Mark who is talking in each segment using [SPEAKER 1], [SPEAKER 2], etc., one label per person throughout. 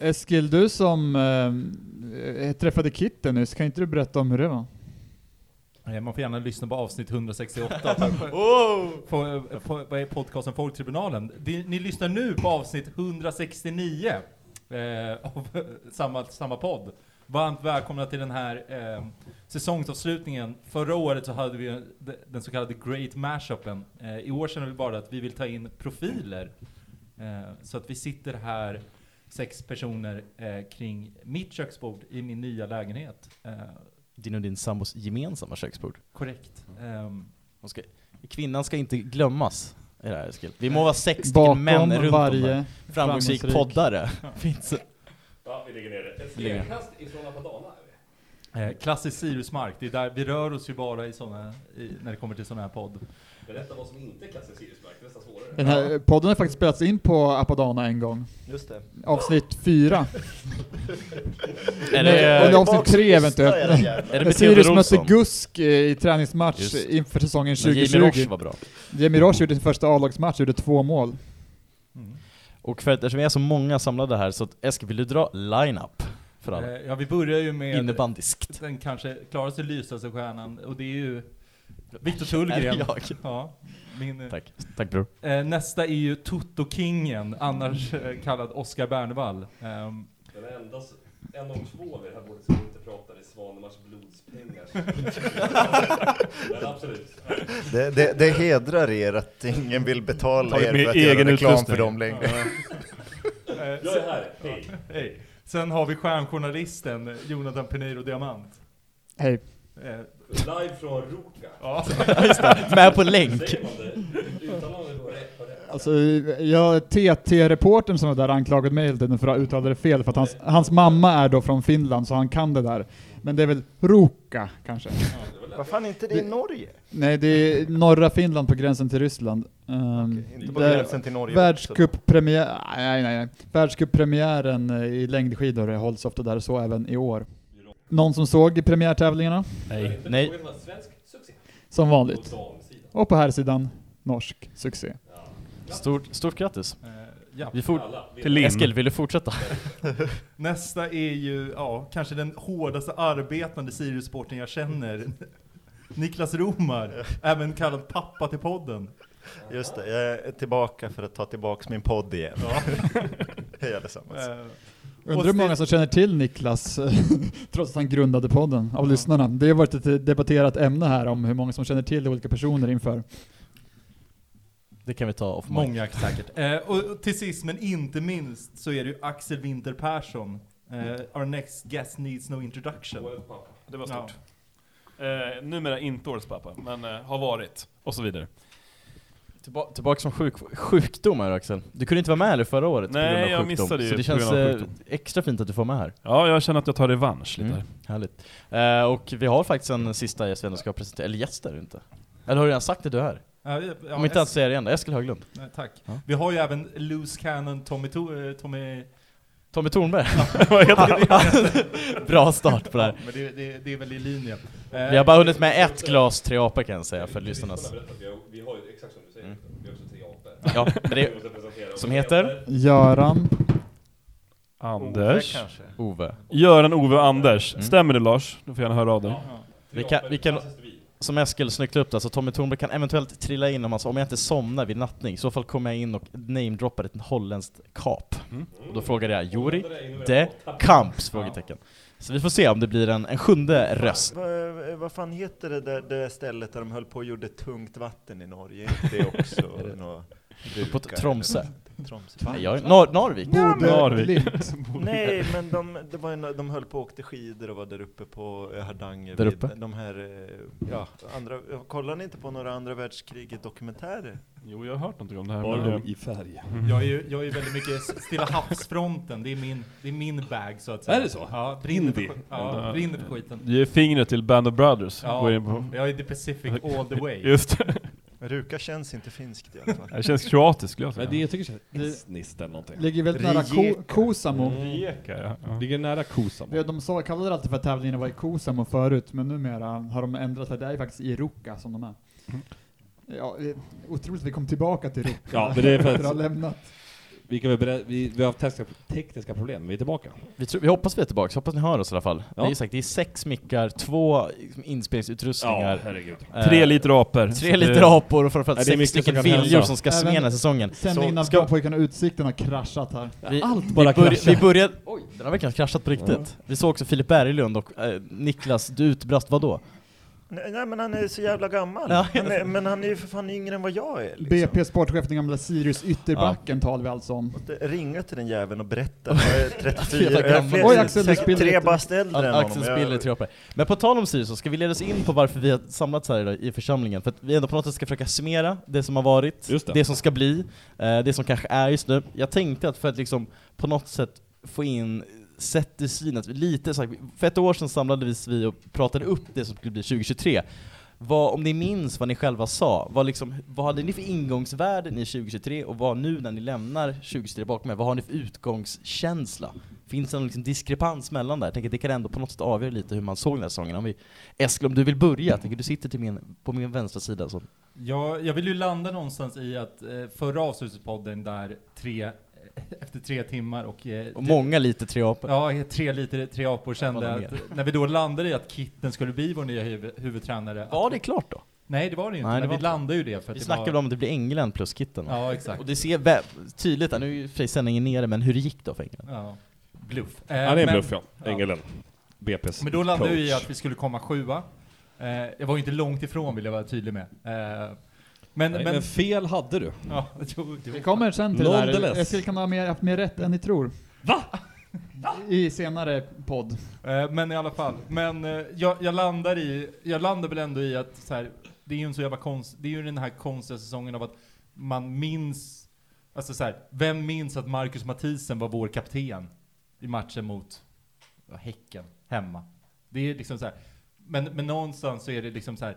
[SPEAKER 1] Eskil, du som eh, träffade Kitten nyss, kan inte du berätta om hur det var?
[SPEAKER 2] Eh, Man får gärna lyssna på avsnitt 168. oh! på, på, vad är podcasten Folktribunalen? Ni, ni lyssnar nu på avsnitt 169 eh, av samma, samma podd. Varmt välkomna till den här eh, säsongsavslutningen. Förra året så hade vi en- de- den så kallade Great Mashupen. Eh, I år känner vi bara att vi vill ta in profiler. Eh, så att vi sitter här, sex personer, eh, kring mitt köksbord i min nya lägenhet. Eh,
[SPEAKER 3] Din och din sambos gemensamma köksbord.
[SPEAKER 2] korrekt. Ehm,
[SPEAKER 3] Hon ska, kvinnan ska inte glömmas i det här Eskil. Vi må vara sex stycken
[SPEAKER 1] Bakom
[SPEAKER 3] män runt om här.
[SPEAKER 1] varje...
[SPEAKER 3] framgångsrik
[SPEAKER 1] framgångsrik-
[SPEAKER 3] poddare. Finns
[SPEAKER 4] Ja, vi lägger ner det. Ett
[SPEAKER 3] Lägger ner.
[SPEAKER 4] stenkast ifrån Apadana är vi.
[SPEAKER 2] Eh, klassisk Siriusmark, det är där vi rör oss ju bara i såna, i, när det kommer till sån här podd.
[SPEAKER 4] Berätta vad som inte är klassisk Siriusmark, det är nästan svårare.
[SPEAKER 1] Den här podden har faktiskt spelats in på Apadana en gång.
[SPEAKER 5] Just det.
[SPEAKER 1] Avsnitt fyra. Nej,
[SPEAKER 3] Är det,
[SPEAKER 1] eller avsnitt tre eventuellt.
[SPEAKER 3] är det med
[SPEAKER 1] Sirius
[SPEAKER 3] Theodor
[SPEAKER 1] mötte
[SPEAKER 3] Olsson?
[SPEAKER 1] Gusk eh, i träningsmatch
[SPEAKER 3] Just.
[SPEAKER 1] inför säsongen
[SPEAKER 3] Men Jimmy Roche
[SPEAKER 1] 2020.
[SPEAKER 3] var bra.
[SPEAKER 1] Jimmy Roche gjorde sin första A-lagsmatch, gjorde två mål.
[SPEAKER 2] Mm.
[SPEAKER 3] Mm. Och för att eftersom vi är så många samlade här, så att Eskil, vill du dra line-up för alla?
[SPEAKER 2] Eh, ja, vi börjar ju med
[SPEAKER 3] Innebandyskt.
[SPEAKER 2] den kanske klaraste lysaste stjärnan, och det är ju Viktor Tullgren.
[SPEAKER 3] jag?
[SPEAKER 2] Ja, min, eh,
[SPEAKER 3] Tack. Tack bror.
[SPEAKER 2] eh, nästa är ju Toto-kingen, annars eh, kallad Oscar Bernvall. Ehm,
[SPEAKER 4] Den enda, s- en av två vid det här bordet som inte pratar är Svanemars blodspengar. Men absolut.
[SPEAKER 6] Det, det, det hedrar er att ingen vill betala
[SPEAKER 5] Tagit
[SPEAKER 6] er
[SPEAKER 5] med
[SPEAKER 6] för att
[SPEAKER 5] egen
[SPEAKER 6] göra reklam
[SPEAKER 5] utrustning.
[SPEAKER 6] för dem längre.
[SPEAKER 2] eh,
[SPEAKER 4] Jag är här, hej.
[SPEAKER 2] hej. Sen har vi stjärnjournalisten eh, Jonathan Pinheiro Diamant.
[SPEAKER 1] Hej.
[SPEAKER 2] Eh,
[SPEAKER 4] Live från Ruka.
[SPEAKER 2] ja.
[SPEAKER 3] Med på länk.
[SPEAKER 4] Säger man det? Uttalar man det då rätt på rätt?
[SPEAKER 1] Alltså, jag, TT-reportern som var där anklagade mig hela tiden för att uttala det fel, för att hans, hans mamma är då från Finland, så han kan det där. Men det är väl Ruka, kanske?
[SPEAKER 5] Vad fan är inte det i Norge?
[SPEAKER 1] Nej, det är norra Finland på gränsen till Ryssland. Um,
[SPEAKER 6] Inte på gränsen till Norge.
[SPEAKER 1] Världscuppremiär, nej, nej, nej. Världscuppremiären eh, i längdskidor hålls ofta där, så även i år. Någon som såg premiärtävlingarna?
[SPEAKER 3] Nej.
[SPEAKER 4] Men
[SPEAKER 3] Nej.
[SPEAKER 4] frågan var Svensk succé.
[SPEAKER 1] Som
[SPEAKER 4] På
[SPEAKER 1] vanligt.
[SPEAKER 4] damsidan.
[SPEAKER 1] Och på här sidan norsk succé.
[SPEAKER 3] Stort, stort grattis.
[SPEAKER 2] Eh, ja.
[SPEAKER 3] Vi fort...
[SPEAKER 4] Alla. vet-
[SPEAKER 5] Till Linn.
[SPEAKER 3] Eskil, vill du fortsätta?
[SPEAKER 2] Nästa är ju, ja, kanske den hårdaste arbetande Sirius-sporten jag känner. Niklas Romar, även kallad pappa till podden.
[SPEAKER 6] Just det, jag är tillbaka för att ta tillbaka min podd igen.
[SPEAKER 2] Ja.
[SPEAKER 6] Hej allesammans.
[SPEAKER 2] Eh, Och
[SPEAKER 1] Undrar hur många
[SPEAKER 2] Sten-
[SPEAKER 1] som känner till Niklas, eh, trots att han grundade podden, av
[SPEAKER 2] Ja.
[SPEAKER 1] lyssnarna. Det har varit ett debatterat ämne här om hur många som känner till olika personer inför.
[SPEAKER 3] Det kan vi ta off mic.
[SPEAKER 2] Många säkert. Eh, och och till sist men inte minst så är det ju Axel Winter Persson. Eh, our next guest needs no introduction.
[SPEAKER 4] Årets pappa.
[SPEAKER 5] Det var stort. Eh, numera inte årets pappa, men eh, har varit. Och så vidare.
[SPEAKER 3] Tillba tillbaka som sjuk sjukdomar Axel. Du kunde inte vara med eller förra året
[SPEAKER 5] Nej,
[SPEAKER 3] på grund av
[SPEAKER 5] jag
[SPEAKER 3] sjukdom.
[SPEAKER 5] missade ju
[SPEAKER 3] Så
[SPEAKER 5] på
[SPEAKER 3] det känns
[SPEAKER 5] grund av
[SPEAKER 3] eh,
[SPEAKER 5] sjukdom.
[SPEAKER 3] extra fint att du får med här.
[SPEAKER 5] Ja, jag känner att jag tar revansch lite
[SPEAKER 3] Mm.
[SPEAKER 5] här.
[SPEAKER 3] Härligt. Eh, och vi har faktiskt en sista gäst vi ändå ska presentera. Eller gäst är du inte. Eller har du redan sagt att du är här?
[SPEAKER 2] Ja, ja,
[SPEAKER 3] Om inte
[SPEAKER 2] es-
[SPEAKER 3] ens säger det igen. Eskil Höglund.
[SPEAKER 2] nej, Tack.
[SPEAKER 3] Ja.
[SPEAKER 2] Vi har ju även loose cannon Tommy... To- eh, Tommy
[SPEAKER 3] Tommy Tornberg. Bra start på det här.
[SPEAKER 2] men det, det, det är väl i linje.
[SPEAKER 3] Vi har bara hunnit med ett glas tre apor kan jag säga för lyssnarnas. Mm.
[SPEAKER 4] Lyssnarna berättar att vi har- Vi har ju exakt som du säger, vi har också tre apor.
[SPEAKER 3] Ja, men det
[SPEAKER 4] Vi
[SPEAKER 3] är
[SPEAKER 4] måste presentera.
[SPEAKER 3] som heter?
[SPEAKER 1] Göran,
[SPEAKER 5] Anders.
[SPEAKER 3] Ove.
[SPEAKER 5] Göran, Ove och Anders.
[SPEAKER 3] Mm.
[SPEAKER 5] Stämmer det Lars? Du får gärna höra av dig.
[SPEAKER 3] Vi kan- vi kan- Som Eskil snyggt upp det, så Tommy Tornberg kan eventuellt trilla in om, alltså, om jag inte somnar vid nattning. I så fall kommer jag in och namedroppar ett holländskt kap.
[SPEAKER 5] Mm.
[SPEAKER 3] Och då frågade jag Juri de
[SPEAKER 4] det.
[SPEAKER 3] Kamps? Frågetecken. Så vi får se om det blir en, en sjunde röst.
[SPEAKER 6] Vad vad fan heter det där, det där stället där de höll på och gjorde tungt vatten i Norge? Är inte det också
[SPEAKER 3] Är det-
[SPEAKER 6] nå-
[SPEAKER 3] På
[SPEAKER 6] brukar-
[SPEAKER 3] Tromsö.
[SPEAKER 6] Tromsö.
[SPEAKER 3] Nej, jag, Nor Norvik.
[SPEAKER 5] Narvik.
[SPEAKER 1] Glimt.
[SPEAKER 6] Nej, men de, det var en, de höll på och åkte skidor och var där uppe på eh, Hardanger.
[SPEAKER 3] Där
[SPEAKER 6] vid
[SPEAKER 3] uppe?
[SPEAKER 6] De här, eh, ja, andra, kollar ni inte på några andra världskriget dokumentärer?
[SPEAKER 5] Jo, jag har hört någonting om det här.
[SPEAKER 4] Varulv
[SPEAKER 5] men-
[SPEAKER 4] i färg.
[SPEAKER 2] Jag är ju jag är ju väldigt mycket s- Stilla havsfronten, det är min, det är min bag så att säga.
[SPEAKER 4] Är det så?
[SPEAKER 2] Ja, brinner för,
[SPEAKER 4] Indie.
[SPEAKER 2] skit- ja, brinner för skiten.
[SPEAKER 5] Ge fingret till Band of Brothers.
[SPEAKER 2] Ja.
[SPEAKER 5] Gå in på.
[SPEAKER 2] Jag är the Pacific all the way.
[SPEAKER 5] Just det.
[SPEAKER 6] Ruka känns inte finskt i alla fall.
[SPEAKER 5] Det känns kroatiskt skulle jag
[SPEAKER 4] Men
[SPEAKER 5] säga.
[SPEAKER 4] det jag tycker känns
[SPEAKER 1] Det-
[SPEAKER 4] estniskt eller någonting. Mm.
[SPEAKER 1] Ligger väldigt nära Ko- Kosamo.
[SPEAKER 5] Rijeka, ja. ja.
[SPEAKER 4] Ligger nära
[SPEAKER 1] Ja,
[SPEAKER 4] Kosamo.
[SPEAKER 1] De sa, kallade det alltid för att tävlingarna var i Kosamo förut, men numera har de ändrat för det är faktiskt i Ruka som de är. Ja, eh, otroligt att vi kom tillbaka till Ruka
[SPEAKER 4] Ja, men det är för
[SPEAKER 1] att
[SPEAKER 4] att-
[SPEAKER 1] ha lämnat.
[SPEAKER 7] Vi, kan väl berä- vi, vi har haft tekniska, tekniska problem, men vi är tillbaka.
[SPEAKER 3] Vi, tror, vi hoppas vi är tillbaka, hoppas ni hör oss i alla fall.
[SPEAKER 7] Ja.
[SPEAKER 3] Det, är sagt, det är sex mickar, två inspelningsutrustningar.
[SPEAKER 7] herregud.
[SPEAKER 3] eh,
[SPEAKER 5] Tre liter apor.
[SPEAKER 3] Tre liter apor och framförallt
[SPEAKER 7] Nej, det är
[SPEAKER 3] sex
[SPEAKER 7] mycket
[SPEAKER 3] stycken
[SPEAKER 7] som kan
[SPEAKER 3] viljor
[SPEAKER 7] hända.
[SPEAKER 3] som ska
[SPEAKER 1] Även-
[SPEAKER 3] se den här säsongen.
[SPEAKER 1] Sändningen innan
[SPEAKER 3] ska-
[SPEAKER 1] pojkarna Utsikten har kraschat här.
[SPEAKER 3] Vi,
[SPEAKER 1] Allt
[SPEAKER 3] vi,
[SPEAKER 1] bara
[SPEAKER 3] börj- vi
[SPEAKER 1] kraschar.
[SPEAKER 3] började... Oj, den har verkligen kraschat på riktigt. Vi såg också Filip Berglund och eh, Niklas, du utbrast vadå?
[SPEAKER 6] Nej, nej, men han är så jävla gammal.
[SPEAKER 3] Ja.
[SPEAKER 6] Han är, men han är ju för fan yngre än vad jag är. Liksom.
[SPEAKER 1] BP sportchef, den gamla Sirius ytterbacken talar vi alltså om.
[SPEAKER 6] Måste Ringa till den jäveln och berätta. Jag är 34, jag
[SPEAKER 3] gammal.
[SPEAKER 6] är fler,
[SPEAKER 1] Oj, Axel, du
[SPEAKER 6] säkert
[SPEAKER 1] spiller
[SPEAKER 6] tre
[SPEAKER 1] lite.
[SPEAKER 6] bast äldre än
[SPEAKER 3] Axel
[SPEAKER 6] honom.
[SPEAKER 3] Spiller
[SPEAKER 6] Jag,
[SPEAKER 3] tror jag på det. Men på tal om Sirius så ska vi leda oss in på varför vi har samlats här idag i församlingen. För att vi ändå på något sätt ska försöka summera det som har varit,
[SPEAKER 7] Just det.
[SPEAKER 3] som ska bli, eh, det som kanske är just nu. Jag tänkte att för att liksom på något sätt få in sätt i syn, att vi lite så här, för ett år sedan samlades vi och pratade upp det som skulle bli 2023. Vad, om ni minns vad ni själva sa, vad, liksom, vad hade ni för ingångsvärden i 2023 och vad nu när ni lämnar 2023 bakom er, vad har ni för utgångskänsla? Finns det någon liksom diskrepans mellan där? Jag tänker att det kan ändå på något sätt avgöra lite hur man såg den här säsongen. Om vi, Eskil, om du vill börja? Jag tänker du sitter till min, på min vänstra sida. Så.
[SPEAKER 2] Jag, jag vill ju landa någonstans i att eh, förra avslutspodden där tre, efter tre timmar och... Eh,
[SPEAKER 3] Och många lite tre apor.
[SPEAKER 2] Ja, tre liter tre apor kände
[SPEAKER 3] Vad var det
[SPEAKER 2] att när vi då landade i att Kitten skulle bli vår nya huv, huvudtränare.
[SPEAKER 3] Var det klart då?
[SPEAKER 2] Nej, det var det ju inte,
[SPEAKER 3] Nej, det
[SPEAKER 2] men vi
[SPEAKER 3] var inte.
[SPEAKER 2] landade ju det för att
[SPEAKER 3] Vi
[SPEAKER 2] det
[SPEAKER 3] snackade
[SPEAKER 2] var...
[SPEAKER 3] om att det blir England plus Kitten. va?
[SPEAKER 2] Ja, exakt.
[SPEAKER 3] Och det ser vä- tydligt, här, nu är ju i och för sig sändningen nere, men hur det gick då för England?
[SPEAKER 2] Ja. Bluff. Eh,
[SPEAKER 7] Han är en
[SPEAKER 2] men-
[SPEAKER 7] bluff ja,
[SPEAKER 2] ja.
[SPEAKER 7] Engelen. BP's
[SPEAKER 2] Men då landade
[SPEAKER 7] coach.
[SPEAKER 2] vi i att vi skulle komma sjua. Eh, jag var ju inte långt ifrån vill jag vara tydlig med. Eh, men,
[SPEAKER 7] Nej, men,
[SPEAKER 2] men...
[SPEAKER 7] fel hade du.
[SPEAKER 2] Ja, jo, jo.
[SPEAKER 1] Vi kommer sen till det där.
[SPEAKER 7] Nonetheless.
[SPEAKER 1] Eskil kan ha mer, haft mer rätt än ni tror. Va? I senare podd.
[SPEAKER 2] Eh, Men i alla fall, men eh, jag, jag landar i, jag landar väl ändå i att så här, det är ju en så jävla konst, det är ju den här konstiga säsongen av att man minns, alltså så här, vem minns att Marcus Mathisen var vår kapten i matchen mot ja, Häcken hemma? Det är liksom så här, men, men någonstans så är det liksom så här,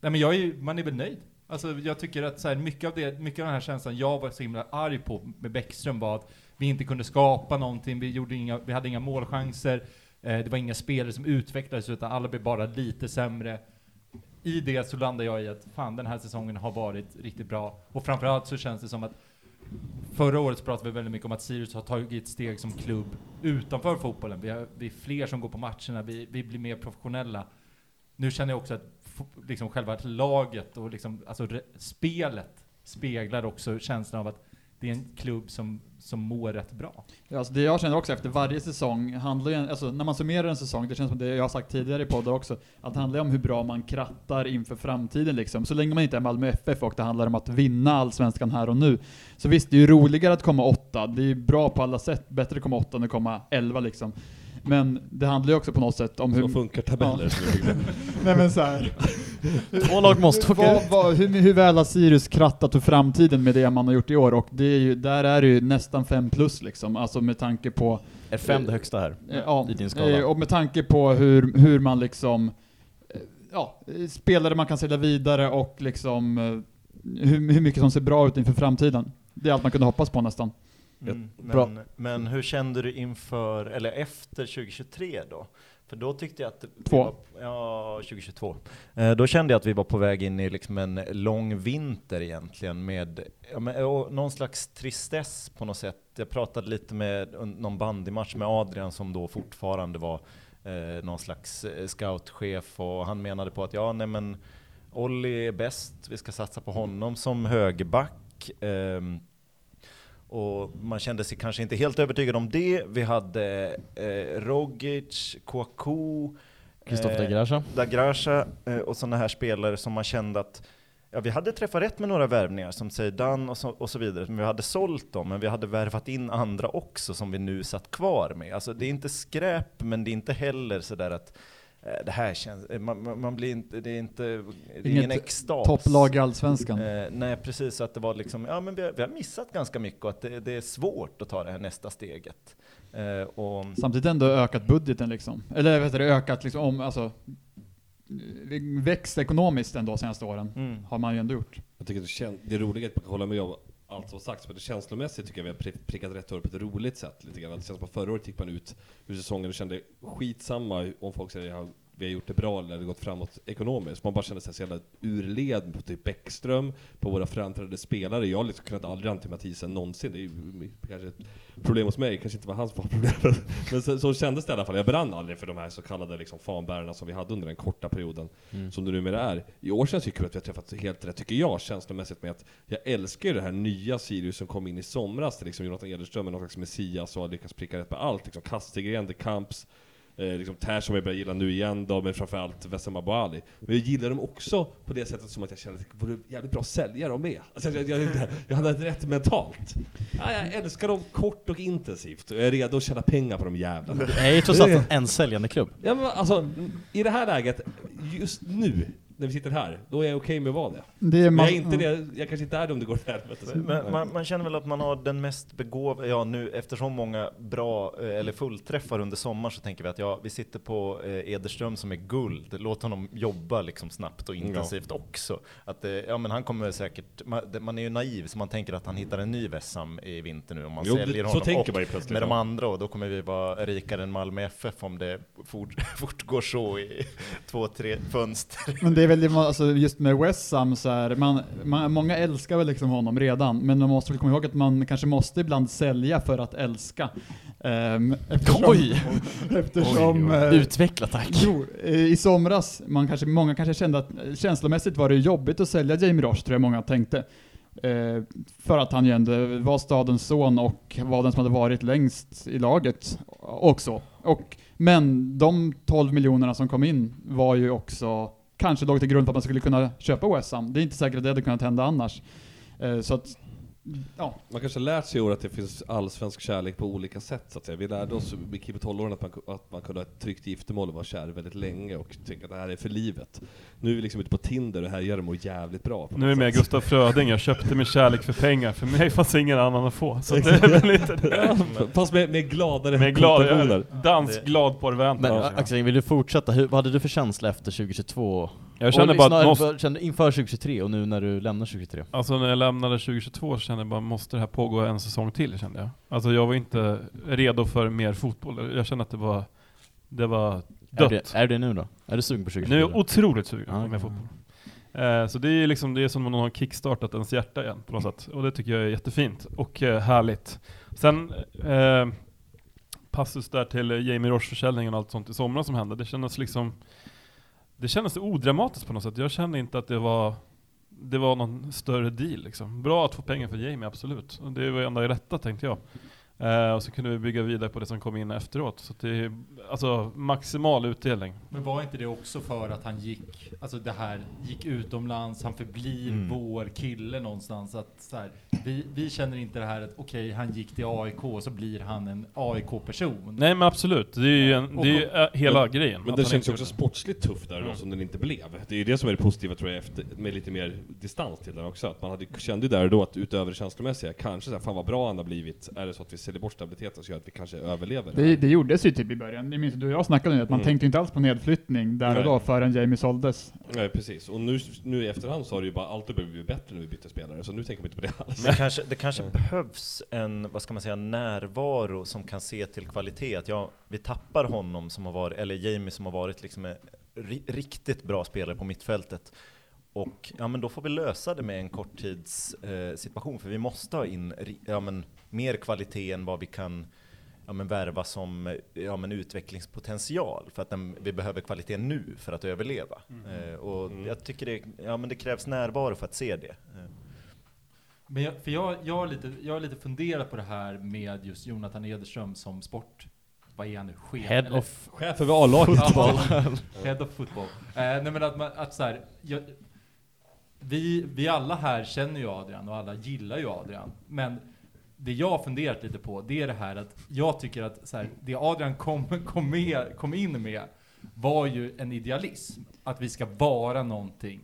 [SPEAKER 2] nej men jag är ju, man är väl nöjd. Alltså jag tycker att så här, mycket av det, mycket av den här känslan jag var så himla arg på med Bäckström var att vi inte kunde skapa någonting, vi, gjorde inga, vi hade inga målchanser, eh, det var inga spelare som utvecklades utan alla blev bara lite sämre. I det så landar jag i att fan den här säsongen har varit riktigt bra och framförallt så känns det som att Förra året så pratade vi väldigt mycket om att Sirius har tagit ett steg som klubb utanför fotbollen. Vi, har, vi är fler som går på matcherna, vi, vi blir mer professionella. Nu känner jag också att fo- liksom själva laget och liksom, alltså re, spelet speglar också känslan av att det är en klubb som, som mår rätt bra.
[SPEAKER 1] Ja, Alltså det jag känner också efter varje säsong handlar ju, alltså när man summerar en säsong, det känns som det jag har sagt tidigare i poddar också, att det handlar ju om hur bra man krattar inför framtiden liksom. Så länge man inte är Malmö FF och det handlar om att vinna allsvenskan här och nu. Så visst, det är ju roligare att komma åtta, det är ju bra på alla sätt, bättre att komma åtta än att komma elva liksom. Men det handlar ju också på något sätt om
[SPEAKER 7] Så
[SPEAKER 1] hur...
[SPEAKER 7] funkar tabeller.
[SPEAKER 1] Ja.
[SPEAKER 7] som vi fick det.
[SPEAKER 1] Nej men så här.
[SPEAKER 3] Två lag måste åka
[SPEAKER 1] Vad,
[SPEAKER 3] ut.
[SPEAKER 1] vad, hur, hur väl har Sirius krattat för framtiden med det man har gjort i år? Och det är ju, där är det ju nästan fem plus liksom, alltså med tanke på
[SPEAKER 3] Är fem det högsta här?
[SPEAKER 1] Eh, Ja,
[SPEAKER 3] I din skala.
[SPEAKER 1] eh, och med tanke på hur, hur man liksom, eh, ja, eh, spelare man kan sälja vidare och liksom eh, hur, hur mycket som ser bra ut inför framtiden. Det är allt man kunde hoppas på nästan.
[SPEAKER 6] mm,
[SPEAKER 3] Bra.
[SPEAKER 6] men, men hur kände du inför, eller efter 2023 då? För då tyckte jag att... vi
[SPEAKER 1] Två.
[SPEAKER 6] var- Ja, 2022. Eh, Då kände jag att vi var på väg in i liksom en lång vinter egentligen med ja, men, och någon slags tristess på något sätt. Jag pratade lite med un- någon bandymatch med Adrian som då fortfarande var eh, någon slags eh, scoutchef och han menade på att ja, nej men Olli är bäst, vi ska satsa på honom som högerback. Ehm, och man kände sig kanske inte helt övertygad om det. Vi hade eh, Rogic, Kouakou,
[SPEAKER 3] Kristoffer
[SPEAKER 6] eh,
[SPEAKER 3] Dagrasha.
[SPEAKER 6] Dagrasha eh, och sådana här spelare som man kände att ja, vi hade träffat rätt med några värvningar som Zeidan och så, och så vidare. Men vi hade sålt dem, men vi hade värvat in andra också som vi nu satt kvar med. Alltså det är inte skräp, men det är inte heller sådär att eh, det här känns, eh, man, man- man blir inte, det är inte, det är ingen
[SPEAKER 1] Inget
[SPEAKER 6] extas.
[SPEAKER 1] Topplag i Allsvenskan.
[SPEAKER 6] Eh, nej, precis. Så att det var liksom, ja men vi har, vi har missat ganska mycket och att det, det är svårt att ta det här nästa steget. Eh, och,
[SPEAKER 1] Samtidigt ändå ökat budgeten liksom. Eller vet du, ökat liksom om, alltså eh, växt ekonomiskt ändå senaste åren.
[SPEAKER 6] mm.
[SPEAKER 1] Har man ju ändå gjort.
[SPEAKER 7] Jag tycker det, kän- det är roligt att man kan hålla med om allt som sagts, men det känslomässigt tycker jag vi har pri- prickat rätt över på ett roligt sätt. Lite grann. Det känns som att förra året gick man ut ur säsongen och kände skitsamma om folk säger att han vi har gjort det bra eller det har gått framåt ekonomiskt. Man bara känner sig så jävla urled på typ Bäckström, på våra framträdande spelare. Jag har liksom kunnat aldrig ante Mathisen någonsin. Det är ju kanske ett problem hos mig, kanske inte var hans var problemet. Men så, så kändes det i alla fall. Jag brann aldrig för de här så kallade liksom fanbärarna som vi hade under den korta perioden som det numera är. I år känns det ju kul att vi har träffat helt rätt, tycker jag, känslomässigt med att jag älskar ju det här nya Sirius som kom in i somras, där liksom Jonathan Edelström är någon slags Messias och har lyckats pricka rätt på allt. Liksom Kastegren, De Camps, eh, liksom Tär som jag börjar gilla nu igen då, men framförallt Wessam Abou Ali. Men jag gillar dem också på det sättet som att jag känner att det vore jävligt bra att sälja dem med. Alltså jag, jag, jag, jag hade rätt mentalt. Ja, jag älskar dem kort och intensivt och jag är redo att tjäna pengar på de jävlarna.
[SPEAKER 3] Nej, trots allt en säljande klubb.
[SPEAKER 7] Ja, men alltså, i det här läget, just nu, när vi sitter här, då är jag okej med att vara det.
[SPEAKER 1] Det är
[SPEAKER 7] Men Mm. jag, är
[SPEAKER 1] ma-
[SPEAKER 7] inte det, jag kanske inte är det om det går till helvete.
[SPEAKER 6] Typ. Men man, man känner väl att man har den mest begåvade, ja nu eftersom många bra eh, eller fullträffar under sommar så tänker vi att ja, vi sitter på eh, Ederström som är guld, låt honom jobba liksom snabbt och intensivt också. Att, eh, ja men han kommer säkert, man, det- man är ju naiv så man tänker att han hittar en ny Vessam i vinter nu om man
[SPEAKER 7] Jo,
[SPEAKER 6] säljer
[SPEAKER 7] det- så
[SPEAKER 6] honom
[SPEAKER 7] tänker
[SPEAKER 6] och
[SPEAKER 7] man ju plötsligt,
[SPEAKER 6] med de
[SPEAKER 7] ja.
[SPEAKER 6] andra och då kommer vi vara rikare än Malmö FF om det fort, fortgår så i två, tre fönster.
[SPEAKER 1] Men det är väl det man- alltså, just med Wessam så här, man, man, många älskar väl liksom honom redan, men man måste väl komma ihåg att man kanske måste ibland sälja för att älska. Ehm, eftersom,
[SPEAKER 3] Oj.
[SPEAKER 1] Eftersom... eh,
[SPEAKER 3] Utveckla tack.
[SPEAKER 1] Jo, eh, i somras, man kanske, många kanske kände att eh, känslomässigt var det jobbigt att sälja Jamie Roche, tror jag många tänkte. Eh, för att han ju ändå var stadens son och var den som hade varit längst i laget och så. Och, men de 12 miljonerna som kom in var ju också, kanske låg till grund för att man skulle kunna köpa West Ham. Det är inte säkert att det hade kunnat hända annars. Eh, så att, ja,
[SPEAKER 7] Man kanske har lärt sig i år att det finns allsvensk kärlek på olika sätt så att säga. Vi lärde oss i Kibbe 12-åren att man, ku- att man kunde ha ett tryggt giftermål och vara kär väldigt länge och tänka att det här är för livet. Nu är vi liksom ute på Tinder och här gör de jävligt bra. på
[SPEAKER 5] Nu är
[SPEAKER 7] något
[SPEAKER 5] jag med
[SPEAKER 7] sätt.
[SPEAKER 5] Gustav Fröding, jag köpte min kärlek för pengar, för mig fanns ingen annan att få. Så det är väl lite det.
[SPEAKER 7] Fast med, med gladare
[SPEAKER 5] Men glad,
[SPEAKER 7] kontentioner.
[SPEAKER 5] jag- dansk glad
[SPEAKER 3] Men eh,
[SPEAKER 5] porrväntan.
[SPEAKER 3] Axel, vill du fortsätta? Hur, vad hade du för känsla efter 2022?
[SPEAKER 5] Jag känner
[SPEAKER 3] Och
[SPEAKER 5] bara
[SPEAKER 3] snarare
[SPEAKER 5] att måste,
[SPEAKER 3] för- kände inför 2023 och nu när du lämnar 2023?
[SPEAKER 5] alltså när jag lämnade 2022 så kände jag bara, måste det här pågå en säsong till? Kände jag. Alltså jag var inte redo för mer fotboll. Jag kände att det var, det var
[SPEAKER 3] Är
[SPEAKER 5] dött.
[SPEAKER 3] du, är du det nu då? Är du sugen på 2024?
[SPEAKER 5] Nu är jag otroligt sugen
[SPEAKER 3] Ja,
[SPEAKER 5] på mer
[SPEAKER 3] okej.
[SPEAKER 5] fotboll. Eh, så det är ju liksom, det är som om någon har kickstartat ens hjärta igen på något sätt. Och det tycker jag är jättefint och eh, härligt. Sen eh, passus där till eh, Jamie Roche-försäljningen och allt sånt i somras som hände. Det kändes liksom, det kändes odramatiskt på något sätt. Jag kände inte att det var det var någon större deal liksom. Bra att få pengar för Jamie, absolut. Och Det var det enda rätta tänkte jag. Eh, och så kunde vi bygga vidare på det som kom in efteråt. Så att det är alltså maximal utdelning.
[SPEAKER 2] Men var inte det också för att han gick, alltså det här, gick utomlands, han förblir
[SPEAKER 6] Mm.
[SPEAKER 2] vår kille någonstans. Att så här, vi, vi känner inte det här att okej, han gick till AIK, så blir han en AIK-person.
[SPEAKER 5] Nej men absolut, det är ju, en, det är ju eh, hela grejen.
[SPEAKER 7] Men
[SPEAKER 5] att
[SPEAKER 7] den
[SPEAKER 5] han
[SPEAKER 7] känns ju
[SPEAKER 5] inte
[SPEAKER 7] också
[SPEAKER 5] gjorde Mm.
[SPEAKER 7] sportsligt tuff där då, som den inte blev. Det är ju det som är det positiva tror jag, efter, med lite mer distans till den också. Att man hade, kände ju där och då att utöver det känslomässiga, kanske såhär, fan vad bra han har blivit. Är det så att vi säljer bort stabiliteten så gör att vi kanske överlever?
[SPEAKER 1] Det, det gjordes ju typ i början, ni minns ju, du och jag snackade om det, att man
[SPEAKER 7] Mm.
[SPEAKER 1] tänkte inte alls på nedflyttning där
[SPEAKER 7] Nej.
[SPEAKER 1] och då förrän Jamie såldes.
[SPEAKER 7] Nej precis, och nu, nu i efterhand så har det ju bara allt blivit bättre när vi bytte spelare, så nu tänker man inte på det alls.
[SPEAKER 6] Det kanske, det kanske behövs en, vad ska man säga, närvaro som kan se till kvalitet. Att ja, vi tappar honom som har varit, eller Jamie som har varit liksom en ri, riktigt bra spelare på mittfältet. Och ja, men då får vi lösa det med en korttidssituation, eh, situation, för vi måste ha in ri- ja, men, mer kvalitet än vad vi kan ja, men, värva som eh, ja, men, utvecklingspotential. För att den, vi behöver kvalitet nu för att överleva. Eh, och jag tycker det, ja, men det krävs närvaro för att se det. Eh.
[SPEAKER 2] Men jag, för jag, jag, har lite, jag har lite funderat på det här med just Jonathan Ederström som sport, vad är han nu? Chef?
[SPEAKER 3] Head
[SPEAKER 2] eller-
[SPEAKER 3] of...
[SPEAKER 7] Chef över A-laget.
[SPEAKER 2] Head of football. Eh, nej men att, man, att så här, jag, vi, vi alla här känner ju Adrian och alla gillar ju Adrian. Men det jag har funderat lite på, det är det här att jag tycker att så här, det Adrian kom, kom, med, kom in med var ju en idealism. Att vi ska vara någonting.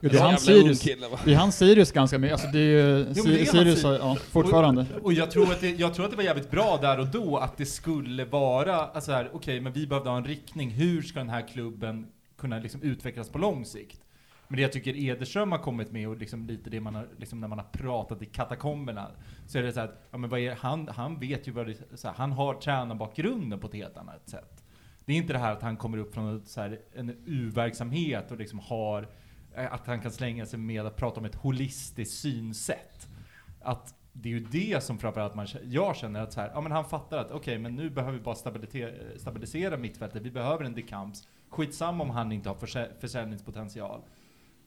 [SPEAKER 1] Det
[SPEAKER 7] Så
[SPEAKER 1] är han
[SPEAKER 7] jävla
[SPEAKER 1] Sirius,
[SPEAKER 7] ung kille, va?
[SPEAKER 1] det är han Sirius ganska mycket, alltså det är ju,
[SPEAKER 2] men
[SPEAKER 1] Si-
[SPEAKER 2] det är han
[SPEAKER 1] Sirius
[SPEAKER 2] Sir-
[SPEAKER 1] har- ja, fortfarande.
[SPEAKER 2] Och, och jag, tror att det, jag tror att det var jävligt bra där och då att det skulle vara, alltså här, okej, men vi behövde ha en riktning. Hur ska den här klubben kunna liksom utvecklas på lång sikt? Men det jag tycker Ederström har kommit med och liksom lite det man har, liksom när man har pratat i katakomberna, så är det så här att, ja men vad är, han, han vet ju vad det, så här, han har tränarbakgrunden på ett helt annat sätt. Det är inte det här att han kommer upp från ett, så här, en U-verksamhet och liksom har, eh, att han kan slänga sig med att prata om ett holistiskt synsätt. Att det är ju det som framförallt man, kä- jag känner att så här, ja men han fattar att okej, men nu behöver vi bara stabilisera, stabilisera mittfältet. Vi behöver en dekamps. Skitsamma om han inte har försä- försäljningspotential.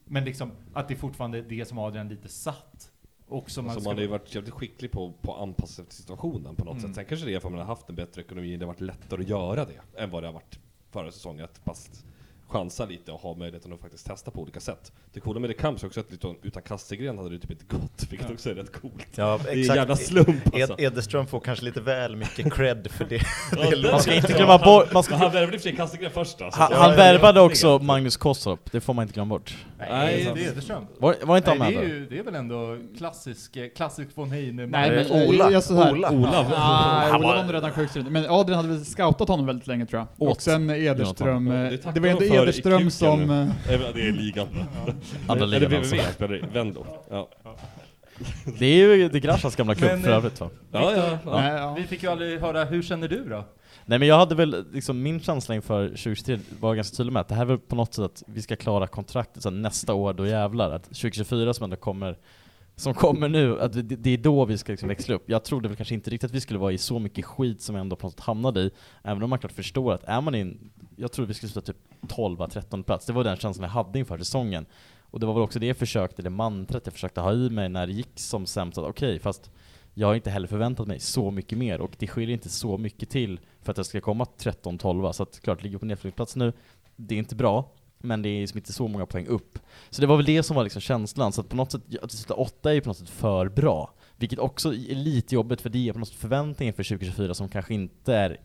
[SPEAKER 2] Men liksom att det är fortfarande är det som Adrian lite satt. Och som
[SPEAKER 7] Alltså
[SPEAKER 2] ska-
[SPEAKER 7] man har ju varit jävligt skicklig på, på att anpassa sig till situationen på något
[SPEAKER 2] Mm.
[SPEAKER 7] sätt. Sen kanske det är för att man har haft en bättre ekonomi, det har varit lättare att göra det än vad det har varit förra säsongen. Att fast chansa lite och ha möjligheten att faktiskt testa på olika sätt. Det coola med det Kamps är också att utan, utan Kastegren hade det typ inte gått, vilket
[SPEAKER 2] Ja.
[SPEAKER 7] också är rätt coolt.
[SPEAKER 6] Ja,
[SPEAKER 7] Det är en
[SPEAKER 6] exakt.
[SPEAKER 7] jävla slump alltså.
[SPEAKER 6] Ed- Edeström får kanske lite väl mycket cred för det.
[SPEAKER 7] Ja,
[SPEAKER 6] det
[SPEAKER 3] Man
[SPEAKER 7] den-
[SPEAKER 3] ska inte glömma bort... Man ska,
[SPEAKER 7] Men han värvade i och för sig Kastegren först alltså.
[SPEAKER 3] han
[SPEAKER 7] så-
[SPEAKER 3] han värvade också Magnus Kossop, det får man inte glömma bort.
[SPEAKER 2] Nej,
[SPEAKER 7] Nej,
[SPEAKER 2] det är Ederström.
[SPEAKER 3] Var, var inte han
[SPEAKER 2] Nej,
[SPEAKER 3] med
[SPEAKER 2] det, är
[SPEAKER 3] där?
[SPEAKER 2] ju, det är väl ändå klassisk, eh, klassisk von Heine.
[SPEAKER 1] Nej,
[SPEAKER 6] Eh,
[SPEAKER 1] men, eh,
[SPEAKER 6] Ola.
[SPEAKER 1] jag- så här.
[SPEAKER 6] Ola.
[SPEAKER 1] Nej,
[SPEAKER 6] Han
[SPEAKER 1] Ola var
[SPEAKER 6] var-
[SPEAKER 1] nog redan sjukskriven. Men Adrian hade väl scoutat honom väldigt länge tror jag.
[SPEAKER 3] Åt.
[SPEAKER 1] Och sen Ederström.
[SPEAKER 7] Ja, det
[SPEAKER 1] eh,
[SPEAKER 7] tackar
[SPEAKER 1] Det var ändå
[SPEAKER 7] de för i
[SPEAKER 1] Ederström
[SPEAKER 7] kuken
[SPEAKER 1] som...
[SPEAKER 7] nu.
[SPEAKER 1] eh,
[SPEAKER 7] Eh, Det är ligan.
[SPEAKER 3] Andra
[SPEAKER 7] Eller
[SPEAKER 3] ligan alltså.
[SPEAKER 7] VVV spelar det i, Vendo. Ja,
[SPEAKER 3] Det är ju De Graschas gamla klubb
[SPEAKER 2] Men,
[SPEAKER 3] för
[SPEAKER 2] eh,
[SPEAKER 3] övrigt va?
[SPEAKER 7] ja. ja, ja.
[SPEAKER 1] Nej, ja.
[SPEAKER 2] Vi fick ju aldrig höra, hur känner du då?
[SPEAKER 3] Nej men jag hade väl, liksom, min känsla inför 2023 var ganska tydlig med att det här är väl på något sätt att vi ska klara kontraktet sen nästa år, då jävlar. Att 2024 som ändå kommer, som kommer nu, att det, det är då vi ska liksom växla upp. Jag trodde väl kanske inte riktigt att vi skulle vara i så mycket skit som vi ändå på något sätt hamnade i, även om man klart förstår att är man i en, jag trodde vi skulle sluta typ 12-13 plats. Det var den känslan jag hade inför säsongen. Och det var väl också det jag försökte, det mantrat jag försökte ha i mig när det gick som sämst, att okej, fast jag har inte heller förväntat mig så mycket mer och det skiljer inte så mycket till för att jag ska komma 13-12 så att klart, ligger på nedflyttningsplats nu, det är inte bra, men det är liksom inte så många poäng upp. Så det var väl det som var liksom känslan, så att på något sätt, att sluta åtta är ju på något sätt för bra. Vilket också är lite jobbigt för det är på något sätt förväntningen för 2024 som kanske inte är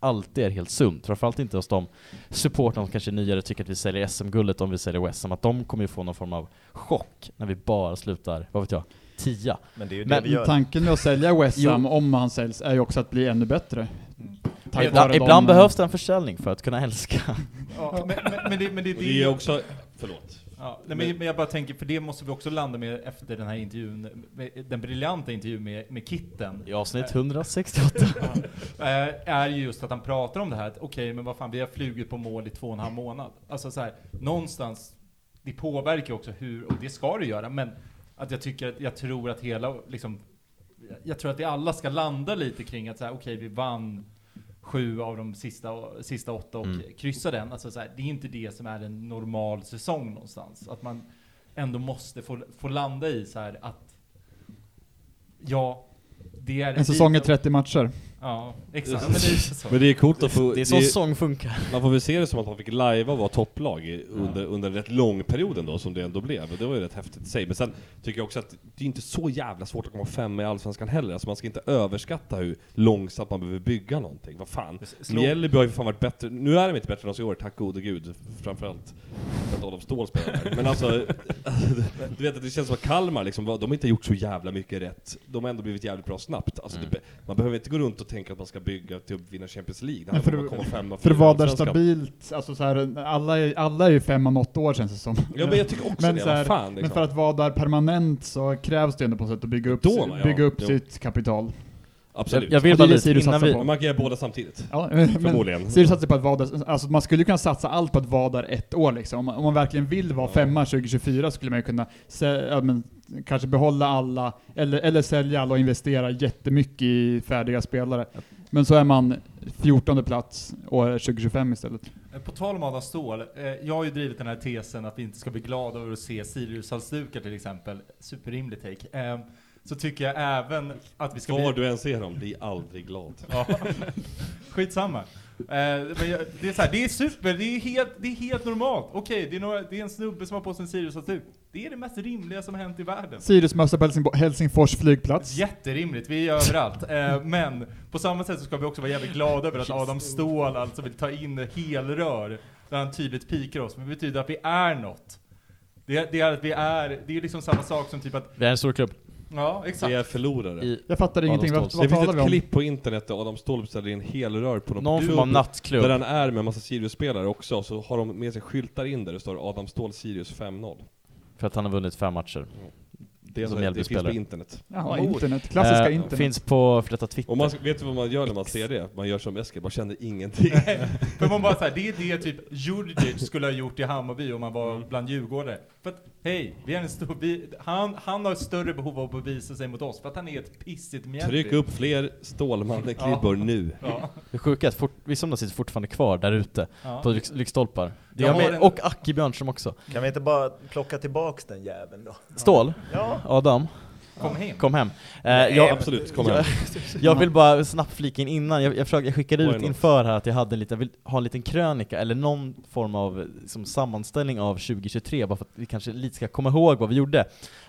[SPEAKER 3] alltid är helt sunt. Framförallt inte hos de supportrar som kanske är nyare och tycker att vi säljer SM-guldet om vi säljer OS, som att de kommer ju få någon form av chock när vi bara slutar, vad vet jag, tia.
[SPEAKER 6] Men det är ju det
[SPEAKER 3] Men
[SPEAKER 6] vi gör.
[SPEAKER 1] Tanken med att sälja West Ham, om han säljs, är ju också att bli ännu bättre. Tack
[SPEAKER 3] Ibland,
[SPEAKER 1] vare de-
[SPEAKER 3] ibland behövs det en försäljning för att kunna älska.
[SPEAKER 2] Ja, men, men, men det, men det,
[SPEAKER 7] Och det är
[SPEAKER 2] det
[SPEAKER 7] också... Förlåt.
[SPEAKER 2] ja, nej, men, men jag bara tänker, för det måste vi också landa med efter den här intervjun, med- den briljanta intervjun med, med Kitten.
[SPEAKER 3] I avsnitt 168.
[SPEAKER 2] Eh, är ju just att han pratar om det här att okej, men vad fan, vi har flugit på mål i två och en halv månad. Alltså så här, någonstans, det påverkar ju också hur, och det ska det göra, men att jag tycker att, jag tror att hela, liksom, jag tror att det alla ska landa lite kring att så här, okej, vi vann sju av de sista, sista åtta och
[SPEAKER 3] Mm.
[SPEAKER 2] kryssade den. Alltså så här, det är inte det som är en normal säsong någonstans. Att man ändå måste få, få landa i så här att, ja, det är
[SPEAKER 1] En säsong är
[SPEAKER 2] lite-
[SPEAKER 1] 30 matcher.
[SPEAKER 2] Ja, exakt. Men det är så.
[SPEAKER 7] Men det är coolt att få...
[SPEAKER 3] Det är så
[SPEAKER 7] det är-
[SPEAKER 3] sång funkar.
[SPEAKER 7] Man får väl se det som att man fick lajva och vara topplag i, under, under en rätt lång period ändå, som det ändå blev. Och Det var ju rätt häftigt i sig. Men sen tycker jag också att det är inte så jävla svårt att komma femma i Allsvenskan heller. Alltså man ska inte överskatta hur långsamt man behöver bygga någonting. Vad fan.
[SPEAKER 2] slå-
[SPEAKER 7] Mjällby har ju för fan varit bättre. Nu är de inte bättre än oss i år, tack gode gud. Framförallt för att Adolf Ståhl spelar där. Men alltså, du vet att det känns som att Kalmar liksom, vad- de har inte gjort så jävla mycket rätt. De har ändå blivit jävligt bra snabbt. Alltså,
[SPEAKER 3] Mm.
[SPEAKER 7] det, be- man behöver inte gå runt och tänka att man ska bygga till att vinna Champions League. Det
[SPEAKER 1] Nej, för
[SPEAKER 7] handlar om att
[SPEAKER 1] det-
[SPEAKER 7] komma femma,
[SPEAKER 1] För att
[SPEAKER 7] fyra i
[SPEAKER 1] vara där
[SPEAKER 7] Allsvenskan.
[SPEAKER 1] stabilt, alltså så här, alla, är, alla är ju fem av något år känns det som.
[SPEAKER 7] Ja men jag tycker också
[SPEAKER 1] Men,
[SPEAKER 7] det,
[SPEAKER 1] så här,
[SPEAKER 7] vad fan liksom.
[SPEAKER 1] men för att vara där permanent så krävs det ändå på något sätt att bygga upp,
[SPEAKER 7] Då,
[SPEAKER 1] si-
[SPEAKER 7] ja.
[SPEAKER 1] bygga upp
[SPEAKER 7] Jo.
[SPEAKER 1] sitt kapital.
[SPEAKER 7] Absolut.
[SPEAKER 3] Jag
[SPEAKER 1] Och
[SPEAKER 3] vill
[SPEAKER 1] det
[SPEAKER 3] bara
[SPEAKER 1] är det
[SPEAKER 3] lite
[SPEAKER 1] Sirius
[SPEAKER 3] innan
[SPEAKER 1] satsar
[SPEAKER 3] vi...
[SPEAKER 1] på.
[SPEAKER 7] Men Man kan göra båda samtidigt.
[SPEAKER 1] Ja, men,
[SPEAKER 7] Förmodligen.
[SPEAKER 1] Sirius satsar på att vara där, alltså man skulle kunna satsa allt på att vara där ett år liksom. Om man, om man verkligen vill vara
[SPEAKER 7] Ja.
[SPEAKER 1] femma 2024 skulle man ju kunna sä, ja, men, kanske behålla alla, eller, eller sälja alla och investera jättemycket i färdiga spelare. Men så är man 14 plats år 2025 istället.
[SPEAKER 2] Eh, På tal om Adam Ståhl, eh, jag har ju drivit den här tesen att vi inte ska bli glada över att se Sirius-halsdukar till exempel. Superrimlig take. Eh, Så tycker jag även att vi ska
[SPEAKER 7] Var
[SPEAKER 2] bli...
[SPEAKER 7] du än ser dem, bli aldrig glad.
[SPEAKER 2] Ja. Skitsamma. Eh, Men jag, det är så här, det är super, det är helt, det är helt normalt. Okej, det är några- det är en snubbe som har på sig en Sirius-halsduk. Det är det mest rimliga som har hänt i världen.
[SPEAKER 1] Siriusmössa på Helsingbo- Helsingfors flygplats.
[SPEAKER 2] Jätterimligt, vi är överallt. Eh, men på samma sätt så ska vi också vara jävligt glada över att Adam Ståhl alltså vill ta in helrör där han tydligt pikar oss. Men det betyder att vi är något. Det, det är att vi är, det är liksom samma sak som typ att,
[SPEAKER 3] Vi är en stor klubb.
[SPEAKER 2] ja
[SPEAKER 7] Vi
[SPEAKER 2] exakt.
[SPEAKER 7] är förlorare.
[SPEAKER 3] I,
[SPEAKER 1] Jag fattar ingenting, vad,
[SPEAKER 3] Adolf
[SPEAKER 7] det
[SPEAKER 1] vad
[SPEAKER 7] finns
[SPEAKER 1] talar
[SPEAKER 7] ett
[SPEAKER 1] vi om?
[SPEAKER 7] klipp på internet där Adam Ståhl beställer in helrör på någon,
[SPEAKER 3] någon
[SPEAKER 7] pub
[SPEAKER 3] form av
[SPEAKER 7] Där
[SPEAKER 3] nattklubb.
[SPEAKER 7] han är med en massa Sirius-spelare också, och så har de med sig skyltar in där det står Adam Ståhl Sirius 5-0.
[SPEAKER 3] För att han har vunnit fem matcher.
[SPEAKER 7] Det,
[SPEAKER 3] Som
[SPEAKER 7] det
[SPEAKER 3] Mjällby
[SPEAKER 7] finns
[SPEAKER 3] spelare.
[SPEAKER 7] på internet.
[SPEAKER 1] Jaha, internet. Klassiska
[SPEAKER 3] Eh,
[SPEAKER 1] internet.
[SPEAKER 3] Finns på Förrätta Twitter.
[SPEAKER 7] Och man, vet du vad man gör när man ser det? Man gör som Eskil, man känner ingenting.
[SPEAKER 2] För man bara såhär, det är det typ Djurdjic skulle ha gjort i Hammarby om man var bland djurgårdare. För att, hej, vi är en stor, vi, han, han har större behov av att bevisa sig mot oss för att han är ett pissigt Mjällby.
[SPEAKER 7] Tryck upp fler Stålmannen-klibbor nu.
[SPEAKER 2] Ja,
[SPEAKER 3] Det sjuka är att fort, vissa av dem sitter fortfarande kvar där ute
[SPEAKER 2] ja.
[SPEAKER 3] på lyx, lyktstolpar. Det
[SPEAKER 2] Jag har
[SPEAKER 3] är med,
[SPEAKER 2] en-
[SPEAKER 3] Och Aki Björnström också.
[SPEAKER 6] Kan vi inte bara plocka tillbaks den jäveln då?
[SPEAKER 3] Stål,
[SPEAKER 6] Ja.
[SPEAKER 3] Adam,
[SPEAKER 2] Kom hem.
[SPEAKER 3] kom hem. Eh,
[SPEAKER 7] Ja,
[SPEAKER 3] jag,
[SPEAKER 7] absolut, kom
[SPEAKER 3] jag-
[SPEAKER 7] igen.
[SPEAKER 3] jag vill bara snabbt flika in innan, jag, jag, försökte, jag skickade
[SPEAKER 7] Why
[SPEAKER 3] ut
[SPEAKER 7] not?
[SPEAKER 3] inför här att jag hade lite, jag vill ha en liten krönika eller någon form av eh, liksom, sammanställning av 2023 bara för att vi kanske lite ska komma ihåg vad vi gjorde.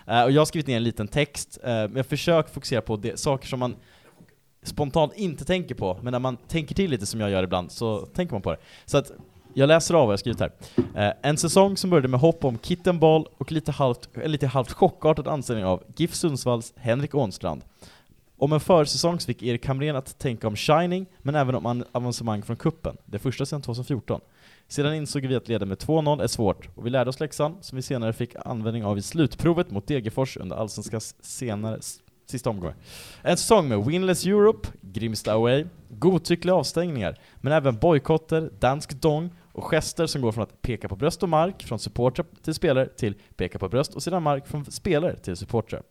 [SPEAKER 3] Eh, och jag har skrivit ner en liten text, eh, men jag försöker fokusera på det, saker som man spontant inte tänker på, men när man tänker till lite som jag gör ibland så tänker man på det. Så att jag läser av vad jag skrivit här. Eh, en säsong som började med hopp om Kittenball och lite halvt, eller lite halvt chockartad anställning av GIF Sundsvalls Henrik Ånstrand. Om en försäsong så fick Erik Hamrén att tänka om Shining, men även om an- avancemang från kuppen. det första sedan 2014. Sedan insåg vi att leda med 2-0 är svårt, och vi lärde oss läxan, som vi senare fick användning av i slutprovet mot Degerfors under Allsvenskans senare s- sista omgångar. En säsong med Winless Europe, Grimsta Away, godtyckliga avstängningar, men även bojkotter, dansk dong och gester som går från att peka på bröst och mark från supportrar till spelare till peka på bröst och sedan mark från spelare till supportrar.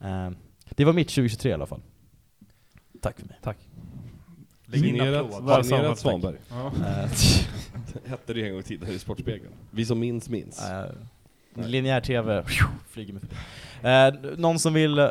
[SPEAKER 3] Eh, det var mitt 2023 i alla fall. Tack för mig.
[SPEAKER 5] Tack.
[SPEAKER 2] Lägg in
[SPEAKER 7] Signerat,
[SPEAKER 2] applåd.
[SPEAKER 5] Väl
[SPEAKER 7] signerat
[SPEAKER 5] sammanfattat.
[SPEAKER 7] Svanberg.
[SPEAKER 3] Eh,
[SPEAKER 7] Hette det en gång i tiden i Sportspegeln. Vi som minns minns.
[SPEAKER 3] eh, linjär TV flyger med. förbi. Eh, någon som vill eh,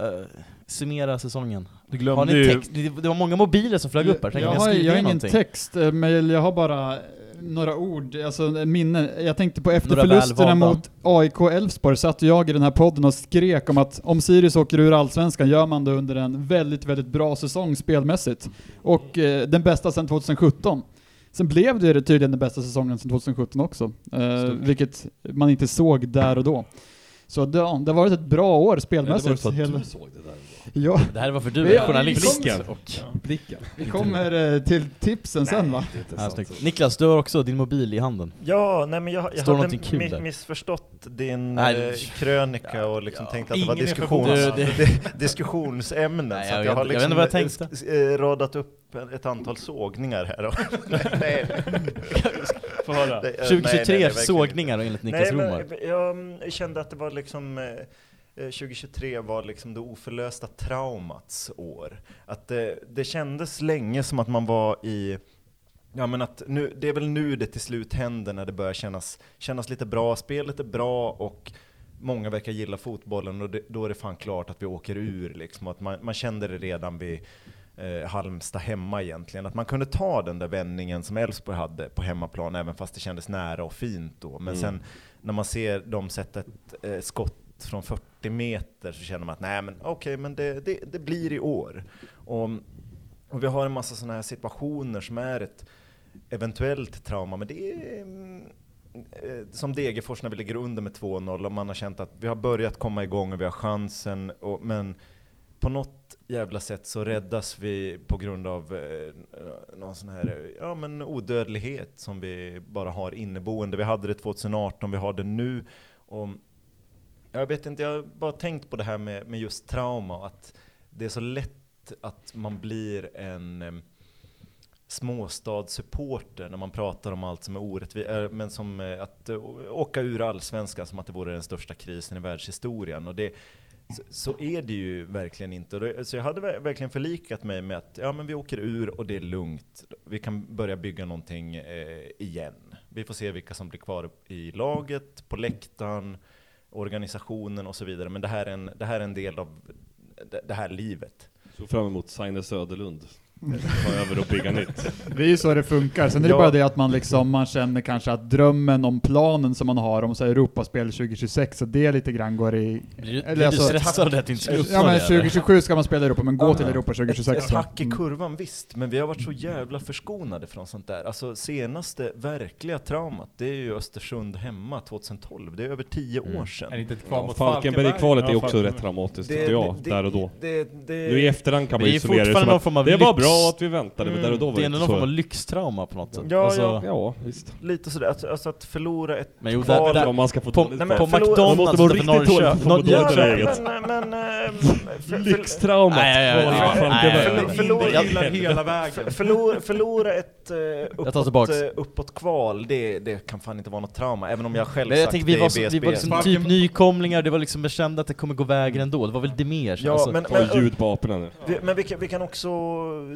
[SPEAKER 3] summera säsongen?
[SPEAKER 5] Du
[SPEAKER 3] Har
[SPEAKER 5] glömde
[SPEAKER 3] ni
[SPEAKER 5] ju...
[SPEAKER 3] text? Det det var många mobiler som flög upp här, tänk
[SPEAKER 1] jag,
[SPEAKER 3] om
[SPEAKER 1] har,
[SPEAKER 3] skrivit
[SPEAKER 1] jag har
[SPEAKER 3] ner
[SPEAKER 1] ingen
[SPEAKER 3] någonting.
[SPEAKER 1] text, eh, men jag har bara eh, några ord, alltså eh, minnen. Jag tänkte på efter
[SPEAKER 3] Några
[SPEAKER 1] förlusterna
[SPEAKER 3] välvalda.
[SPEAKER 1] mot AIK Elfsborg satt jag i den här podden och skrek om att om Sirius åker ur Allsvenskan gör man det under en väldigt, väldigt bra säsong spelmässigt. Och eh, den bästa sedan 2017. Sen blev det ju tydligen den bästa säsongen sedan 2017 också, eh,
[SPEAKER 7] Stort.
[SPEAKER 1] vilket man inte såg där och då. Så det, ja, det har varit ett bra år
[SPEAKER 7] Eller var det
[SPEAKER 1] spelmässigt.
[SPEAKER 7] så att
[SPEAKER 1] Hela-
[SPEAKER 7] du såg det där? då?
[SPEAKER 1] Ja,
[SPEAKER 3] Det här var för du
[SPEAKER 1] Vi
[SPEAKER 3] är
[SPEAKER 1] har
[SPEAKER 3] journalist.
[SPEAKER 7] blicken.
[SPEAKER 3] Och,
[SPEAKER 7] Blicken.
[SPEAKER 1] vi kommer eh, till tipsen sen va?
[SPEAKER 7] Det är inte
[SPEAKER 3] ja,
[SPEAKER 7] sant.
[SPEAKER 3] snyggt. Niklas, du har också din mobil i handen.
[SPEAKER 6] Ja, nej men jag, jag
[SPEAKER 3] Står
[SPEAKER 6] hade
[SPEAKER 3] någonting kul
[SPEAKER 6] mi-
[SPEAKER 3] där?
[SPEAKER 6] missförstått din
[SPEAKER 3] Nej,
[SPEAKER 6] eh, krönika och liksom
[SPEAKER 3] ja.
[SPEAKER 6] tänkte att det var
[SPEAKER 2] Ingen är
[SPEAKER 6] diskussions,
[SPEAKER 3] förvånad. Du,
[SPEAKER 6] di- diskussionsämnen.
[SPEAKER 3] Nej,
[SPEAKER 6] så
[SPEAKER 3] jag vet-
[SPEAKER 6] att jag
[SPEAKER 3] jag
[SPEAKER 6] har
[SPEAKER 3] vet
[SPEAKER 6] liksom
[SPEAKER 3] inte vad jag tänkte.
[SPEAKER 6] eh, s- eh, radat upp ett antal sågningar här. Och nej,
[SPEAKER 5] Få höra.
[SPEAKER 6] det- eh, nej,
[SPEAKER 3] 2023
[SPEAKER 6] nej, nej, verkligen inte.
[SPEAKER 3] sågningar och enligt Niklas
[SPEAKER 6] Nej,
[SPEAKER 3] Romar.
[SPEAKER 6] men jag mm, kände att det var liksom eh, eh, 2023 var liksom det oförlösta traumats år. Att det, det kändes länge som att man var i Ja men att nu, det är väl nu det till slut händer när det börjar kännas, kännas lite bra, spelet är bra och många verkar gilla fotbollen och det, då är det fan klart att vi åker ur liksom. Att man, man kände det redan vid eh, Halmstad hemma egentligen. Att man kunde ta den där vändningen som Elfsborg hade på hemmaplan även fast det kändes nära och fint då. Men
[SPEAKER 7] Mm.
[SPEAKER 6] sen när man ser dem sätta ett eh, skott från 40 meter så känner man att nej men okej, men det, det, det blir i år. Och, och vi har en massa sådana här situationer som är ett eventuellt trauma, men det är mm, eh, som Degerfors när vi ligger under med 2-0 och man har känt att vi har börjat komma igång och vi har chansen, och, men på något jävla sätt så räddas vi på grund av eh, någon sån här eh, ja, men odödlighet som vi bara har inneboende. Vi hade det 2018, vi har det nu. Och jag vet inte, jag har bara tänkt på det här med, med just trauma och att det är så lätt att man blir en eh, småstadssupporter när man pratar om allt som är orättvist, men som eh, att eh, åka ur allsvenskan som att det vore den största krisen i världshistorien. Och det, så, så är det ju verkligen inte. Och det- Så jag hade ver- verkligen förlikat mig med att ja, men vi åker ur och det är lugnt. Vi kan börja bygga någonting eh, igen. Vi får se vilka som blir kvar i laget, på läktaren, organisationen och så vidare. Men det här är en, det här är en del av det, det här livet.
[SPEAKER 7] Såg fram emot Signe Söderlund. Ta över och bygga nytt.
[SPEAKER 1] Det är ju så det funkar. Sen är det
[SPEAKER 6] Ja.
[SPEAKER 1] bara det att man liksom, man känner kanske att drömmen om planen som man har om så här, Europaspel 2026, så det lite grann går i...
[SPEAKER 3] Blir,
[SPEAKER 1] Eller
[SPEAKER 3] blir du
[SPEAKER 1] alltså-
[SPEAKER 3] stressad att du inte skulle uppnå
[SPEAKER 1] Ja men
[SPEAKER 3] det? eller?
[SPEAKER 1] 2027 ska man spela i Europa, men gå
[SPEAKER 6] Ja.
[SPEAKER 1] till Europa
[SPEAKER 6] Ett,
[SPEAKER 1] 2026.
[SPEAKER 6] ett hack i
[SPEAKER 1] Mm.
[SPEAKER 6] kurvan visst, men vi har varit så jävla förskonade från sånt där. Alltså senaste verkliga traumat, det är ju Östersund hemma 2012. Det är över tio
[SPEAKER 3] Mm.
[SPEAKER 6] år
[SPEAKER 2] Är det
[SPEAKER 6] sedan.
[SPEAKER 2] inte ett kval
[SPEAKER 7] Ja,
[SPEAKER 2] mot
[SPEAKER 7] Falkenberg-kvalet
[SPEAKER 2] Ja,
[SPEAKER 7] är också
[SPEAKER 2] Falkenberg.
[SPEAKER 7] rätt traumatiskt tyckte jag, där och då.
[SPEAKER 6] Det, det,
[SPEAKER 7] Nu i efterhand kan man
[SPEAKER 3] Det
[SPEAKER 7] ju
[SPEAKER 3] är
[SPEAKER 7] summera det som
[SPEAKER 3] fortfarande någon
[SPEAKER 7] att
[SPEAKER 3] form av Mm.
[SPEAKER 7] det var bra att vi väntade, men där och då var
[SPEAKER 3] Det är
[SPEAKER 7] det
[SPEAKER 3] ändå någon
[SPEAKER 7] inte
[SPEAKER 3] form av
[SPEAKER 7] så.
[SPEAKER 3] lyxtrauma på något sätt.
[SPEAKER 6] Ja,
[SPEAKER 3] Alltså,
[SPEAKER 6] ja.
[SPEAKER 7] Ja, visst.
[SPEAKER 6] Lite sådär, alltså, alltså att förlora ett
[SPEAKER 3] Men jo,
[SPEAKER 6] kval
[SPEAKER 3] där, där,
[SPEAKER 7] Om man ska få
[SPEAKER 3] på,
[SPEAKER 7] dåligt
[SPEAKER 6] Nej,
[SPEAKER 7] skämt.
[SPEAKER 3] på
[SPEAKER 6] förlora-
[SPEAKER 7] Man
[SPEAKER 3] McDonalds
[SPEAKER 7] måste vara
[SPEAKER 3] uppe i
[SPEAKER 7] riktigt dåligt för att
[SPEAKER 3] Norrköping.
[SPEAKER 7] få dåligt
[SPEAKER 6] Ja,
[SPEAKER 3] Norrköping.
[SPEAKER 7] skämt. läget.
[SPEAKER 6] men, men, eh, för- för-
[SPEAKER 7] Lyxtraumat.
[SPEAKER 3] Nej, ja, ja, ja, ja,
[SPEAKER 7] Fan, det var-
[SPEAKER 3] ja, ja,
[SPEAKER 6] Förlora-
[SPEAKER 3] Jag-
[SPEAKER 2] Gillar hela vägen.
[SPEAKER 6] Förlora, förlora ett eh,
[SPEAKER 3] tillbaks.
[SPEAKER 6] uppåt, eh, uppåt kval, det, det kan fan inte vara något trauma, även om jag själv
[SPEAKER 3] Men jag
[SPEAKER 6] sagt
[SPEAKER 3] tänker, vi
[SPEAKER 6] det
[SPEAKER 3] var,
[SPEAKER 6] i
[SPEAKER 3] så, vi
[SPEAKER 6] BSB.
[SPEAKER 3] var liksom typ nykomlingar, det var liksom bestämt att det kommer gå vägen ändå, det var väl det mer?
[SPEAKER 6] ja,
[SPEAKER 3] alltså.
[SPEAKER 6] men, men,
[SPEAKER 7] Ta ljud på aporna nu.
[SPEAKER 6] vi, men vi, kan, vi kan också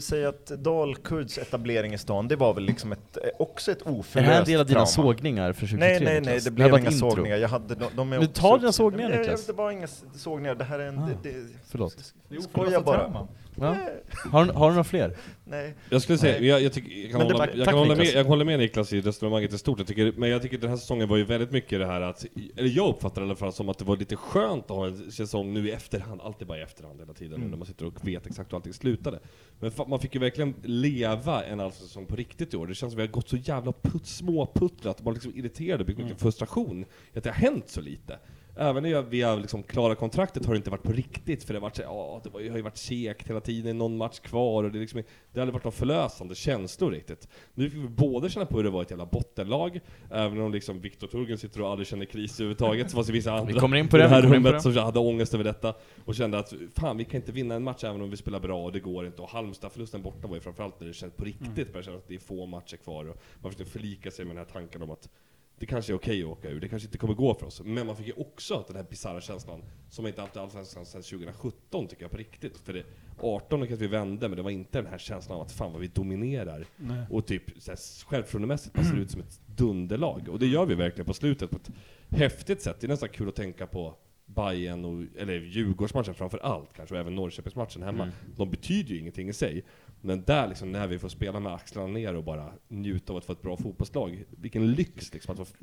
[SPEAKER 6] säga att Dalkurds etablering i stan, det var väl liksom ett, eh, också ett oförlöst
[SPEAKER 3] är det här en del av dina
[SPEAKER 6] trauma.
[SPEAKER 3] sågningar för 2023?
[SPEAKER 6] Nej, nej, nej,
[SPEAKER 3] Niklas?
[SPEAKER 6] det
[SPEAKER 3] här
[SPEAKER 6] blev
[SPEAKER 3] var
[SPEAKER 6] inga
[SPEAKER 3] ett intro.
[SPEAKER 6] sågningar. Jag hade, de, de är
[SPEAKER 3] Men
[SPEAKER 6] också-
[SPEAKER 3] ta dina sågningar,
[SPEAKER 6] Jag- jag-
[SPEAKER 3] Niklas.
[SPEAKER 6] Det var inga s- sågningar, det här är en...
[SPEAKER 3] Ah.
[SPEAKER 6] Det, det,
[SPEAKER 3] Förlåt.
[SPEAKER 6] skoja bara.
[SPEAKER 3] Ja. Har, har du några fler?
[SPEAKER 6] Nej.
[SPEAKER 7] Jag skulle säga, jag, jag, tycker, jag kan,
[SPEAKER 3] Men det
[SPEAKER 7] hålla,
[SPEAKER 3] var-
[SPEAKER 7] jag
[SPEAKER 3] tack,
[SPEAKER 7] kan hålla med,
[SPEAKER 3] Niklas.
[SPEAKER 7] jag håller med Niklas i resonemanget i stort, jag tycker, men jag tycker den här säsongen var ju väldigt mycket det här att, eller jag uppfattar det i alla fall som att det var lite skönt att ha en säsong nu i efterhand, alltid bara i efterhand hela tiden,
[SPEAKER 3] Mm.
[SPEAKER 7] nu när man sitter och vet exakt hur allting slutade. Men fa- man fick ju verkligen leva en allsvensk säsong på riktigt i år, det känns som att vi har gått så jävla putt, småputtrat, man liksom irriterad och byggt
[SPEAKER 3] Mm.
[SPEAKER 7] mycket frustration i att det har hänt så lite. Även när jag- vi har liksom klara kontraktet har det inte varit på riktigt för det har varit så, ja, det var- har ju varit segt hela tiden, någon match kvar och det, är liksom, det har aldrig varit någon förlösande känslor riktigt. Nu fick vi både känna på hur det var ett jävla bottenlag, även om liksom Viktor Turgen sitter och aldrig känner kris överhuvudtaget, så fanns det vissa andra
[SPEAKER 3] Vi kommer in på det,
[SPEAKER 7] i det här
[SPEAKER 3] vi kommer in på
[SPEAKER 7] rummet som hade ångest över detta och kände att fan vi kan inte vinna en match även om vi spelar bra och det går inte. Och Halmstad-förlusten borta var ju framförallt när det kändes på riktigt,
[SPEAKER 3] Mm.
[SPEAKER 7] började känna att det är få matcher kvar och man försökte förlika sig med den här tanken om att det kanske är okej att åka ur, det kanske inte kommer gå för oss. Men man fick ju också den här bisarra känslan, som inte alltid alls känslan sedan 2017 tycker jag på riktigt. För det, 18 kanske vi vände, men det var inte den här känslan av att fan vad vi dominerar. Och typ så här, självförtroendemässigt man ser ut som ett dunderlag. Och det gör vi verkligen på slutet på ett häftigt sätt. Det är nästan kul att tänka på Bayern och, eller Djurgårdsmatchen framför allt kanske, och även Norrköpingsmatchen hemma.
[SPEAKER 5] Mm.
[SPEAKER 7] De betyder ju ingenting i sig. Men där liksom, när vi får spela med axlarna ner och bara njuta av att få ett bra fotbollslag. Vilken lyx liksom att få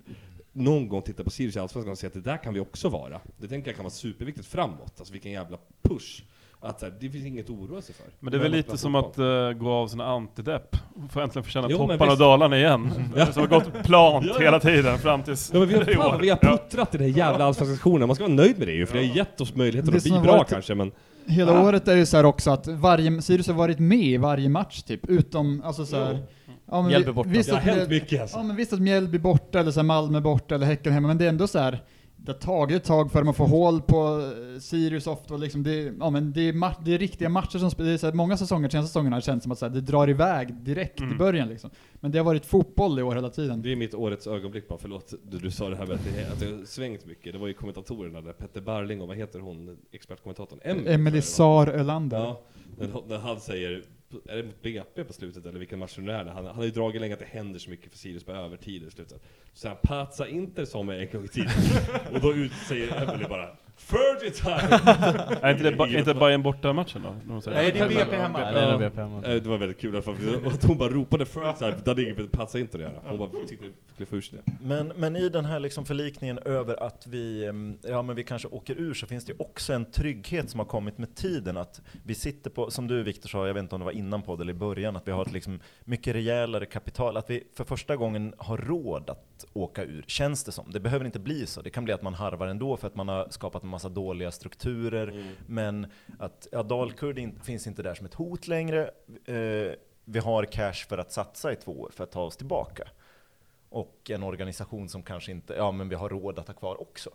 [SPEAKER 7] någon gång titta på Sirius i Allsvenskan och se att det där kan vi också vara. Det tänker jag kan vara superviktigt framåt. Alltså vilken jävla push. Att så här, det finns inget att oroa sig för.
[SPEAKER 5] Men det är väl lite som
[SPEAKER 7] fotboll.
[SPEAKER 5] att eh, gå av sina antidepp, och få äntligen få känna
[SPEAKER 7] Jo, men
[SPEAKER 5] topparna och
[SPEAKER 7] visst.
[SPEAKER 5] dalarna igen. Som har gått plant
[SPEAKER 7] Ja, ja.
[SPEAKER 5] hela tiden fram tills
[SPEAKER 7] Ja, men vi har,
[SPEAKER 5] i år.
[SPEAKER 7] fan, vad vi har puttrat i den här jävla allsvenska sektionen. Man ska vara nöjd med det ju, för det har gett oss möjligheten
[SPEAKER 1] Det
[SPEAKER 7] att bli
[SPEAKER 1] som har
[SPEAKER 7] bra
[SPEAKER 1] varit-
[SPEAKER 7] kanske, men...
[SPEAKER 1] Hela året är det så här också att varje, Sirius har varit med i varje match typ, utom, alltså så här, ja, men
[SPEAKER 3] Mjällby
[SPEAKER 1] vi-
[SPEAKER 3] borta.
[SPEAKER 1] Visst
[SPEAKER 7] Det har
[SPEAKER 1] att,
[SPEAKER 7] hänt
[SPEAKER 1] Mjäll-
[SPEAKER 7] mycket alltså.
[SPEAKER 1] ja, men visst att Mjällby borta, eller så här Malmö borta, eller Häcken hemma, men det är ändå så här, det har tagit ett tag för dem att få
[SPEAKER 7] Mm.
[SPEAKER 1] hål på eh, Sirius ofta, och liksom det, ja, men det, är ma- det är riktiga matcher som spelas, många säsonger, senaste säsongerna har det känts som att så här, det drar iväg direkt i början liksom. Men det har varit fotboll i år hela tiden.
[SPEAKER 7] Mm. Det är mitt årets ögonblick bara, förlåt du, du sa det här med att det, att det har svängt mycket. Det var ju kommentatorerna där, Petter Barling och vad heter hon, expertkommentatorn? Emily, tror jag det
[SPEAKER 1] Emily
[SPEAKER 7] var.
[SPEAKER 1] Sar Ölander.
[SPEAKER 7] Ja, när, när han säger, är det mot BP på slutet eller vilken match det nu är? det? Han, han har ju dragit länge att det händer så mycket för Sirius på övertid i slutet. Så han patsa inte som en gång i tiden. Och då ut säger Emily bara Fergie time!
[SPEAKER 5] Är inte det ba- inte Bayern borta matchen då? när de säger?
[SPEAKER 2] Nej, det är BP hemma.
[SPEAKER 3] Nej, det är nog BPM.
[SPEAKER 7] Eh, Det var väldigt kul i alla fall, för att hon bara ropade Fergie time, det hade inget med patsa inte att göra. Hon bara tyckte det skulle få ur sig det.
[SPEAKER 6] Men, men i den här liksom förlikningen över att vi, em, ja, men vi kanske åker ur så finns det ju också en trygghet som har kommit med tiden. Att vi sitter på, som du Viktor sa, jag vet inte om det var innan podd eller i början, att vi har ett liksom mycket rejälare kapital. Att vi för första gången har råd att åka ur, känns det som. Det behöver inte bli så. Det kan bli att man harvar ändå för att man har skapat en massa dåliga strukturer. Men att ja, Dalkurd in, finns inte där som ett hot längre. Eh, vi har cash för att satsa i två år för att ta oss tillbaka och en organisation som kanske inte, ja men vi har råd att ha kvar också.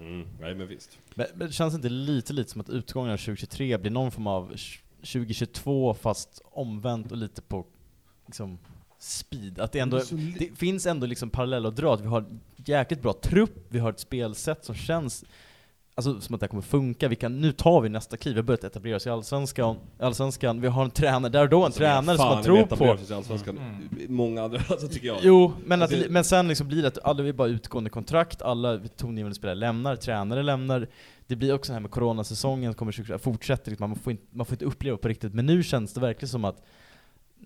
[SPEAKER 7] Mm, nej men visst.
[SPEAKER 3] Men, men det känns inte lite, lite som att utgången av 2023 blir någon form av 2022 fast omvänt och lite på liksom, speed? Att det, ändå, det finns ändå liksom paralleller att dra, att vi har en jäkligt bra trupp, vi har ett spelsätt som känns Alltså som att det här kommer funka, vi kan, nu tar vi nästa kliv, vi har börjat etablera oss i Allsvenskan, Allsvenskan. vi Alltså, har en tränare där och då, en tränare som man tror på.
[SPEAKER 7] på. Många andra, alltså tycker jag.
[SPEAKER 3] Jo, men, att,
[SPEAKER 7] Det-
[SPEAKER 3] men sen liksom blir det att alla vi är bara utgående kontrakt, alla tongivande spelare lämnar, tränare lämnar. Det blir också det här med coronasäsongen, kommer 20, fortsätter, liksom, man, får inte, man får inte uppleva på riktigt. Men nu känns det verkligen som att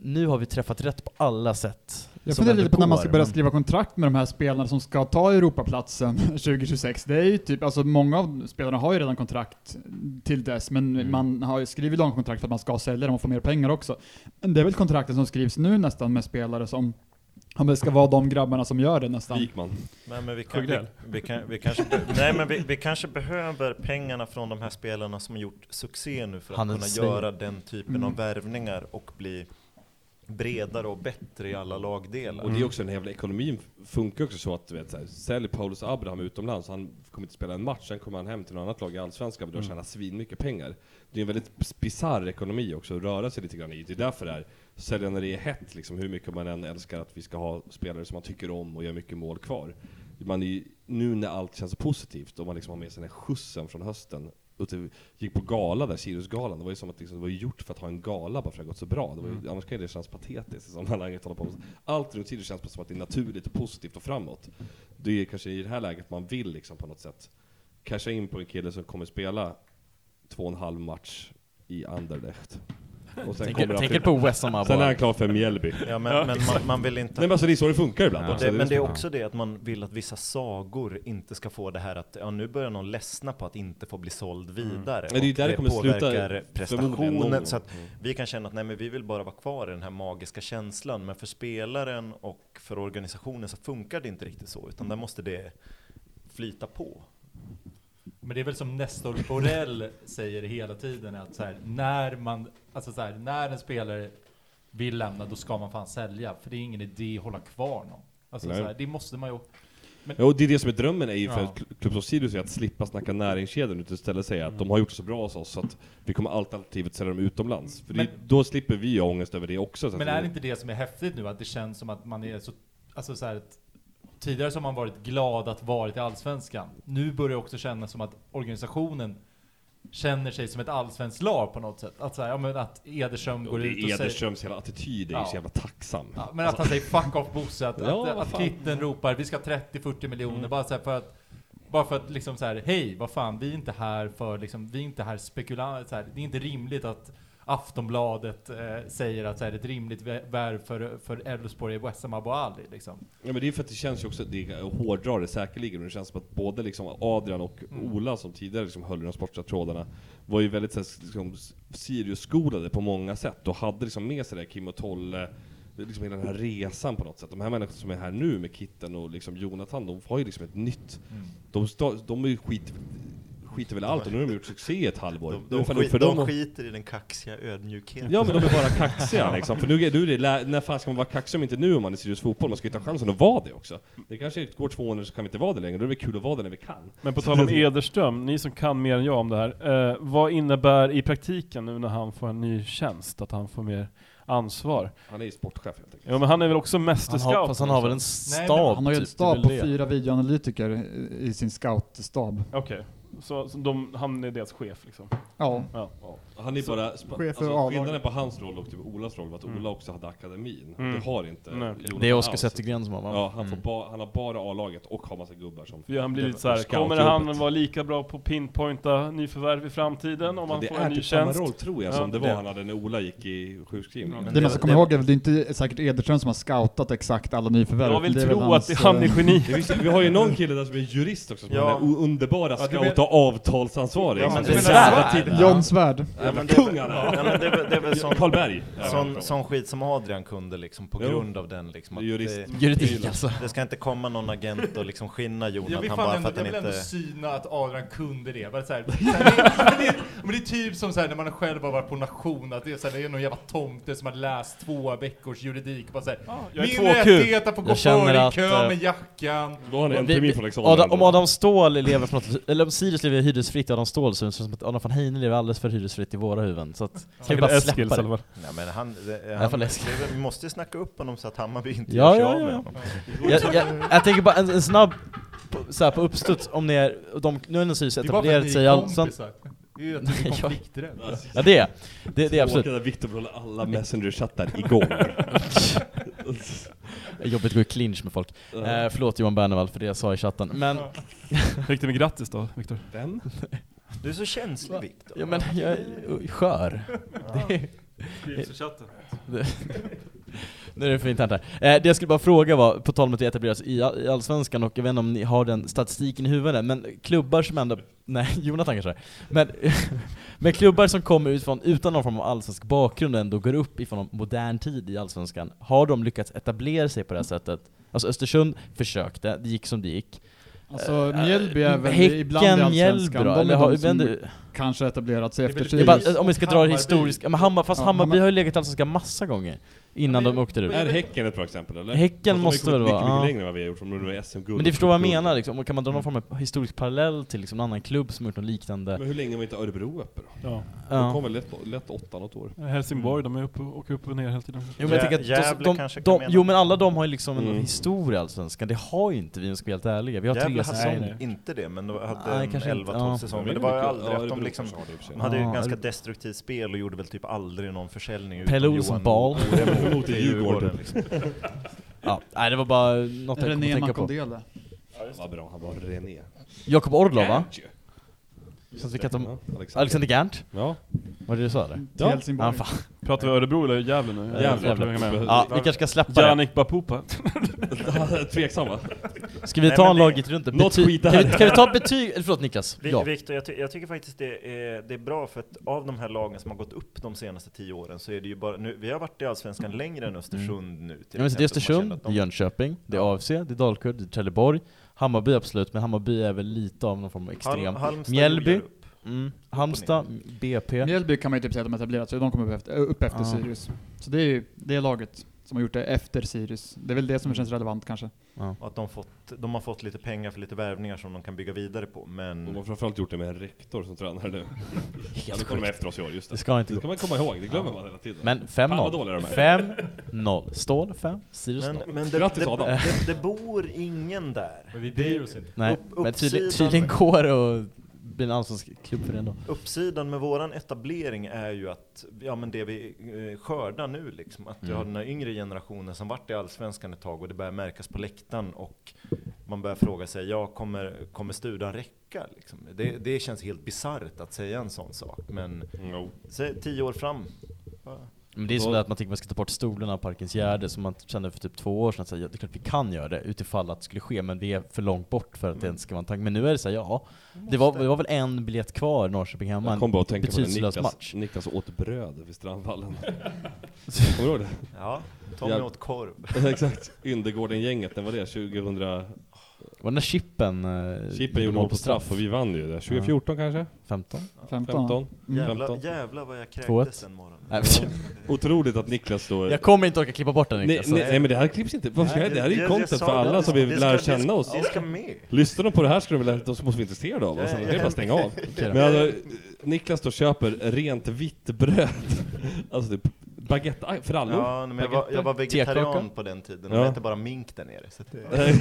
[SPEAKER 3] nu har vi träffat rätt på alla sätt.
[SPEAKER 1] Jag
[SPEAKER 3] som
[SPEAKER 1] funderar
[SPEAKER 3] ändå
[SPEAKER 1] lite på när man ska
[SPEAKER 3] går,
[SPEAKER 1] börja
[SPEAKER 3] men-
[SPEAKER 1] skriva kontrakt med de här spelarna som ska ta Europaplatsen 2026. Det är ju typ, alltså många av spelarna har ju redan kontrakt till dess, men man har ju skrivit långa kontrakt för att man ska sälja dem och få mer pengar också. Men det är väl kontrakten som skrivs nu nästan med spelare som Om det ska vara de grabbarna som gör det nästan.
[SPEAKER 7] Wikman.
[SPEAKER 6] Nej, men vi, kan, vi,
[SPEAKER 5] Sjögren.
[SPEAKER 6] vi, kan, vi, kanske be, nej, men vi, vi kanske behöver pengarna från de här spelarna som har gjort succé nu för att
[SPEAKER 3] Han är
[SPEAKER 6] kunna
[SPEAKER 3] svin.
[SPEAKER 6] göra den typen
[SPEAKER 1] Mm.
[SPEAKER 6] av värvningar och bli bredare och bättre i alla lagdelar.
[SPEAKER 7] Och det är också den här jävla ekonomin funkar också så att du vet, så här, säljer Paulus Abraham utomlands, han kommer inte spela en match, sen kommer han hem till något annat lag i Allsvenskan och då tjänar svinmycket pengar. Det är en väldigt bisarr ekonomi också att röra sig lite grann i. Det är därför det här, sälja när det är hett liksom, hur mycket man än älskar att vi ska ha spelare som man tycker om och gör mycket mål kvar. Man är ju, nu när allt känns positivt och man liksom har med sig den här skjutsen från hösten, och typ gick på gala där, Siriusgalan, det var ju som att liksom, det var ju gjort för att ha en gala bara för att det har gått så bra. Det var ju, Annars kan ju det kännas patetiskt i sammanhanget. Hålla på. med. Allt runt Sirius känns bara som att det är naturligt och positivt och framåt. Det är kanske i det här läget man vill liksom på något sätt casha in på en kille som kommer spela två och en halv match i Anderlecht. Och sen kommer
[SPEAKER 3] Tänker
[SPEAKER 7] han
[SPEAKER 3] tänker
[SPEAKER 7] till-
[SPEAKER 3] på West Ham
[SPEAKER 7] Sen är
[SPEAKER 3] bara.
[SPEAKER 7] han klar för Mjällby.
[SPEAKER 6] Ja, men, men man, man vill inte...
[SPEAKER 7] Nej men alltså det är så det funkar ibland.
[SPEAKER 6] Och
[SPEAKER 7] också.
[SPEAKER 6] det, men det är
[SPEAKER 7] liksom-
[SPEAKER 6] också det att man vill att vissa sagor inte ska få det här att ja, nu börjar någon ledsna på att inte få bli såld vidare.
[SPEAKER 7] Nej, Mm. det är
[SPEAKER 6] Och
[SPEAKER 7] där det kommer sluta
[SPEAKER 6] påverkar
[SPEAKER 7] förmodligen någon gång.
[SPEAKER 6] prestationen. Så att vi kan känna att nej, men vi vill bara vara kvar i den här magiska känslan. Men för spelaren och för organisationen så funkar det inte riktigt så. Utan där måste det flyta på.
[SPEAKER 2] Men det är väl som Nestor Borrell säger hela tiden att så här, när man, alltså så här, när en spelare vill lämna då ska man fan sälja för det är ingen idé att hålla kvar någon. Alltså så
[SPEAKER 7] Nej.
[SPEAKER 2] här, det måste man ju.
[SPEAKER 7] Ja, och det är det som är drömmen är ju för
[SPEAKER 2] Ja.
[SPEAKER 7] ja. klubb som Sirius är att slippa snacka näringskedjan utan istället säga att
[SPEAKER 2] Mm.
[SPEAKER 7] de har gjort så bra hos oss så att vi kommer alternativet sälja dem utomlands. För det,
[SPEAKER 2] Men-
[SPEAKER 7] då slipper vi ju ångest över det också. Så
[SPEAKER 2] Men
[SPEAKER 7] att
[SPEAKER 2] är det inte det som är häftigt nu att det känns som att man är så, alltså så här, att tidigare så har man varit glad att varit i allsvenskan. Nu börjar det också kännas som att organisationen känner sig som ett allsvenskt lag på något sätt. Att, så här, ja, men att Ederström
[SPEAKER 7] och
[SPEAKER 2] går
[SPEAKER 7] det
[SPEAKER 2] ut och
[SPEAKER 7] är
[SPEAKER 2] säger
[SPEAKER 7] Ederströms hela attityd är ju
[SPEAKER 2] Ja.
[SPEAKER 7] så jävla tacksam.
[SPEAKER 2] Ja, men att han säger 'fuck off Bosse', att,
[SPEAKER 7] Ja,
[SPEAKER 2] att,
[SPEAKER 7] vad
[SPEAKER 2] att
[SPEAKER 7] fan. Mm.
[SPEAKER 2] Kitten ropar 'vi ska ha 30-40 miljoner' bara så här för att bara för att liksom så här, hej, vad fan, vi är inte här för liksom, vi är inte här spekulanter, så här, det är inte rimligt att Aftonbladet eh, säger att så här, ett rimligt vä- värv för, för Elfsborg är Wessam Abou Ali liksom.
[SPEAKER 7] Ja men det är för att det känns ju också, det är, jag hårdrar det säkerligen, men det känns som att både liksom Adrian och
[SPEAKER 6] Mm.
[SPEAKER 7] Ola som tidigare liksom höll i de sportsliga trådarna var ju väldigt så här, liksom, Sirius-skolade på många sätt och hade liksom med sig det här Kim och Tolle, liksom hela den här resan på något sätt. De här människorna som är här nu med Kitten och liksom Jonathan, de har ju liksom ett nytt,
[SPEAKER 6] Mm.
[SPEAKER 7] de, sta, de är ju skit, skiter väl i allt och nu har de gjort succé i ett halvår.
[SPEAKER 6] De,
[SPEAKER 7] Det är
[SPEAKER 6] de,
[SPEAKER 7] fan
[SPEAKER 6] skit,
[SPEAKER 7] upp för
[SPEAKER 6] de
[SPEAKER 7] dem att-
[SPEAKER 6] skiter i den kaxiga ödmjukheten.
[SPEAKER 7] Ja men de är bara kaxiga liksom. För nu är nu är det, lä- när fan ska man vara kaxig om inte nu om man är Sirius fotboll? Man ska ju ta chansen att vara det också. Det kanske går två år nu så kan vi inte vara det längre, då är det kul att vara det när vi kan.
[SPEAKER 5] Men på tal om Ederström, ni som kan mer än jag om det här. Eh, vad innebär i praktiken nu när han får en ny tjänst, att han får mer ansvar?
[SPEAKER 7] Han är ju sportchef helt enkelt.
[SPEAKER 5] Ja, men han är väl också
[SPEAKER 3] Han har,
[SPEAKER 5] mästerscout?
[SPEAKER 3] fast han har väl en
[SPEAKER 2] men
[SPEAKER 3] stab?
[SPEAKER 1] Han har ju en
[SPEAKER 3] typ,
[SPEAKER 1] stab på
[SPEAKER 3] det är väl det.
[SPEAKER 1] fyra videoanalytiker eh, i sin scoutstab.
[SPEAKER 5] Okej, så, så de, han är deras chef liksom?
[SPEAKER 1] Ja,
[SPEAKER 7] Ja. Han är bara, sp-
[SPEAKER 1] chef för
[SPEAKER 7] alltså,
[SPEAKER 1] A-laget.
[SPEAKER 7] skillnaden på hans roll och typ Olas roll var att Ola också hade akademin.
[SPEAKER 5] Mm.
[SPEAKER 7] Det har inte
[SPEAKER 5] Nej, okej.
[SPEAKER 7] Jonathan
[SPEAKER 3] Det är Oskar
[SPEAKER 7] alls.
[SPEAKER 3] Zettergren som har va?
[SPEAKER 7] Ja,
[SPEAKER 5] Mm.
[SPEAKER 7] han, får ba- han har bara A-laget och har massa gubbar som...
[SPEAKER 5] För han blir lite såhär, kommer
[SPEAKER 7] Scoutjobbet.
[SPEAKER 5] han vara lika bra på pinpointa nyförvärv i framtiden om han
[SPEAKER 7] det
[SPEAKER 5] får en
[SPEAKER 7] är
[SPEAKER 5] ny
[SPEAKER 7] typ samma
[SPEAKER 5] tjänst?
[SPEAKER 7] roll tror jag
[SPEAKER 5] Ja,
[SPEAKER 7] som det var
[SPEAKER 5] det-
[SPEAKER 7] han hade när Ola gick i sjukskrivning.
[SPEAKER 5] Ja.
[SPEAKER 1] det man ska komma
[SPEAKER 6] det-
[SPEAKER 1] ihåg är väl det är inte säkert Ederström som har scoutat exakt alla nyförvärv.
[SPEAKER 5] Jag vill
[SPEAKER 1] Det är väl
[SPEAKER 5] tro att
[SPEAKER 1] hans,
[SPEAKER 5] det- han är
[SPEAKER 1] eh,
[SPEAKER 5] geni.
[SPEAKER 7] Det finns, vi har ju någon kille där som är jurist också, som
[SPEAKER 6] Ja.
[SPEAKER 7] har den här o- underbara
[SPEAKER 2] du menar-
[SPEAKER 7] scout och avtalsansvarig.
[SPEAKER 6] Ja, men det är
[SPEAKER 7] Jävla
[SPEAKER 6] svärd.
[SPEAKER 7] tid-
[SPEAKER 1] John Svärd.
[SPEAKER 6] Ja, men
[SPEAKER 7] Jävla
[SPEAKER 6] det är
[SPEAKER 7] kung
[SPEAKER 6] väl-
[SPEAKER 7] han
[SPEAKER 6] ja,
[SPEAKER 7] är!
[SPEAKER 6] men det är väl- det är väl sån-
[SPEAKER 7] Karlberg!
[SPEAKER 6] Sån, sån skit som Adrian kunde liksom på
[SPEAKER 7] Jo.
[SPEAKER 6] grund av den liksom. Att
[SPEAKER 7] Jurist.
[SPEAKER 6] det,
[SPEAKER 3] Juridik alltså.
[SPEAKER 6] det ska inte komma någon agent och liksom skinna
[SPEAKER 2] Jag
[SPEAKER 6] Jonathan
[SPEAKER 2] vill,
[SPEAKER 6] bara
[SPEAKER 2] fan
[SPEAKER 6] för
[SPEAKER 2] ändå,
[SPEAKER 6] att
[SPEAKER 2] jag
[SPEAKER 6] han
[SPEAKER 2] vill
[SPEAKER 6] inte...
[SPEAKER 2] ändå syna att Adrian kunde det. Bara så här, så här, det, är- men det, är- men det är typ som så här, när man själv har varit på nation, att det är, så här, det är någon jävla tomte som har läst två veckors juridik. Bara så här,
[SPEAKER 5] jag är
[SPEAKER 2] min
[SPEAKER 5] 2Q.
[SPEAKER 2] rättighet att få gå
[SPEAKER 3] Jag känner
[SPEAKER 2] före i
[SPEAKER 3] att,
[SPEAKER 2] kö
[SPEAKER 3] eh,
[SPEAKER 2] med jackan.
[SPEAKER 7] Då har ni en
[SPEAKER 3] Mm.
[SPEAKER 7] liksom
[SPEAKER 3] Vi-
[SPEAKER 7] termin
[SPEAKER 3] vi-
[SPEAKER 7] från examen.
[SPEAKER 3] Adam, om Adam Ståhl lever för något, eller om Sirius lever hyresfritt i Adam Ståhl så känns det som att Adam van Heine lever alldeles för hyresfritt i våra huvuden. Så att, kan vi bara
[SPEAKER 5] Eskils
[SPEAKER 3] släppa
[SPEAKER 5] i alla
[SPEAKER 3] det?
[SPEAKER 5] fall.
[SPEAKER 6] Nej, men han, det-
[SPEAKER 3] alla
[SPEAKER 6] han,
[SPEAKER 3] fall
[SPEAKER 6] det
[SPEAKER 3] läskigt.
[SPEAKER 6] är väl- vi måste ju snacka upp honom så att Hammarby inte
[SPEAKER 3] Ja,
[SPEAKER 6] gör sig
[SPEAKER 3] ja,
[SPEAKER 6] av
[SPEAKER 3] ja,
[SPEAKER 6] med
[SPEAKER 3] ja.
[SPEAKER 6] honom.
[SPEAKER 3] Jag, jag, jag tänker bara en, en snabb, på- så här på uppstuds, om ni är, och de, nu är den Sirius
[SPEAKER 2] Det är bara för att
[SPEAKER 3] etablerat
[SPEAKER 2] ni
[SPEAKER 3] sig,
[SPEAKER 2] är
[SPEAKER 3] ja, sånt-
[SPEAKER 2] kompisar. Det är ju att
[SPEAKER 3] Nej,
[SPEAKER 2] du är
[SPEAKER 3] jag-
[SPEAKER 2] konflikträdd.
[SPEAKER 3] ja det är det, det är absolut.
[SPEAKER 7] Där Victor håller alla Messenger-chattar igång.
[SPEAKER 3] Det är Jobbigt att gå i clinch med folk. Eh, förlåt Johan Bernevall för det jag sa i chatten, men,
[SPEAKER 5] Hur gick det med grattis då, Viktor?
[SPEAKER 7] Vem?
[SPEAKER 6] Du är så känslig Viktor.
[SPEAKER 3] ja, men jag är skör.
[SPEAKER 5] Skrivs i chatten.
[SPEAKER 3] Nu är det för internt här. Eh, det jag skulle bara fråga var, på tal om att det etableras i, all- i Allsvenskan, och jag vet inte om ni har den statistiken i huvudet, men klubbar som ändå... Nej, Jonathan kanske har. men, men klubbar som kommer utifrån, utan någon form av allsvensk bakgrund och ändå går upp ifrån en modern tid i Allsvenskan, har de lyckats etablera sig på det här sättet? Alltså Östersund försökte, det gick som det gick.
[SPEAKER 1] Alltså
[SPEAKER 3] Eh,
[SPEAKER 1] Mjällby är väl
[SPEAKER 3] Häcken,
[SPEAKER 1] ibland i
[SPEAKER 3] Mjällby
[SPEAKER 1] Allsvenskan.
[SPEAKER 3] då?
[SPEAKER 1] De är
[SPEAKER 3] Eller har-
[SPEAKER 1] de som
[SPEAKER 3] vänder-
[SPEAKER 1] kanske etablerat sig efter
[SPEAKER 3] Det är
[SPEAKER 1] tid.
[SPEAKER 3] bara, om vi ska dra det
[SPEAKER 2] Hammarby.
[SPEAKER 3] historiskt, ja, men Hammar, fast
[SPEAKER 1] Ja,
[SPEAKER 3] Hammarby
[SPEAKER 1] Hammar-
[SPEAKER 3] har ju legat i Allsvenskan massa gånger innan de åkte ur.
[SPEAKER 7] Är Häcken ett bra exempel eller?
[SPEAKER 3] Häcken
[SPEAKER 7] Fast de har ju
[SPEAKER 3] måste
[SPEAKER 7] kommit
[SPEAKER 3] väl vara,
[SPEAKER 7] Mycket, mycket
[SPEAKER 3] ja.
[SPEAKER 7] längre än vad vi har gjort. De är SM-guld.
[SPEAKER 3] Men ni förstår vad jag menar liksom, och kan man dra någon form av historisk parallell till liksom en annan klubb som har gjort något liknande?
[SPEAKER 7] Men hur länge var inte Örebro uppe då?
[SPEAKER 5] Ja.
[SPEAKER 7] De kom
[SPEAKER 3] Ja.
[SPEAKER 7] väl lätt, lätt åtta något år?
[SPEAKER 5] Helsingborg, de är uppe, och- åker upp och ner hela tiden.
[SPEAKER 3] Jo men, jag
[SPEAKER 6] Jä-
[SPEAKER 3] tänker att
[SPEAKER 6] Gävle
[SPEAKER 3] de, de,
[SPEAKER 6] kanske kan
[SPEAKER 3] de,
[SPEAKER 6] mena.
[SPEAKER 3] jo men alla de har ju liksom en
[SPEAKER 7] Mm.
[SPEAKER 3] historia i Allsvenskan, det har ju inte vi om vi ska vara helt ärliga. Vi har
[SPEAKER 6] Jävla
[SPEAKER 3] tre
[SPEAKER 6] hade
[SPEAKER 3] säsonger.
[SPEAKER 6] inte det, men de hade
[SPEAKER 3] Nej,
[SPEAKER 6] en
[SPEAKER 3] kanske inte.
[SPEAKER 6] 11-12
[SPEAKER 3] Ja.
[SPEAKER 6] säsonger. Men det var ju
[SPEAKER 7] mycket-
[SPEAKER 6] aldrig
[SPEAKER 7] ja,
[SPEAKER 6] att de
[SPEAKER 7] Örebro
[SPEAKER 6] liksom...
[SPEAKER 7] kanske har det i och för sig.
[SPEAKER 6] De hade ju
[SPEAKER 3] Ja,
[SPEAKER 6] ganska
[SPEAKER 3] Örebro.
[SPEAKER 6] destruktivt spel och gjorde väl typ aldrig någon försäljning utom
[SPEAKER 3] Pelle Olsson
[SPEAKER 6] Johan
[SPEAKER 3] Ball.
[SPEAKER 6] Oremo
[SPEAKER 7] Mot Djurgården.
[SPEAKER 6] liksom.
[SPEAKER 3] Ja, nej det var bara något jag kom att
[SPEAKER 1] René eh,
[SPEAKER 3] tänka på.
[SPEAKER 1] Makondele.
[SPEAKER 7] Vad bra, han var René.
[SPEAKER 3] Jakob Orlov va?
[SPEAKER 7] Gerndt ju.
[SPEAKER 3] Som fick att de...
[SPEAKER 7] Ja, Alexander.
[SPEAKER 3] Alexander Gernt?
[SPEAKER 7] Ja.
[SPEAKER 3] Var det det du sa eller?
[SPEAKER 1] Till Helsingborg.
[SPEAKER 3] Ja, fan.
[SPEAKER 5] Pratar vi Örebro eller Gävle nu?
[SPEAKER 3] Gävle.
[SPEAKER 5] Jag tror att vi hänger med.
[SPEAKER 3] Ja, vi kanske ska släppa det.
[SPEAKER 5] Janik Bapupa.
[SPEAKER 7] Tveksam va?
[SPEAKER 3] Ska vi
[SPEAKER 8] Nej,
[SPEAKER 3] ta
[SPEAKER 8] men
[SPEAKER 3] en
[SPEAKER 8] det-
[SPEAKER 3] laget runt
[SPEAKER 7] Något skit
[SPEAKER 3] kan,
[SPEAKER 7] här.
[SPEAKER 3] vi, kan vi ta betyg? Eller förlåt Niklas.
[SPEAKER 6] Vi-
[SPEAKER 3] Ja.
[SPEAKER 6] Viktor, jag, ty jag tycker faktiskt det är, det är bra för att av de här lagen som har gått upp de senaste tio åren så är det ju bara, nu, vi har varit i Allsvenskan längre än Östersund nu.
[SPEAKER 3] Ja,
[SPEAKER 6] till
[SPEAKER 3] men så det är
[SPEAKER 6] exempel, som har
[SPEAKER 3] Östersund,
[SPEAKER 6] känt
[SPEAKER 3] det är
[SPEAKER 6] att de-
[SPEAKER 3] Jönköping, det
[SPEAKER 6] Ja.
[SPEAKER 3] är AFC, det är Dalkurd, det är Trelleborg, Hammarby absolut, men Hammarby är väl lite av någon form av
[SPEAKER 6] Hal-
[SPEAKER 3] extrem.
[SPEAKER 6] Halmstad
[SPEAKER 3] Mjällby.
[SPEAKER 6] jublar upp.
[SPEAKER 3] Mm. Halmstad, BP.
[SPEAKER 1] Mjällby kan man ju typ säga att de etablerat sig, de kom upp efter, eh, upp efter
[SPEAKER 3] Ja.
[SPEAKER 1] Sirius. Så det är ju det laget som har gjort det efter Sirius. Det är väl det som känns relevant kanske.
[SPEAKER 6] Och att de, fått, de har fått lite pengar för lite värvningar som de kan bygga vidare på. Men
[SPEAKER 7] De har framförallt gjort det med en rektor som tränare nu. Ja, nu kommer de efter oss i år, just
[SPEAKER 3] Det
[SPEAKER 7] det.
[SPEAKER 3] ska inte
[SPEAKER 7] Det
[SPEAKER 3] gå.
[SPEAKER 7] ska man komma ihåg, det glömmer man hela tiden.
[SPEAKER 3] Men
[SPEAKER 7] Fan vad
[SPEAKER 3] 5-0.
[SPEAKER 7] dåliga de är.
[SPEAKER 3] 5-0 Stål 5, Sirius 0.
[SPEAKER 6] Men, men det,
[SPEAKER 7] Grattis,
[SPEAKER 6] det,
[SPEAKER 7] Adam.
[SPEAKER 6] det, det bor ingen där.
[SPEAKER 2] Men vi bryr oss inte.
[SPEAKER 3] Nej,
[SPEAKER 6] upp-
[SPEAKER 3] men tydligen,
[SPEAKER 6] uppsidan.
[SPEAKER 3] tydligen går det att bli en allsvensk klubb för det ändå.
[SPEAKER 6] Uppsidan med våran etablering är ju att, ja men det vi eh, skördar nu liksom, att vi
[SPEAKER 7] Mm.
[SPEAKER 6] har den här yngre generationen som varit i Allsvenskan ett tag och det börjar märkas på läktaren och man börjar fråga sig, ja kommer, kommer studan räcka? Liksom. Det, det känns helt bisarrt att säga en sån sak, men
[SPEAKER 7] Jo.
[SPEAKER 6] säg tio år fram.
[SPEAKER 3] Men det är som det att man tycker man ska ta bort stolarna av Parkens Gärde, som man kände för typ två år sedan, att säga, ja, det är klart vi kan göra det utifall att det skulle ske, men vi är för långt bort för att
[SPEAKER 7] Mm.
[SPEAKER 3] det ens ska vara en tanke. Men nu är det så här, ja, det var, det var väl en biljett kvar Norrköping hemma,
[SPEAKER 7] Jag kom
[SPEAKER 3] en
[SPEAKER 7] bara att tänka på det.
[SPEAKER 3] betydelselös
[SPEAKER 7] Niklas,
[SPEAKER 3] match.
[SPEAKER 7] Niklas åt bröd vid Strandvallen. Kommer du ihåg det?
[SPEAKER 6] Ja, Tommy
[SPEAKER 7] Ja.
[SPEAKER 6] åt korv.
[SPEAKER 7] Exakt. Yndegården-gänget, när var det? 2000...
[SPEAKER 3] Var det när Chippen... eh,
[SPEAKER 7] Chippen gjorde mål på straff och vi vann ju det. 2014 kanske?
[SPEAKER 3] 15?
[SPEAKER 1] 15.
[SPEAKER 7] 15?
[SPEAKER 6] Jävla,
[SPEAKER 7] 15.
[SPEAKER 6] jävlar vad
[SPEAKER 3] 2-1.
[SPEAKER 6] jag kräktes en morgon.
[SPEAKER 3] Nej,
[SPEAKER 7] Otroligt att Niklas då...
[SPEAKER 3] jag kommer inte orka klippa bort den
[SPEAKER 7] Nej,
[SPEAKER 3] Niklas.
[SPEAKER 7] nej, nej men det här klipps inte. Varför ska jag- Det här är ju
[SPEAKER 6] Jag- jag
[SPEAKER 7] content
[SPEAKER 6] sa
[SPEAKER 7] för
[SPEAKER 6] det,
[SPEAKER 7] alla
[SPEAKER 6] det
[SPEAKER 7] som vill
[SPEAKER 6] ska-
[SPEAKER 7] lära
[SPEAKER 6] det ska-
[SPEAKER 7] känna oss.
[SPEAKER 6] Det ska med.
[SPEAKER 7] Lyssnar de på det här skulle de väl, de måste vara intresserade av oss,
[SPEAKER 6] Ja,
[SPEAKER 7] annars
[SPEAKER 6] ja,
[SPEAKER 7] är det bara
[SPEAKER 6] ja.
[SPEAKER 7] att stänga av.
[SPEAKER 3] då.
[SPEAKER 7] Men alltså, Niklas då köper rent vitt bröd. Alltså typ baguette för alla.
[SPEAKER 6] Ja, nej, men jag, var, jag var vegetarian
[SPEAKER 3] Tekaka.
[SPEAKER 6] på den tiden
[SPEAKER 7] Ja.
[SPEAKER 6] och äter bara mink där nere. Så att det...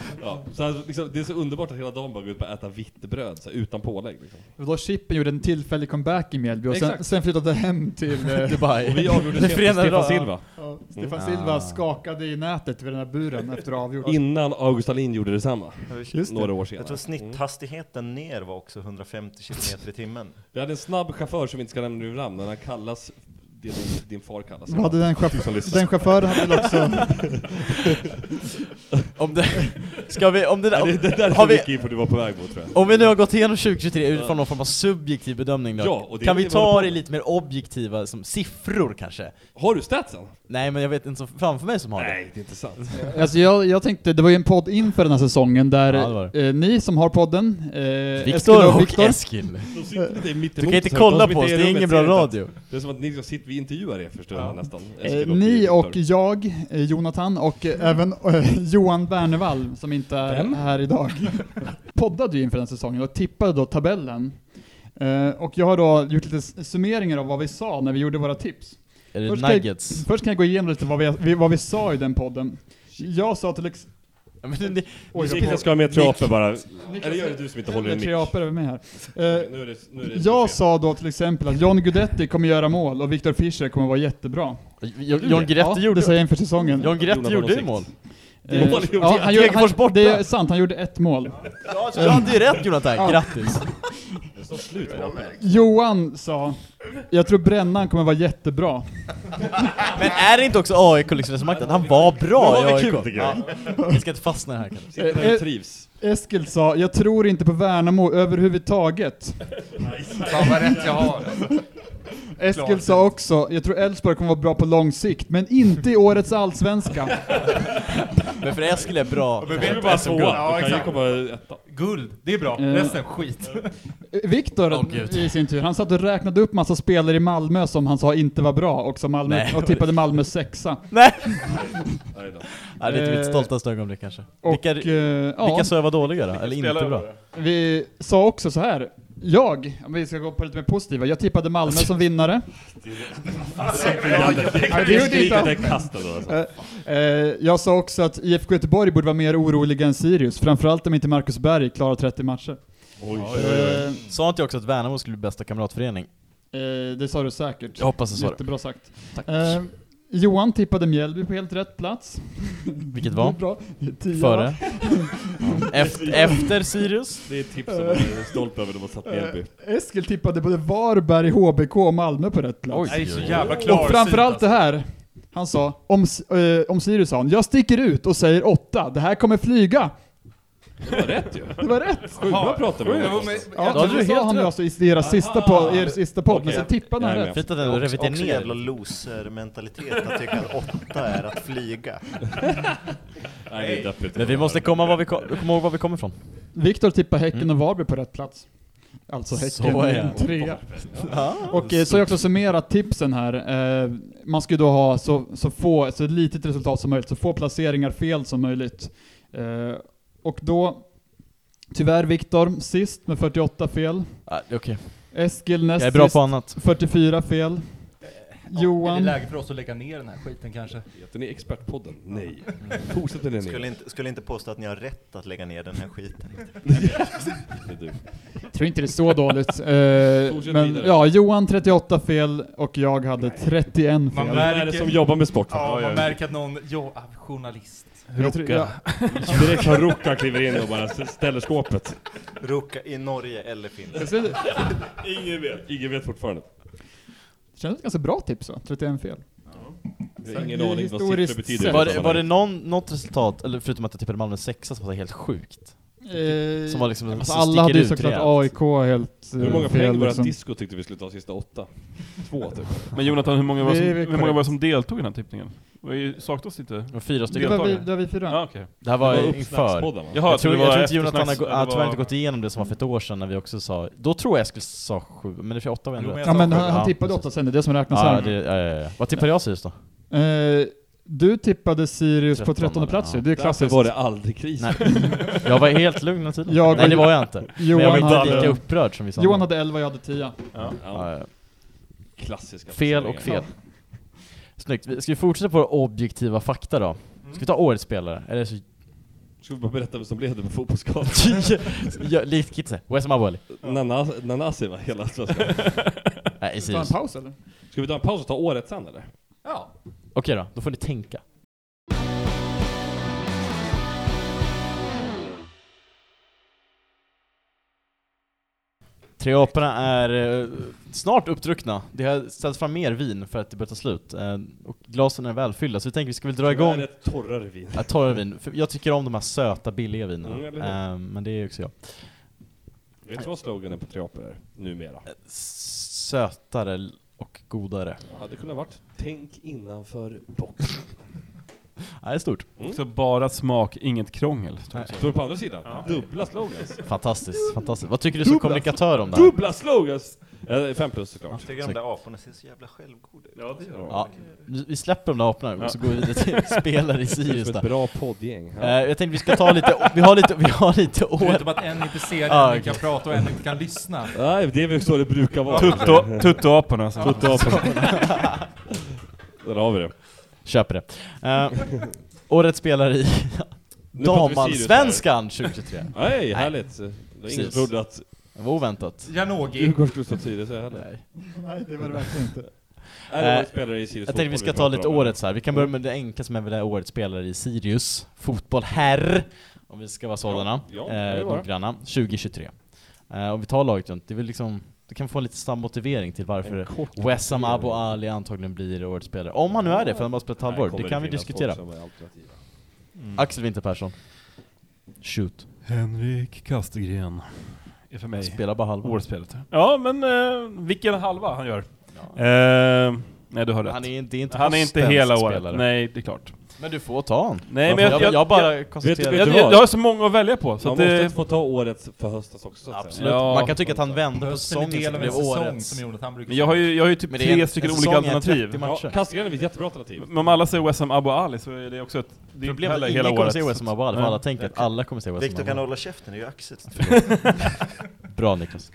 [SPEAKER 7] ja, så alltså, liksom, det är så underbart att hela dagen bara gå ut och äta vitt bröd så här, utan pålägg. Liksom.
[SPEAKER 1] Och då Chippen gjorde en tillfällig comeback i Mjällby och sen,
[SPEAKER 7] Exakt.
[SPEAKER 1] sen flyttade hem till eh,
[SPEAKER 7] Och
[SPEAKER 3] Dubai.
[SPEAKER 7] vi avgjorde
[SPEAKER 3] Det
[SPEAKER 7] Stefan-
[SPEAKER 3] förenade
[SPEAKER 7] Stefan
[SPEAKER 3] då.
[SPEAKER 7] Silva.
[SPEAKER 1] ja, Stefan Silva skakade i nätet vid den här buren efter avgjort.
[SPEAKER 7] Innan August Alin gjorde detsamma.
[SPEAKER 1] Just det.
[SPEAKER 7] Några år
[SPEAKER 6] Jag
[SPEAKER 7] senare.
[SPEAKER 6] tror snitthastigheten ner var också 150 km i timmen.
[SPEAKER 7] Vi hade en snabb chaufför som vi inte ska nämna nu namn, men han kallas... Det är din, din far kallas.
[SPEAKER 1] Vad hade den, chauff- den chauffören hade väl också...
[SPEAKER 3] Om det... Ska vi... Om det där...
[SPEAKER 7] Ja, det, det där är
[SPEAKER 3] har
[SPEAKER 7] så
[SPEAKER 3] vi,
[SPEAKER 7] mycket info du var på väg mot tror jag.
[SPEAKER 3] Om vi nu har gått igenom 2023 utifrån någon form av subjektiv bedömning då,
[SPEAKER 7] Ja, och det är
[SPEAKER 3] kan
[SPEAKER 7] det
[SPEAKER 3] vi
[SPEAKER 7] vi håller
[SPEAKER 3] ta
[SPEAKER 7] på
[SPEAKER 3] det
[SPEAKER 7] med.
[SPEAKER 3] lite mer objektiva, som siffror kanske?
[SPEAKER 7] Har du statsen?
[SPEAKER 3] Nej men jag vet inte så framför mig som har det.
[SPEAKER 7] Nej, det är inte sant.
[SPEAKER 1] Alltså jag, jag tänkte, det var ju en podd inför den här säsongen där
[SPEAKER 3] Ja, det var
[SPEAKER 1] eh, ni som har podden, eh, Eskil
[SPEAKER 3] Viktor
[SPEAKER 1] och
[SPEAKER 3] och
[SPEAKER 1] Viktor,
[SPEAKER 3] Eskil.
[SPEAKER 7] De sitter lite mitt
[SPEAKER 3] Du
[SPEAKER 7] emot
[SPEAKER 3] kan inte
[SPEAKER 7] så här, de
[SPEAKER 3] kolla
[SPEAKER 7] som
[SPEAKER 3] på oss,
[SPEAKER 7] inte är i
[SPEAKER 3] det är ingen
[SPEAKER 7] rummet
[SPEAKER 3] bra
[SPEAKER 7] ser inte.
[SPEAKER 3] radio.
[SPEAKER 7] Det är som att ni sitter, vi intervjuar er för stunden nästan.
[SPEAKER 1] eh,
[SPEAKER 7] Eskil
[SPEAKER 1] ni
[SPEAKER 7] Viktor.
[SPEAKER 1] och jag, eh, Jonathan och eh, även eh, Johan Bernevall som inte är
[SPEAKER 7] Vem?
[SPEAKER 1] här idag, poddade ju inför den säsongen och tippade då tabellen. Eh, och jag har då gjort lite s- summeringar av vad vi sa när vi gjorde våra tips.
[SPEAKER 3] Är det
[SPEAKER 1] Först kan jag-
[SPEAKER 3] Nuggets?
[SPEAKER 1] Först kan jag gå igenom lite vad vi, vi, vad vi sa i den podden. Jag sa till exempel...
[SPEAKER 3] Ja, men ni,
[SPEAKER 1] Oj, jag Eh,
[SPEAKER 7] Niklas ska ha med triaper bara. Eller gör det du som inte håller i en mick.
[SPEAKER 1] tre apor över mig här. Eh,
[SPEAKER 7] Nu är det, nu är det
[SPEAKER 1] Jag
[SPEAKER 7] fel.
[SPEAKER 1] sa då till exempel att John Guidetti kommer göra mål och Victor Fischer kommer vara jättebra.
[SPEAKER 3] J- John Guidetti
[SPEAKER 1] ja, det säger
[SPEAKER 3] gjorde
[SPEAKER 1] jag inför säsongen.
[SPEAKER 3] John Guidetti
[SPEAKER 7] Jonas
[SPEAKER 3] gjorde ju
[SPEAKER 7] Olsson.
[SPEAKER 3] mål.
[SPEAKER 1] Eh,
[SPEAKER 7] Mål gjorde
[SPEAKER 1] ja,
[SPEAKER 7] jag.
[SPEAKER 1] han, gjorde-
[SPEAKER 3] Degerfors
[SPEAKER 1] han,
[SPEAKER 3] borta.
[SPEAKER 1] det är sant, han gjorde ett mål.
[SPEAKER 3] Ja, du hade ju rätt Jonathan,
[SPEAKER 1] Ja.
[SPEAKER 3] grattis!
[SPEAKER 4] som slutvapen.
[SPEAKER 1] Johan sa, jag tror brännan kommer vara jättebra.
[SPEAKER 3] Men är det inte också AIK-resonemanget? Han var bra i AIK.
[SPEAKER 6] tycker
[SPEAKER 3] Ja. Vi ska inte fastna i det här kanske.
[SPEAKER 4] Sitter
[SPEAKER 1] eh,
[SPEAKER 4] där och trivs.
[SPEAKER 1] Eskil sa, jag tror inte på Värnamo överhuvudtaget.
[SPEAKER 9] Fan vad rätt jag har.
[SPEAKER 1] Eskil sa också, jag tror Elfsborg kommer vara bra på lång sikt, men inte i årets allsvenska.
[SPEAKER 3] Men för Eskil är bra.
[SPEAKER 2] Men vi är bara tvåa.
[SPEAKER 9] Ja,
[SPEAKER 7] kan ju
[SPEAKER 9] exakt.
[SPEAKER 7] komma etta.
[SPEAKER 2] Guld, det är bra.
[SPEAKER 1] Eh.
[SPEAKER 2] Resten skit.
[SPEAKER 1] Viktor
[SPEAKER 3] Åh, gud.
[SPEAKER 1] i sin tur, han satt och räknade upp massa spelare i Malmö som han sa inte var bra, och, som Malmö,
[SPEAKER 3] Nej.
[SPEAKER 1] och tippade Malmö sexa.
[SPEAKER 7] Nej då.
[SPEAKER 3] Ja, det är inte mitt
[SPEAKER 1] Eh,
[SPEAKER 3] stoltaste ögonblick kanske.
[SPEAKER 1] Och,
[SPEAKER 3] Vilka,
[SPEAKER 1] eh, ja,
[SPEAKER 3] vilka sa jag var dåliga då? Eller inte
[SPEAKER 5] Spelare
[SPEAKER 3] bra?
[SPEAKER 5] var det.
[SPEAKER 1] vi sa också så här. Jag, om vi ska gå på lite mer positiva, jag tippade Malmö som vinnare. Nej, det gjorde inte han.
[SPEAKER 7] alltså.
[SPEAKER 1] Eh, Jag sa också att IFK Göteborg borde vara mer oroliga än Sirius, framförallt om inte Marcus Berg klarar 30 matcher. Eh,
[SPEAKER 3] Sa inte jag också att Värnamo skulle bli bästa kamratförening?
[SPEAKER 1] eh, Det sa du säkert.
[SPEAKER 3] Jag hoppas jag sa det.
[SPEAKER 1] Jättebra sagt. Eh, Johan tippade Mjällby på helt rätt plats.
[SPEAKER 3] Vilket
[SPEAKER 1] Det är
[SPEAKER 3] var?
[SPEAKER 1] bra. Tio, va?
[SPEAKER 3] Före? efter, efter Sirius?
[SPEAKER 7] Det är ett tips som man är stolt över när man satt Mjällby.
[SPEAKER 1] Eh, Eskil tippade både Varberg, HBK och Malmö på rätt plats.
[SPEAKER 2] Det är så jävla
[SPEAKER 1] och framförallt
[SPEAKER 2] alltså.
[SPEAKER 3] alltså.
[SPEAKER 1] det här. Han sa, om, S- eh, om Sirius sa han, jag sticker ut och säger åtta, det här kommer flyga.
[SPEAKER 7] Det var rätt ju.
[SPEAKER 1] Det var rätt!
[SPEAKER 7] Sjukt bra pratade vi om.
[SPEAKER 1] Ja,
[SPEAKER 3] hade du
[SPEAKER 1] det
[SPEAKER 3] helt
[SPEAKER 1] sa han ju
[SPEAKER 3] rätt.
[SPEAKER 1] alltså i deras sista podd, er sista podd, men sen tippade han
[SPEAKER 7] Jag är
[SPEAKER 1] rätt.
[SPEAKER 3] Fint att ändå
[SPEAKER 6] Också,
[SPEAKER 3] reviderar
[SPEAKER 6] också
[SPEAKER 3] ner.
[SPEAKER 6] jävla loser-mentalitet att tycka att åtta är att flyga.
[SPEAKER 7] Nej, det är deppigt.
[SPEAKER 3] Men vi måste komma, var vi kom, komma ihåg var vi kommer ifrån.
[SPEAKER 1] Viktor tippade Häcken och Varberg på rätt plats. Alltså Häcken
[SPEAKER 3] Mm. Så är
[SPEAKER 1] en
[SPEAKER 3] det.
[SPEAKER 1] trea. Och eh, så har jag också summerat tipsen här. Eh, Man ska ju då ha så, så, få, så litet resultat som möjligt, så få placeringar fel som möjligt. Eh, Och då, tyvärr Viktor, sist med 48 fel.
[SPEAKER 3] Ah, Okej,
[SPEAKER 1] Eskil
[SPEAKER 3] jag
[SPEAKER 1] näst
[SPEAKER 3] är bra
[SPEAKER 1] sist,
[SPEAKER 3] på annat.
[SPEAKER 1] 44
[SPEAKER 7] Eh,
[SPEAKER 1] fel.
[SPEAKER 2] Är det
[SPEAKER 1] Johan,
[SPEAKER 2] läge för oss att lägga ner den här skiten kanske?
[SPEAKER 7] Heter ni Expertpodden? Nej. Fortsätt med det
[SPEAKER 6] Skulle
[SPEAKER 7] ni.
[SPEAKER 6] inte, skulle inte påstå att ni har rätt att lägga ner den här skiten.
[SPEAKER 7] Det är du.
[SPEAKER 1] jag tror inte det är så dåligt. Eh,
[SPEAKER 7] Fortsätt
[SPEAKER 1] Men
[SPEAKER 7] vidare.
[SPEAKER 1] ja, Johan 38 fel och jag hade 31
[SPEAKER 2] Man
[SPEAKER 1] fel.
[SPEAKER 7] Vem är det som jobbar med sport?
[SPEAKER 2] Ja, man märker att någon, ja, ah, journalist.
[SPEAKER 1] Jag tror- ja.
[SPEAKER 7] Direkt från Rucka kliver in och bara ställer skåpet.
[SPEAKER 6] Ruka i Norge eller Finland.
[SPEAKER 1] Jag ser- Det
[SPEAKER 7] Ingen vet. Ingen vet fortfarande.
[SPEAKER 1] känns ganska bra tips va? 31 fel.
[SPEAKER 7] Vi har ingen
[SPEAKER 1] Det är
[SPEAKER 7] aning vad
[SPEAKER 1] historiskt
[SPEAKER 7] siffror betyder. i
[SPEAKER 3] Var det,
[SPEAKER 7] sammanhanget.
[SPEAKER 3] var det någon, något resultat, eller förutom att jag tippade Malmö sexa som var helt sjukt? Som var liksom,
[SPEAKER 1] Alltså
[SPEAKER 3] som
[SPEAKER 1] alla hade
[SPEAKER 3] sticker
[SPEAKER 1] ju
[SPEAKER 3] ut
[SPEAKER 1] såklart
[SPEAKER 3] rejält.
[SPEAKER 1] AIK helt eh,
[SPEAKER 7] Eh, Hur många
[SPEAKER 1] fel
[SPEAKER 7] poäng var det
[SPEAKER 1] liksom.
[SPEAKER 7] att disco tyckte vi skulle ta sista åtta? Två typ.
[SPEAKER 5] Men Jonathan, hur många var det som,
[SPEAKER 1] Det är väl
[SPEAKER 5] hur många var det
[SPEAKER 1] korrekt.
[SPEAKER 5] som deltog i den här tippningen? Vi saknas inte?
[SPEAKER 3] Det var fyra
[SPEAKER 1] Det
[SPEAKER 5] Det
[SPEAKER 3] stycken.
[SPEAKER 1] var vi,
[SPEAKER 5] deltagare.
[SPEAKER 1] det var vi fyra.
[SPEAKER 5] Ja, okej.
[SPEAKER 3] Det här var inför.
[SPEAKER 7] Uppsnackspodden, va?
[SPEAKER 5] Jaha,
[SPEAKER 3] Jag tror, jag tror inte
[SPEAKER 5] eftersnacks-
[SPEAKER 3] Jonathan har gå-
[SPEAKER 5] eller
[SPEAKER 3] ah,
[SPEAKER 5] vad-
[SPEAKER 3] tyvärr inte gått igenom det som var för ett år sedan när vi också sa, då tror jag Eskil sa sju, men det för åtta var ändå
[SPEAKER 2] Jo, men
[SPEAKER 3] rätt.
[SPEAKER 1] Ja men han,
[SPEAKER 3] Ja,
[SPEAKER 1] han tippade
[SPEAKER 3] precis.
[SPEAKER 1] åtta sen, det är det som räknas
[SPEAKER 3] Ja,
[SPEAKER 1] här.
[SPEAKER 3] det, ja, ja, ja. Vad tippade jag Sirius då?
[SPEAKER 1] Eh, du tippade Sirius på
[SPEAKER 3] Trettonde,
[SPEAKER 1] trettonde plats ju,
[SPEAKER 3] ja.
[SPEAKER 1] det är
[SPEAKER 7] Därför
[SPEAKER 1] klassiskt.
[SPEAKER 7] var det aldrig kris.
[SPEAKER 3] Nej. Jag var helt lugn hela tiden.
[SPEAKER 1] Jag-
[SPEAKER 3] Nej det var jag inte. Men jag var
[SPEAKER 1] Johan,
[SPEAKER 3] inte lika
[SPEAKER 1] hade,
[SPEAKER 3] upprörd som vi sa.
[SPEAKER 1] Johan hade elva, jag hade tio.
[SPEAKER 7] Ja,
[SPEAKER 3] Ja, ja.
[SPEAKER 7] klassiska
[SPEAKER 3] Fel och
[SPEAKER 7] placeringar.
[SPEAKER 3] fel. Snyggt. Vi- Ska vi fortsätta på objektiva fakta då? Ska vi ta årets spelare? Eller så...
[SPEAKER 7] Ska vi bara berätta vem som blev det på fotbollsskalan?
[SPEAKER 3] Ja, Likt Kitse. Wesam Abouali.
[SPEAKER 7] Nana- Nanasi var hela svenska.
[SPEAKER 3] Nej,
[SPEAKER 1] Ta en
[SPEAKER 3] Sirius. Okej
[SPEAKER 1] paus eller?
[SPEAKER 7] Ska vi ta en paus och ta året sen eller?
[SPEAKER 2] Ja.
[SPEAKER 3] då, då får ni tänka. Tre aporna är eh, snart uppdruckna. Det har ställts fram mer vin för att det börjar ta slut. Eh, och glasen är välfyllda, så vi tänker vi ska väl dra igång...
[SPEAKER 7] Det är ett torrare vin.
[SPEAKER 3] Ja, torra vin. För jag tycker om de här söta, billiga vinerna.
[SPEAKER 7] Mm, eller hur?
[SPEAKER 3] Eh, men det är ju också jag.
[SPEAKER 7] Vet du vad sloganen på Triapor är numera?
[SPEAKER 3] Sötare och godare.
[SPEAKER 7] Hade kunnat varit Tänk innanför boxen.
[SPEAKER 3] Ja, det är stort.
[SPEAKER 5] Också bara smak, inget krångel. står det.
[SPEAKER 7] Står det på andra sidan? Dubbla slogans.
[SPEAKER 3] Fantastiskt, fantastiskt. Vad tycker du som
[SPEAKER 7] Dubbla.
[SPEAKER 3] kommunikatör om det här?
[SPEAKER 7] Dubbla slogans! Eh, Fem plus såklart.
[SPEAKER 6] Jag tycker de där aporna ser så jävla självgoda ut.
[SPEAKER 7] Ja, det gör
[SPEAKER 3] Ja, vi vi släpper de där aporna och så går vi vidare till spelare i Sirius
[SPEAKER 7] Som
[SPEAKER 3] där.
[SPEAKER 7] ett bra poddgäng.
[SPEAKER 3] Eh, jag tänkte vi ska ta lite, vi har lite, vi har lite år.
[SPEAKER 2] Förutom att en inte ser
[SPEAKER 3] Ja,
[SPEAKER 2] den, en kan
[SPEAKER 3] Ah, okej.
[SPEAKER 2] prata och en inte kan lyssna.
[SPEAKER 7] Nej, det är väl så det brukar vara.
[SPEAKER 5] Tutto- Tuttoaporna. alltså.
[SPEAKER 7] Där har vi det.
[SPEAKER 3] Köper det. Eh, årets spelare i
[SPEAKER 7] Nu pratar vi Sirius
[SPEAKER 3] damallsvenskan 2023.
[SPEAKER 7] här. Nej, härligt. Det var ingen som
[SPEAKER 3] Precis.
[SPEAKER 7] trodde att
[SPEAKER 3] Det var oväntat.
[SPEAKER 2] Janogy.
[SPEAKER 7] Djurgården skulle ta Tyresö heller.
[SPEAKER 3] Nej.
[SPEAKER 1] Nej det var det verkligen inte.
[SPEAKER 7] Nej, det var spelare i Sirius
[SPEAKER 3] Jag tänkte vi ska
[SPEAKER 7] fotboll
[SPEAKER 3] ta
[SPEAKER 7] pratar
[SPEAKER 3] lite
[SPEAKER 7] om.
[SPEAKER 3] årets här, vi kan börja med det enkla som är väl det här årets spelare i Sirius fotboll herr, om vi ska vara sådana,
[SPEAKER 7] ja, det
[SPEAKER 3] eh,
[SPEAKER 7] var det.
[SPEAKER 3] noggranna, 2023. Eh, om vi tar laget runt, det, är väl liksom, det kan få lite snabb motivering till varför
[SPEAKER 7] kort
[SPEAKER 3] Wessam Abu
[SPEAKER 7] motivering.
[SPEAKER 3] Ali antagligen blir årets spelare. Om han nu är det, för han har bara spelat ett halvår.
[SPEAKER 7] Här kommer
[SPEAKER 3] Det kan vi
[SPEAKER 7] finnas Mm.
[SPEAKER 3] diskutera.
[SPEAKER 7] folk som är alternativa.
[SPEAKER 3] Axel Winter Persson. Shoot.
[SPEAKER 5] Henrik Kastegren. Är för mig
[SPEAKER 3] Spelar bara halva.
[SPEAKER 5] årsspelet. Ja, men eh, vilken halva han gör. Eh, nej, du har rätt.
[SPEAKER 3] Han är, det är inte
[SPEAKER 5] Han är inte
[SPEAKER 3] höstens
[SPEAKER 5] hela året.
[SPEAKER 3] spelare.
[SPEAKER 5] Nej, det är klart.
[SPEAKER 3] Men du får ta honom.
[SPEAKER 5] Nej, men jag, jag,
[SPEAKER 3] jag bara konstaterar...
[SPEAKER 5] jag, jag, jag har så många att välja på. Så
[SPEAKER 7] Man
[SPEAKER 5] att
[SPEAKER 7] måste
[SPEAKER 5] det,
[SPEAKER 7] inte få ta årets för höstas också. så att
[SPEAKER 3] Absolut.
[SPEAKER 7] säga.
[SPEAKER 5] Ja.
[SPEAKER 3] Man kan tycka att han vände på
[SPEAKER 2] Hösten är
[SPEAKER 3] säsongen så
[SPEAKER 2] del
[SPEAKER 3] det
[SPEAKER 2] av en
[SPEAKER 3] blev
[SPEAKER 2] säsong
[SPEAKER 3] årets.
[SPEAKER 2] som Jonathan brukar
[SPEAKER 5] men jag har ju, jag har ju typ
[SPEAKER 3] Men det är en-
[SPEAKER 5] tre
[SPEAKER 3] en
[SPEAKER 5] stycken
[SPEAKER 3] säsong
[SPEAKER 5] olika
[SPEAKER 3] är 30
[SPEAKER 5] alternativ.
[SPEAKER 3] matcher.
[SPEAKER 7] Ja, Kastegren är väl ett jättebra alternativ.
[SPEAKER 5] Men om alla säger Wessam Abu Ali så är det också ett... Det är inte
[SPEAKER 3] Problemet är
[SPEAKER 5] heller
[SPEAKER 3] att
[SPEAKER 5] hela
[SPEAKER 3] ingen kommer
[SPEAKER 5] året.
[SPEAKER 3] säga Wessam Abu Ali, för
[SPEAKER 5] Ja.
[SPEAKER 3] alla tänker att alla kommer säga Wessam
[SPEAKER 6] Viktor
[SPEAKER 3] Abu
[SPEAKER 6] kan
[SPEAKER 3] Ali.
[SPEAKER 6] hålla käften, det är ju Axel.
[SPEAKER 3] Bra Niklas.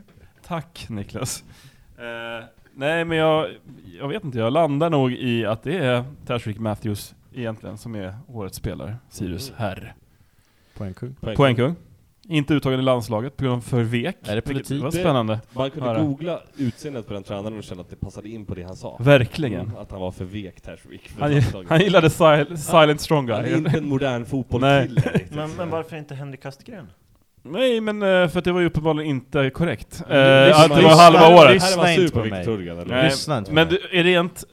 [SPEAKER 5] Tack Niklas. Eh, nej men jag, jag vet inte, jag landar nog i att det är Tashreeq Matthews egentligen som är årets spelare, Sirius
[SPEAKER 3] Mm.
[SPEAKER 5] herr.
[SPEAKER 3] Poängkung.
[SPEAKER 5] Poängkung. Inte uttagen i landslaget på grund av förvek.
[SPEAKER 3] Är det
[SPEAKER 5] vilket
[SPEAKER 3] politik?
[SPEAKER 5] var spännande.
[SPEAKER 7] Man kunde
[SPEAKER 5] Höra.
[SPEAKER 7] googla utseendet på den tränaren och känna att det passade in på det han sa. Mm,
[SPEAKER 5] Verkligen.
[SPEAKER 7] Att han var för vek Tashreeq. för
[SPEAKER 5] Han,
[SPEAKER 7] landslaget.
[SPEAKER 5] han gillade sil Silent Strong
[SPEAKER 7] Han är inte
[SPEAKER 5] Guy.
[SPEAKER 7] en modern fotbollskille riktigt.
[SPEAKER 6] Men, men varför inte Henrik Kastegren?
[SPEAKER 5] Nej men eh, för att det var ju uppenbarligen inte korrekt.
[SPEAKER 7] Lyssna-
[SPEAKER 5] Eh, att det var
[SPEAKER 7] lyssna-
[SPEAKER 5] halva året.
[SPEAKER 7] här
[SPEAKER 3] Lyssna
[SPEAKER 7] var han sur
[SPEAKER 3] inte
[SPEAKER 7] på
[SPEAKER 3] på
[SPEAKER 7] Viktor
[SPEAKER 3] mig.
[SPEAKER 7] Turgan, eller?
[SPEAKER 5] Nej,
[SPEAKER 3] Lyssna inte på
[SPEAKER 5] Men
[SPEAKER 3] mig.
[SPEAKER 5] du, är rent,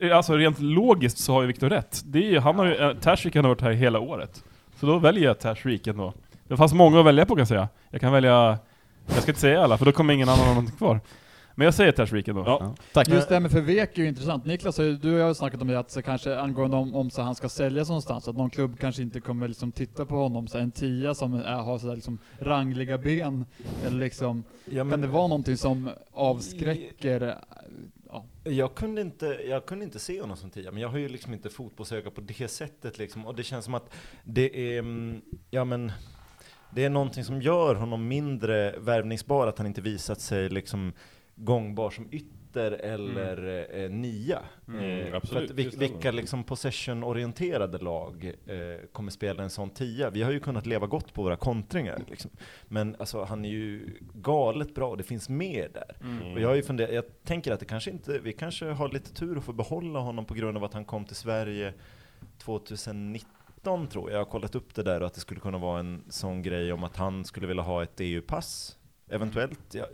[SPEAKER 5] eh, alltså rent logiskt så har ju Viktor rätt. Det är ju, han har ju, eh, Tashreeq har varit här hela året. Så då väljer jag Tashreeq ändå. Det fanns många att välja på kan jag säga. Jag kan välja, jag ska inte säga alla för då kommer ingen annan ha någonting kvar. Men jag säger Tashreeq ändå.
[SPEAKER 7] Ja.
[SPEAKER 3] Tack.
[SPEAKER 1] Just det här med förvek är ju intressant. Niklas, har ju- du och jag har snackat om det att så kanske angående om, om så han ska säljas någonstans, att någon klubb kanske inte kommer liksom titta på honom, så här, en tia som är, har så här liksom rangliga ben, eller liksom,
[SPEAKER 6] Ja,
[SPEAKER 1] kan det vara någonting som avskräcker? eh, Ja.
[SPEAKER 6] Jag kunde, inte, jag kunde inte se honom som tia, men jag har ju liksom inte fotbollsöga på det sättet liksom. Och det känns som att det är, mm, ja men, det är någonting som gör honom mindre värvningsbar, att han inte visat sig liksom gångbar som ytter eller eh, nia.
[SPEAKER 5] Mm,
[SPEAKER 6] Eh, för
[SPEAKER 7] absolut,
[SPEAKER 6] att vil,
[SPEAKER 7] det stämmer.
[SPEAKER 6] vilka liksom possession-orienterade lag eh, kommer spela en sån tia? Vi har ju kunnat leva gott på våra kontringar. Liksom. Men alltså, han är ju galet bra och det finns mer där.
[SPEAKER 7] Mm.
[SPEAKER 6] Och jag, har ju funderat, jag tänker att det kanske inte, vi kanske har lite tur att få behålla honom på grund av att han kom till Sverige 2019 tror jag. Jag har kollat upp det där och att det skulle kunna vara en sån grej om att han skulle vilja ha ett EU-pass. Eventuellt. Jag,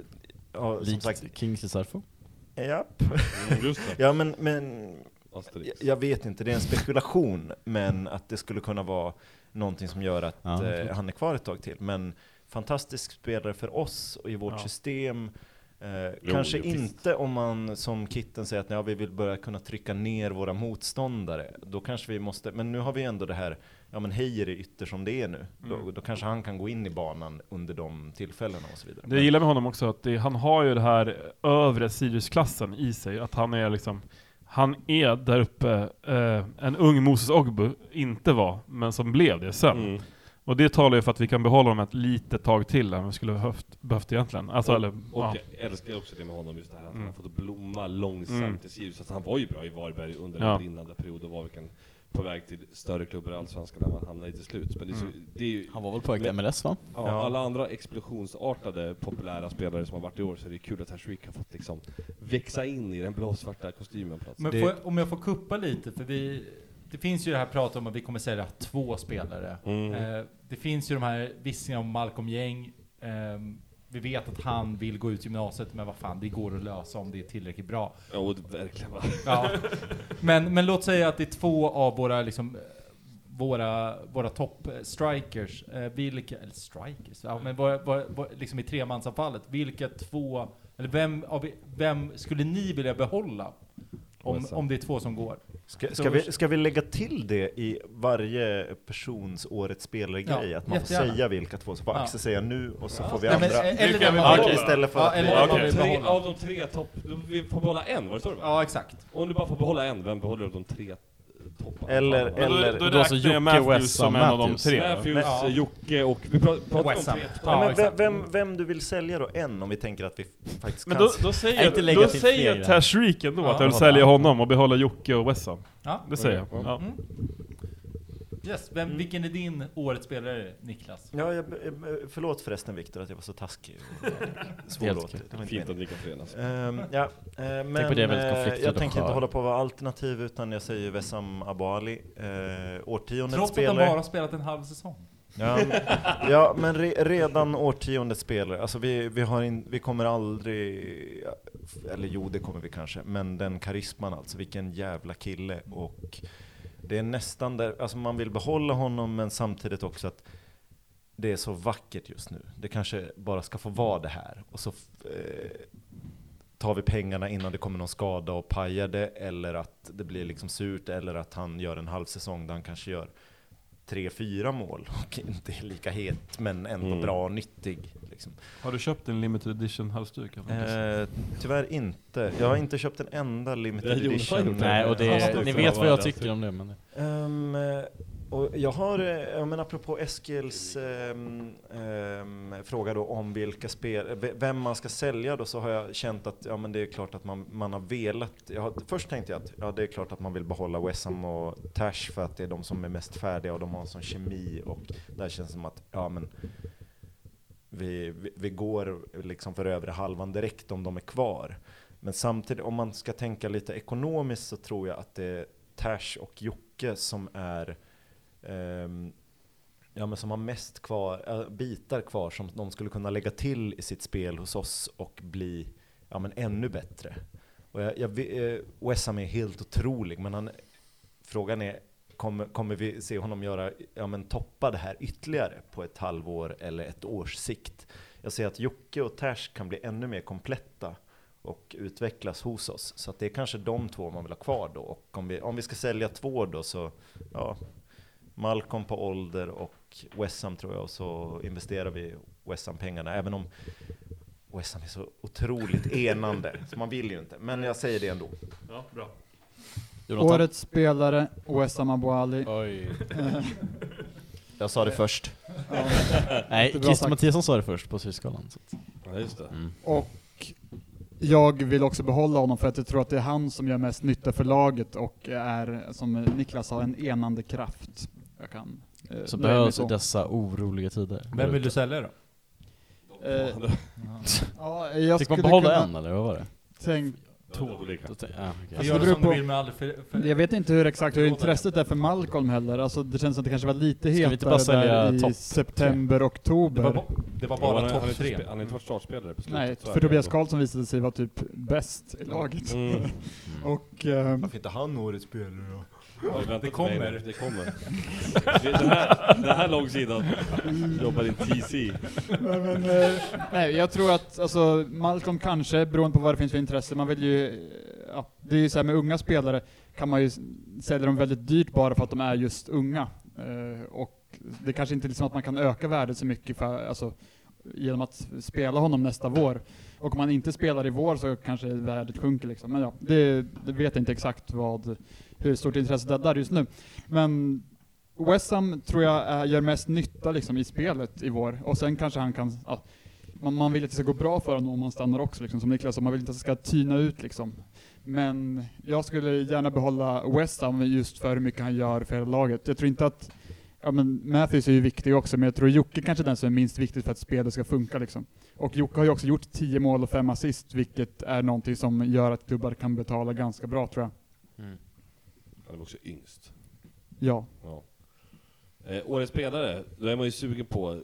[SPEAKER 6] ja, som sagt,
[SPEAKER 3] Likt Kingsley Sarfo.
[SPEAKER 6] japp.
[SPEAKER 7] Mm, just det.
[SPEAKER 6] ja men, men jag,
[SPEAKER 7] Asterix.
[SPEAKER 6] jag vet inte, det är en spekulation, men att det skulle kunna vara någonting som gör att
[SPEAKER 3] Ja, det är
[SPEAKER 6] eh, han är kvar ett tag till. Men fantastisk spelare för oss och i vårt
[SPEAKER 5] Ja.
[SPEAKER 6] system. Eh,
[SPEAKER 7] Jo,
[SPEAKER 6] kanske
[SPEAKER 7] jo, visst.
[SPEAKER 6] inte om man som Kitten säger att ja, vi vill börja kunna trycka ner våra motståndare. Då kanske vi måste, men nu har vi ändå det här, ja men Heijer är ytter som det är nu. Då, då kanske han kan gå in i banan under de tillfällena och så vidare.
[SPEAKER 5] Det jag gillar med honom också att det, han har ju det här övre Siriusklassen i sig, att han är liksom han är där uppe, eh, en ung Moses Ogbu inte var, men som blev det sen.
[SPEAKER 7] Mm.
[SPEAKER 5] Och det talar ju för att vi kan behålla dem ett litet tag till än vad vi skulle behövt, behövt egentligen. Alltså, eller,
[SPEAKER 7] Och
[SPEAKER 5] ja.
[SPEAKER 7] jag älskar också det med honom, just det här att han
[SPEAKER 5] Mm.
[SPEAKER 7] har fått blomma långsamt
[SPEAKER 5] Mm.
[SPEAKER 7] i Sirius. Alltså, han var ju bra i Varberg under
[SPEAKER 5] Ja.
[SPEAKER 7] en brinnande period och var verkligen på väg till större klubbar i Allsvenskan när man hamnade i till slut. Men det är, så,
[SPEAKER 5] Mm.
[SPEAKER 7] det är ju,
[SPEAKER 3] Han var väl på väg till MLS va?
[SPEAKER 7] ja, alla andra explosionsartade populära spelare som har varit i år så är det kul att Tashreeq har fått liksom växa in i den blåsvarta kostymen på något sätt.
[SPEAKER 2] Men får, jag- om jag får kuppa lite, för vi, det finns ju det här pratet om att vi kommer sälja två spelare.
[SPEAKER 5] Mm.
[SPEAKER 2] Eh, det finns ju de här vissningarna om Malcolm Gäng. Ehm, vi vet att han vill gå ut gymnasiet, men vad fan, det går att lösa om det är tillräckligt bra.
[SPEAKER 7] Ja, och det- verkligen. va?
[SPEAKER 2] Ja. Men, men låt säga att det är två av våra, liksom, eh, våra, våra topp-strikers, eh, vilka, eller strikers, ja, men våra, våra, våra, liksom i tremansanfallet, vilka två, eller vem, av, vem skulle ni vilja behålla? Om, om det är två som går.
[SPEAKER 6] Ska, ska, vi, ska vi lägga till det i varje persons årets spelare-grej?
[SPEAKER 2] Ja,
[SPEAKER 6] att man får
[SPEAKER 2] jättegärna.
[SPEAKER 6] säga vilka två, så får
[SPEAKER 2] Ja.
[SPEAKER 6] Axel säga nu och så får vi
[SPEAKER 2] Nej,
[SPEAKER 6] andra.
[SPEAKER 2] men, eh, eller
[SPEAKER 5] Vilka
[SPEAKER 2] vem
[SPEAKER 5] vi
[SPEAKER 2] man
[SPEAKER 5] behåller?
[SPEAKER 2] vill-
[SPEAKER 6] Istället för
[SPEAKER 2] ja,
[SPEAKER 6] att vi-
[SPEAKER 2] eller
[SPEAKER 5] Ja,
[SPEAKER 2] vem man
[SPEAKER 5] okej.
[SPEAKER 2] vill
[SPEAKER 7] Tre
[SPEAKER 2] behålla.
[SPEAKER 7] av de tre topp... Vi får behålla en, var det så det var?
[SPEAKER 2] Ja, exakt.
[SPEAKER 7] Om du bara får behålla en, vem behåller du av de tre topparna?
[SPEAKER 6] Eller-
[SPEAKER 5] Men då,
[SPEAKER 6] eller-
[SPEAKER 5] då,
[SPEAKER 3] då så
[SPEAKER 5] räknar jag
[SPEAKER 3] Jocke
[SPEAKER 5] Matthews
[SPEAKER 3] Wessam
[SPEAKER 5] som en av de
[SPEAKER 3] Matthews.
[SPEAKER 5] tre.
[SPEAKER 7] Matthews,
[SPEAKER 2] Ja.
[SPEAKER 7] Jocke och... Vi pratar, pratar om
[SPEAKER 2] Wessam.
[SPEAKER 7] tre
[SPEAKER 2] Ja,
[SPEAKER 6] Nej, men vem,
[SPEAKER 2] exakt.
[SPEAKER 6] vem, vem du vill sälja då? En, om vi tänker att vi faktiskt
[SPEAKER 5] Men
[SPEAKER 6] kan
[SPEAKER 5] då, då säger
[SPEAKER 3] Nej, inte
[SPEAKER 5] jag,
[SPEAKER 3] lägga
[SPEAKER 5] då
[SPEAKER 3] till
[SPEAKER 5] säger
[SPEAKER 3] fler.
[SPEAKER 5] jag Tashreeq ändå,
[SPEAKER 2] Ja.
[SPEAKER 5] att jag vill sälja honom och behålla Jocke och Wessam.
[SPEAKER 2] Ja.
[SPEAKER 5] Det säger jag. Ja.
[SPEAKER 2] Yes. Vem, Vilken är din årets spelare, Niklas?
[SPEAKER 6] Ja, jag, eh, förlåt förresten Viktor att jag var så taskig och svårlåtig. Det var inte
[SPEAKER 7] Fint
[SPEAKER 6] meningen.
[SPEAKER 7] att dricka fel alltså.
[SPEAKER 6] Ehm, ja, eh, men
[SPEAKER 3] på det, väldigt
[SPEAKER 6] eh,
[SPEAKER 3] konfliktfylld
[SPEAKER 6] jag
[SPEAKER 3] och
[SPEAKER 6] tänker inte
[SPEAKER 3] skör.
[SPEAKER 6] hålla på att vara alternativ utan jag säger Wessam Abali, eh,
[SPEAKER 2] Trots
[SPEAKER 6] årtiondets
[SPEAKER 2] att han
[SPEAKER 6] spelare.
[SPEAKER 2] bara har spelat en halv säsong.
[SPEAKER 6] Ja, men- ja men re, redan årtiondets spelare, alltså vi, vi, har in, vi kommer aldrig, eller jo det kommer vi kanske, men den karisman alltså, vilken jävla kille. Och det är nästan där, alltså man vill behålla honom men samtidigt också att det är så vackert just nu. Det kanske bara ska få vara det här. Och så f- eh, tar vi pengarna innan det kommer någon skada och pajar det, eller att det blir liksom surt, eller att han gör en halv säsong där han kanske gör tre, fyra mål och inte är lika het men ändå
[SPEAKER 7] Mm.
[SPEAKER 6] bra och nyttig. Liksom.
[SPEAKER 5] Har du köpt en limited edition halsduk? eller någonting?
[SPEAKER 6] Eh, tyvärr inte. Jag har inte köpt en enda
[SPEAKER 7] Nej,
[SPEAKER 6] limited
[SPEAKER 7] Jonas har
[SPEAKER 6] edition.
[SPEAKER 7] gjort det.
[SPEAKER 3] Nej, och det,
[SPEAKER 7] Halsduk
[SPEAKER 3] ni
[SPEAKER 7] för
[SPEAKER 3] vet vad jag
[SPEAKER 7] alla.
[SPEAKER 3] tycker om det men...
[SPEAKER 6] Ehm, eh, och jag har, eh, ja, men apropå Eskils ehm, ehm, fråga då om vilka spel, eh, ve- vem man ska sälja då så har jag känt att ja, men det är klart att man, man har velat. Jag har, först tänkte jag att ja, det är klart att man vill behålla Wessam och Tash för att det är de som är mest färdiga och de har en sån kemi och där känns det som att ja, men vi, vi, vi går liksom för övre halvan direkt om de är kvar. Men samtidigt, om man ska tänka lite ekonomiskt så tror jag att det är Tash och Jocke som är ehm, Ja, men som har mest kvar, äh, bitar kvar som de skulle kunna lägga till i sitt spel hos oss och bli ja, men ännu bättre. Och jag, jag, vi- eh, Wessam är helt otrolig, men han, frågan är kommer, kommer vi se honom göra, ja, men toppa det här ytterligare på ett halvår eller ett års sikt? Jag ser att Jocke och Tash kan bli ännu mer kompletta och utvecklas hos oss. Så att det är kanske de två man vill ha kvar då. Och om vi, om vi ska sälja två då så, ja, Malcolm på ålder och Wessam tror jag, och så investerar vi Wessam-pengarna. Även om Wessam är så otroligt enande, så man vill ju inte. Men jag säger det ändå.
[SPEAKER 5] Ja, bra.
[SPEAKER 3] Jonathan?
[SPEAKER 1] Årets spelare, Wessam Abou Ali.
[SPEAKER 3] Oj.
[SPEAKER 6] Jag sa det först.
[SPEAKER 3] Nej,
[SPEAKER 1] Jättebra
[SPEAKER 3] Christer
[SPEAKER 1] sagt.
[SPEAKER 3] Mattiasson sa det först på Syskalan. så att-
[SPEAKER 7] Ja, just det.
[SPEAKER 1] Och jag vill också behålla honom för att jag tror att det är han som gör mest nytta för laget och är, som Niklas sa, en enande kraft. Jag kan, eh,
[SPEAKER 3] Som
[SPEAKER 1] nöja mig
[SPEAKER 3] behövs i
[SPEAKER 1] så.
[SPEAKER 3] dessa oroliga tider.
[SPEAKER 2] Vem vill du sälja då?
[SPEAKER 1] Eh, ja, jag
[SPEAKER 3] Fick
[SPEAKER 1] skulle
[SPEAKER 3] man behålla
[SPEAKER 1] kunna
[SPEAKER 3] en eller vad var det?
[SPEAKER 1] Tänk,
[SPEAKER 7] Olika.
[SPEAKER 3] Då tänk- ja, okej.
[SPEAKER 2] Får
[SPEAKER 1] det
[SPEAKER 2] göra
[SPEAKER 1] beror
[SPEAKER 2] som du
[SPEAKER 1] på-
[SPEAKER 2] vill men aldrig för, för,
[SPEAKER 1] jag vet inte hur exakt hur intresset är för Malcolm heller, alltså det känns som att det kanske var lite
[SPEAKER 3] vi inte bara
[SPEAKER 1] hetare
[SPEAKER 3] sälja
[SPEAKER 1] där i
[SPEAKER 3] topp
[SPEAKER 1] september,
[SPEAKER 2] det, var,
[SPEAKER 1] oktober.
[SPEAKER 2] ba- det var
[SPEAKER 7] Ja,
[SPEAKER 2] bara
[SPEAKER 7] han, han, är
[SPEAKER 2] topp
[SPEAKER 7] inte
[SPEAKER 2] tre.
[SPEAKER 7] spe- han har inte varit startspelare på slutet.
[SPEAKER 1] Nej,
[SPEAKER 7] så är
[SPEAKER 1] för
[SPEAKER 7] det
[SPEAKER 1] Tobias
[SPEAKER 7] ändå.
[SPEAKER 1] Karlsson visade sig vara typ bäst i laget.
[SPEAKER 7] Mm.
[SPEAKER 1] Och ehm,
[SPEAKER 6] Varför inte han årets spelare då?
[SPEAKER 7] Ja, vänta
[SPEAKER 2] Det
[SPEAKER 7] på mig
[SPEAKER 2] kommer.
[SPEAKER 7] nu. Det kommer. Det- Den här, den här långsidan jobbar in TC.
[SPEAKER 1] Nej, men, eh, nej, jag tror att alltså, Malcolm kanske, beroende på vad det finns för intresse, man vill ju... eh, Ja, det är ju så här med unga spelare, kan man ju s- sälja dem väldigt dyrt bara för att de är just unga. Eh, och det kanske inte är liksom att man kan öka värdet så mycket för, alltså, genom att spela honom nästa vår. Och om man inte spelar i vår så kanske värdet sjunker liksom. Men ja, det, det vet jag inte exakt vad, hur stort intresse det är där just nu. Men Wessam tror jag är, gör mest nytta liksom, i spelet i vår, och sen kanske han kan... Ja, man, man vill att det ska gå bra för honom om han stannar också, liksom, som Niklas sa, man vill inte att det ska tyna ut liksom. Men jag skulle gärna behålla Wessam just för hur mycket han gör för hela laget. Jag tror inte att... Ja, men Matthews är ju viktig också, men jag tror Jocke kanske är den som är minst viktig för att spelet ska funka liksom. Och Jocke har ju också gjort 10 mål och 5 assist, vilket är någonting som gör att klubbar kan betala ganska bra tror jag.
[SPEAKER 7] Han är också yngst.
[SPEAKER 1] Ja.
[SPEAKER 7] Ja. Eh, årets spelare, då är man ju sugen på eh,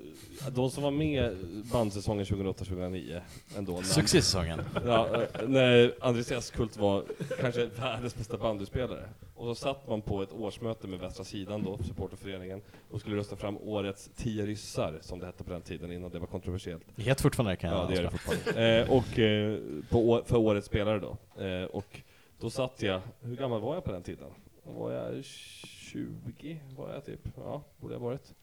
[SPEAKER 7] de som var med bandsäsongen 2008-2009 ändå. när-
[SPEAKER 3] Succésäsongen.
[SPEAKER 7] Ja, eh, när Andres Eskult var kanske världens bästa bandyspelare. Och så satt man på ett årsmöte med Västra Sidan då, supporterföreningen, och skulle rösta fram årets tio ryssar, som det hette på den tiden innan det var kontroversiellt.
[SPEAKER 3] Det heter fortfarande det kan jag
[SPEAKER 7] Ja, det gör det
[SPEAKER 3] avslöja.
[SPEAKER 7] fortfarande. eh, och eh, på, å- för årets spelare då. Eh, och då satt jag, hur gammal var jag på den tiden? Då Var jag 20? Var jag typ? Ja, borde jag varit.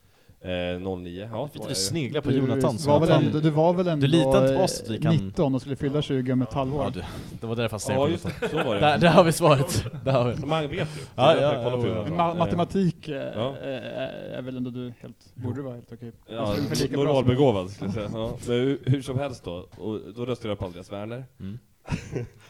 [SPEAKER 7] Eh, 09, ja.
[SPEAKER 3] Du
[SPEAKER 7] var
[SPEAKER 3] du
[SPEAKER 7] jag ju.
[SPEAKER 3] sneglar på Jonathan
[SPEAKER 1] du, var
[SPEAKER 3] som att
[SPEAKER 1] väl
[SPEAKER 3] han...
[SPEAKER 1] ändå, du var väl ändå
[SPEAKER 3] Du litar inte på oss att vi
[SPEAKER 1] eh,
[SPEAKER 3] kan-
[SPEAKER 1] 19 och skulle fylla 20 om ett halvår?
[SPEAKER 3] Ja, du, det var därför han steg
[SPEAKER 7] Ja,
[SPEAKER 3] på
[SPEAKER 7] just
[SPEAKER 3] Jonathan.
[SPEAKER 7] det. Så var
[SPEAKER 3] Där,
[SPEAKER 7] det.
[SPEAKER 3] där har vi svaret. Där har vi.
[SPEAKER 7] Man vet ju.
[SPEAKER 3] Ja,
[SPEAKER 7] Det är därför jag
[SPEAKER 3] ja,
[SPEAKER 7] kollar på
[SPEAKER 3] ja,
[SPEAKER 7] Jonathan.
[SPEAKER 1] Ma
[SPEAKER 7] Eh,
[SPEAKER 1] matematik eh,
[SPEAKER 7] Ja.
[SPEAKER 1] eh, är väl ändå du helt, borde du vara helt okej.
[SPEAKER 7] Ja,
[SPEAKER 1] Alltså, Ungefär lika bra som-
[SPEAKER 7] normalbegåvad skulle jag säga. Ja. Men hur, hur som helst då, och då röstade jag på Andreas Werner.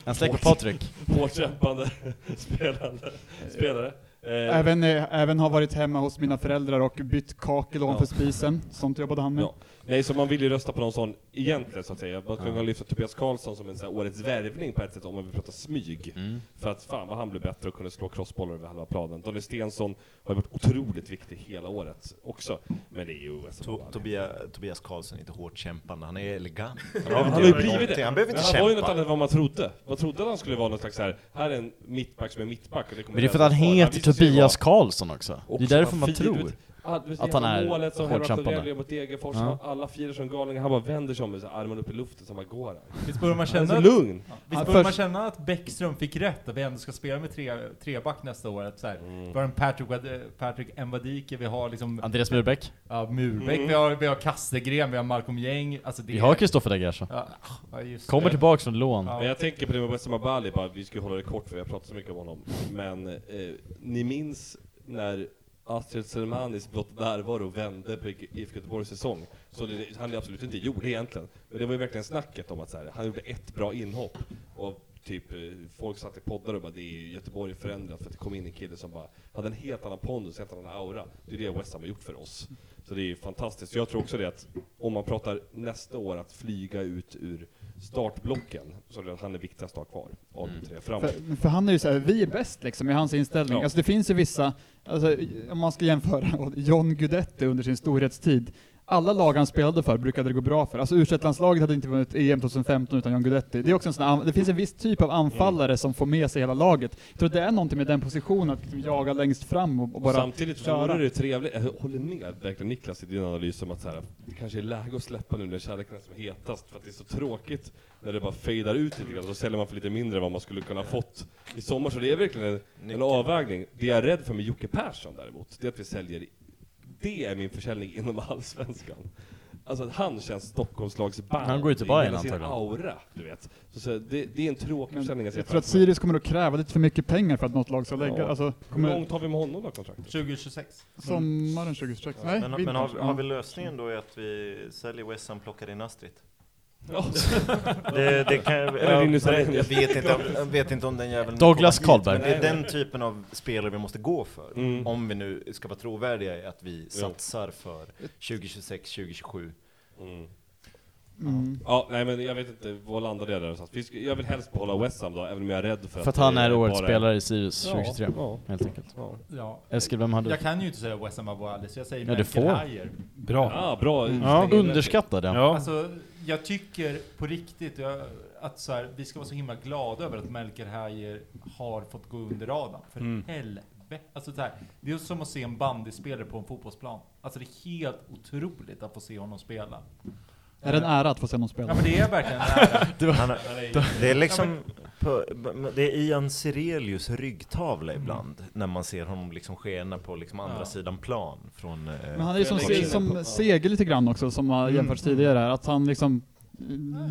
[SPEAKER 3] Han steg på Patrik.
[SPEAKER 7] Hårt kämpande spelande, spelare. Eh,
[SPEAKER 1] Även, eh, även har varit hemma hos mina föräldrar och bytt kakel ovanför spisen, sånt jobbade han med.
[SPEAKER 7] Ja. Nej, så man vill ju rösta på någon sån egentligen så att säga. Man kan lyfta Tobias Karlsson som en sån här årets värvning på ett sätt om man vill prata smyg. För att fan vad han blev bättre och kunde slå crossbollar över halva planen. Donny Stensson har ju varit otroligt viktig hela året också. Men det är ju alltså OS.
[SPEAKER 6] To- Tobia, Tobias Karlsson är inte hårt kämpande, han är elegant.
[SPEAKER 7] Han har ju blivit det.
[SPEAKER 6] Han behöver inte
[SPEAKER 7] Men han var ju något
[SPEAKER 6] kämpa.
[SPEAKER 7] annat än vad man trodde. Man trodde att han skulle vara någon slags så här, här är en mittback som är mittback. Och det kommer
[SPEAKER 3] Men det är för att han
[SPEAKER 7] vara.
[SPEAKER 3] heter
[SPEAKER 7] visste sig
[SPEAKER 3] Tobias
[SPEAKER 7] vara-
[SPEAKER 3] Karlsson också. Det är
[SPEAKER 7] Också
[SPEAKER 3] därför
[SPEAKER 7] vad
[SPEAKER 3] man
[SPEAKER 7] fin, du
[SPEAKER 3] tror.
[SPEAKER 7] vet. Ah, du vet,
[SPEAKER 3] att han
[SPEAKER 7] jävla
[SPEAKER 3] är
[SPEAKER 7] målet som här
[SPEAKER 3] hårdkämpande.
[SPEAKER 7] Raffaele mot Degerfors,
[SPEAKER 3] Ja.
[SPEAKER 7] alla firar som galningar, han bara vänder sig om med så här armen upp i luften, så han bara går. Han
[SPEAKER 2] Visst börjar man
[SPEAKER 7] Han är
[SPEAKER 2] känna
[SPEAKER 7] så
[SPEAKER 2] att,
[SPEAKER 7] lugn!
[SPEAKER 1] Ja,
[SPEAKER 2] visst börjar man
[SPEAKER 1] först-
[SPEAKER 2] känna att Bäckström fick rätt, att vi ändå ska spela med tre, treback nästa år? Att så här, Vi har en Patrick, Wad- Patrick Mvadike, vi har liksom
[SPEAKER 3] Andreas Murbeck.
[SPEAKER 2] ja, Murbeck, vi har, vi har Kastegren, vi har Malcolm Gäng. Alltså det
[SPEAKER 3] Vi har Kristoffer Dagersa.
[SPEAKER 2] ja, ja, just
[SPEAKER 3] Kommer
[SPEAKER 2] det.
[SPEAKER 3] tillbaks från lån.
[SPEAKER 2] Ja.
[SPEAKER 7] Men jag tänker på det med Wessam Abali, bara, vi ska hålla det kort för vi har pratat så mycket om honom. Men eh, ni minns när Astrid Selmanis blott närvaro vände på IFK Göteborgs säsong? Så det, han det absolut inte gjorde egentligen. Men det var ju verkligen snacket om att så här, han gjorde ett bra inhopp. Och typ eh, folk satt i poddar och bara det är ju Göteborg förändrat för att det kom in en kille som bara hade en helt annan pondus, en helt annan aura. Det är det West Ham har gjort för oss. Så det är ju fantastiskt. Jag tror också det att om man pratar nästa år att flyga ut ur startblocken så är det att han är viktigast att ha kvar av de tre framåt.
[SPEAKER 1] För, för han är ju såhär, vi är bäst liksom, i hans inställning.
[SPEAKER 7] Ja.
[SPEAKER 1] Alltså det finns ju vissa, alltså, om man ska jämföra, och John Guidetti under sin storhetstid, alla lag han spelade för brukade det gå bra för. Alltså u landslaget hade inte vunnit EM 2015 utan John Guidetti. Det, är också en sån här, det finns en viss typ av anfallare som får med sig hela laget. Jag tror att det är någonting med den positionen, att liksom jaga längst fram och, och bara...
[SPEAKER 7] Samtidigt så
[SPEAKER 1] köra.
[SPEAKER 7] vore det trevligt, jag håller med verkligen Niklas i din analys om att så här, det kanske är läge att släppa nu när kärleken är som hetast, för att det är så tråkigt när det bara fejdar ut lite grann, så säljer man för lite mindre än vad man skulle kunna ha fått i sommar. Så det är verkligen en, en avvägning. Det jag är rädd för med Jocke Persson däremot, det är att vi säljer, det är min försäljning inom allsvenskan. Alltså att han känns Stockholmslags band
[SPEAKER 3] Han går ju till
[SPEAKER 7] i
[SPEAKER 3] Bayern
[SPEAKER 7] hela sin
[SPEAKER 3] antagligen.
[SPEAKER 7] aura, du vet. Så, så det, det är en tråkig
[SPEAKER 1] Men
[SPEAKER 7] försäljning att se
[SPEAKER 1] Jag tror att
[SPEAKER 7] framför mig.
[SPEAKER 1] Sirius kommer att kräva lite för mycket pengar för att något lag ska lägga,
[SPEAKER 7] Ja.
[SPEAKER 1] alltså,
[SPEAKER 7] Hur
[SPEAKER 1] kommer,
[SPEAKER 7] långt har vi med honom då, kontraktet?
[SPEAKER 2] 2026.
[SPEAKER 1] sommaren 2026? Nej,
[SPEAKER 6] Men, men
[SPEAKER 1] vintern.
[SPEAKER 6] har, har vi
[SPEAKER 1] Ja.
[SPEAKER 6] lösningen då är att vi säljer West Ham, plockar in Astrid?
[SPEAKER 7] Ja.
[SPEAKER 6] Det, det kan, jag,
[SPEAKER 7] är din
[SPEAKER 6] jag,
[SPEAKER 7] lyssnare?
[SPEAKER 6] jag, vet inte, om- jag vet inte om den jäveln
[SPEAKER 3] Douglas
[SPEAKER 6] kommer hit,
[SPEAKER 3] Karlberg.
[SPEAKER 6] men Det är den typen av spelare vi måste gå för.
[SPEAKER 7] Mm.
[SPEAKER 6] Om vi nu ska vara trovärdiga i att vi satsar för 2026, 2027.
[SPEAKER 7] Mm.
[SPEAKER 1] Mm.
[SPEAKER 7] Ja, nej men jag vet inte, vad landade jag där någonstans? Vi ska- Jag vill helst behålla West Ham då, även om jag är rädd för
[SPEAKER 3] För att han
[SPEAKER 7] det
[SPEAKER 3] är årets
[SPEAKER 7] bara
[SPEAKER 3] spelare i Sirius 2023.
[SPEAKER 7] Ja,
[SPEAKER 3] Helt enkelt.
[SPEAKER 7] ja.
[SPEAKER 2] Ja.
[SPEAKER 3] Eskil, vem har du?
[SPEAKER 2] Jag kan ju inte säga West Ham Abouali, så jag säger
[SPEAKER 3] Ja, du
[SPEAKER 2] Michael
[SPEAKER 3] får.
[SPEAKER 2] Hayer.
[SPEAKER 5] Bra.
[SPEAKER 7] ja bra.
[SPEAKER 3] Mm.
[SPEAKER 5] Ja.
[SPEAKER 3] Underskattad ja.
[SPEAKER 5] Ja.
[SPEAKER 2] Alltså, jag tycker på riktigt jag, att så här, vi ska vara så himla glada över att Melker Hayer har fått gå under radarn. För helvete. Alltså, så här, det är som att se en bandyspelare på en fotbollsplan. Alltså det är helt otroligt att få se honom spela.
[SPEAKER 1] Är det en ära att få se någon spela?
[SPEAKER 2] Ja men det är verkligen en ära.
[SPEAKER 6] Han har, det är liksom, på, det är Ian Sirelius ryggtavla ibland, när man ser honom liksom skena på liksom andra
[SPEAKER 2] Ja.
[SPEAKER 6] sidan plan från... eh,
[SPEAKER 1] Men han är ju som,
[SPEAKER 7] Jag lägger in den på-
[SPEAKER 1] som Seger lite grann också, som har jämförts tidigare här, att han liksom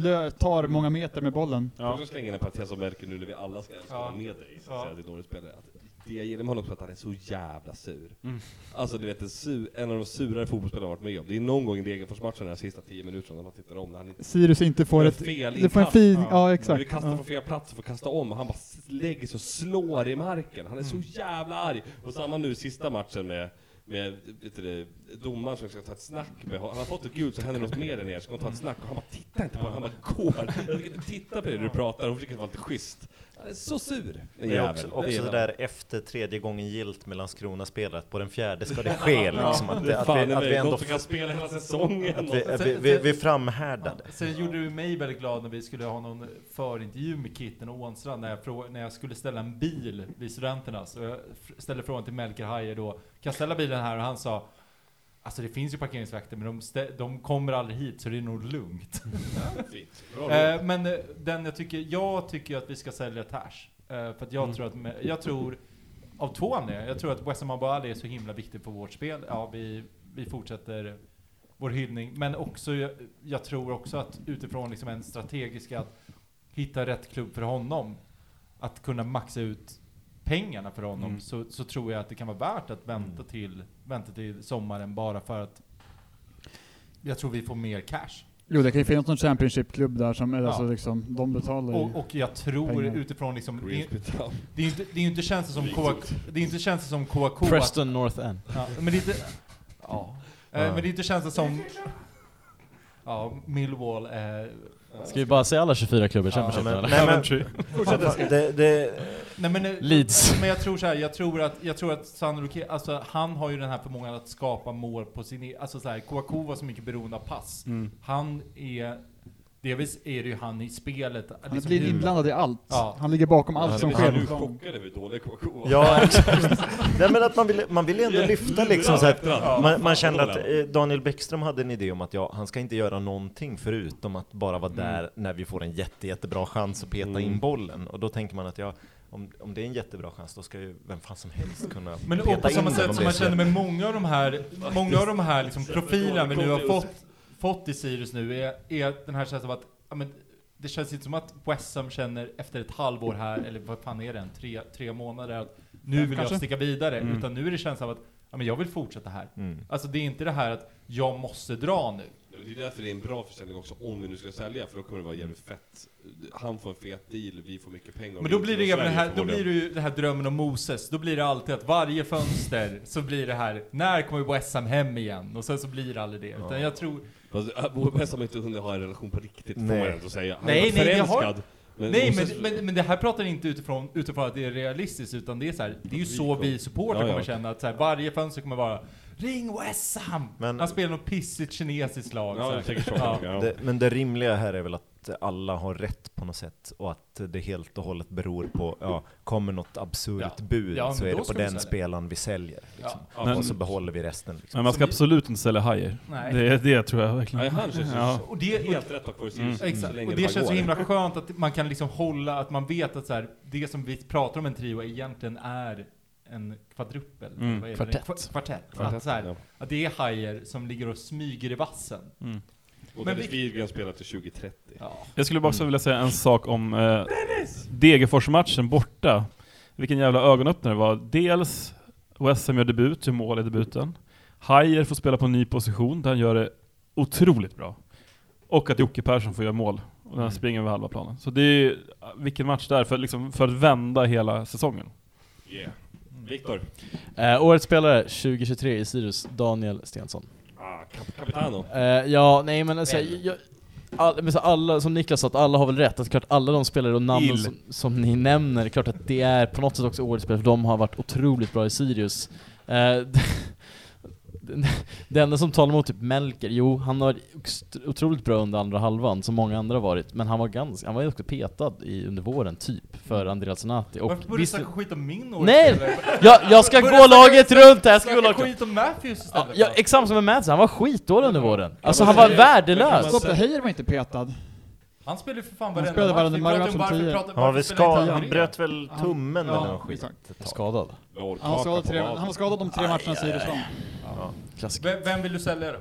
[SPEAKER 1] lö, tar många meter med bollen.
[SPEAKER 7] Jag vill också slänga in en parentes om Melker nu när vi alla ska ska
[SPEAKER 2] Ja.
[SPEAKER 7] vara med dig, så att
[SPEAKER 2] Ja.
[SPEAKER 7] säga, till årets spelare. Att det jag gillar med honom också är att han är så jävla sur.
[SPEAKER 2] Mm.
[SPEAKER 7] Alltså du vet, en, sur, en av de surare fotbollsspelarna jag varit med om. Det är någon gång i Degerforsmatchen, de här sista tio minuterna, när man tittar om, när han inte
[SPEAKER 1] Sirius inte får
[SPEAKER 7] Det är
[SPEAKER 1] ett...
[SPEAKER 7] fel
[SPEAKER 1] Det får en
[SPEAKER 7] inkast.
[SPEAKER 1] fin...
[SPEAKER 2] Ja.
[SPEAKER 1] Ja,
[SPEAKER 7] Exakt.
[SPEAKER 1] exakt.
[SPEAKER 7] Vi kastar från fel plats och får kasta om och han bara s- lägger sig och slår i marken. Han är så jävla arg. Och samma nu sista matchen med, med vet du, det, domaren som ska ta ett snack med honom. Han har fått ett gult så händer något mer där nere. Så ska hon ta ett snack och han bara tittar inte på honom. Han bara går. Jag tänker inte titta på dig när du pratar. Hon försöker vara lite schysst. Han är så sur.
[SPEAKER 6] Det är också, också det där efter tredje gången gilt med Landskrona-spelare, att på den fjärde ska det ske liksom. Att, det- att, vi, att vi ändå...
[SPEAKER 7] Något som kan spela hela säsongen.
[SPEAKER 6] Att vi, att vi, vi, vi är framhärdade.
[SPEAKER 2] Sen gjorde du mig väldigt glad när vi skulle ha någon förintervju med Kitten och Ånstrand när jag, frå- när jag skulle ställa en bil vid studenternas. Och jag fr- ställde frågan till Melker Hayer då, kan jag ställa bilen här? Och han sa, alltså det finns ju parkeringsvakter men de, stä- de kommer aldrig hit så det är nog lugnt.
[SPEAKER 7] Fint. Bra
[SPEAKER 2] Eh, men eh, den jag tycker, jag tycker ju att vi ska sälja Tash. Eh, för att jag tror att, med- jag tror, av två anledningar, jag tror att Wessam Abali är så himla viktig för vårt spel. Ja, vi, vi fortsätter vår hyllning. Men också, jag, jag tror också att utifrån liksom en strategisk att hitta rätt klubb för honom, att kunna maxa ut pengarna för honom, så, så tror jag att det kan vara värt att vänta, till, vänta till sommaren bara för att jag tror vi får mer cash.
[SPEAKER 1] Jo, det kan ju finnas någon Championship-klubb där som är
[SPEAKER 2] Ja.
[SPEAKER 1] alltså liksom, de betalar ju.
[SPEAKER 2] Och, och jag tror
[SPEAKER 1] Pengar.
[SPEAKER 2] utifrån liksom, det,
[SPEAKER 7] Greensby Town.
[SPEAKER 2] det är ju inte, det är ju inte känns som KK, det är inte känns som KK att-
[SPEAKER 3] Preston North End.
[SPEAKER 2] ja, men det är inte, ja. Eh, men det är inte känns som Ja, Millwall eh, är...
[SPEAKER 3] Ska vi bara säga alla 24 klubbar i Championship?
[SPEAKER 6] men-
[SPEAKER 3] eller?
[SPEAKER 6] nej, men-
[SPEAKER 5] Coventry.
[SPEAKER 6] det, det,
[SPEAKER 2] Nej, men, eh,
[SPEAKER 3] Leeds.
[SPEAKER 2] Men jag tror så här, jag tror att, jag tror att Sandro Ke- alltså han har ju den här förmågan att skapa mål på sin e- alltså så här, Kouakou var så mycket beroende av pass. Han är, delvis är det ju han i spelet.
[SPEAKER 1] Han
[SPEAKER 2] liksom
[SPEAKER 1] blir
[SPEAKER 2] hur-
[SPEAKER 1] inblandad i allt.
[SPEAKER 2] Ja.
[SPEAKER 1] Han ligger bakom allt som
[SPEAKER 4] Han är ju
[SPEAKER 1] sker.
[SPEAKER 4] chockad över hur dåliga KK var.
[SPEAKER 6] ja, exakt. Nej, men att man vill, man vill ändå lyfta liksom så att man, man kände att eh, Daniel Bäckström hade en idé om att ja, han ska inte göra någonting förutom att bara
[SPEAKER 2] Mm.
[SPEAKER 6] vara där när vi får en jätte, jättebra chans att peta in bollen. Och då tänker man att ja, om, om det är en jättebra chans, då ska ju vem fan som helst kunna
[SPEAKER 2] Men och
[SPEAKER 6] peta
[SPEAKER 2] på
[SPEAKER 6] in
[SPEAKER 2] samma
[SPEAKER 6] den om
[SPEAKER 2] sätt
[SPEAKER 6] det
[SPEAKER 2] som man
[SPEAKER 6] är så.
[SPEAKER 2] känner med många av de här, många av de här liksom profilerna vi nu har fått, fått i Sirius nu är, är den här känslan av att, ja, men, det känns inte som att West Ham känner efter ett halvår här, eller vad fan är det, en tre, tre månader, att nu vill jag sticka vidare, utan nu är det känslan av att ja, men jag vill fortsätta här.
[SPEAKER 6] Mm.
[SPEAKER 2] Alltså det är inte det här att jag måste dra nu.
[SPEAKER 7] Det är därför det är en bra försäljning också, om vi nu ska sälja, för då kommer det vara jävligt fett. Han får en fet deal, vi får mycket pengar.
[SPEAKER 2] Men då blir det
[SPEAKER 7] Sverige
[SPEAKER 2] även den här, då
[SPEAKER 7] förmodligen.
[SPEAKER 2] blir det ju den här drömmen om Moses. Då blir det alltid att varje fönster så blir det här, när kommer West Ham hem igen? Och sen så blir det aldrig det. Utan jag tror,
[SPEAKER 7] Fast äh, West Ham har inte hunnit ha en relation på riktigt, får
[SPEAKER 6] Nej.
[SPEAKER 7] man ändå säga. Han
[SPEAKER 2] Nej,
[SPEAKER 7] är
[SPEAKER 2] nej, det har-
[SPEAKER 7] förälskad. Men
[SPEAKER 2] Nej,
[SPEAKER 7] Moses-
[SPEAKER 2] men, men, men det här pratar inte utifrån, utifrån att det är realistiskt, utan det är så här, det är ju så vi supportrar
[SPEAKER 7] Ja, ja.
[SPEAKER 2] kommer känna att så här, varje fönster kommer vara Ring West Ham!
[SPEAKER 6] Men-
[SPEAKER 2] Han spelar något pissigt kinesiskt lag.
[SPEAKER 7] Ja,
[SPEAKER 2] så
[SPEAKER 7] det är
[SPEAKER 2] här.
[SPEAKER 7] säkert så.
[SPEAKER 2] Ja.
[SPEAKER 7] Ja.
[SPEAKER 6] Det, men det rimliga här är väl att alla har rätt på något sätt och att det helt och hållet beror på, ja, kommer något absurt
[SPEAKER 2] Ja.
[SPEAKER 6] bud
[SPEAKER 2] Ja, men
[SPEAKER 6] så är
[SPEAKER 2] då
[SPEAKER 6] det på
[SPEAKER 2] ska vi
[SPEAKER 6] den
[SPEAKER 2] sälja.
[SPEAKER 6] spelaren vi säljer. Liksom.
[SPEAKER 2] Ja.
[SPEAKER 5] Men-
[SPEAKER 6] och så behåller vi resten. Liksom.
[SPEAKER 5] Men man ska absolut inte sälja hajer.
[SPEAKER 2] Nej.
[SPEAKER 5] Det, det tror jag verkligen.
[SPEAKER 7] Nej, han känns ju
[SPEAKER 5] Ja.
[SPEAKER 7] så-
[SPEAKER 2] Och det, och,
[SPEAKER 7] helt rätt att få mm.
[SPEAKER 2] exakt, och det känns så himla skönt att man kan liksom hålla, att man vet att så här, det som vi pratar om en trio egentligen är en kvadruppel.
[SPEAKER 5] Mm.
[SPEAKER 2] Vad är det?
[SPEAKER 3] Kvartett.
[SPEAKER 2] Kva- Kvartett. Att, så här, att det är hajer som ligger och smyger i vassen.
[SPEAKER 7] Och
[SPEAKER 2] Men
[SPEAKER 7] Dennis
[SPEAKER 2] vi-
[SPEAKER 7] Widgren spelar till 2030.
[SPEAKER 2] Ja.
[SPEAKER 5] Jag skulle bara också vilja säga en sak om eh, Degerfors-matchen borta. Vilken jävla ögonöppnare det var. Dels West Ham gör debut, gör mål i debuten. Hayer får spela på en ny position där han gör det otroligt bra. Och att Jocke Persson får göra mål. Och när han springer över halva planen. Så det är ju, vilken match där för, liksom, för att vända hela säsongen.
[SPEAKER 7] Yeah. Viktor.
[SPEAKER 3] Eh, årets spelare 2023 i Sirius, Daniel Stensson.
[SPEAKER 7] Ah, kap Capitano.
[SPEAKER 3] Eh, ja, nej men alltså, jag, all, men så alla, som Niklas sa, att alla har väl rätt. Att klart alla de spelare och namnen
[SPEAKER 5] Ill.
[SPEAKER 3] som, som ni nämner, det är klart att det är på något sätt också årets spelare, för de har varit otroligt bra i Sirius. Eh, den- det enda som talar emot typ Melker, jo han har varit oxt- otroligt bra under andra halvan, som många andra har varit, men han var ganska, han var ju också petad i, under våren typ, för Andrea Zanati. Och
[SPEAKER 2] Mm. Varför börjar du
[SPEAKER 3] visst,
[SPEAKER 2] snacka skit om min
[SPEAKER 3] Nej!
[SPEAKER 2] årsspelare?
[SPEAKER 3] jag, jag ska
[SPEAKER 2] Börja
[SPEAKER 3] gå
[SPEAKER 2] snacka-
[SPEAKER 3] laget runt här, jag ska gå
[SPEAKER 2] Snacka
[SPEAKER 3] laget
[SPEAKER 2] skit om Matthews
[SPEAKER 3] Ja,
[SPEAKER 2] istället.
[SPEAKER 3] ja, exakt som med Madsen, han var skitdålig under våren. Alltså
[SPEAKER 7] men
[SPEAKER 3] han var
[SPEAKER 7] det-
[SPEAKER 3] värdelös!
[SPEAKER 1] Stopp, Heijer var inte petad.
[SPEAKER 2] Han spelar ju för fan
[SPEAKER 1] Han
[SPEAKER 2] varenda
[SPEAKER 1] spelade varenda
[SPEAKER 2] Vi
[SPEAKER 1] match
[SPEAKER 2] pratar om
[SPEAKER 1] som
[SPEAKER 2] varför
[SPEAKER 1] tio.
[SPEAKER 2] pratar-
[SPEAKER 6] Han var
[SPEAKER 2] varför
[SPEAKER 6] väl
[SPEAKER 2] spelar inte
[SPEAKER 6] skadad,
[SPEAKER 2] han
[SPEAKER 6] han
[SPEAKER 2] med?
[SPEAKER 6] bröt väl
[SPEAKER 1] Han-
[SPEAKER 6] tummen
[SPEAKER 1] ja,
[SPEAKER 6] eller något skit.
[SPEAKER 1] exakt.
[SPEAKER 3] Skadad.
[SPEAKER 1] Han var skadad, tre, han var skadad de tre matcherna Sirius vann.
[SPEAKER 3] Klassiker.
[SPEAKER 2] Vem, vem vill du sälja då?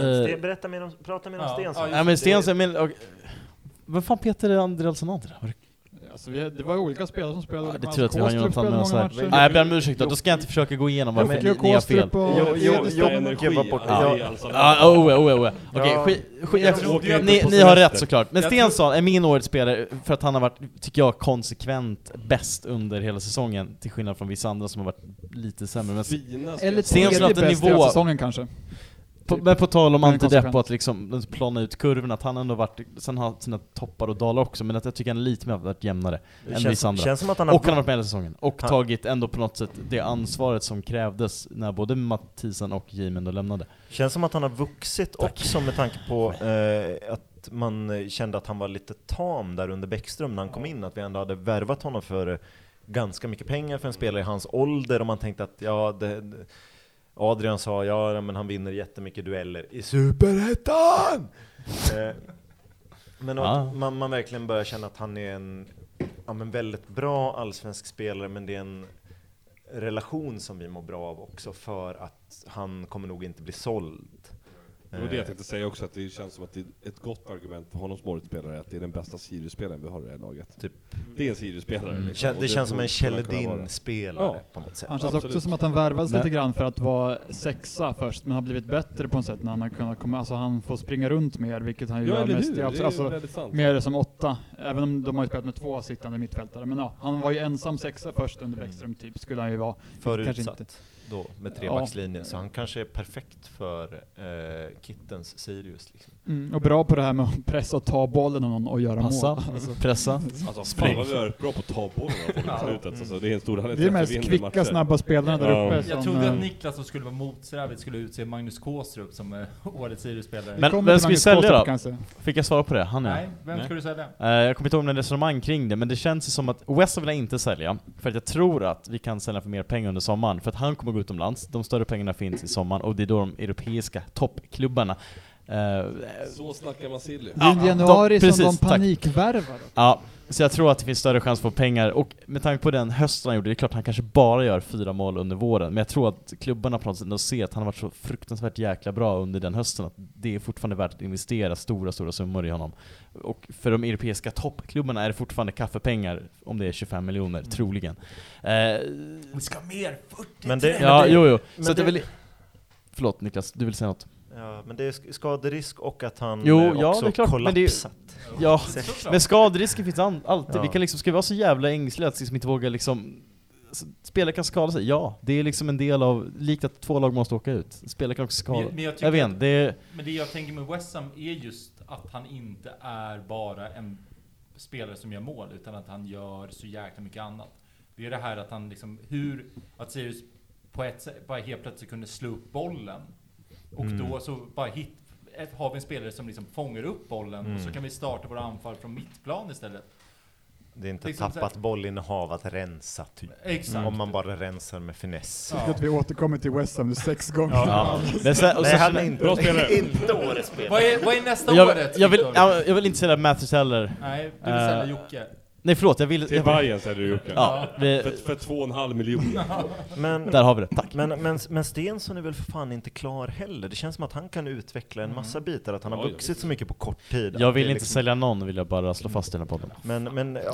[SPEAKER 3] Eh,
[SPEAKER 6] Sten- Berätta mer om, prata mer om
[SPEAKER 2] Ja,
[SPEAKER 6] Stensson.
[SPEAKER 2] ja,
[SPEAKER 3] Nej men Stensson, men... och- Vem fan petade André Alsson där? Var det-
[SPEAKER 1] Alltså, vi, det var ju olika spelare som spelade.
[SPEAKER 3] Ja, Det
[SPEAKER 1] Mats
[SPEAKER 3] tror jag att vi har
[SPEAKER 1] Kåstrup
[SPEAKER 3] något fan med oss
[SPEAKER 1] spelade
[SPEAKER 3] här.
[SPEAKER 1] många matcher.
[SPEAKER 3] Nej jag ber om ursäkt då, då ska jag inte försöka gå igenom varför
[SPEAKER 1] Jocke
[SPEAKER 3] ni, ni har fel.
[SPEAKER 1] Kåstrup och
[SPEAKER 6] Jo, jo,
[SPEAKER 1] Edestam.
[SPEAKER 6] jo,
[SPEAKER 7] Energi.
[SPEAKER 6] var borta.
[SPEAKER 7] Ja.
[SPEAKER 6] Ja.
[SPEAKER 7] Alltså,
[SPEAKER 3] Ja, ah, oh, oh, oh, oh. Okej,
[SPEAKER 6] Ja.
[SPEAKER 3] skit, skit,
[SPEAKER 2] Jag trodde ju att-
[SPEAKER 3] ni,
[SPEAKER 2] på
[SPEAKER 3] ni har
[SPEAKER 2] semester.
[SPEAKER 3] rätt såklart. Men
[SPEAKER 2] Jag
[SPEAKER 3] Stensson är min årets spelare för att han har varit, tycker jag, konsekvent bäst under hela säsongen. Till skillnad från vissa andra som har varit lite sämre. Men
[SPEAKER 7] Fina
[SPEAKER 1] Eller
[SPEAKER 3] Stensson
[SPEAKER 1] tredje
[SPEAKER 3] att en
[SPEAKER 1] bäst i
[SPEAKER 3] nivå-
[SPEAKER 1] hela säsongen kanske.
[SPEAKER 3] På, men på tal om
[SPEAKER 1] Men
[SPEAKER 3] antidepp
[SPEAKER 1] konsekvent.
[SPEAKER 3] och att liksom plana ut kurvorna, att han ändå varit, sen har sina toppar och dalar också, men att jag tycker han lite mer har varit jämnare än vissa andra.
[SPEAKER 6] Känns, känns som att han har
[SPEAKER 3] och han har varit med hela säsongen. Och
[SPEAKER 6] Han-
[SPEAKER 3] tagit ändå på något sätt det ansvaret som krävdes när både Mathisen och Jimen då lämnade.
[SPEAKER 6] Känns som att han har vuxit också med tanke på eh, att man eh, kände att han var lite tam där under Bäckström när han kom in, att vi ändå hade värvat honom för eh, ganska mycket pengar för en spelare i hans ålder och man tänkte att ja, det, det- Adrian sa ja, men han vinner jättemycket dueller i Superettan! eh, men att
[SPEAKER 3] Ja.
[SPEAKER 6] man, man verkligen börjar känna att han är en ja, men väldigt bra allsvensk spelare, men det är en relation som vi mår bra av också för att han kommer nog inte bli såld. Eh,
[SPEAKER 7] Det typ- var det jag tänkte säga också, att det känns som att det är ett gott argument för honom som årets spelare, att det är den bästa Sirius-spelaren vi har i det här laget.
[SPEAKER 6] Typ.
[SPEAKER 7] Det är en Sirius-spelare.
[SPEAKER 6] Det,
[SPEAKER 7] liksom,
[SPEAKER 6] kän-
[SPEAKER 7] och
[SPEAKER 6] det känns som
[SPEAKER 7] tror
[SPEAKER 6] en
[SPEAKER 7] jag skulle kunna vara det.
[SPEAKER 6] Kjelledin-spelare
[SPEAKER 7] Ja.
[SPEAKER 6] på något sätt.
[SPEAKER 1] Han känns också
[SPEAKER 7] Absolut.
[SPEAKER 1] som att han värvades
[SPEAKER 3] Men-
[SPEAKER 1] lite grann för att vara sexa först, men har blivit bättre på något sätt när han har kunnat komma, alltså han får springa runt mer, vilket han ju
[SPEAKER 7] Ja,
[SPEAKER 1] gör
[SPEAKER 7] eller hur?
[SPEAKER 1] mest
[SPEAKER 7] Det
[SPEAKER 1] i
[SPEAKER 7] är
[SPEAKER 1] alltså,
[SPEAKER 7] ju
[SPEAKER 1] alltså
[SPEAKER 7] väldigt sant.
[SPEAKER 1] mer som åtta, även om de har ju spelat med två sittande mittfältare, men ja, han var ju ensam sexa först under Bäckström typ, skulle han ju vara. Kanske
[SPEAKER 6] Förutsatt.
[SPEAKER 1] inte.
[SPEAKER 6] då med trebackslinjen, så han kanske är perfekt för eh, Kittens Sirius. Liksom.
[SPEAKER 1] Mm, och bra på det här med att pressa och ta bollen av någon och göra
[SPEAKER 3] Passa,
[SPEAKER 1] mål.
[SPEAKER 3] pressa.
[SPEAKER 7] Alltså fan vad vi är bra på att ta bollen av folk i slutet. Alltså, det är en stor anledning
[SPEAKER 1] Det är de
[SPEAKER 7] till att vi
[SPEAKER 1] mest
[SPEAKER 7] vinner matcher.
[SPEAKER 1] kvicka, snabba spelarna där
[SPEAKER 7] Ja.
[SPEAKER 1] uppe.
[SPEAKER 2] Jag
[SPEAKER 1] som,
[SPEAKER 2] trodde
[SPEAKER 1] eh,
[SPEAKER 2] att Niklas som skulle vara motsträvigt skulle utse Magnus Kåstrup som eh, årets Sirius-spelare.
[SPEAKER 1] vi
[SPEAKER 3] Men
[SPEAKER 1] kommer
[SPEAKER 3] vem
[SPEAKER 1] till
[SPEAKER 3] ska vi
[SPEAKER 1] Magnus
[SPEAKER 3] sälja
[SPEAKER 1] Kåstrup
[SPEAKER 3] då?
[SPEAKER 1] Kanske.
[SPEAKER 3] Fick jag svara på det? Han är.
[SPEAKER 2] Nej, vem ska du sälja?
[SPEAKER 3] Eh, Jag kommer inte ihåg några resonemang kring det, men det känns ju som att West vill jag inte sälja, för att jag tror att vi kan sälja för mer pengar under sommaren, för att han kommer gå utomlands, de större pengarna finns i sommaren, och det är då de europeiska toppklubbarna eh,
[SPEAKER 7] Så snackar man silly.
[SPEAKER 1] Det är
[SPEAKER 3] Ja,
[SPEAKER 1] i januari
[SPEAKER 3] de-
[SPEAKER 1] som
[SPEAKER 3] precis,
[SPEAKER 1] de
[SPEAKER 3] tack.
[SPEAKER 1] panikvärvar.
[SPEAKER 3] Ja, så jag tror att det finns större chans att få pengar, och med tanke på den hösten han gjorde, det är klart han kanske bara gör fyra mål under våren, men jag tror att klubbarna på något sätt ändå ser att han har varit så fruktansvärt jäkla bra under den hösten, att det är fortfarande värt att investera stora, stora summor i honom. Och för de europeiska toppklubbarna är det fortfarande kaffepengar, om det är 25 miljoner, troligen. Eh,
[SPEAKER 2] Vi ska ha mer 40
[SPEAKER 6] Men det,
[SPEAKER 3] ja,
[SPEAKER 6] men det,
[SPEAKER 3] jo, jo.
[SPEAKER 6] men
[SPEAKER 3] Så att jag
[SPEAKER 6] det-
[SPEAKER 3] vill... Förlåt Niklas, du vill säga något?
[SPEAKER 6] ja, men det är sk- skaderisk och att han
[SPEAKER 3] Jo,
[SPEAKER 6] eh,
[SPEAKER 3] ja,
[SPEAKER 6] också
[SPEAKER 3] det är klart, men det är-
[SPEAKER 6] kollapsat.
[SPEAKER 3] Ja,
[SPEAKER 2] Såklart.
[SPEAKER 3] men skadrisken finns an- alltid.
[SPEAKER 6] Ja.
[SPEAKER 3] Vi kan liksom, ska vi vara så jävla ängsliga att liksom inte våga liksom s- Spelare kan skada sig, ja. Det är liksom en del av, likt att två lag måste åka ut. Spelare kan också skada.
[SPEAKER 2] Men- men jag
[SPEAKER 3] jag,
[SPEAKER 2] tycker
[SPEAKER 3] vet inte, det är,
[SPEAKER 2] Men det jag tänker med West Ham är just att han inte är bara en spelare som gör mål, utan att han gör så jäkla mycket annat. Det är det här att han liksom, hur, att Sirius på ett sätt bara helt plötsligt kunde slå upp bollen. Och då så bara hit, ett- har vi en spelare som liksom fångar upp bollen och så kan vi starta våra anfall från mittplan istället.
[SPEAKER 6] Det är inte
[SPEAKER 2] Liksom
[SPEAKER 6] tappat
[SPEAKER 2] så
[SPEAKER 6] bollinnehav att rensa typ.
[SPEAKER 2] Exakt.
[SPEAKER 6] Om man bara rensar med finess.
[SPEAKER 2] Ja.
[SPEAKER 1] vi återkommer till West Ham sex gånger.
[SPEAKER 3] ja. Men sen, och
[SPEAKER 6] Nej,
[SPEAKER 3] sen,
[SPEAKER 6] han är inte,
[SPEAKER 5] Bra spelare.
[SPEAKER 6] inte årets spelare.
[SPEAKER 2] Vad är, vad är nästa
[SPEAKER 3] jag,
[SPEAKER 2] året?
[SPEAKER 3] jag, vill,
[SPEAKER 2] Viktor?
[SPEAKER 3] jag, jag vill inte säga Mathers heller.
[SPEAKER 2] Nej, du vill sälja Jocke.
[SPEAKER 3] Nej förlåt, jag vill...
[SPEAKER 7] Till
[SPEAKER 3] Jag vill
[SPEAKER 7] Bayern säger du Jocke.
[SPEAKER 3] ja,
[SPEAKER 7] För,
[SPEAKER 3] vi,
[SPEAKER 7] för två och en halv miljon.
[SPEAKER 6] Men,
[SPEAKER 3] där har vi det, tack.
[SPEAKER 6] men, men, men Stensson är väl för fan inte klar heller? Det känns som att han kan utveckla en
[SPEAKER 2] Mm.
[SPEAKER 6] massa bitar, att han har
[SPEAKER 7] Ja, ja,
[SPEAKER 6] vuxit så mycket på kort tid.
[SPEAKER 3] Jag
[SPEAKER 6] att det
[SPEAKER 3] vill
[SPEAKER 6] är liksom-
[SPEAKER 3] inte sälja någon, vill jag bara slå fast i den här podden.
[SPEAKER 6] Men, men ja,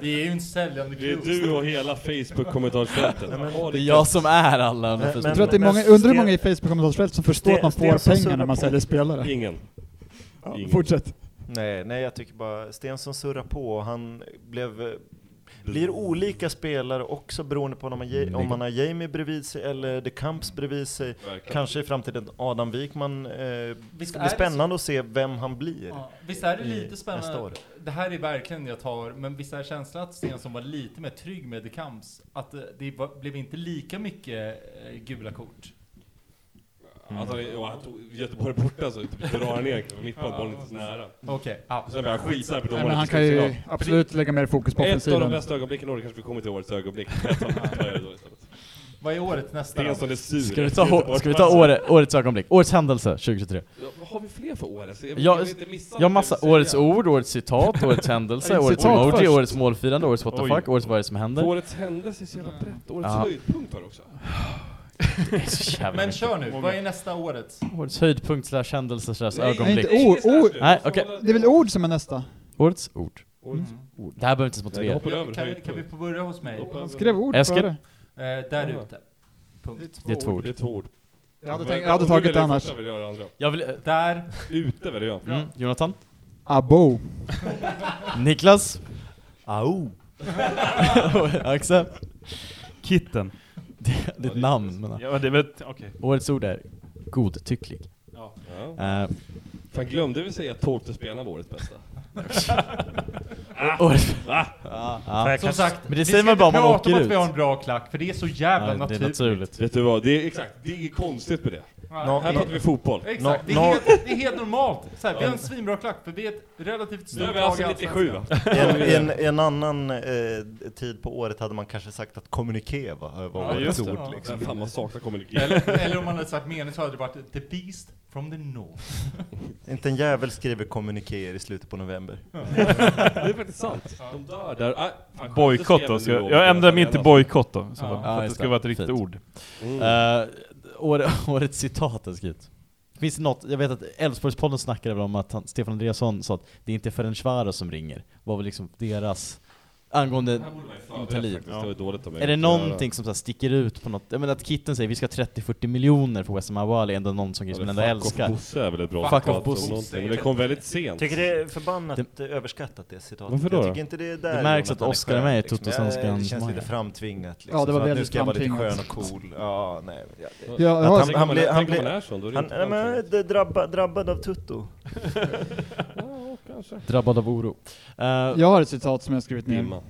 [SPEAKER 2] Vi är ju en säljande
[SPEAKER 7] Det är
[SPEAKER 2] klubb.
[SPEAKER 7] du och hela Facebook-kommentarsfältet. Ja,
[SPEAKER 3] Det är jag som är alla
[SPEAKER 6] Men-
[SPEAKER 3] under
[SPEAKER 1] Jag tror att det är
[SPEAKER 6] Men-
[SPEAKER 1] många, undrar hur
[SPEAKER 6] Sten-
[SPEAKER 1] många i Facebook-kommentarsfältet som förstår
[SPEAKER 6] Sten-
[SPEAKER 1] att man
[SPEAKER 6] Sten-
[SPEAKER 1] får pengar när man
[SPEAKER 6] Sten-
[SPEAKER 1] säljer spelare.
[SPEAKER 7] Ingen.
[SPEAKER 1] Ja,
[SPEAKER 7] Ingen.
[SPEAKER 1] fortsätt.
[SPEAKER 6] nej, nej, jag tycker bara Stensson surrar på och han blev, eh, blir olika spelare också beroende på om man, ge, om man har Jamie bredvid sig eller De Camps bredvid sig.
[SPEAKER 7] Verkligen.
[SPEAKER 6] Kanske i framtiden Adam Wikman. Eh, det
[SPEAKER 2] Visst
[SPEAKER 6] ska
[SPEAKER 2] är
[SPEAKER 6] bli
[SPEAKER 2] det
[SPEAKER 6] spännande att se vem han blir.
[SPEAKER 2] Ja, visst är det
[SPEAKER 6] i
[SPEAKER 2] lite
[SPEAKER 6] nästa
[SPEAKER 2] spännande?
[SPEAKER 6] år.
[SPEAKER 2] Det här är verkligen jag tar, men visst är känslan att Stensson var lite mer trygg med De Camps? Att eh, det var, blev inte lika mycket eh, gula kort?
[SPEAKER 7] Alltså, det- och han tog Göteborg borta så typ drar han ner på mittplan, bollen inte så nära.
[SPEAKER 3] Mm.
[SPEAKER 2] Okej, ja.
[SPEAKER 7] Sen börjar han skita på de
[SPEAKER 1] Nej,
[SPEAKER 7] målen
[SPEAKER 1] men han
[SPEAKER 7] till
[SPEAKER 1] kan ju
[SPEAKER 7] slutsignal.
[SPEAKER 1] absolut lägga mer fokus på
[SPEAKER 7] Ett av de
[SPEAKER 1] offensiven.
[SPEAKER 7] bästa ögonblicken i år, kanske vi kommer till årets ögonblick. Jag tar- jag tar det då istället.
[SPEAKER 2] Vad är året nästa då?
[SPEAKER 7] Stensson är sur.
[SPEAKER 3] Ska vi ta, hå- ska vi ta året, årets ögonblick? Årets händelse 2023?
[SPEAKER 7] Ja, vad Har vi fler för årets? Jag,
[SPEAKER 3] Jag-
[SPEAKER 7] jag, inte missa
[SPEAKER 3] Jag har
[SPEAKER 7] något
[SPEAKER 3] massa
[SPEAKER 7] jag vill
[SPEAKER 3] årets
[SPEAKER 7] säga.
[SPEAKER 3] ord, årets citat, årets händelse, årets
[SPEAKER 1] Citat
[SPEAKER 3] emoji,
[SPEAKER 1] först.
[SPEAKER 3] årets målfirande, årets what the
[SPEAKER 5] Oj.
[SPEAKER 3] fuck, årets vad är det som
[SPEAKER 7] För
[SPEAKER 3] händer.
[SPEAKER 7] Årets händelse är så jävla brett. Årets
[SPEAKER 3] Ja. Alltså,
[SPEAKER 7] höjdpunkt har du också.
[SPEAKER 3] Det är så jävla
[SPEAKER 2] Men
[SPEAKER 3] mycket.
[SPEAKER 2] kör nu, vad är nästa året?
[SPEAKER 3] Årets höjdpunkt slash händelse slash
[SPEAKER 7] Nej,
[SPEAKER 1] Nej,
[SPEAKER 3] ögonblick.
[SPEAKER 1] inte ord. ord.
[SPEAKER 3] Nej, okej.
[SPEAKER 1] Det är väl ord som är nästa?
[SPEAKER 3] Årets ord.
[SPEAKER 7] Årets
[SPEAKER 3] ord. Det här behöver inte ens motivera.
[SPEAKER 7] hoppar över
[SPEAKER 2] Jag, Mm. kan,
[SPEAKER 7] höjdpunkt.
[SPEAKER 2] kan vi få börja hos mig? Eh,
[SPEAKER 1] Han skrev ord
[SPEAKER 3] Eskil.
[SPEAKER 1] före.
[SPEAKER 2] där ute. Punkt.
[SPEAKER 3] Det är två ord.
[SPEAKER 7] Det är två ord.
[SPEAKER 1] Jag hade, tänkt, jag hade tagit det annars.
[SPEAKER 7] Första vill jag göra andra.
[SPEAKER 3] Jag vill... eh,
[SPEAKER 2] Där.
[SPEAKER 7] Ute väljer jag.
[SPEAKER 3] Mm, Jonathan?
[SPEAKER 1] Abo.
[SPEAKER 3] Niklas?
[SPEAKER 6] Au!
[SPEAKER 3] Axel?
[SPEAKER 5] Kitten.
[SPEAKER 3] Det- Ditt namn menar jag.
[SPEAKER 5] Ja, det är väl... Okej.
[SPEAKER 3] Årets ord är godtycklig.
[SPEAKER 7] Ja.
[SPEAKER 3] Eh,
[SPEAKER 7] Fan, glömde vi säga att tolfte spelaren var årets bästa?
[SPEAKER 3] årets...
[SPEAKER 2] Som sagt,
[SPEAKER 3] men det
[SPEAKER 2] vi
[SPEAKER 3] säger
[SPEAKER 2] ska
[SPEAKER 3] man bara om
[SPEAKER 2] inte
[SPEAKER 3] man
[SPEAKER 2] prata
[SPEAKER 3] åker
[SPEAKER 2] om att vi
[SPEAKER 3] ut.
[SPEAKER 2] har en bra klack, för det är så jävla
[SPEAKER 3] Nej, det är
[SPEAKER 2] naturligt.
[SPEAKER 3] naturligt.
[SPEAKER 7] Vet du vad, det är exakt, det är inget konstigt med det. Här pratar vi fotboll.
[SPEAKER 2] Exakt, det, är helt, det är helt normalt. Så här, vi har en svinbra klack, för vi är ett relativt stort
[SPEAKER 7] Nu är vi
[SPEAKER 2] lag i
[SPEAKER 7] alltså
[SPEAKER 2] Allsvenskan.
[SPEAKER 7] 97 va?
[SPEAKER 6] I en, i en, i en annan eh, tid på året hade man kanske sagt att kommuniké var, var
[SPEAKER 5] Ja,
[SPEAKER 6] årets
[SPEAKER 5] just det.
[SPEAKER 6] ord.
[SPEAKER 2] Ja.
[SPEAKER 6] Liksom.
[SPEAKER 7] Vem Fan man saknar kommunikation.
[SPEAKER 2] Eller, eller om man hade sagt meningen så hade det varit The Beast from the North.
[SPEAKER 6] Inte en jävel skriver kommunikéer i slutet på november.
[SPEAKER 7] Det är faktiskt sant. De dör där. Ah, fan,
[SPEAKER 5] Bojkott då.
[SPEAKER 7] skämtes
[SPEAKER 5] Ska
[SPEAKER 7] jag
[SPEAKER 5] jag,
[SPEAKER 7] med
[SPEAKER 5] jag ändrar min till
[SPEAKER 7] Alltså.
[SPEAKER 5] bojkott då. i Så
[SPEAKER 2] Ja.
[SPEAKER 5] fall, för
[SPEAKER 3] Ja,
[SPEAKER 5] att det
[SPEAKER 3] just
[SPEAKER 5] ska
[SPEAKER 3] det.
[SPEAKER 5] vara ett riktigt
[SPEAKER 3] Fint.
[SPEAKER 5] ord.
[SPEAKER 3] Eh, år, årets citat är skrivet. Finns det något, jag vet att Elfsborgspodden snackade väl om att han, Stefan Andreasson sa att det är inte förrän Schwarz som ringer. var väl liksom deras angående
[SPEAKER 7] Det
[SPEAKER 3] Italien.
[SPEAKER 7] faktiskt, det var dåligt av mig.
[SPEAKER 3] Är det någonting som så här sticker ut på något? Jag menar att Kitten säger vi ska ha 30-40 miljoner för Wessam Awali, ändå någon som Griezmann ändå
[SPEAKER 7] Fuck
[SPEAKER 3] älskar.
[SPEAKER 7] off Bosse är väl ett bra
[SPEAKER 3] Fuck off
[SPEAKER 7] citat om
[SPEAKER 3] Bosse.
[SPEAKER 7] någonting, Men det kom väldigt sent.
[SPEAKER 6] Tycker det är förbannat överskattat det citatet.
[SPEAKER 7] Varför då?
[SPEAKER 6] Jag tycker inte det är där
[SPEAKER 3] Det märks
[SPEAKER 6] Jonathan
[SPEAKER 3] att Oscar är
[SPEAKER 6] skön,
[SPEAKER 3] med i
[SPEAKER 6] Jag-
[SPEAKER 3] Totosvenskan.
[SPEAKER 6] Det känns lite framtvingat liksom.
[SPEAKER 1] Ja, det var
[SPEAKER 6] så att nu
[SPEAKER 1] väldigt
[SPEAKER 6] ska jag vara lite skön
[SPEAKER 1] framtvingat.
[SPEAKER 6] och cool. Ja, nej. ja, det-
[SPEAKER 1] Ja, jag
[SPEAKER 6] Att
[SPEAKER 1] har-
[SPEAKER 6] han-
[SPEAKER 7] Tänk om man
[SPEAKER 6] blev-
[SPEAKER 7] är-
[SPEAKER 6] han
[SPEAKER 7] tänk om
[SPEAKER 6] blev-
[SPEAKER 7] man är sån, då är det
[SPEAKER 6] Han,
[SPEAKER 7] inte
[SPEAKER 6] nej, men,
[SPEAKER 7] framtvingat.
[SPEAKER 6] det drabba, drabbad av tutto.
[SPEAKER 3] Drabbad av oro. Eh,
[SPEAKER 1] Jag har ett citat som jag har skrivit ner.
[SPEAKER 7] Dimma.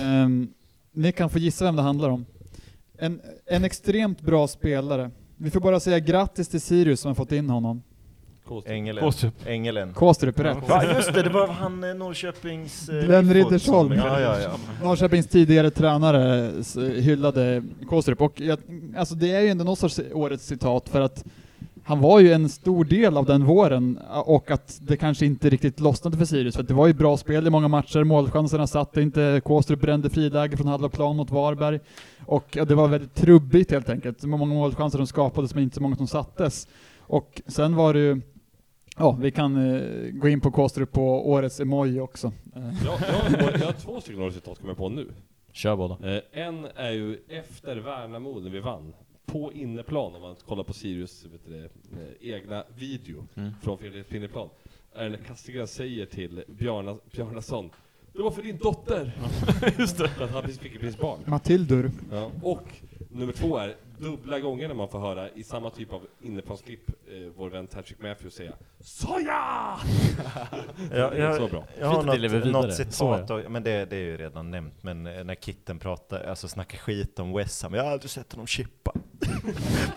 [SPEAKER 1] Ehm, ni kan få gissa vem det handlar om. En, en extremt bra spelare. Vi får bara säga grattis till Sirius som har fått in honom.
[SPEAKER 6] Ängelen.
[SPEAKER 5] Åstrup.
[SPEAKER 6] Ängelen.
[SPEAKER 1] Kåstrup är rätt.
[SPEAKER 6] Ja just det, det var han eh, Norrköpings... eh,
[SPEAKER 1] Glenn
[SPEAKER 6] Bifford som-
[SPEAKER 1] Riddersholm.
[SPEAKER 6] Ja, ja, ja.
[SPEAKER 1] Norrköpings tidigare tränare s- hyllade Kåstrup och jag, alltså det är ju ändå något sorts årets citat för att han var ju en stor del av den våren och att det kanske inte riktigt lossnade för Sirius för att det var ju bra spel i många matcher, målchanserna satt inte, Kåstrup brände friläge från Halloplan mot Varberg och ja, det var väldigt trubbigt helt enkelt. Det var Många målchanser som skapades men inte så många som sattes. Och sen var det ju, ja vi kan eh, gå in på Kåstrup på årets emoji också. Eh,
[SPEAKER 7] Jag, jag, jag har två stycken årscitat kommer jag på nu.
[SPEAKER 3] Kör båda.
[SPEAKER 7] Eh, en är ju efter Värnamo när vi vann. På inneplan, om man kollar på Sirius vet du, det, eh, egna video
[SPEAKER 3] Mm.
[SPEAKER 7] från Fredrik Pinneplan. Är det när Kastegren säger till Bjarna, Bjarnason Det var för din dotter! Just det. För att han fick precis barn.
[SPEAKER 1] Matildur.
[SPEAKER 7] Ja. Och nummer två är dubbla gånger när man får höra i samma typ av inneplansklipp eh, vår vän Patrick Matthews säga Soja!
[SPEAKER 6] Ja,
[SPEAKER 7] Det är så
[SPEAKER 6] jag,
[SPEAKER 7] bra.
[SPEAKER 6] jag
[SPEAKER 3] Fint att det lever
[SPEAKER 6] har något,
[SPEAKER 3] vidare.
[SPEAKER 6] något citat, och, men det, det är ju redan nämnt, men eh, när Kitten pratar, alltså snackar skit om Wessam, jag har aldrig sett honom chippa.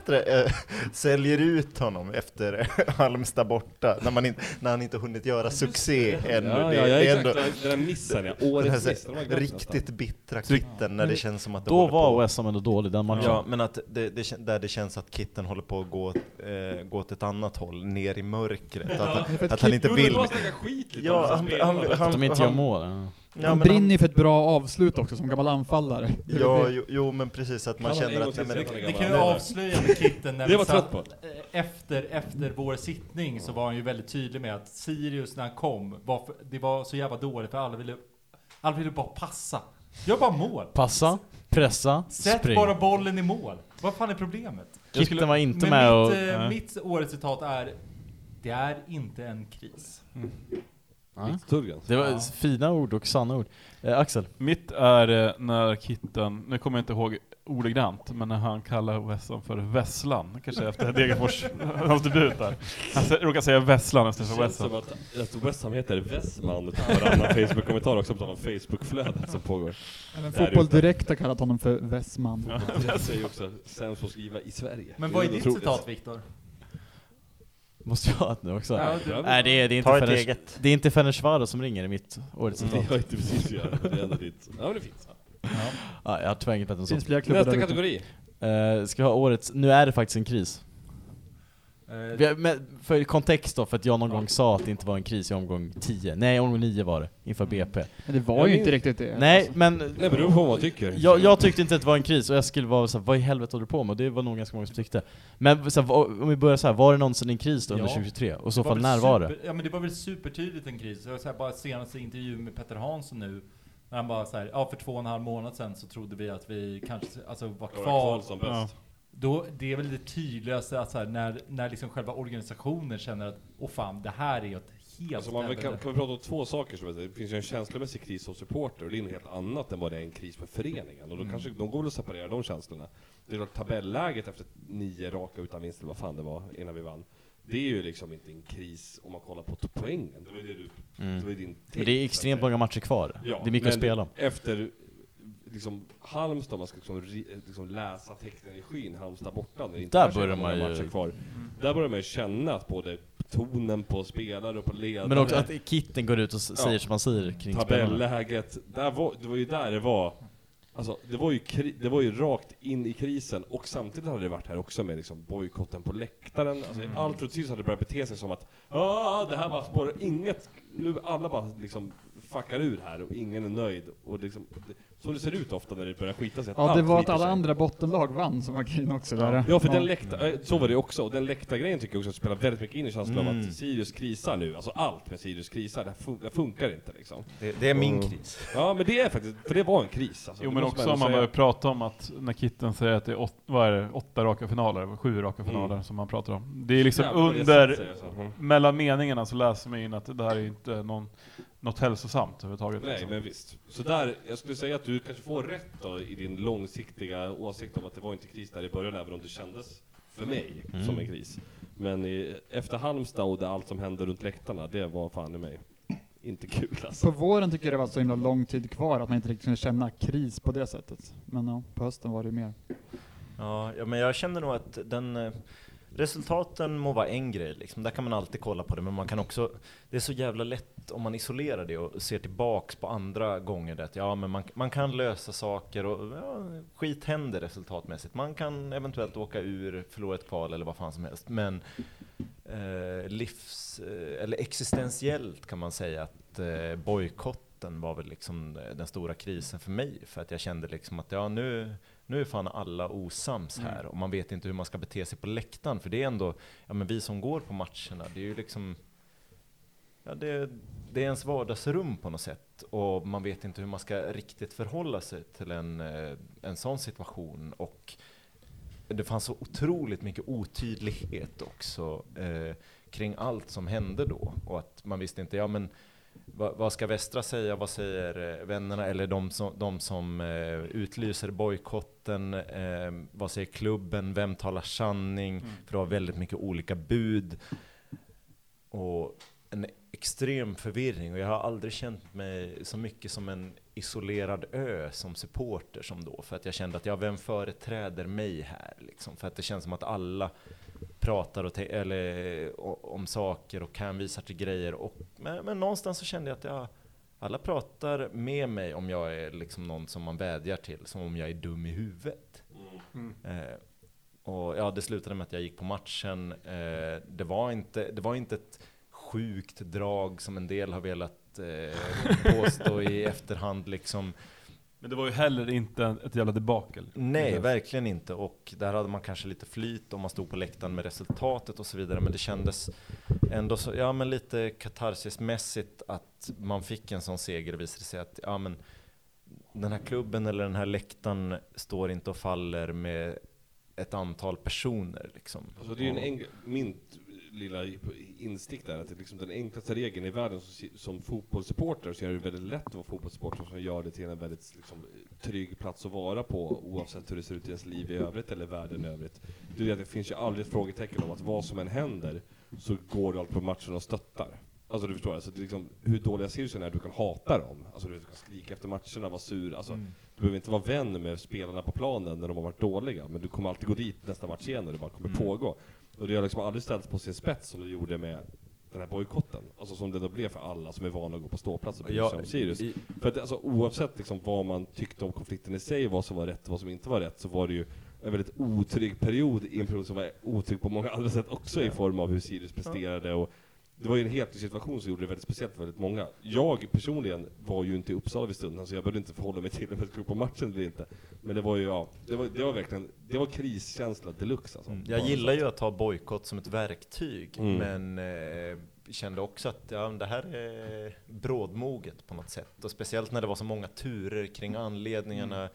[SPEAKER 6] Det, eh, Säljer ut honom efter Halmstad borta, när, man in, när han inte hunnit göra succé ännu.
[SPEAKER 7] Ja,
[SPEAKER 6] Det-
[SPEAKER 7] ja, ja,
[SPEAKER 6] det är
[SPEAKER 7] exakt.
[SPEAKER 6] ändå-
[SPEAKER 7] Den där missen ja.
[SPEAKER 6] den här,
[SPEAKER 7] Årets
[SPEAKER 6] så-
[SPEAKER 7] miss. Den var glad
[SPEAKER 6] riktigt bittra Kitten, när det känns som att det
[SPEAKER 3] Då
[SPEAKER 6] håller på.
[SPEAKER 3] var Wessam ändå dålig den matchen.
[SPEAKER 6] Ja, men att det, det, kän- där det känns att Kitten håller på att gå, eh, gå åt ett annat håll, ner i mörkret. Att, att han inte
[SPEAKER 7] alltså. Jo, det
[SPEAKER 6] vill.
[SPEAKER 7] var att snacka skit lite om
[SPEAKER 6] Ja, han,
[SPEAKER 7] spelarna.
[SPEAKER 6] han, han,
[SPEAKER 3] Att de inte gör
[SPEAKER 6] han-
[SPEAKER 3] mål. ja.
[SPEAKER 6] Ja,
[SPEAKER 1] han
[SPEAKER 6] men
[SPEAKER 1] brinner ju för ett bra avslut också som gammal anfallare.
[SPEAKER 6] Ja, jo, jo men precis att man
[SPEAKER 7] Kan man en
[SPEAKER 6] känner
[SPEAKER 7] gång
[SPEAKER 6] att...
[SPEAKER 7] till
[SPEAKER 6] Nej, men,
[SPEAKER 7] säga
[SPEAKER 2] Det kan ju
[SPEAKER 7] Nej, nej.
[SPEAKER 2] avslöja med Kitten när
[SPEAKER 7] Det
[SPEAKER 2] vi
[SPEAKER 7] var
[SPEAKER 2] satt-
[SPEAKER 7] trött
[SPEAKER 2] eh, efter, efter vår sittning så var han ju väldigt tydlig med att Sirius när han kom, var för, det var så jävla dåligt för alla ville, alla ville bara passa. Gör bara mål.
[SPEAKER 3] Passa, pressa,
[SPEAKER 2] Sätt
[SPEAKER 3] spring.
[SPEAKER 2] bara bollen i mål. Vad fan är problemet?
[SPEAKER 3] Kitten
[SPEAKER 5] skulle-
[SPEAKER 3] var
[SPEAKER 2] Men
[SPEAKER 3] inte med
[SPEAKER 2] mitt,
[SPEAKER 3] och...
[SPEAKER 2] eh,
[SPEAKER 5] nej.
[SPEAKER 2] mitt årets citat är Det är inte en kris.
[SPEAKER 3] Ja.
[SPEAKER 7] Turgen.
[SPEAKER 3] Det var fina ord och sanna ord. Eh, Axel,
[SPEAKER 5] Mitt är eh, när Kitten, nu kommer jag inte ihåg ordagrant, men när han kallar Wesson för Vesslan, kanske efter Degerfors, hans debut där. Han sä- råkar säga Vesslan istället för
[SPEAKER 7] Det känns
[SPEAKER 5] Wesson.
[SPEAKER 7] som att, att West Ham heter Westman utan varannan Facebook-kommentar också på tal om Facebook-flöden som pågår.
[SPEAKER 1] Även
[SPEAKER 7] Där
[SPEAKER 1] Fotboll
[SPEAKER 7] ute.
[SPEAKER 1] Direkt har kallat honom för Westman.
[SPEAKER 7] Det säger ju också sämst på att skriva i Sverige.
[SPEAKER 2] Men
[SPEAKER 7] Det
[SPEAKER 2] vad är
[SPEAKER 7] ju
[SPEAKER 2] ditt
[SPEAKER 7] otroligt.
[SPEAKER 2] citat Viktor?
[SPEAKER 3] måste jag ha ett nu också?
[SPEAKER 2] Ja, du-
[SPEAKER 3] Nej, det är, det är inte
[SPEAKER 6] Ta ett
[SPEAKER 3] Ferenc-
[SPEAKER 6] eget.
[SPEAKER 3] Det är inte Ferencvaros som ringer i mitt årets
[SPEAKER 7] Det har
[SPEAKER 3] citat.
[SPEAKER 7] jag inte precis att göra, men det är ändå ditt. Ja men det är fint.
[SPEAKER 3] Ja, jag har tyvärr inget bättre än så.
[SPEAKER 1] Finns flera klubbar
[SPEAKER 7] Nästa
[SPEAKER 1] där ute.
[SPEAKER 7] kategori.
[SPEAKER 3] Eh, ska vi ha årets Nu är det faktiskt en kris.
[SPEAKER 2] Eh,
[SPEAKER 3] Vi har, men för kontext då, för att jag någon gång sa att det inte var en kris i omgång 10. Nej, omgång 9 var det. Inför BP.
[SPEAKER 1] Men det var
[SPEAKER 7] Jag
[SPEAKER 1] ju
[SPEAKER 7] minns-
[SPEAKER 1] inte riktigt det.
[SPEAKER 3] Nej, men...
[SPEAKER 7] Nej beror på vad man tycker.
[SPEAKER 3] Jag, jag tyckte inte att det var en kris, och jag skulle vara såhär, vad i helvete håller du på med? Och det var nog ganska många som tyckte. Men så här, va- om vi börjar så här, var det någonsin en kris då under
[SPEAKER 2] Ja.
[SPEAKER 3] 2023? Och i så
[SPEAKER 2] var
[SPEAKER 3] fall,
[SPEAKER 2] väl
[SPEAKER 3] när var det?
[SPEAKER 2] super- Ja men det var väl supertydligt en kris. Jag såhär, bara senaste intervjun med Petter Hansson nu. När han bara såhär, ja för två och en halv månad sedan så trodde vi att vi kanske alltså, var
[SPEAKER 7] Kvar.
[SPEAKER 2] kvar.
[SPEAKER 7] Karlsson bäst.
[SPEAKER 2] Då, det är väl det tydligaste att såhär, när, när liksom själva organisationen känner att, åh fan det här är ett helt
[SPEAKER 7] Alltså man kan,
[SPEAKER 2] helvete."
[SPEAKER 7] kan vi prata om två saker som det finns ju en känslomässig kris hos supporter och det är något helt annat än vad det är en kris för föreningen.
[SPEAKER 3] Mm.
[SPEAKER 7] Och då kanske de går väl att separera de känslorna. Det är klart tabelläget efter nio raka utan vinst eller vad fan det var innan vi vann. Det är ju liksom inte en kris om man kollar på poängen. Det var ju det du... Det var ju din
[SPEAKER 3] Mm. Men
[SPEAKER 7] take,
[SPEAKER 3] det är
[SPEAKER 7] så att
[SPEAKER 3] extremt
[SPEAKER 7] säga.
[SPEAKER 3] många matcher kvar.
[SPEAKER 7] Ja,
[SPEAKER 3] det är mycket
[SPEAKER 7] men
[SPEAKER 3] att spela om.
[SPEAKER 7] Efter liksom Halmstad, man ska liksom, ri- liksom läsa tecknen i skyn, Halmstad borta, när det inte
[SPEAKER 3] Där
[SPEAKER 7] är så
[SPEAKER 3] börjar
[SPEAKER 7] många
[SPEAKER 3] man ju- Mm.
[SPEAKER 7] matcher kvar. Där börjar man ju känna att både tonen på spelare och på ledare
[SPEAKER 3] Men också att Kitten går ut och s- säger som han säger kring spelarna.
[SPEAKER 7] tabelläget. Där var, det var ju där det var. Alltså, det, var ju kri- det var ju rakt in i krisen och samtidigt hade det varit här också med liksom bojkotten på läktaren. Alltså, Allt runt Sirius hade börjat bete sig som att ah, det här bara spårar inget. Nu alla bara liksom fuckar ur här och ingen är nöjd. Och liksom, det, som det ser ut ofta när det börjar skita sig. att
[SPEAKER 1] Ja, det
[SPEAKER 7] allt
[SPEAKER 1] var att
[SPEAKER 7] skiter
[SPEAKER 1] alla
[SPEAKER 7] sig.
[SPEAKER 1] andra bottenlag vann som var grejen också där.
[SPEAKER 7] Ja, för den läkta, eh, så var det också. Och den läktargrejen tycker jag också spelar väldigt mycket in i känslan av att Sirius krisar nu. Alltså allt med Sirius krisar, det, här fun- det funkar inte liksom.
[SPEAKER 6] Det, det är min kris.
[SPEAKER 7] Ja, men det är faktiskt, för det var en kris alltså.
[SPEAKER 5] Jo
[SPEAKER 7] Det
[SPEAKER 5] men
[SPEAKER 7] måste
[SPEAKER 5] också om
[SPEAKER 7] ändå
[SPEAKER 5] man
[SPEAKER 7] säga.
[SPEAKER 5] börjar prata om att när Kitten säger att det är, åt, vad är det, åtta raka finaler, sju raka
[SPEAKER 7] Mm.
[SPEAKER 5] finaler som man pratar om. Det är liksom
[SPEAKER 7] Jävlar, vad det sätter sig,
[SPEAKER 5] under,
[SPEAKER 7] alltså. Mm.
[SPEAKER 5] mellan meningarna så läser man in att det här är inte någon, något hälsosamt överhuvudtaget.
[SPEAKER 7] Nej,
[SPEAKER 5] liksom.
[SPEAKER 7] men visst. Så där, jag skulle säga att du kanske får rätt då i din långsiktiga åsikt om att det var inte kris där i början, även om det kändes för mig som en kris. Men i, efter Halmstad och det allt som hände runt läktarna, det var fan i mig inte kul alltså.
[SPEAKER 1] På våren tycker jag det var så himla lång tid kvar att man inte riktigt kunde känna kris på det sättet. Men ja, på hösten var det ju mer.
[SPEAKER 6] Ja, ja, men jag känner nog att den eh, Resultaten må vara en grej, liksom. där kan man alltid kolla på det, men man kan också Det är så jävla lätt om man isolerar det och ser tillbaks på andra gånger där att ja, men man, man kan lösa saker och ja, skit händer resultatmässigt. Man kan eventuellt åka ur, förlora ett kval eller vad fan som helst, men eh, livs eh, eller existentiellt kan man säga att eh, bojkotten var väl liksom eh, den stora krisen för mig, för att jag kände liksom att ja, nu nu är fan alla osams här och man vet inte hur man ska bete sig på läktaren. För det är ändå, ja men vi som går på matcherna, det är ju liksom, ja det, det är ens vardagsrum på något sätt. Och man vet inte hur man ska riktigt förhålla sig till en, eh, en sån situation. Och det fanns så otroligt mycket otydlighet också eh, kring allt som hände då. Och att man visste inte, ja men vad, vad ska Västra säga? Vad säger eh, vännerna eller de som, de som eh, utlyser bojkotten? Eh, vad säger klubben? Vem talar sanning? För det var väldigt mycket olika bud. Och en extrem förvirring. Och jag har aldrig känt mig så mycket som en isolerad ö som supporter som då. För att jag kände att, ja, vem företräder mig här? Liksom? För att det känns som att alla pratar och te- eller, eh, o- om saker och hänvisar till grejer. Och, men, men någonstans så kände jag att jag, alla pratar med mig om jag är liksom någon som man vädjar till, som om jag är dum i huvudet. Eh, och ja, det slutade med att jag gick på matchen. Eh, det, var inte, det var inte ett sjukt drag som en del har velat eh, påstå i efterhand. Liksom.
[SPEAKER 5] Men det var ju heller inte ett jävla debacle.
[SPEAKER 6] Nej, verkligen inte. Och där hade man kanske lite flyt om man stod på läktaren med resultatet och så vidare. Men det kändes ändå så, ja, men lite katarsismässigt att man fick en sån seger och visade sig att ja, men den här klubben eller den här läktaren står inte och faller med ett antal personer. Liksom.
[SPEAKER 7] Alltså det är ju en enk- min t- lilla instick där, att det är liksom den enklaste regeln i världen som, si- som fotbollssupporter så är det väldigt lätt att vara fotbollssupporter som gör det till en väldigt liksom, trygg plats att vara på oavsett hur det ser ut i ens liv i övrigt eller världen i övrigt. Det, är det att det finns ju aldrig ett frågetecken om att vad som än händer så går du alltid på matchen och stöttar. Alltså du förstår, alltså, det är liksom, hur dåliga cirkusen är, du kan hata dem. Alltså du kan skrika efter matcherna, vara sur. Alltså, Du behöver inte vara vän med spelarna på planen när de har varit dåliga, men du kommer alltid gå dit nästa match igen och det bara kommer pågå. Och det har liksom aldrig ställts på sin spets som det gjorde med den här bojkotten. Alltså som det då blev för alla som är vana att gå på ståplats och bryr sig om Sirius.
[SPEAKER 6] i-
[SPEAKER 7] För att alltså, oavsett liksom vad man tyckte om konflikten i sig, vad som var rätt och vad som inte var rätt, så var det ju en väldigt otrygg period i en period som var otrygg på många andra sätt också i form av hur Sirius presterade och det var ju en helt ny situation som gjorde det väldigt speciellt för väldigt många. Jag personligen var ju inte i Uppsala vid stunden, så jag behövde inte förhålla mig till om jag skulle gå på matchen eller inte. Men det var ju, ja, det var, det var verkligen, det var kriskänsla deluxe alltså.
[SPEAKER 6] Mm, Jag gillar ju att ha bojkott som ett verktyg,
[SPEAKER 7] Mm.
[SPEAKER 6] men eh, kände också att ja, men det här är brådmoget på något sätt. Och speciellt när det var så många turer kring anledningarna.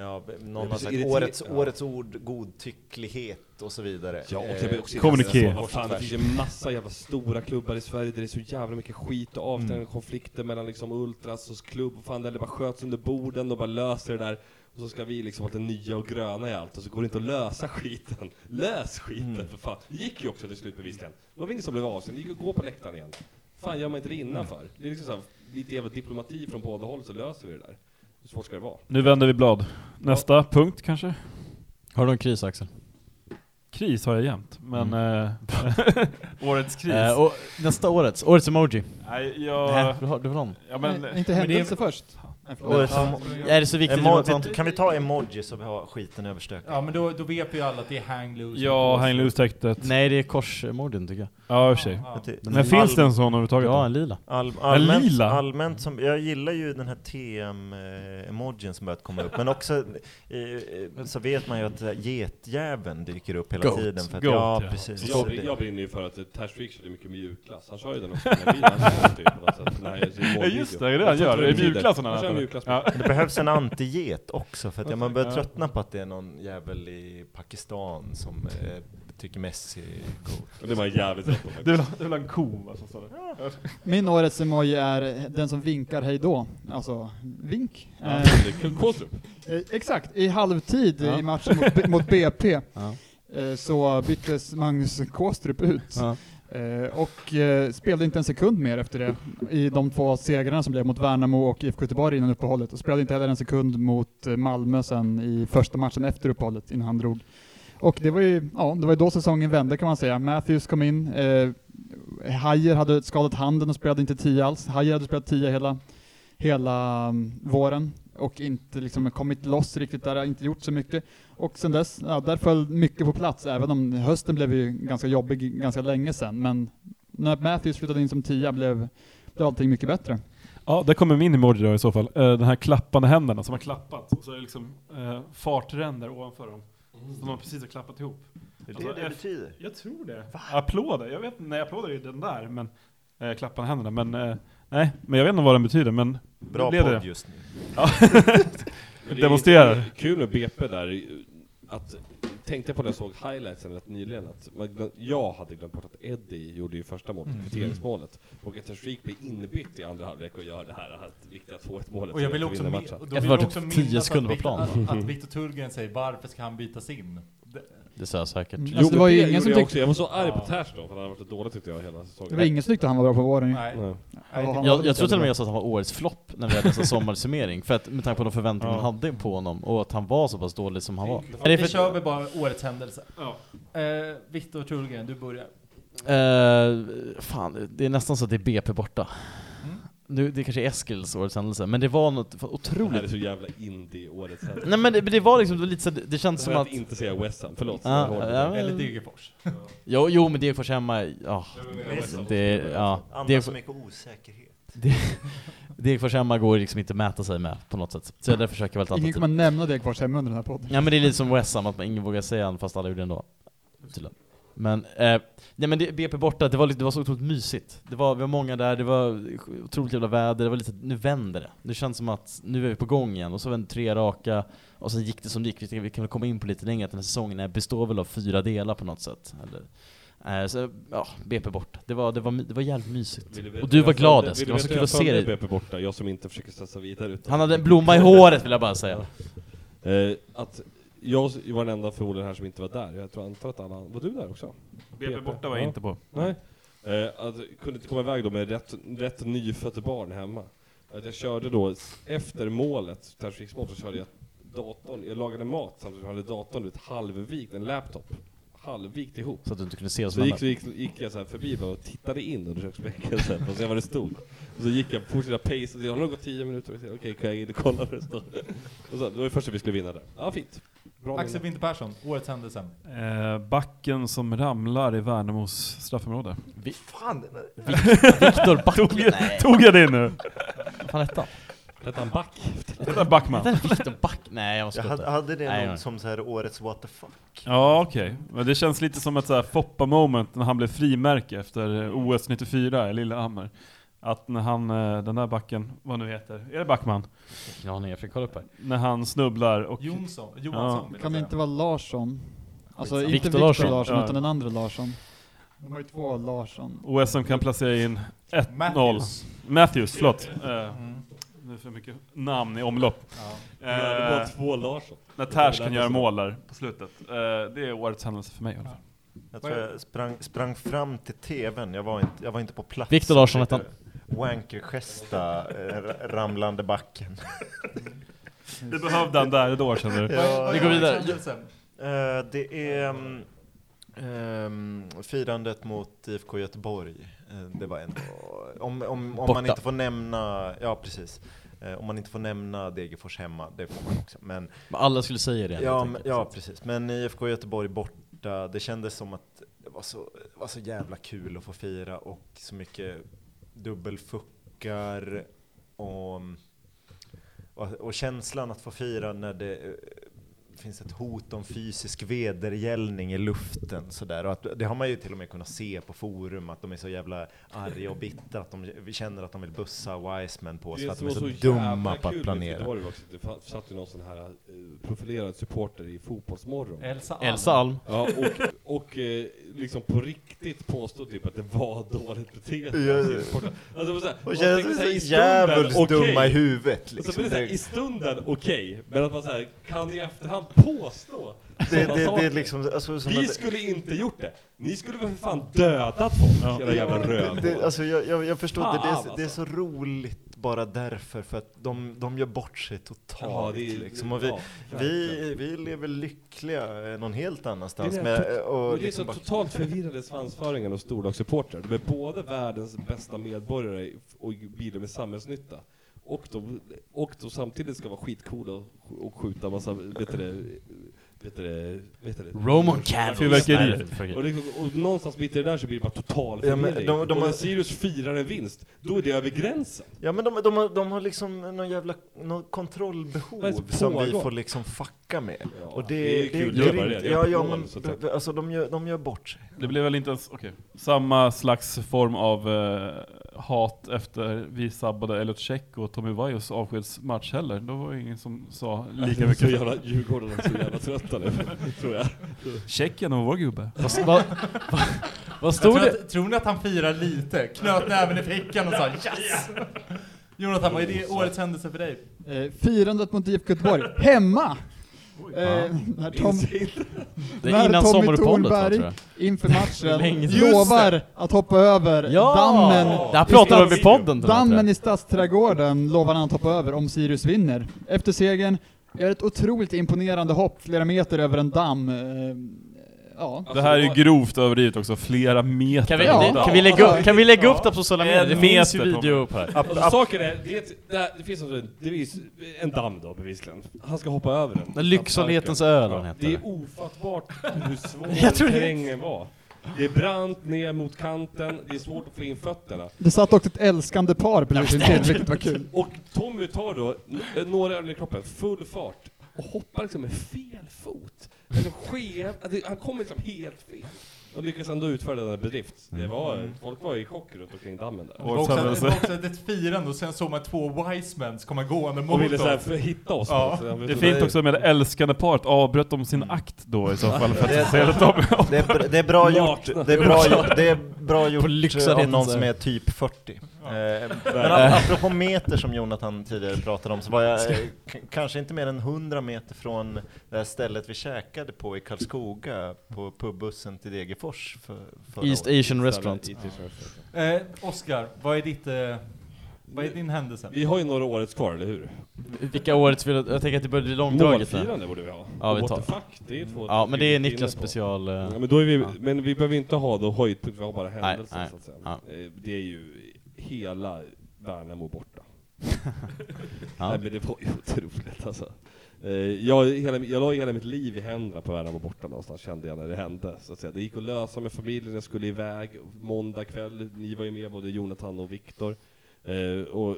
[SPEAKER 6] Ja, någon
[SPEAKER 7] blir
[SPEAKER 6] har
[SPEAKER 7] så
[SPEAKER 6] sagt
[SPEAKER 7] irriter-
[SPEAKER 6] årets,
[SPEAKER 7] ja.
[SPEAKER 6] årets ord, godtycklighet och så vidare.
[SPEAKER 7] Ja, och
[SPEAKER 6] Eh,
[SPEAKER 7] jag blir också
[SPEAKER 5] kommunikera.
[SPEAKER 7] irriterad. Vad fan, det finns ju massa jävla stora klubbar i Sverige där det är så jävla mycket skit och avstängningar och konflikter mellan liksom Ultras och klubb och fan där det bara sköts under borden och bara löser det där. Och så ska vi liksom vara det nya och gröna i allt och så går det inte att lösa skiten. Lös skiten för fan. Det gick ju också till slut bevisligen. Det var väl ingen som blev avstängd, det gick att gå på läktaren igen. Fan gör man inte det innan för? Det är liksom så här, lite jävla diplomati från båda håll så löser vi det där. Hur svårt ska det vara?
[SPEAKER 5] Nu vänder vi blad. Nästa punkt kanske?
[SPEAKER 3] Har du en kris Axel?
[SPEAKER 5] Kris har jag jämt, men... Eh, årets kris?
[SPEAKER 3] Eh, och nästa årets, årets emoji.
[SPEAKER 5] Nej,
[SPEAKER 3] Nä,
[SPEAKER 5] jag...
[SPEAKER 3] du har, du har någon.
[SPEAKER 5] Ja, men,
[SPEAKER 1] Nej, inte
[SPEAKER 5] men det är-
[SPEAKER 1] händelse först.
[SPEAKER 6] Och som,
[SPEAKER 3] Är det så viktigt
[SPEAKER 6] emo-
[SPEAKER 3] Jonathan?
[SPEAKER 6] kan vi ta emoji så vi har skiten överstökad?
[SPEAKER 2] Ja men då, då vet vi ju alla att det är hang loose.
[SPEAKER 5] Ja, hang loose-täktet.
[SPEAKER 3] Nej, det är korsmorden tycker jag.
[SPEAKER 5] Ja, i och för sig.
[SPEAKER 2] Ja.
[SPEAKER 6] Men
[SPEAKER 5] Men finns det en sån överhuvudtaget?
[SPEAKER 3] Ja,
[SPEAKER 5] då?
[SPEAKER 3] en lila.
[SPEAKER 6] All, allmänt,
[SPEAKER 5] lila.
[SPEAKER 6] allmänt som, jag gillar ju den här TM-emojin som börjat komma upp, men också eh, eh, så vet man ju att eh, getjäveln dyker upp hela
[SPEAKER 3] Goat.
[SPEAKER 6] tiden. För att,
[SPEAKER 5] Goat,
[SPEAKER 6] ja,
[SPEAKER 5] ja.
[SPEAKER 6] precis.
[SPEAKER 7] Jag, brin- jag brinner ju för att eh, Tash Fiction är mycket mjukglass. Han kör ju den också när bilen kör typ på något sätt. Nej, det är
[SPEAKER 5] Ja, just det, det är det
[SPEAKER 7] Jag
[SPEAKER 5] han
[SPEAKER 7] tror
[SPEAKER 5] gör.
[SPEAKER 7] inte
[SPEAKER 5] Det är
[SPEAKER 7] betyder.
[SPEAKER 5] mjukglassen han
[SPEAKER 7] Han kör
[SPEAKER 5] äter.
[SPEAKER 7] mjukglass.
[SPEAKER 5] Ja.
[SPEAKER 6] Men det behövs en anti-get också, för att ja, man börjar
[SPEAKER 5] Ja.
[SPEAKER 6] tröttna på att det är någon jävel i Pakistan som eh, tycker Messi är god.
[SPEAKER 7] Det var jävligt rätt på faktiskt.
[SPEAKER 5] Det är väl- det är väl en ko va, som står där?
[SPEAKER 1] Min årets emoji är den som vinkar hej då. Alltså, vink.
[SPEAKER 7] Ja,
[SPEAKER 1] Eh,
[SPEAKER 7] det är kul. Kåstrup.
[SPEAKER 1] Eh, Exakt, i halvtid
[SPEAKER 3] Ja.
[SPEAKER 1] i matchen mot, B- mot BP
[SPEAKER 3] Ja.
[SPEAKER 1] eh, så byttes Magnus Kåstrup ut.
[SPEAKER 3] Ja.
[SPEAKER 1] Eh, Och eh, spelade inte en sekund mer efter det i de två segrarna som blev mot Värnamo och IFK Göteborg innan uppehållet. Och spelade inte heller en sekund mot eh, Malmö sen i första matchen efter uppehållet innan han drog. Och det var ju, ja, det var ju då säsongen vände kan man säga. Matthews kom in, eh, Hajer hade skadat handen och spelade inte 10 alls. Hajer hade spelat 10 hela, hela mm, våren och inte liksom kommit loss riktigt där, inte gjort så mycket. Och sen dess, ja, där föll mycket på plats, även om hösten blev ju ganska jobbig ganska länge sen. Men när Matthews flyttade in som tia blev, blev allting mycket bättre.
[SPEAKER 5] Ja, där kommer min emoji då i så fall. Eh, den här klappande händerna som har klappat, och så är det liksom eh, fartränder ovanför dem. Som de precis har klappat ihop.
[SPEAKER 6] Det är
[SPEAKER 5] Alltså,
[SPEAKER 6] det
[SPEAKER 5] eh,
[SPEAKER 6] det betyder.
[SPEAKER 5] Mm. Jag tror det. Applåder, jag vet inte, nej applåder är ju den där, men eh, klappande händerna, men eh, nej, men jag vet inte vad den betyder, men
[SPEAKER 6] Bra
[SPEAKER 5] blev det.
[SPEAKER 6] podd just nu.
[SPEAKER 7] Men det är
[SPEAKER 5] demonstrerar.
[SPEAKER 7] Kul med BP där, att, tänkte på när jag såg highlightsen rätt nyligen, att man, glöm- jag hade glömt bort att Eddie gjorde ju första målet, kvitteringsmålet, och att Tashreeq blir inbytt i andra halvlek och gör det här, här viktiga 2-1 målet.
[SPEAKER 2] Och jag vill också, min-
[SPEAKER 7] matchen.
[SPEAKER 2] och då
[SPEAKER 3] Det
[SPEAKER 2] vill
[SPEAKER 3] var
[SPEAKER 2] jag
[SPEAKER 3] typ
[SPEAKER 2] också
[SPEAKER 3] tio
[SPEAKER 2] minnas
[SPEAKER 3] sekunder på
[SPEAKER 2] att,
[SPEAKER 3] plan.
[SPEAKER 2] Victor- att, att Viktor Tullgren säger varför ska han bytas in? Det-
[SPEAKER 3] Det sa jag säkert.
[SPEAKER 1] Mm. Alltså, det var ju ingen
[SPEAKER 7] gjorde
[SPEAKER 1] som
[SPEAKER 7] jag,
[SPEAKER 1] tyckte,
[SPEAKER 7] också. jag var så arg på
[SPEAKER 2] Ja.
[SPEAKER 7] Tash då, för han har varit så dålig tyckte jag hela säsongen.
[SPEAKER 1] det var ingen som tyckte han var bra på våren.
[SPEAKER 2] Nej.
[SPEAKER 7] Nej.
[SPEAKER 2] Nej, det-
[SPEAKER 1] Ja, han var
[SPEAKER 3] Jag,
[SPEAKER 1] lite
[SPEAKER 3] jag tror till
[SPEAKER 1] bra.
[SPEAKER 3] och med jag sa att han var årets flopp när vi hade nästa sommarsummering, för att med tanke på de förväntningar man hade på honom och att han var så pass dålig som han var. Är det
[SPEAKER 2] Vi
[SPEAKER 3] för-
[SPEAKER 2] kör väl bara årets händelse.
[SPEAKER 5] Ja.
[SPEAKER 2] Eh, Viktor Tullgren, du börjar.
[SPEAKER 3] Eh, fan, det är nästan så att det är BP borta. Mm. Nu, det kanske är Eskils årets händelse, men det var något fan
[SPEAKER 7] Det här är
[SPEAKER 3] otroligt.
[SPEAKER 7] så jävla indie året sen.
[SPEAKER 3] Nej men det, men det var liksom det var lite så, det kändes
[SPEAKER 7] Som
[SPEAKER 3] som att...
[SPEAKER 7] att inte säga West Ham, förlåt.
[SPEAKER 3] Ja,
[SPEAKER 7] Jag håller
[SPEAKER 3] ja,
[SPEAKER 7] med.
[SPEAKER 2] Eller
[SPEAKER 3] men,
[SPEAKER 2] Degerfors.
[SPEAKER 3] jo, jo men Degerfors hemma, ja. Det, ja
[SPEAKER 6] Andas
[SPEAKER 3] Degerfors-
[SPEAKER 6] mycket osäkerhet.
[SPEAKER 3] Degerfors hemma går liksom inte att mäta sig med på något sätt. Så jag därför försöker jag välta
[SPEAKER 1] Ingen
[SPEAKER 3] alternativ.
[SPEAKER 1] kommer nämna det kvar hemma under den här podden.
[SPEAKER 3] Ja men det är lite som West Ham, att man ingen vågar säga den fast alla gjorde det ändå. Tydligen. Men, eh, nej men det, BP borta, det var, lite, det var så otroligt mysigt. Det var, vi var många där, det var otroligt jävla väder, det var lite, nu vänder det. Nu känns det som att nu är vi på gång igen, och så var det tre raka, och sen gick det som det gick. Vi tänkte, Vi kan väl komma in på lite längre, att den här säsongen är- består väl av fyra delar på något sätt. Eller, eh, så ja, BP borta. Det var, det var, my- det var jävligt mysigt.
[SPEAKER 7] Vill veta
[SPEAKER 3] Och du
[SPEAKER 7] hur
[SPEAKER 3] var
[SPEAKER 7] jag
[SPEAKER 3] glad
[SPEAKER 7] följde-
[SPEAKER 3] Eskil, det
[SPEAKER 7] vill
[SPEAKER 3] var så
[SPEAKER 7] du veta
[SPEAKER 3] kul
[SPEAKER 7] hur
[SPEAKER 3] att
[SPEAKER 7] jag
[SPEAKER 3] se dig.
[SPEAKER 7] följde BP borta, jag som inte försöker stressa vidare. Utan
[SPEAKER 3] Han hade en blomma i håret vill jag bara säga.
[SPEAKER 7] Eh, att jag var den enda förmodligen här som inte var där. Jag tror antar att alla... Var du där också?
[SPEAKER 5] BP borta var jag
[SPEAKER 7] Ja.
[SPEAKER 5] inte på.
[SPEAKER 7] Nej. Eh, att, kunde inte komma iväg då med rätt, rätt nyfött barn hemma. Att jag körde då, s- efter målet, terrorismålet, så körde jag datorn, jag lagade mat samtidigt som jag hade datorn ut halvvikt, en laptop, halvvikt ihop.
[SPEAKER 3] Så att du inte kunde se vad
[SPEAKER 6] Alltså,
[SPEAKER 3] som
[SPEAKER 7] Så gick, så
[SPEAKER 3] hände.
[SPEAKER 7] gick, gick jag så här förbi bara och tittade in under köksbänken så här, för att se vad det stod. Och så gick jag, fortsatte pace, och det har nog gått 10 minuter, och jag okej kan jag in och kolla vad det står? Och så, det var det första vi skulle vinna där. Ja, fint. Bra
[SPEAKER 2] Axel
[SPEAKER 7] minne.
[SPEAKER 2] Winter Persson, årets händelse.
[SPEAKER 5] Eh, backen som ramlar i Värnamos straffområde.
[SPEAKER 3] Viktor Backman. Nej,
[SPEAKER 5] Tog jag det nu?
[SPEAKER 3] vad fan hette han?
[SPEAKER 7] Hette han back?
[SPEAKER 6] Eh,
[SPEAKER 5] Det där Backman.
[SPEAKER 3] Vänta, Viktor Back... Nej, jag måste
[SPEAKER 6] Jag
[SPEAKER 3] jag
[SPEAKER 6] hade, hade det
[SPEAKER 3] Nej,
[SPEAKER 6] någon
[SPEAKER 3] nej.
[SPEAKER 6] som så här årets what the fuck.
[SPEAKER 5] Ja, okej. Men det känns lite som ett så här Foppa-moment när han blev frimärke efter eh, OS 94 i Lillehammer. Att när han, eh, den där backen, vad nu heter, är det Backman?
[SPEAKER 3] ingen aning, jag fick kolla upp här.
[SPEAKER 5] När han snubblar och...
[SPEAKER 2] Jonsson, Johansson. vill jag
[SPEAKER 1] Kan det
[SPEAKER 2] säga.
[SPEAKER 1] inte vara Larsson? Alltså inte
[SPEAKER 3] Viktor
[SPEAKER 1] Viktor
[SPEAKER 3] Larsson.
[SPEAKER 1] Larsson,
[SPEAKER 5] Ja.
[SPEAKER 1] utan den andra Larsson. De har ju två Larsson.
[SPEAKER 5] OS som kan placera in 1-0. Matthews,
[SPEAKER 2] Matthews.
[SPEAKER 5] förlåt. Eh,
[SPEAKER 2] Mm.
[SPEAKER 5] nu är det för mycket namn i omlopp.
[SPEAKER 2] Ja.
[SPEAKER 5] Eh,
[SPEAKER 7] Det var två Larsson.
[SPEAKER 5] när Ters kan göra mål där på slutet. Eh, det är årets händelse för mig i alla fall.
[SPEAKER 6] Jag tror jag sprang, sprang fram till tvn, jag var inte, jag var inte på plats.
[SPEAKER 3] Viktor Larsson hette han.
[SPEAKER 6] Wanker-gesta, eh, ra- ramlande backen.
[SPEAKER 5] Det behövde han där ett år känner du.
[SPEAKER 2] Vad- vad
[SPEAKER 3] vi
[SPEAKER 2] är
[SPEAKER 3] går
[SPEAKER 2] årets
[SPEAKER 3] vidare.
[SPEAKER 2] händelse?
[SPEAKER 6] Eh, det är mm, ehm, firandet mot IFK Göteborg. Eh, det var en. Om, om, om
[SPEAKER 3] Borta.
[SPEAKER 6] man inte får nämna, ja precis. Eh, om man inte får nämna Degerfors hemma, det får man också. Men,
[SPEAKER 3] Men alla skulle säga det. helt
[SPEAKER 6] ja,
[SPEAKER 3] enkelt.
[SPEAKER 6] men, ja, precis. Men IFK Göteborg borta, det kändes som att det var så, det var så jävla kul att få fira och så mycket dubbelfuckar och, och, och känslan att få fira när det eh, finns ett hot om fysisk vedergällning i luften sådär. Och att, det har man ju till och med kunnat se på forum, att de är så jävla arga och bittra att de känner att de vill bussa Wiseman på oss för att de är så, dumma på att
[SPEAKER 7] Det,
[SPEAKER 6] planera.
[SPEAKER 7] var också. det fa- satt ju någon sån här eh, profilerad supporter i Fotbollsmorgon.
[SPEAKER 6] Eh.
[SPEAKER 2] Elsa Alm.
[SPEAKER 3] Elsa Alm.
[SPEAKER 7] Ja, och, och eh, liksom på riktigt påstod typ att det var dåligt beteende.
[SPEAKER 6] Ja, ja.
[SPEAKER 7] Alltså, det var så här, man
[SPEAKER 6] De
[SPEAKER 7] tänkte
[SPEAKER 6] känns
[SPEAKER 7] så här, i
[SPEAKER 6] så
[SPEAKER 7] stunden,
[SPEAKER 6] jävligt
[SPEAKER 7] okej.
[SPEAKER 6] dumma i huvudet.
[SPEAKER 7] Alltså,
[SPEAKER 6] Liksom.
[SPEAKER 7] men det är så här,
[SPEAKER 6] Det,
[SPEAKER 7] I stunden, okej, men att man så här, kan i efterhand påstå
[SPEAKER 6] det,
[SPEAKER 7] sådana
[SPEAKER 6] det, det
[SPEAKER 7] saker.
[SPEAKER 6] är liksom, alltså, som
[SPEAKER 7] Vi
[SPEAKER 6] att-
[SPEAKER 7] skulle inte gjort det! Ni skulle väl för fan dödat folk, era jävla
[SPEAKER 6] det, det,
[SPEAKER 7] rövhål!
[SPEAKER 6] alltså, jag, jag, jag förstår inte, det, är,
[SPEAKER 7] Fan, alltså.
[SPEAKER 6] så- det är så roligt bara därför, för att de, de gör bort sig
[SPEAKER 7] Ja,
[SPEAKER 6] totalt.
[SPEAKER 7] det är-
[SPEAKER 6] liksom. och vi,
[SPEAKER 7] ja,
[SPEAKER 6] vi, vi lever lyckliga eh, någon helt annanstans.
[SPEAKER 7] Det är
[SPEAKER 6] med,
[SPEAKER 7] det-
[SPEAKER 6] eh,
[SPEAKER 7] Men
[SPEAKER 6] och
[SPEAKER 7] Det är så
[SPEAKER 6] liksom bara,
[SPEAKER 7] totalt förvirrade svansföringen och storlagssupportrar. De är både världens bästa medborgare och bidrar med samhällsnytta. Och de, och de samtidigt ska vara skitcoola och, och skjuta massa, vet du det, vet du det, vet du det?
[SPEAKER 3] Roman candles.
[SPEAKER 5] Fyrverkerier.
[SPEAKER 7] Och, liksom, och någonstans mitt i det där så blir det bara total
[SPEAKER 6] Ja, men
[SPEAKER 7] förvirring.
[SPEAKER 6] de- de
[SPEAKER 7] och
[SPEAKER 6] har-
[SPEAKER 7] när Sirius firar en vinst, då är det över gränsen.
[SPEAKER 6] ja, men de, de, har, de har liksom någon jävla någon
[SPEAKER 7] Vad är
[SPEAKER 6] kontrollbehov
[SPEAKER 7] det som
[SPEAKER 6] som vi
[SPEAKER 7] pågår?
[SPEAKER 6] får liksom fucka med.
[SPEAKER 7] Ja,
[SPEAKER 6] och det,
[SPEAKER 7] det är ju kul, det är bara det. Det är
[SPEAKER 6] Ja, ja,
[SPEAKER 7] mål,
[SPEAKER 6] men,
[SPEAKER 7] så att säga.
[SPEAKER 6] d- alltså, de, gör, de gör bort sig.
[SPEAKER 5] Det blev väl inte ens, okej, samma slags form av eh, hat efter vi sabbade Elliot Check och Tommy Vaios avskedsmatch heller. Då var det ingen som sa lika
[SPEAKER 7] Så
[SPEAKER 5] mycket.
[SPEAKER 7] jävla Djurgården är så jävla trötta nu, tror jag.
[SPEAKER 5] Tjeckien och vår gubbe.
[SPEAKER 3] Vad, vad, vad
[SPEAKER 2] Jag
[SPEAKER 3] stod
[SPEAKER 2] tror,
[SPEAKER 7] Alltså,
[SPEAKER 3] det?
[SPEAKER 2] att, tror ni att han firar lite? Knöt näven i fickan och sa yes! Jonathan, vad är det årets händelse för dig?
[SPEAKER 1] Eh, firandet mot IFK Göteborg, hemma! Eh, när Tom,
[SPEAKER 3] Det
[SPEAKER 1] när
[SPEAKER 3] är innan
[SPEAKER 1] Tommy
[SPEAKER 3] sommaruppehållet va,
[SPEAKER 1] Thornberg-
[SPEAKER 3] tror jag.
[SPEAKER 1] inför matchen
[SPEAKER 3] Länge sedan.
[SPEAKER 1] lovar att hoppa över dammen,
[SPEAKER 3] Det här pratade
[SPEAKER 1] i
[SPEAKER 3] vi om i podden. tror jag, tror jag.
[SPEAKER 1] dammen i Stadsträdgården lovar han att hoppa över om Sirius vinner. Efter segern gör ett otroligt imponerande hopp flera meter över en damm. Eh, ja.
[SPEAKER 5] Det här är
[SPEAKER 7] alltså,
[SPEAKER 5] ju grovt överdrivet också, flera meter.
[SPEAKER 3] Kan vi,
[SPEAKER 1] Alltså, Ja.
[SPEAKER 3] det, kan vi lägga upp, kan vi lägga upp det på sociala medier? Det
[SPEAKER 5] En
[SPEAKER 3] finns ju
[SPEAKER 5] meter,
[SPEAKER 3] video upp här.
[SPEAKER 7] Alltså, saken är, det, är ett- det, här- det finns alltså, det finns en damm då bevisligen. Han ska hoppa över den.
[SPEAKER 3] Den Lycksalighetens öl han
[SPEAKER 7] Det
[SPEAKER 3] heter.
[SPEAKER 7] är ofattbart hur
[SPEAKER 3] Jag tror
[SPEAKER 7] svår
[SPEAKER 3] det-
[SPEAKER 7] terrängen var. Det är brant ner mot kanten, det är svårt att få in fötterna.
[SPEAKER 1] Det satt också ett älskande par precis intill, vilket var kul.
[SPEAKER 7] Och Tommy tar då n- några öl i kroppen, full fart, och hoppar liksom med fel fot. Eller skev, det- han kommer liksom helt fel. Och lyckas ändå utföra den här bedrift. Det var, folk var i chock runt omkring dammen där.
[SPEAKER 2] Det var också, det
[SPEAKER 5] alltså,
[SPEAKER 2] var också ett firande och sen såg man två wisemans komma gående
[SPEAKER 7] Och
[SPEAKER 2] mot
[SPEAKER 7] ville
[SPEAKER 2] oss.
[SPEAKER 7] så här för- hitta oss. Så jag vet
[SPEAKER 5] Det är
[SPEAKER 7] inte-
[SPEAKER 5] fint också med det älskande paret, avbröt de sin akt då i så fall för
[SPEAKER 6] Det-
[SPEAKER 5] att se att de...
[SPEAKER 6] Det är, br- det är bra gjort.
[SPEAKER 7] Nakna.
[SPEAKER 6] Det är bra gjort, det är bra
[SPEAKER 3] På
[SPEAKER 6] gjort
[SPEAKER 3] lyxarheten
[SPEAKER 6] av någon
[SPEAKER 3] så här.
[SPEAKER 6] som är typ 40. Eh, Men ap- apropå meter som Jonathan tidigare pratade om så var jag eh, k- kanske inte mer än 100 meter från det här stället vi käkade på i Karlskoga på pubbussen till Degerfors för, förra
[SPEAKER 3] East
[SPEAKER 6] året.
[SPEAKER 3] Asian Restaurant.
[SPEAKER 2] Eh, Oskar, vad är ditt... Eh, vad är din händelse?
[SPEAKER 7] Vi har ju några årets kvar, eller hur?
[SPEAKER 3] Vilka årets vill Jag tänker att det börjar bli långdraget nu.
[SPEAKER 7] Målfirande borde vi ha.
[SPEAKER 3] Ja, vi
[SPEAKER 7] What
[SPEAKER 3] tar-
[SPEAKER 7] the fuck, det är två
[SPEAKER 3] Ja, men det är
[SPEAKER 7] inne
[SPEAKER 3] Niklas
[SPEAKER 7] på.
[SPEAKER 3] special. eh.
[SPEAKER 7] Ja, men, då är vi,
[SPEAKER 3] Ja.
[SPEAKER 7] men vi behöver inte ha då höjdpunkt, vi har bara händelser
[SPEAKER 3] nej.
[SPEAKER 7] så att säga.
[SPEAKER 3] Ja.
[SPEAKER 7] Eh, Det är ju hela Värnamo borta.
[SPEAKER 3] Ja.
[SPEAKER 7] Nej men det var ju otroligt alltså. Eh, Jag, hela, jag la ju hela mitt liv i händerna på Värnamo borta någonstans kände jag när det hände. Så att säga. Det gick att lösa med familjen, jag skulle iväg måndag kväll, ni var ju med både Jonathan och Viktor. Eh, och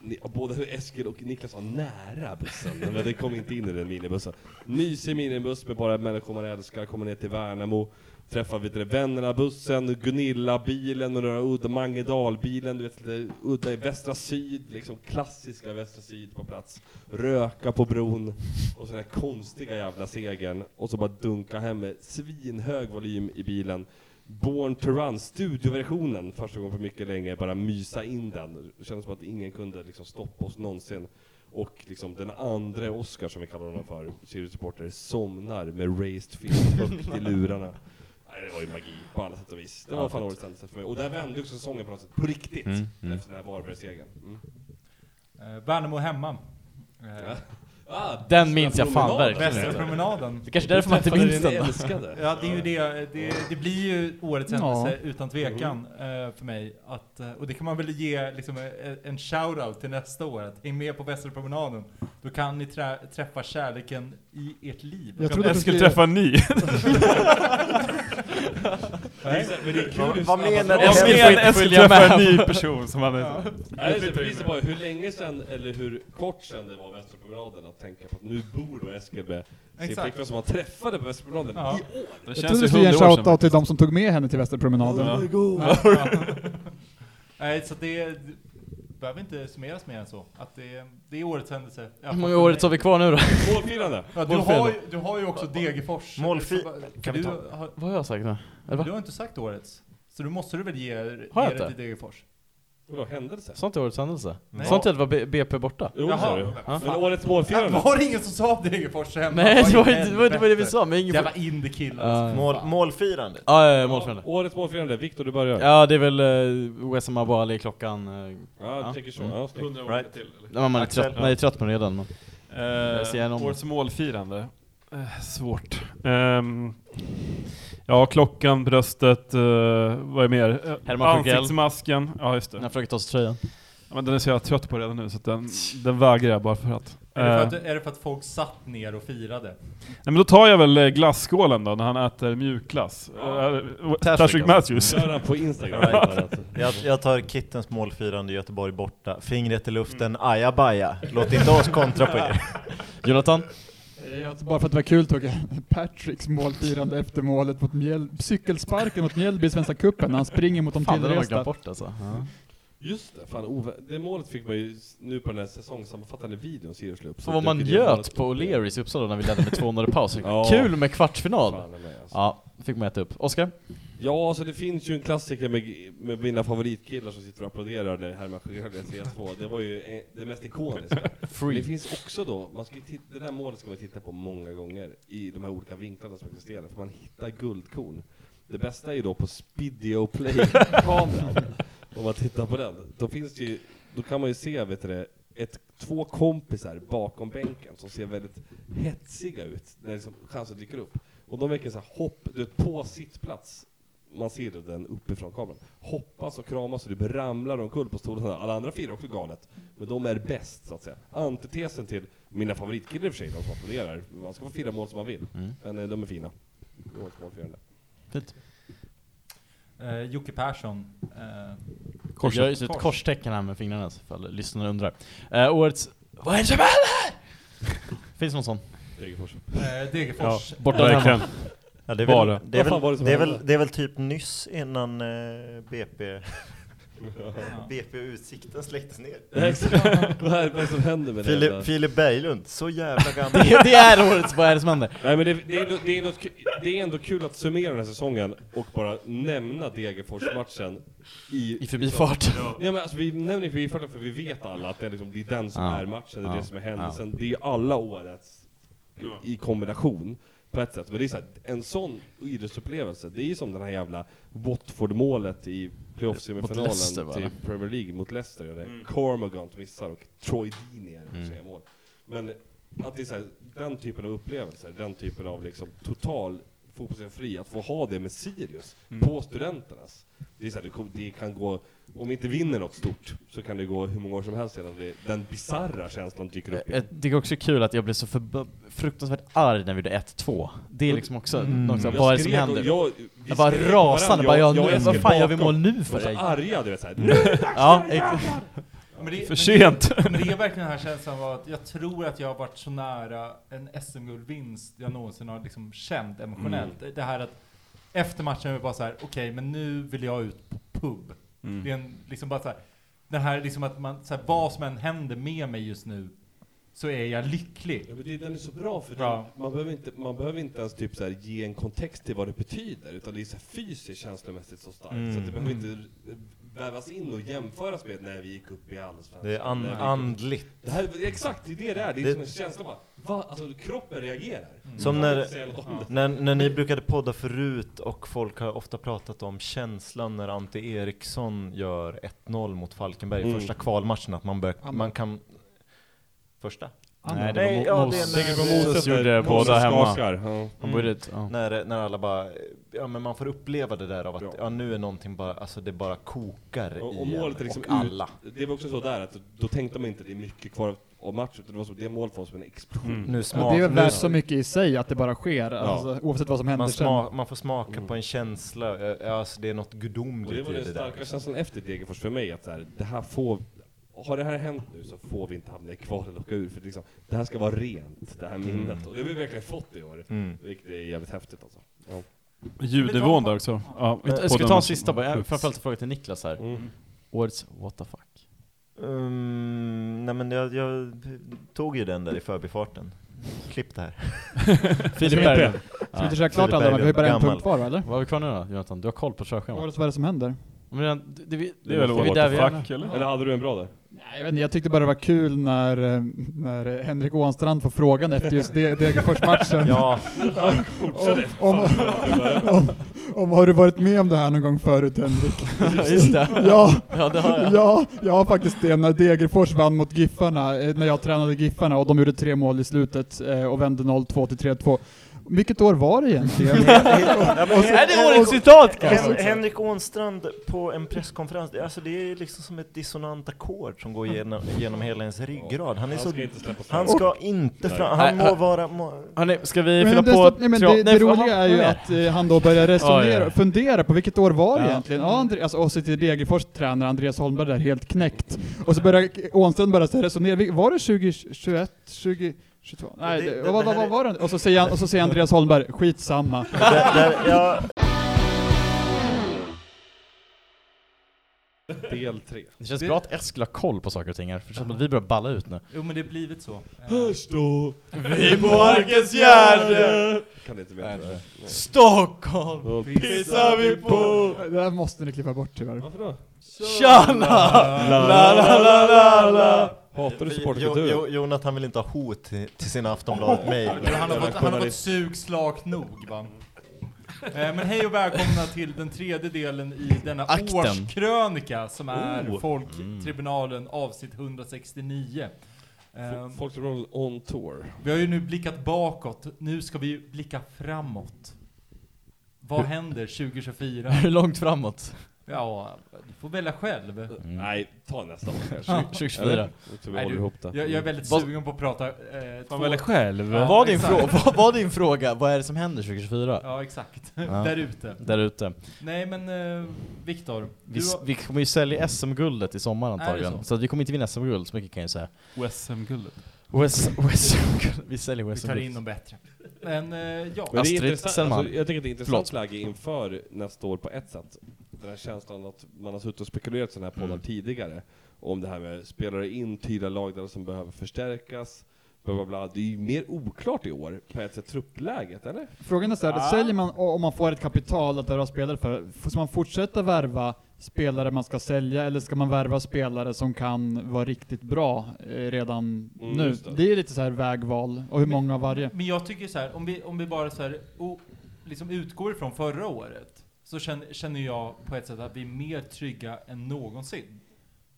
[SPEAKER 7] ni, och både Eskil och Niklas var nära bussen, men det kom inte in i den minibussen. Mysig minibuss med bara människor man älskar, kommer ner till Värnamo, träffar vet du, vännerna, bussen, Gunilla-bilen och några udda, Mangedal-bilen, du vet lite udda i Västra Syd, liksom klassiska Västra Syd på plats. Röka på bron, och så den här konstiga jävla segern, och så bara dunka hem med svinhög volym i bilen. Born to Run, studioversionen, första gången på mycket länge, bara mysa in den. Det kändes som att ingen kunde liksom stoppa oss någonsin. Och liksom den andra Oscar, som vi kallar honom för, Sirius-supporter, somnar med raised fist högt i lurarna. Nej, det var ju magi på alla sätt och vis. Det var fan årets händelse för mig. Och där vände också säsongen på något sätt, på riktigt,
[SPEAKER 3] Mm.
[SPEAKER 7] Mm. efter den här Varbergssegern. Mm.
[SPEAKER 2] Eh, Värnamo hemma. Eh,
[SPEAKER 7] Ah,
[SPEAKER 3] Den minns jag fan
[SPEAKER 7] promenaden.
[SPEAKER 3] verkligen
[SPEAKER 2] Västra
[SPEAKER 3] inte.
[SPEAKER 2] promenaden.
[SPEAKER 3] Det är kanske är därför man inte
[SPEAKER 7] Träffade
[SPEAKER 3] minns
[SPEAKER 7] din
[SPEAKER 3] den.
[SPEAKER 7] älskade.
[SPEAKER 2] Ja, det är ju det. Det, det blir ju årets
[SPEAKER 1] Ja.
[SPEAKER 2] händelse utan tvekan eh, för mig. Att, eh, och det kan man väl ge liksom, eh, en shout-out till nästa år. Att häng med på Västra promenaden. Då kan ni trä, träffa kärleken i ert liv.
[SPEAKER 1] Jag trodde
[SPEAKER 5] Jag
[SPEAKER 1] du
[SPEAKER 5] skulle
[SPEAKER 1] skulle...
[SPEAKER 5] träffa en ny.
[SPEAKER 2] Nej.
[SPEAKER 8] Vad menar
[SPEAKER 5] Jag
[SPEAKER 3] ska
[SPEAKER 5] skulle
[SPEAKER 3] inte följa
[SPEAKER 5] träffa
[SPEAKER 3] med.
[SPEAKER 5] en ny person som han är...
[SPEAKER 7] Nej, Alltså, det är precis bara hur länge sedan, eller hur kort sedan det var Västerpromenaden att tänka på att nu bor då Eskil med sin
[SPEAKER 2] Exakt.
[SPEAKER 7] flickvän som han träffade på Västerpromenaden
[SPEAKER 2] Ja.
[SPEAKER 7] i år.
[SPEAKER 5] Det
[SPEAKER 1] Jag
[SPEAKER 5] känns
[SPEAKER 1] trodde du
[SPEAKER 5] ju
[SPEAKER 1] skulle ge en
[SPEAKER 5] hundra år sedan.
[SPEAKER 1] shoutout till de som tog med henne till Västerpromenaden.
[SPEAKER 5] Ja.
[SPEAKER 2] Ja. Nej, så att det, det behöver inte summeras mer än så. Att det, det är årets händelse. Ja,
[SPEAKER 3] Hur många året har vi kvar nu då?
[SPEAKER 7] Målfirande!
[SPEAKER 2] ja, du, har ju, du har ju också Degerfors.
[SPEAKER 8] Målfi-
[SPEAKER 2] För
[SPEAKER 8] kan vi
[SPEAKER 2] du,
[SPEAKER 8] ta-
[SPEAKER 2] har,
[SPEAKER 3] Vad har jag sagt nu?
[SPEAKER 2] du
[SPEAKER 3] Eller va?
[SPEAKER 2] har inte sagt årets. Så du måste du väl ge, ge
[SPEAKER 3] jag
[SPEAKER 2] det
[SPEAKER 3] inte?
[SPEAKER 2] till Degerfors?
[SPEAKER 7] Vadå, händelse?
[SPEAKER 3] Sa inte årets händelse?
[SPEAKER 2] Nej.
[SPEAKER 3] Sa inte att det var B- BP borta?
[SPEAKER 7] Jo, det
[SPEAKER 2] Jaha.
[SPEAKER 7] sa du.
[SPEAKER 3] Ja.
[SPEAKER 7] Men årets målfirande?
[SPEAKER 2] Var det ingen som sa Degerfors hemma? Vad
[SPEAKER 3] Nej, det
[SPEAKER 2] i
[SPEAKER 3] var inte det, var inte det vi
[SPEAKER 2] helvete?
[SPEAKER 3] sa, men ingen...
[SPEAKER 2] Jävla indiekillar. alltså.
[SPEAKER 3] Ja.
[SPEAKER 8] Mål, målfirandet?
[SPEAKER 3] Ja, ja, ja, målfrände.
[SPEAKER 7] Årets målfirande, Viktor du börjar.
[SPEAKER 3] Ja, det är väl uh, Wessam Abou Ali klockan... eh,
[SPEAKER 7] Ja, jag
[SPEAKER 3] Ja.
[SPEAKER 7] tänker så. Ja, snyggt.
[SPEAKER 8] Right.
[SPEAKER 3] när man är
[SPEAKER 8] Axel.
[SPEAKER 3] trött, man är trött på den redan. men- Jag ser
[SPEAKER 5] Eh,
[SPEAKER 3] igenom.
[SPEAKER 5] årets målfirande. Eh, svårt. Ehm, ja, klockan, bröstet, eh, vad är mer? Eh,
[SPEAKER 3] Herman Sjögren.
[SPEAKER 5] Ansiktsmasken. Ja, just det.
[SPEAKER 3] När jag försöker ta sig tröjan.
[SPEAKER 5] Ja, men den är så jag trött på redan nu så att den, den vägrar jag bara för att.
[SPEAKER 2] Är, det för
[SPEAKER 5] Eh,
[SPEAKER 2] att du- är det för att folk satt ner och firade?
[SPEAKER 5] Nej men då tar jag väl eh, glasskålen då, när han äter mjukglass.
[SPEAKER 3] Tashrik
[SPEAKER 5] Tashrik
[SPEAKER 3] alltså.
[SPEAKER 5] Matthews.
[SPEAKER 7] Gör han på Instagram. Right.
[SPEAKER 8] Jag, jag tar Kittens målfirande i Göteborg borta. Fingret i luften, ajabaja. Låt inte oss kontra på er.
[SPEAKER 3] Jonathan?
[SPEAKER 1] Alltså, bara för att det var kul tog jag Patricks målfirande efter målet mot Mjäl... cykelsparken mot Mjällby i Svenska Cupen när han springer mot de
[SPEAKER 3] Fan, den har jag glömt
[SPEAKER 1] tillresta.
[SPEAKER 3] bort alltså. Ja.
[SPEAKER 7] Just det, fan Ove. Det målet fick man ju s- nu på den här säsongssammanfattande videon ser upp.
[SPEAKER 3] Så vad man njöt på O'Learys i Uppsala när vi ledde med 2-0 i paus.
[SPEAKER 7] Ja.
[SPEAKER 3] Kul med kvartsfinal!
[SPEAKER 7] Fan, nej, alltså.
[SPEAKER 3] Ja, fick man äta upp. Oskar?
[SPEAKER 7] Ja, alltså det finns ju en klassiker med, med mina favoritkillar som sitter och applåderar när Herman Sjögren gör 3-2. Det var ju eh, det mest ikoniska. Men det
[SPEAKER 3] Free.
[SPEAKER 7] finns också då, man ska ju titta, det där målet ska man titta på många gånger i de här olika vinklarna som existerar, för man hittar guldkorn. Det bästa är ju då på Speedio Play-kameran, om man tittar på den. Då finns det ju, då kan man ju se, vet du det, ett, två kompisar bakom bänken som ser väldigt hetsiga ut när liksom chansen dyker upp. Och de verkar så här hopp, du vet, på sittplats. Man ser det den uppifrån kameran. Hoppas och kramas och du bara ramlar omkull på stolarna. Alla andra firar också galet. Men de är bäst, så att säga. Antitesen till mina favoritkillar i och för sig, de som applåderar. Man ska få fira mål som man vill.
[SPEAKER 3] Mm.
[SPEAKER 7] Men eh, de är fina. Årets målfirande.
[SPEAKER 3] Fint.
[SPEAKER 2] Eh, Jocke Persson. Eh,
[SPEAKER 3] Jag gör just ett
[SPEAKER 2] Kors.
[SPEAKER 3] korstecken här med fingrarna så ifall lyssnarna undrar. Eh, årets... Vad är det som händer? Finns det någon sån?
[SPEAKER 7] Degerfors.
[SPEAKER 2] eh, Degerfors.
[SPEAKER 3] Borta och hemma.
[SPEAKER 5] Verkligen.
[SPEAKER 8] Ja, det, är
[SPEAKER 5] Bara.
[SPEAKER 8] väl, det, är
[SPEAKER 7] Vad fan var det
[SPEAKER 8] väl,
[SPEAKER 7] som
[SPEAKER 8] det, är väl,
[SPEAKER 7] hände?
[SPEAKER 8] det är väl typ nyss innan eh, BP,
[SPEAKER 2] Ja.
[SPEAKER 8] BP och Utsikten släcktes ner.
[SPEAKER 7] Vad är det som händer med det?
[SPEAKER 8] Filip, Filip Berglund, så jävla gammal.
[SPEAKER 3] Det, det är årets Vad är det som händer?
[SPEAKER 7] Nej, men det, det, är, ändå- det, är ändå, ku- det är ändå kul att summera den här säsongen och bara nämna Degerfors-matchen i
[SPEAKER 3] I förbifart.
[SPEAKER 7] Ja, men alltså, vi nämner ju förbifarten för vi vet alla att det är, liksom, det är den som
[SPEAKER 3] Ja.
[SPEAKER 7] är matchen, det är
[SPEAKER 3] Ja.
[SPEAKER 7] det som är händelsen. Det är ju alla årets i kombination på ett sätt. Men det är så här, en sån idrottsupplevelse, det är ju som den här jävla Watford-målet i
[SPEAKER 3] Mot Leicester,
[SPEAKER 7] playoff-semifinalen
[SPEAKER 3] va?
[SPEAKER 7] till Premier League mot Leicester. Och det Cormagant missar och Troy Deeney är
[SPEAKER 3] Mm.
[SPEAKER 7] det som gör mål. Men att det är så här, den typen av upplevelser, den typen av liksom total fotbollen fri, att få ha det med Sirius på studenternas. Det, är så här, det, kom- det kan gå, om vi inte vinner något stort så kan det gå hur många år som helst innan det, den bisarra känslan dyker upp.
[SPEAKER 3] Jag tycker Eh, också kul att jag blev så förb- fruktansvärt arg när vi gjorde 1-2. Det är liksom också något sånt,
[SPEAKER 7] Jag
[SPEAKER 3] vad är det som
[SPEAKER 7] skrek och-
[SPEAKER 3] händer? Jag,
[SPEAKER 7] Jag, vi
[SPEAKER 3] bara
[SPEAKER 7] skrek
[SPEAKER 3] rasande, bara,
[SPEAKER 7] varandra,
[SPEAKER 3] jag,
[SPEAKER 7] och
[SPEAKER 3] nu,
[SPEAKER 7] Eskil
[SPEAKER 3] vad fan gör vi
[SPEAKER 7] bakom.
[SPEAKER 3] mål nu
[SPEAKER 7] Och
[SPEAKER 3] för?
[SPEAKER 7] så
[SPEAKER 3] dig? Mm.
[SPEAKER 7] arga, du vet såhär. Nu!
[SPEAKER 3] Ja, ex-
[SPEAKER 2] Men det,
[SPEAKER 5] För
[SPEAKER 2] men
[SPEAKER 5] sent.
[SPEAKER 2] Det, men det är verkligen den här känslan av att jag tror att jag har varit så nära en SM-guldvinst jag någonsin har liksom känt emotionellt.
[SPEAKER 3] Mm.
[SPEAKER 2] Det här att efter matchen är det bara så här, okej, men nu vill jag ut på pub.
[SPEAKER 3] Mm.
[SPEAKER 2] Det är en, liksom bara så här, den här liksom att man, så här, vad som än händer med mig just nu så är jag lycklig.
[SPEAKER 7] Ja, men det, den är så bra för
[SPEAKER 2] Bra.
[SPEAKER 7] den- Man, behöver inte, man behöver inte ens typ så här ge en kontext till vad det betyder, utan det är så här fysiskt känslomässigt så starkt, så att det behöver inte vävas in och jämföras med när vi gick upp i Allsvenskan.
[SPEAKER 8] Det är an,
[SPEAKER 7] när vi gick upp-
[SPEAKER 8] andligt.
[SPEAKER 7] det här, exakt, det är det det är. Det är
[SPEAKER 8] Det-
[SPEAKER 7] som en känsla bara, va? Alltså kroppen reagerar.
[SPEAKER 6] Mm.
[SPEAKER 8] Som
[SPEAKER 7] Man kan
[SPEAKER 8] när,
[SPEAKER 7] inte säga något om det.
[SPEAKER 8] när, när ni brukade podda förut och folk har ofta pratat om känslan när Ante Eriksson gör 1-0 mot Falkenberg i
[SPEAKER 7] Mm.
[SPEAKER 8] första kvalmatchen, att man, bör, man kan... Första?
[SPEAKER 3] Nej, det var
[SPEAKER 8] Nej,
[SPEAKER 3] Mo-
[SPEAKER 8] ja, det är
[SPEAKER 3] Moses.
[SPEAKER 8] när-
[SPEAKER 3] Moses gjorde båda hemma. Mm.
[SPEAKER 7] Skakar. Ja.
[SPEAKER 3] Han borde, ja.
[SPEAKER 6] När, när alla bara, ja men man får uppleva det där av att
[SPEAKER 7] Ja.
[SPEAKER 6] ja. nu är någonting bara, alltså det bara kokar
[SPEAKER 7] Och,
[SPEAKER 6] i
[SPEAKER 7] och
[SPEAKER 6] en,
[SPEAKER 7] målet är liksom
[SPEAKER 6] och alla.
[SPEAKER 7] Ut, det var också så där att då tänkte man inte att det är mycket kvar av- av matchen, utan det var som det målet var som en explosion.
[SPEAKER 6] Nu
[SPEAKER 1] Ja, det är
[SPEAKER 6] smak,
[SPEAKER 1] väl
[SPEAKER 6] nu,
[SPEAKER 1] värt så mycket i sig att det bara sker, alltså, oavsett vad som händer
[SPEAKER 6] man,
[SPEAKER 1] sen.
[SPEAKER 6] sma, man får smaka på en känsla, eh, alltså det är något
[SPEAKER 7] Och det
[SPEAKER 6] gudomligt
[SPEAKER 7] var
[SPEAKER 6] i
[SPEAKER 7] den
[SPEAKER 6] det där.
[SPEAKER 7] starka känslan efter Degerfors för mig, att så här, det här får... Har det här hänt nu så får vi inte hamna i kval eller åka ur, för liksom, det här ska vara rent, det här minnet. Och det har vi verkligen fått i år,
[SPEAKER 6] Mm.
[SPEAKER 7] vilket är jävligt häftigt alltså. Ja.
[SPEAKER 5] Ljudnivån där också. Ja,
[SPEAKER 3] Jag Eh, ska vi ta en sista bara? Jag har framförallt en fråga till Niklas här.
[SPEAKER 7] Mm.
[SPEAKER 3] Årets what the fuck?
[SPEAKER 6] Um, nej men jag, jag tog ju den där i förbifarten. Klipp det här.
[SPEAKER 3] Filip Berg.
[SPEAKER 1] Ska vi inte köra klart alla? Vi har ju bara en
[SPEAKER 6] Gammal.
[SPEAKER 1] punkt kvar va, eller?
[SPEAKER 3] Vad har vi kvar nu då Jonathan? Du har koll på körschemat?
[SPEAKER 1] Vad är det som händer?
[SPEAKER 3] Men redan- det, det, vi-
[SPEAKER 5] Det är väl
[SPEAKER 3] vi
[SPEAKER 5] what
[SPEAKER 3] där
[SPEAKER 5] the
[SPEAKER 3] vi är nu?
[SPEAKER 5] fuck eller?
[SPEAKER 7] Eller hade du en bra där?
[SPEAKER 1] Nej, jag, vet inte, jag tyckte bara det var kul när, eh, när eh, Henrik Ånstrand får frågan efter just det- Degerfors-matchen.
[SPEAKER 6] Ja,
[SPEAKER 1] om, om, om, om, har du varit med om det här någon gång förut Henrik?
[SPEAKER 3] Just det.
[SPEAKER 1] Ja,
[SPEAKER 3] Ja, det har jag.
[SPEAKER 1] ja, jag har faktiskt det. När Degerfors vann mot Giffarna, eh, när jag tränade Giffarna och de gjorde tre mål i slutet eh, och vände 0-2 till 3-2. Vilket år var det egentligen?
[SPEAKER 3] Är det årets citat
[SPEAKER 6] Hen
[SPEAKER 3] kanske?
[SPEAKER 6] Henrik Ånstrand på en presskonferens, det- alltså det är liksom som ett dissonant ackord som går genom, genom hela ens ryggrad. Han är så...
[SPEAKER 7] ska inte släppas fram.
[SPEAKER 6] Han ska inte fram...
[SPEAKER 3] Nej,
[SPEAKER 6] Han må
[SPEAKER 2] äh.
[SPEAKER 3] han-
[SPEAKER 6] vara... Må,
[SPEAKER 3] Hörni, ska vi
[SPEAKER 1] Men
[SPEAKER 3] fylla
[SPEAKER 1] det,
[SPEAKER 3] på?
[SPEAKER 1] stopp, nej, men
[SPEAKER 3] tra-
[SPEAKER 1] det, det
[SPEAKER 3] för-
[SPEAKER 1] roliga
[SPEAKER 3] aha,
[SPEAKER 1] är ju
[SPEAKER 3] nej.
[SPEAKER 1] att eh, han då börjar resonera,
[SPEAKER 3] Oj, oj.
[SPEAKER 1] fundera på vilket år var det
[SPEAKER 3] Ja.
[SPEAKER 1] egentligen? Ja, André, alltså, och så sitter Degerfors tränare Andreas Holmberg där helt knäckt. Och så börjar Ånstrand bara så här resonera, vil- var det 2021, 2022? Nej,
[SPEAKER 6] Det-
[SPEAKER 1] det,
[SPEAKER 6] det-
[SPEAKER 1] vad,
[SPEAKER 6] det
[SPEAKER 1] vad,
[SPEAKER 6] här
[SPEAKER 1] vad var det? Och så säger, han, och så säger Andreas Holmberg, skitsamma.
[SPEAKER 6] där, där, ja,
[SPEAKER 7] Del 3.
[SPEAKER 3] Det känns bra att Eskil har koll på saker och ting här, för det känns som att vi börjar balla ut nu.
[SPEAKER 2] Jo men det har blivit så.
[SPEAKER 7] Stå!
[SPEAKER 3] Vi på Arkens Gärde,
[SPEAKER 7] Kan det inte veta.
[SPEAKER 3] Stockholm,
[SPEAKER 7] Och
[SPEAKER 3] pissar vi på
[SPEAKER 1] Det där måste ni klippa bort tyvärr.
[SPEAKER 7] Varför då?
[SPEAKER 3] Tjana! La la la la la!
[SPEAKER 7] Hatar du
[SPEAKER 6] jo,
[SPEAKER 7] supporterkultur?
[SPEAKER 6] jo, Jonathan vill inte ha hot till, till sina Aftonbladet-mejl.
[SPEAKER 2] Men han har fått, han har fått sug slakt nog va. Eh, Men hej och välkomna till den tredje delen i denna
[SPEAKER 3] Akten.
[SPEAKER 2] årskrönika som är
[SPEAKER 7] Oh.
[SPEAKER 2] Folktribunalen avsnitt 169. Eh,
[SPEAKER 7] Folk som roll on tour.
[SPEAKER 2] Vi har ju nu blickat bakåt, nu ska vi ju blicka framåt. Vad händer 2024?
[SPEAKER 3] Hur långt framåt?
[SPEAKER 2] Ja, du får välja själv.
[SPEAKER 3] Mm.
[SPEAKER 7] Nej, ta nästa år kanske.
[SPEAKER 3] 2024.
[SPEAKER 7] Jag tror vi
[SPEAKER 2] Nej,
[SPEAKER 7] håller
[SPEAKER 2] du-
[SPEAKER 7] ihop det.
[SPEAKER 2] Jag, jag är väldigt
[SPEAKER 3] Vad-
[SPEAKER 2] sugen på att prata eh, två...
[SPEAKER 5] Man väljer själv.
[SPEAKER 2] Ja,
[SPEAKER 3] Var din,
[SPEAKER 2] exakt.
[SPEAKER 3] frå- vad var din fråga, vad är det som händer 2024?
[SPEAKER 2] Ja, exakt.
[SPEAKER 3] Ja.
[SPEAKER 2] Där ute.
[SPEAKER 3] Där ute.
[SPEAKER 2] Nej men eh, Viktor,
[SPEAKER 3] Vi,
[SPEAKER 2] du
[SPEAKER 3] s-
[SPEAKER 2] har-
[SPEAKER 3] vi kommer ju sälja SM-guldet i sommar
[SPEAKER 2] det
[SPEAKER 3] antagligen.
[SPEAKER 2] så?
[SPEAKER 3] Så, att vi kommer inte vinna SM-guld, så mycket kan jag ju säga.
[SPEAKER 5] OSM-guldet.
[SPEAKER 3] OS, OS, vi säljer
[SPEAKER 2] vi tar in
[SPEAKER 3] OS-guldet.
[SPEAKER 2] dem bättre. Men eh, ja,
[SPEAKER 7] Men det är
[SPEAKER 3] Astrid
[SPEAKER 7] intressant-
[SPEAKER 3] Selman.
[SPEAKER 7] Alltså, jag tycker att det är ett intressant
[SPEAKER 3] Förlåt.
[SPEAKER 7] läge inför nästa år på ett sätt. Den här känslan att man har suttit och spekulerat i sådana här poddar
[SPEAKER 3] Mm.
[SPEAKER 7] tidigare. Om det här med spelare in, tydliga lagdelar som behöver förstärkas. Bla bla bla. Det är ju mer oklart i år på ett sätt truppläget, eller?
[SPEAKER 1] Frågan är så här, säljer man, och- om man får ett kapital att värva spelare för, f- ska man fortsätta värva spelare man ska sälja eller ska man värva spelare som kan vara riktigt bra eh, redan
[SPEAKER 7] Mm,
[SPEAKER 1] nu?
[SPEAKER 7] just det.
[SPEAKER 1] Det är lite så här vägval, och hur många av varje.
[SPEAKER 2] men jag tycker så här, om vi, om vi bara så här, o, liksom utgår ifrån förra året, så känner, känner jag på ett sätt att vi är mer trygga än någonsin.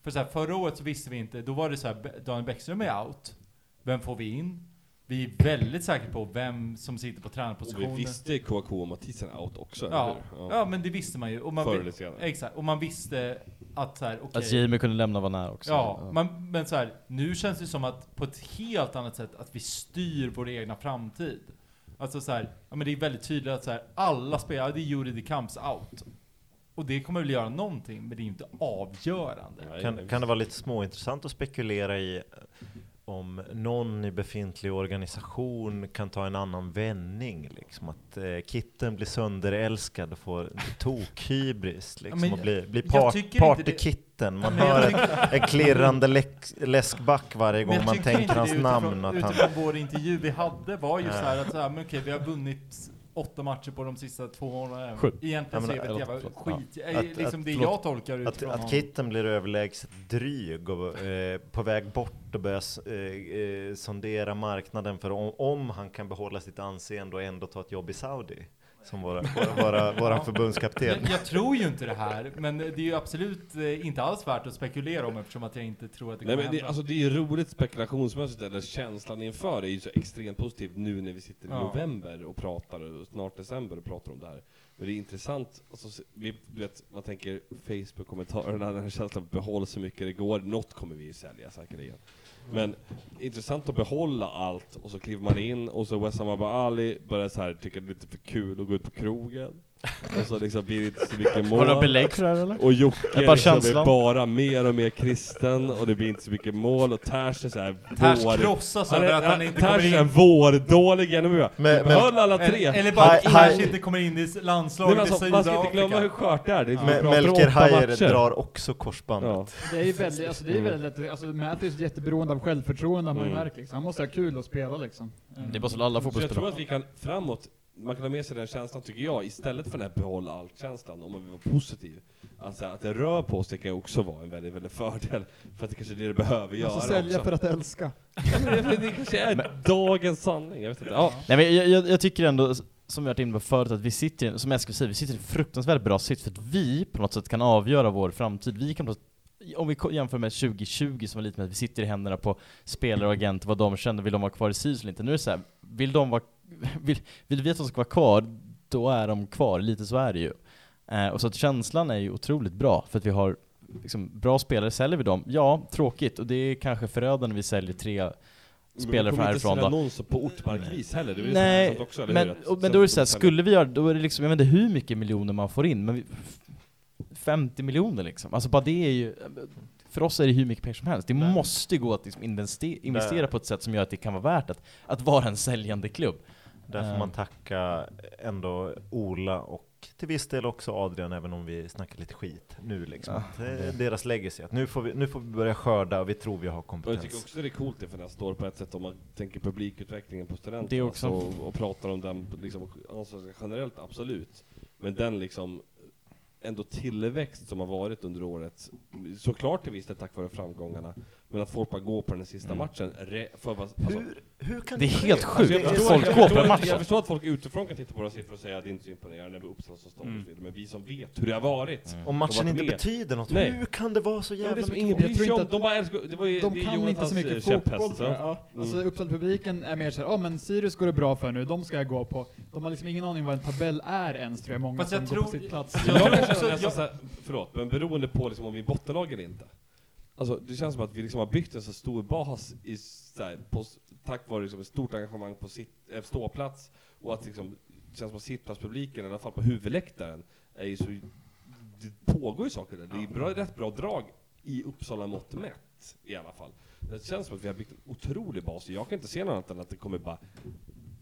[SPEAKER 2] För så här, förra året så visste vi inte, då var det så här, Be- Daniel Bäckström är out, vem får vi in? Vi är väldigt säkra på vem som sitter på
[SPEAKER 7] Och vi
[SPEAKER 2] tränarpositionen.
[SPEAKER 7] visste KK och Mathisen out också,
[SPEAKER 2] Ja,
[SPEAKER 7] eller hur?
[SPEAKER 2] ja, men det visste man ju. Och man,
[SPEAKER 7] Förr
[SPEAKER 2] vi-
[SPEAKER 7] eller senare. Alltså,
[SPEAKER 2] Exakt, och man visste att så här, okej.
[SPEAKER 3] Att Jamie kunde lämna var nära också.
[SPEAKER 2] Ja, man, men så här, nu känns det som att på ett helt annat sätt att vi styr vår egna framtid. Alltså så här, ja, men det är väldigt tydligt att så här, alla spelare, det är Juri de Camps out. Och det kommer väl göra någonting, men det är inte avgörande.
[SPEAKER 7] Nej,
[SPEAKER 6] Kan, kan det vara lite småintressant att spekulera i eh, om någon i befintlig organisation kan ta en annan vändning? Liksom att eh, Kitten blir sönderälskad och får tokhybris liksom,
[SPEAKER 2] men
[SPEAKER 6] och blir, blir
[SPEAKER 2] jag
[SPEAKER 6] part,
[SPEAKER 2] tycker inte
[SPEAKER 6] partykitten. Man
[SPEAKER 2] men jag
[SPEAKER 6] hör
[SPEAKER 2] tycker-
[SPEAKER 6] en, en klirrande läck, läskback varje
[SPEAKER 2] Men
[SPEAKER 6] gång
[SPEAKER 2] jag
[SPEAKER 6] man
[SPEAKER 2] tycker inte
[SPEAKER 6] tänker hans
[SPEAKER 2] det utifrån-
[SPEAKER 6] namn. Att han,
[SPEAKER 2] utifrån vår intervju vi hade var ju
[SPEAKER 6] Nej.
[SPEAKER 2] så här att så här, men okej, vi har vunnit åtta matcher på de sista två månaderna.
[SPEAKER 3] Sju.
[SPEAKER 2] Egentligen
[SPEAKER 6] Ja,
[SPEAKER 2] så
[SPEAKER 6] men,
[SPEAKER 2] är vi ett
[SPEAKER 6] eller-
[SPEAKER 2] jävla
[SPEAKER 3] förlåt,
[SPEAKER 2] skit. eh,
[SPEAKER 6] Att-
[SPEAKER 2] liksom
[SPEAKER 6] att-
[SPEAKER 2] det
[SPEAKER 6] förlåt.
[SPEAKER 2] jag tolkar
[SPEAKER 6] att,
[SPEAKER 2] utifrån
[SPEAKER 6] att
[SPEAKER 2] honom.
[SPEAKER 6] Kitten blir överlägset dryg och eh, på väg bort och börjar s- eh, eh, sondera marknaden för om, om han kan behålla sitt anseende och ändå ta ett jobb i Saudi.
[SPEAKER 8] som våra, våra, våra, våran förbundskapten.
[SPEAKER 2] Jag, jag tror ju inte det här, men det är ju absolut eh, inte alls värt att spekulera om eftersom att jag inte tror att det
[SPEAKER 7] Nej
[SPEAKER 2] kommer
[SPEAKER 7] men det,
[SPEAKER 2] hända.
[SPEAKER 7] alltså det är ju roligt spekulationsmässigt, eller känslan inför är ju så extremt positiv nu när vi sitter i
[SPEAKER 2] Ja.
[SPEAKER 7] november och pratar, och snart december och pratar om det här. Men det är intressant, alltså, se- vi, du vet, man tänker Facebook-kommentarerna, den här känslan, behåll så mycket det går, något kommer vi ju sälja säkerligen.
[SPEAKER 2] Mm.
[SPEAKER 7] Men intressant att behålla allt, och så kliver man in, och så Wessam Abba Ali börjar så här tycka det är lite för kul att gå ut på krogen. Och så liksom blir det inte så mycket mål.
[SPEAKER 3] Har du belägg för det här eller?
[SPEAKER 7] Och Jocke
[SPEAKER 3] Det är bara
[SPEAKER 7] liksom är
[SPEAKER 3] känslan.
[SPEAKER 7] bara mer och mer kristen och det blir inte så mycket mål och Ters är såhär
[SPEAKER 2] Ters
[SPEAKER 7] vår...
[SPEAKER 2] krossas
[SPEAKER 7] Han
[SPEAKER 2] över
[SPEAKER 7] är,
[SPEAKER 2] att han inte
[SPEAKER 7] Ters
[SPEAKER 2] kommer
[SPEAKER 7] är
[SPEAKER 2] in.
[SPEAKER 7] vårdålig NMU.
[SPEAKER 8] Men-
[SPEAKER 7] Men, Behöll alla tre!
[SPEAKER 2] Eller, eller bara att
[SPEAKER 8] Hi-
[SPEAKER 2] Ters
[SPEAKER 8] hi-
[SPEAKER 2] inte kommer in i
[SPEAKER 7] Nej,
[SPEAKER 2] landslaget
[SPEAKER 7] men alltså,
[SPEAKER 2] i
[SPEAKER 7] man ska inte glömma hur
[SPEAKER 2] Sydafrika.
[SPEAKER 7] skört det är. Det är
[SPEAKER 8] Me-
[SPEAKER 7] bra
[SPEAKER 8] Melker
[SPEAKER 7] för åtta
[SPEAKER 8] Hayer
[SPEAKER 7] matcher.
[SPEAKER 8] drar också korsbandet.
[SPEAKER 7] Ja.
[SPEAKER 1] Det är ju väldigt, alltså det är väldigt lätt, alltså Matthews är jätteberoende av självförtroende har man ju
[SPEAKER 7] Mm.
[SPEAKER 1] märkt liksom. Han måste ha kul att spela liksom.
[SPEAKER 2] Mm.
[SPEAKER 3] Det är bara så alla
[SPEAKER 7] Så jag tror
[SPEAKER 3] fotbollsspelare.
[SPEAKER 7] att vi kan framåt, man kan ha med sig den känslan tycker jag, istället för den här behåll allt-känslan, om man vill vara positiv. Alltså att det rör på sig kan ju också vara en väldigt, väldigt fördel, för att det kanske är det det behöver göra
[SPEAKER 1] Alltså sälja
[SPEAKER 7] också.
[SPEAKER 1] för att älska.
[SPEAKER 7] Men det kanske är dagens sanning, jag vet inte. Ja.
[SPEAKER 3] Nej men jag, jag, jag tycker ändå, som vi har varit inne på förut, att vi sitter, i en- som Eskil säger, vi sitter i en fruktansvärt bra sits för att vi på något sätt kan avgöra vår framtid. Vi kan på något om vi ko- jämför med 2020 som var lite med att vi sitter i händerna på spelare och agenter, vad de känner, vill de vara kvar i SIS eller inte? Nu är det så här, vill de vara, vill, vill vi att de ska vara kvar, då är de kvar, lite så är det ju. Eh, och så att känslan är ju otroligt bra, för att vi har liksom, bra spelare, säljer vi dem? Ja, tråkigt, och det är kanske förödande när vi säljer tre spelare från härifrån då.
[SPEAKER 7] Men vi kommer inte sälja någon på ortmarkvis heller, det är väl
[SPEAKER 3] Nej,
[SPEAKER 7] det som är intressant också, eller
[SPEAKER 3] men,
[SPEAKER 7] hur? Att-
[SPEAKER 3] och, men då är det
[SPEAKER 7] som-
[SPEAKER 3] såhär,
[SPEAKER 7] som-
[SPEAKER 3] skulle vi göra, då är det liksom, jag vet inte hur mycket miljoner man får in, men vi, 50 miljoner liksom. Alltså bara det är ju, för oss är det hur mycket pengar som helst. Det måste gå att liksom investe, investera
[SPEAKER 8] Nej.
[SPEAKER 3] på ett sätt som gör att det kan vara värt att, att vara en säljande klubb.
[SPEAKER 8] Där får
[SPEAKER 3] Eh.
[SPEAKER 8] man tacka ändå Ola och till viss del också Adrian, även om vi snackar lite skit nu liksom.
[SPEAKER 3] Ja.
[SPEAKER 8] Att det är deras legacy, att nu får, vi, nu får vi börja skörda och vi tror vi har
[SPEAKER 7] Och jag tycker
[SPEAKER 8] kompetens.
[SPEAKER 7] också det är coolt det för nästa år på ett sätt om man tänker publikutvecklingen på studenterna.
[SPEAKER 3] Det också.
[SPEAKER 7] alltså, och, och pratar om den liksom, alltså, generellt, absolut. Men den liksom ändå tillväxt som har varit under året, såklart till viss del tack vare framgångarna, men att folk bara går på den
[SPEAKER 3] Mm.
[SPEAKER 7] sista matchen. Re, för, vad- alltså,
[SPEAKER 8] Hur, hur kan
[SPEAKER 3] Det är helt
[SPEAKER 8] Alltså, jag
[SPEAKER 3] sjukt att
[SPEAKER 8] förstår-
[SPEAKER 3] folk
[SPEAKER 7] jag
[SPEAKER 3] går
[SPEAKER 7] förstår
[SPEAKER 3] på
[SPEAKER 7] att- Jag
[SPEAKER 3] matchen.
[SPEAKER 7] förstår att folk utifrån kan titta på våra siffror och säga att det inte är så imponerande med Uppsala som
[SPEAKER 3] Mm.
[SPEAKER 7] Stockholmsvill, men vi som vet hur det har varit.
[SPEAKER 8] Om matchen
[SPEAKER 7] varit
[SPEAKER 8] inte
[SPEAKER 7] med.
[SPEAKER 8] betyder något,
[SPEAKER 7] Nej.
[SPEAKER 8] hur kan det vara så
[SPEAKER 7] Ja, men det
[SPEAKER 8] jävla
[SPEAKER 7] är som
[SPEAKER 8] mycket
[SPEAKER 7] ingen
[SPEAKER 8] mål?
[SPEAKER 1] Jag
[SPEAKER 7] bryr
[SPEAKER 1] tror
[SPEAKER 7] sig
[SPEAKER 1] inte
[SPEAKER 7] om,
[SPEAKER 1] att-
[SPEAKER 7] de bara älskar, det var ju
[SPEAKER 1] De
[SPEAKER 7] det är
[SPEAKER 1] kan inte
[SPEAKER 7] Jonathans,
[SPEAKER 1] så
[SPEAKER 7] eh,
[SPEAKER 1] mycket
[SPEAKER 7] käpphäst,
[SPEAKER 1] fotboll tror
[SPEAKER 7] va? Mm.
[SPEAKER 1] jag. Ja. Alltså Uppsala-publiken är mer såhär, ja men Sirius går det bra för nu, de ska jag gå på. De har liksom ingen aning vad en tabell är ens tror jag, många
[SPEAKER 2] Fast
[SPEAKER 1] som
[SPEAKER 2] jag
[SPEAKER 1] går på
[SPEAKER 2] tror-
[SPEAKER 1] sitt plats.
[SPEAKER 2] Jag
[SPEAKER 7] Jag
[SPEAKER 2] tror
[SPEAKER 7] kan
[SPEAKER 2] också-
[SPEAKER 7] känna nästan
[SPEAKER 2] jag-
[SPEAKER 7] såhär, förlåt, men beroende på liksom om vi är bottenlag eller inte. Alltså det känns som att vi liksom har byggt en så stor bas i, så här, på, s- tack vare liksom ett stort engagemang på sitt, eh, ståplats och att liksom, det känns som att sittplatspubliken, i alla fall på huvudläktaren, är ju så, det pågår ju saker där. Det är bra, rätt bra drag i Uppsala mått mätt i alla fall. Det känns som att vi har byggt en otrolig bas jag kan inte se något annat än att det kommer bara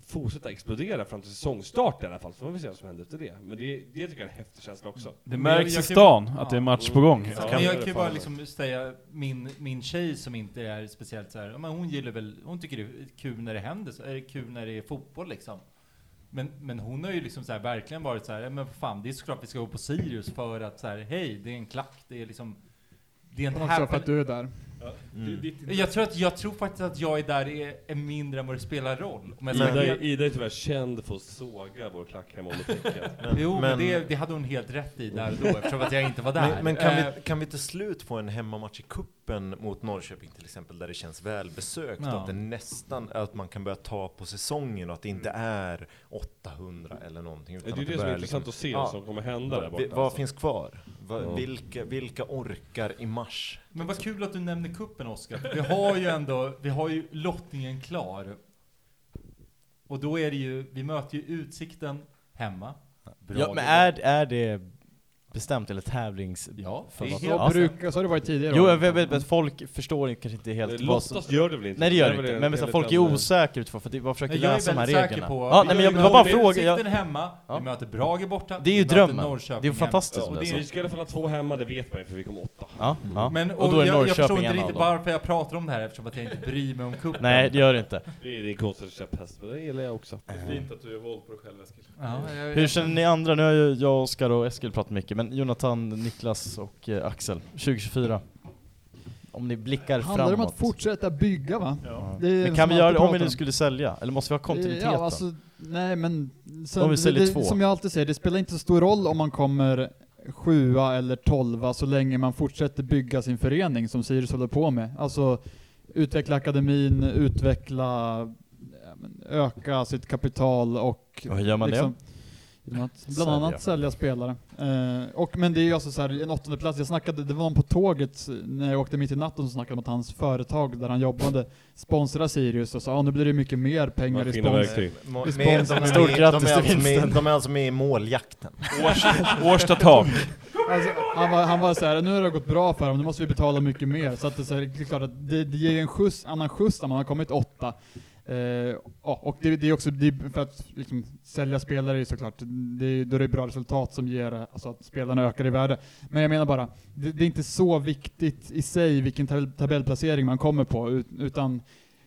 [SPEAKER 7] fortsätta explodera fram till säsongstart i alla fall, så får vi se vad som händer efter det. Men det, det tycker jag är en häftig känsla också.
[SPEAKER 3] Mm.
[SPEAKER 5] Det
[SPEAKER 2] Men jag-
[SPEAKER 5] märks i
[SPEAKER 2] jag kan-
[SPEAKER 5] stan att det är
[SPEAKER 2] Ja.
[SPEAKER 5] match på gång.
[SPEAKER 2] Ja,
[SPEAKER 8] Kan
[SPEAKER 2] men jag
[SPEAKER 8] det
[SPEAKER 2] kan ju
[SPEAKER 8] fan
[SPEAKER 2] bara
[SPEAKER 8] vara.
[SPEAKER 2] liksom säga min, min tjej som inte är speciellt så här, ja, men hon gillar väl, hon tycker det är kul när det händer, så är det kul när det är fotboll liksom. Men, men hon har ju liksom så här verkligen varit så här, ja, men vad fan det är såklart vi ska gå på Sirius för att så här, hej det är en klack, det är liksom, det är en
[SPEAKER 1] Också för
[SPEAKER 2] happen-
[SPEAKER 1] att du är där.
[SPEAKER 2] jag tror, att, jag tror faktiskt att jag är där är, är mindre än vad det spelar roll. Om jag ska
[SPEAKER 7] Ida,
[SPEAKER 2] vara
[SPEAKER 7] är-
[SPEAKER 2] helt-
[SPEAKER 7] Ida är tyvärr känd för att såga vår klack hemma under täcket.
[SPEAKER 2] Jo, men,
[SPEAKER 8] men-
[SPEAKER 2] det, det hade hon helt rätt i där och då eftersom att jag inte var där.
[SPEAKER 8] Men, men kan,
[SPEAKER 2] Eh,
[SPEAKER 8] vi, kan vi till slut få en hemmamatch i kuppen mot Norrköping till exempel, där det känns välbesökt
[SPEAKER 2] Ja.
[SPEAKER 8] och att det nästan, att man kan börja ta på säsongen och att det inte är 800 eller någonting.
[SPEAKER 7] Mm.
[SPEAKER 8] utan
[SPEAKER 7] Det är ju
[SPEAKER 8] att
[SPEAKER 7] det som är
[SPEAKER 8] börjar
[SPEAKER 7] intressant
[SPEAKER 8] liksom-
[SPEAKER 7] att se alltså,
[SPEAKER 8] Ja.
[SPEAKER 7] vad som kommer hända där
[SPEAKER 8] Vad-
[SPEAKER 7] borta. alltså.
[SPEAKER 8] Vad finns kvar? Vad-
[SPEAKER 7] Ja.
[SPEAKER 8] vilka, vilka orkar i mars?
[SPEAKER 2] Men vad kul att du nämner kuppen Oskar. Vi har ju ändå, vi har ju lottningen klar. Och då är det ju, vi möter ju Utsikten hemma.
[SPEAKER 3] Ja, men är, är det bestämt eller tävlings...
[SPEAKER 2] Ja,
[SPEAKER 3] för
[SPEAKER 2] det är
[SPEAKER 3] vad-
[SPEAKER 1] Så,
[SPEAKER 2] helt...
[SPEAKER 1] brukar, så har det varit tidigare
[SPEAKER 3] Jo
[SPEAKER 1] år.
[SPEAKER 3] jag vet, vet, vet, folk förstår inte- kanske inte helt vad som...
[SPEAKER 7] Lottas gör det väl inte?
[SPEAKER 3] Nej det gör
[SPEAKER 7] är
[SPEAKER 3] det
[SPEAKER 7] väl
[SPEAKER 3] inte,
[SPEAKER 7] en-
[SPEAKER 3] men, men så,
[SPEAKER 7] enligt
[SPEAKER 3] folk är
[SPEAKER 7] den-
[SPEAKER 3] osäkra utifrån för att jag försöker
[SPEAKER 2] Jag är
[SPEAKER 3] läsa de här
[SPEAKER 2] väldigt säker
[SPEAKER 3] reglerna.
[SPEAKER 2] på...
[SPEAKER 3] Ja, nej, men jag, det var bara en fråga.
[SPEAKER 2] Utsikten
[SPEAKER 3] Jag,
[SPEAKER 2] hemma,
[SPEAKER 3] Ja.
[SPEAKER 2] vi möter Brage borta.
[SPEAKER 3] Det är ju
[SPEAKER 2] vi möter
[SPEAKER 3] drömmen.
[SPEAKER 2] Norrköping
[SPEAKER 3] Det är ju
[SPEAKER 2] hemma.
[SPEAKER 3] fantastiskt
[SPEAKER 2] Och
[SPEAKER 3] om
[SPEAKER 2] det är
[SPEAKER 7] Vi ska i alla fall ha två hemma, det vet man ju för vi kom åtta.
[SPEAKER 3] ja, ja.
[SPEAKER 2] Mm. Men, och,
[SPEAKER 3] och, då är
[SPEAKER 2] jag, jag förstår
[SPEAKER 3] Norrköping
[SPEAKER 2] inte
[SPEAKER 3] en av
[SPEAKER 2] riktigt
[SPEAKER 3] dem.
[SPEAKER 2] varför jag pratar om det här eftersom att jag inte bryr mig om cupen.
[SPEAKER 3] Nej det gör det inte.
[SPEAKER 7] Det är din konstiga käpphäst, men det gillar jag också.
[SPEAKER 5] Fint att du är våld på dig själv Eskil.
[SPEAKER 2] Ja, jag-
[SPEAKER 3] Hur känner ni andra? Nu har ju jag, Oskar och Eskil pratat mycket, men Jonathan, Niklas och eh, Axel, 2024. om ni blickar
[SPEAKER 1] Handlar det
[SPEAKER 3] framåt.
[SPEAKER 1] om att fortsätta bygga va?
[SPEAKER 5] Ja.
[SPEAKER 1] Det är
[SPEAKER 3] men
[SPEAKER 1] som
[SPEAKER 3] kan vi göra det
[SPEAKER 1] alltid
[SPEAKER 3] om vi
[SPEAKER 1] pratar
[SPEAKER 3] nu skulle sälja? Eller måste vi ha kontinuiteten?
[SPEAKER 1] Ja, alltså, nej men... Sen,
[SPEAKER 3] Om vi säljer
[SPEAKER 1] det,
[SPEAKER 3] två.
[SPEAKER 1] Som jag alltid säger, det spelar inte så stor roll om man kommer sjua eller tolva så länge man fortsätter bygga sin förening som Sirius håller på med. Alltså utveckla akademin, utveckla, ja, men, öka sitt kapital och...
[SPEAKER 3] Och hur gör man det?
[SPEAKER 1] liksom Genom att bland
[SPEAKER 3] Sälja.
[SPEAKER 1] annat sälja spelare. Eh, och, men det är ju alltså så här, en åttonde plats. jag snackade, det var någon på tåget eh, när jag åkte mitt i natten som snackade om att hans företag där han jobbade sponsrar Sirius och sa ah, nu blir det mycket mer pengar i spons.
[SPEAKER 7] Maskinverktyg.
[SPEAKER 6] Må-
[SPEAKER 3] Respons.
[SPEAKER 6] med- de är-
[SPEAKER 3] Stort
[SPEAKER 6] de är
[SPEAKER 3] grattis till
[SPEAKER 6] alltså med-
[SPEAKER 3] vinsten.
[SPEAKER 6] De är alltså med i måljakten.
[SPEAKER 5] Årsta tak.
[SPEAKER 1] Alltså, han var, han var såhär, nu har det gått bra för dem, nu måste vi betala mycket mer. Så att det, är så här, det är klart att det, det ger ju en skjuts, annan skjuts när man har kommit åtta. Eh, ja, och det, det är också, det är för att liksom, sälja spelare är ju såklart, det, är- då är det bra resultat som ger eh, alltså, att spelarna ökar i värde. Men jag menar bara, det, det är inte så viktigt i sig vilken tabell, tabellplacering man kommer på, ut- utan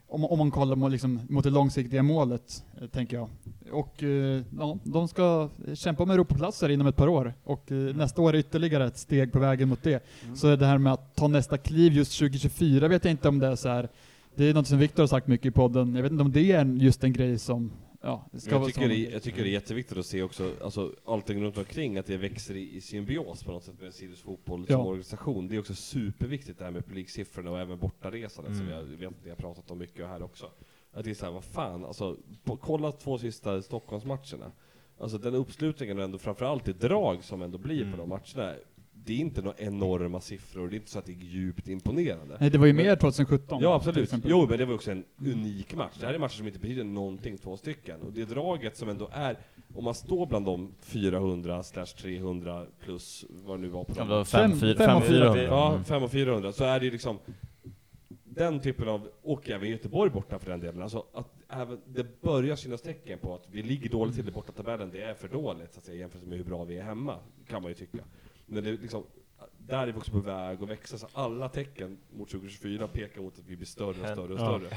[SPEAKER 1] om, om man kollar mot, liksom, mot det långsiktiga målet, eh, tänker jag. Och eh, ja, de ska kämpa om Europaplatser inom ett par år. Och eh, nästa år är ytterligare ett steg på vägen mot det.
[SPEAKER 7] Mm.
[SPEAKER 1] Så det här med att ta nästa kliv just 2024 vet jag inte om det är så här. Det är något som Viktor har sagt mycket i podden. Jag vet inte om det är en- just en grej som ja,
[SPEAKER 7] Men
[SPEAKER 1] ska
[SPEAKER 7] Jag
[SPEAKER 1] vara
[SPEAKER 7] tycker,
[SPEAKER 1] som,
[SPEAKER 7] det, jag tycker det är jätteviktigt att se också, alltså, allting runt omkring, att det växer i, i symbios på något sätt med Sirius fotboll
[SPEAKER 1] Ja.
[SPEAKER 7] som organisation. Det är också superviktigt det här med publiksiffrorna och även bortaresandet
[SPEAKER 5] Mm.
[SPEAKER 7] som jag vet att ni har pratat om mycket här också. Att det är såhär, vad fan, alltså, på, kolla två sista Stockholmsmatcherna. Alltså den uppslutningen och ändå framförallt det drag som ändå blir på
[SPEAKER 5] Mm.
[SPEAKER 7] de matcherna. Det är inte några enorma siffror, det är inte så att det är djupt imponerande.
[SPEAKER 1] Nej, det var ju mer 2017.
[SPEAKER 7] Ja
[SPEAKER 1] till
[SPEAKER 7] absolut.
[SPEAKER 1] exempel.
[SPEAKER 7] Jo men det var också en unik match. Det här är matcher som inte betyder någonting, två stycken. Och det draget som ändå är, om man står bland de 400 slash 300 plus vad det nu var på
[SPEAKER 3] Kan
[SPEAKER 7] de
[SPEAKER 3] det vara
[SPEAKER 1] Fem-
[SPEAKER 3] fem, fyra,
[SPEAKER 1] fem
[SPEAKER 3] fem,
[SPEAKER 1] och fyra.
[SPEAKER 3] fyra.
[SPEAKER 7] Ja, 5 och 400, så är det ju liksom den typen av, och även Göteborg borta för den delen, alltså att även, det börjar synas tecken på att vi ligger dåligt till i borta tabellen, det är för dåligt så att säga, jämfört med hur bra vi är hemma, kan man ju tycka. Men det är liksom, där är vi också på väg att växa, så alla tecken mot 2024 pekar mot att vi blir större och större och större.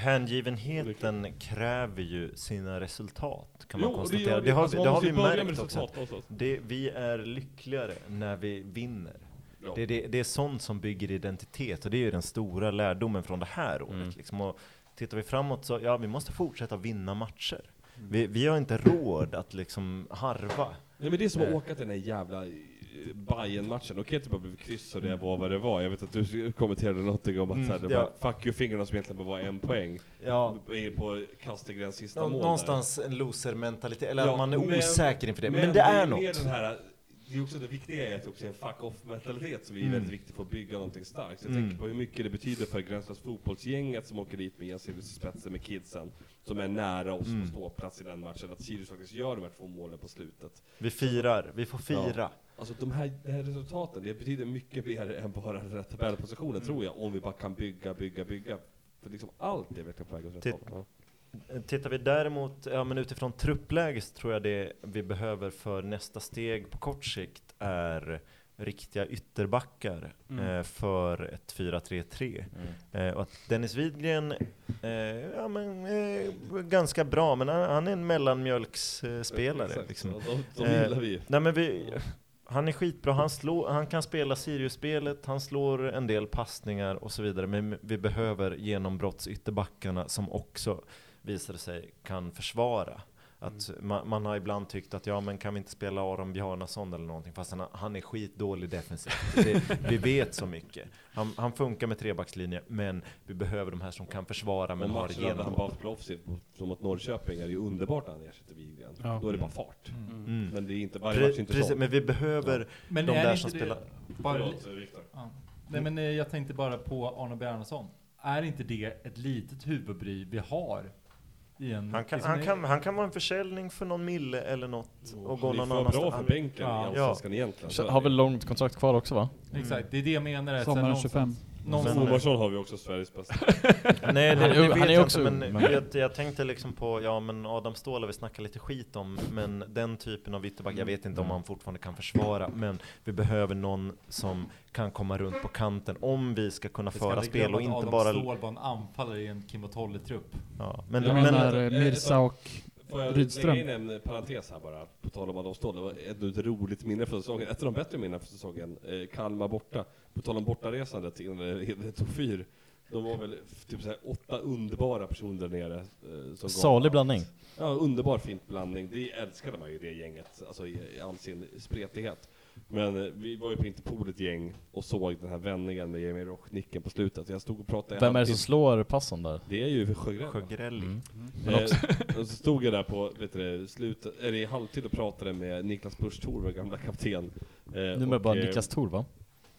[SPEAKER 6] Hängivenheten kräver ju sina resultat, kan man
[SPEAKER 7] Jo, och det
[SPEAKER 6] konstatera.
[SPEAKER 7] gör
[SPEAKER 6] Det, har,
[SPEAKER 7] Alltså,
[SPEAKER 6] vi-
[SPEAKER 7] man
[SPEAKER 6] det har
[SPEAKER 7] måste
[SPEAKER 6] vi
[SPEAKER 7] ju börja med
[SPEAKER 6] märkt också.
[SPEAKER 7] resultat någonstans.
[SPEAKER 6] Det, vi är lyckligare när vi vinner.
[SPEAKER 7] Ja.
[SPEAKER 6] Det, är det, det är sånt som bygger identitet och det är ju den stora lärdomen från det här året.
[SPEAKER 7] Mm.
[SPEAKER 6] Liksom. Och tittar vi framåt så, ja vi måste fortsätta vinna matcher.
[SPEAKER 7] Mm.
[SPEAKER 6] Vi, vi har inte råd att liksom harva.
[SPEAKER 7] Nej men det är som att åka till den här jävla eh, Bayern-matchen, okej att det bara blev kryss och det var vad det var, jag vet att du kommenterade någonting om att
[SPEAKER 6] Mm,
[SPEAKER 7] så här, det
[SPEAKER 6] ja.
[SPEAKER 7] var fuck you-fingrarna som egentligen bara var en poäng,
[SPEAKER 6] Ja,
[SPEAKER 7] i- på Kastegrens sista
[SPEAKER 6] nå-
[SPEAKER 7] mål där.
[SPEAKER 6] någonstans en loser-mentalitet, eller
[SPEAKER 7] Ja,
[SPEAKER 6] att man är
[SPEAKER 7] men-
[SPEAKER 6] osäker inför det. Men, det,
[SPEAKER 7] ju
[SPEAKER 6] är
[SPEAKER 7] mer
[SPEAKER 6] något.
[SPEAKER 7] Den här, det är också det viktiga är att också en fuck off-mentalitet som är
[SPEAKER 6] Mm.
[SPEAKER 7] väldigt viktigt för att bygga någonting starkt. Så jag tänker på hur mycket det betyder för Gränslös fotbollsgänget som åker dit med Jens Sirius i spetsen med kidsen, som är nära oss
[SPEAKER 6] Mm.
[SPEAKER 7] på ståplats i den matchen, att Sirius faktiskt gör de här två målen på slutet.
[SPEAKER 6] Vi firar, vi får fira.
[SPEAKER 7] Alltså de här, det här resultaten, det betyder mycket mer än bara den här tabellpositionen
[SPEAKER 6] Mm.
[SPEAKER 7] tror jag, om vi bara kan bygga, bygga, bygga. För liksom allt är verkligen på väg åt rätt
[SPEAKER 6] Titt-
[SPEAKER 7] håll. Ja.
[SPEAKER 6] Tittar vi däremot ja, men utifrån truppläge så tror jag det vi behöver för nästa steg på kort sikt är riktiga ytterbackar
[SPEAKER 7] Mm.
[SPEAKER 6] eh, för ett 4-3-3. Eh, och att Dennis Widgren, eh, ja, men, eh, ganska bra, men han, han är en mellanmjölksspelare. Eh, spelare,
[SPEAKER 7] Exakt.
[SPEAKER 6] liksom.
[SPEAKER 7] Ja, de, de
[SPEAKER 6] Eh,
[SPEAKER 7] gillar vi ju.
[SPEAKER 6] Nej men vi, han är skitbra, han, slår, han kan spela Sirius-spelet, han slår en del passningar och så vidare. Men vi behöver genombrottsytterbackarna som också visade sig kan försvara. Att
[SPEAKER 7] Mm.
[SPEAKER 6] man, man har ibland tyckt att ja men kan vi inte spela Aron Bjarnason eller någonting fast han, han är skitdålig defensivt. Det, vi vet så mycket. Han, han funkar med trebackslinje men vi behöver de här som kan försvara men
[SPEAKER 7] Men
[SPEAKER 6] har
[SPEAKER 7] matchen hade han
[SPEAKER 6] genombrott.
[SPEAKER 7] bara haft proffsigt, som mot Norrköping är det ju underbart när han ersätter Widgren.
[SPEAKER 5] Ja.
[SPEAKER 7] Då är det bara fart.
[SPEAKER 6] Mm.
[SPEAKER 7] Men det är inte, varje match är
[SPEAKER 6] Pre-
[SPEAKER 7] inte
[SPEAKER 6] Precis,
[SPEAKER 7] sån.
[SPEAKER 6] men vi behöver
[SPEAKER 2] Men
[SPEAKER 6] de
[SPEAKER 2] är
[SPEAKER 6] där
[SPEAKER 2] inte
[SPEAKER 6] som
[SPEAKER 2] det-
[SPEAKER 6] spelar.
[SPEAKER 2] Bara,
[SPEAKER 7] Förlåt, Viktor.
[SPEAKER 2] ja. Nej men eh, jag tänkte bara på Arne Bjarnason. Är inte det ett litet huvudbry vi har? I en,
[SPEAKER 6] Mm. Han kan,
[SPEAKER 2] liksom,
[SPEAKER 6] han, kan, han kan vara en försäljning för någon mille eller något och gå
[SPEAKER 7] Han är
[SPEAKER 6] någon
[SPEAKER 7] för bra
[SPEAKER 6] annanstans.
[SPEAKER 7] för bänken
[SPEAKER 2] Ja.
[SPEAKER 7] i Allsvenskan egentligen. så är
[SPEAKER 3] Har
[SPEAKER 7] det
[SPEAKER 3] väl
[SPEAKER 7] ju.
[SPEAKER 3] långt kontrakt kvar också va?
[SPEAKER 6] Mm.
[SPEAKER 2] Exakt, det är det jag menar. Sen
[SPEAKER 1] Sommaren
[SPEAKER 2] någonstans-
[SPEAKER 1] 25.
[SPEAKER 2] någonstans-
[SPEAKER 7] Omarsson har vi också Sveriges bästa.
[SPEAKER 6] Nej, det,
[SPEAKER 3] Han är-
[SPEAKER 6] det vet
[SPEAKER 3] han är
[SPEAKER 6] jag
[SPEAKER 3] också
[SPEAKER 6] inte,
[SPEAKER 3] ung,
[SPEAKER 6] men
[SPEAKER 3] men-
[SPEAKER 6] jag, jag tänkte liksom på, ja men Adam Ståhl har vi snackat lite skit om, men den typen av ytterback, jag vet
[SPEAKER 3] Mm.
[SPEAKER 6] inte om han fortfarande kan försvara, men vi behöver någon som kan komma runt på kanten om vi ska kunna
[SPEAKER 2] Vi ska
[SPEAKER 6] föra
[SPEAKER 2] aldrig
[SPEAKER 6] spel
[SPEAKER 2] glömma
[SPEAKER 6] och
[SPEAKER 2] att
[SPEAKER 6] inte
[SPEAKER 2] Adam
[SPEAKER 6] bara...
[SPEAKER 2] Ståhl var en anfallare i en Kim och Tolle-trupp.
[SPEAKER 6] Ja, men,
[SPEAKER 1] Jag
[SPEAKER 6] men,
[SPEAKER 1] menar eh, Mirsa och
[SPEAKER 7] Får jag
[SPEAKER 1] Rydström.
[SPEAKER 7] lägga in en parentes här bara, på tal om Adolfsdal. Det var ett, ett roligt minne från säsongen, ett av de bättre minnena från säsongen. Eh, Kalmar borta. På tal om bortaresandet innan det innan det tog fyr. De var väl f- typ såhär åtta underbara personer där nere. Eh, som
[SPEAKER 3] Salig
[SPEAKER 7] gav allt.
[SPEAKER 3] blandning.
[SPEAKER 7] Ja, underbar fint blandning. Det älskade man ju det gänget, alltså i, i all sin spretighet. Men eh, vi var ju på Interpol ett gäng och såg den här vändningen med Jamie Roch, nicken på slutet. Jag stod och pratade en
[SPEAKER 3] Vem är det som
[SPEAKER 7] halvtimme-
[SPEAKER 3] slår passen där?
[SPEAKER 7] det är ju Sjögren.
[SPEAKER 6] Sjögrell.
[SPEAKER 3] Mm.
[SPEAKER 7] Eh, och så stod jag där på vet du, det, slutet, eller i halvtid och pratade med Niklas Busch Thor, vår gamla kapten. Eh,
[SPEAKER 3] Nu med
[SPEAKER 7] och,
[SPEAKER 3] bara
[SPEAKER 7] eh,
[SPEAKER 3] Niklas Thor va?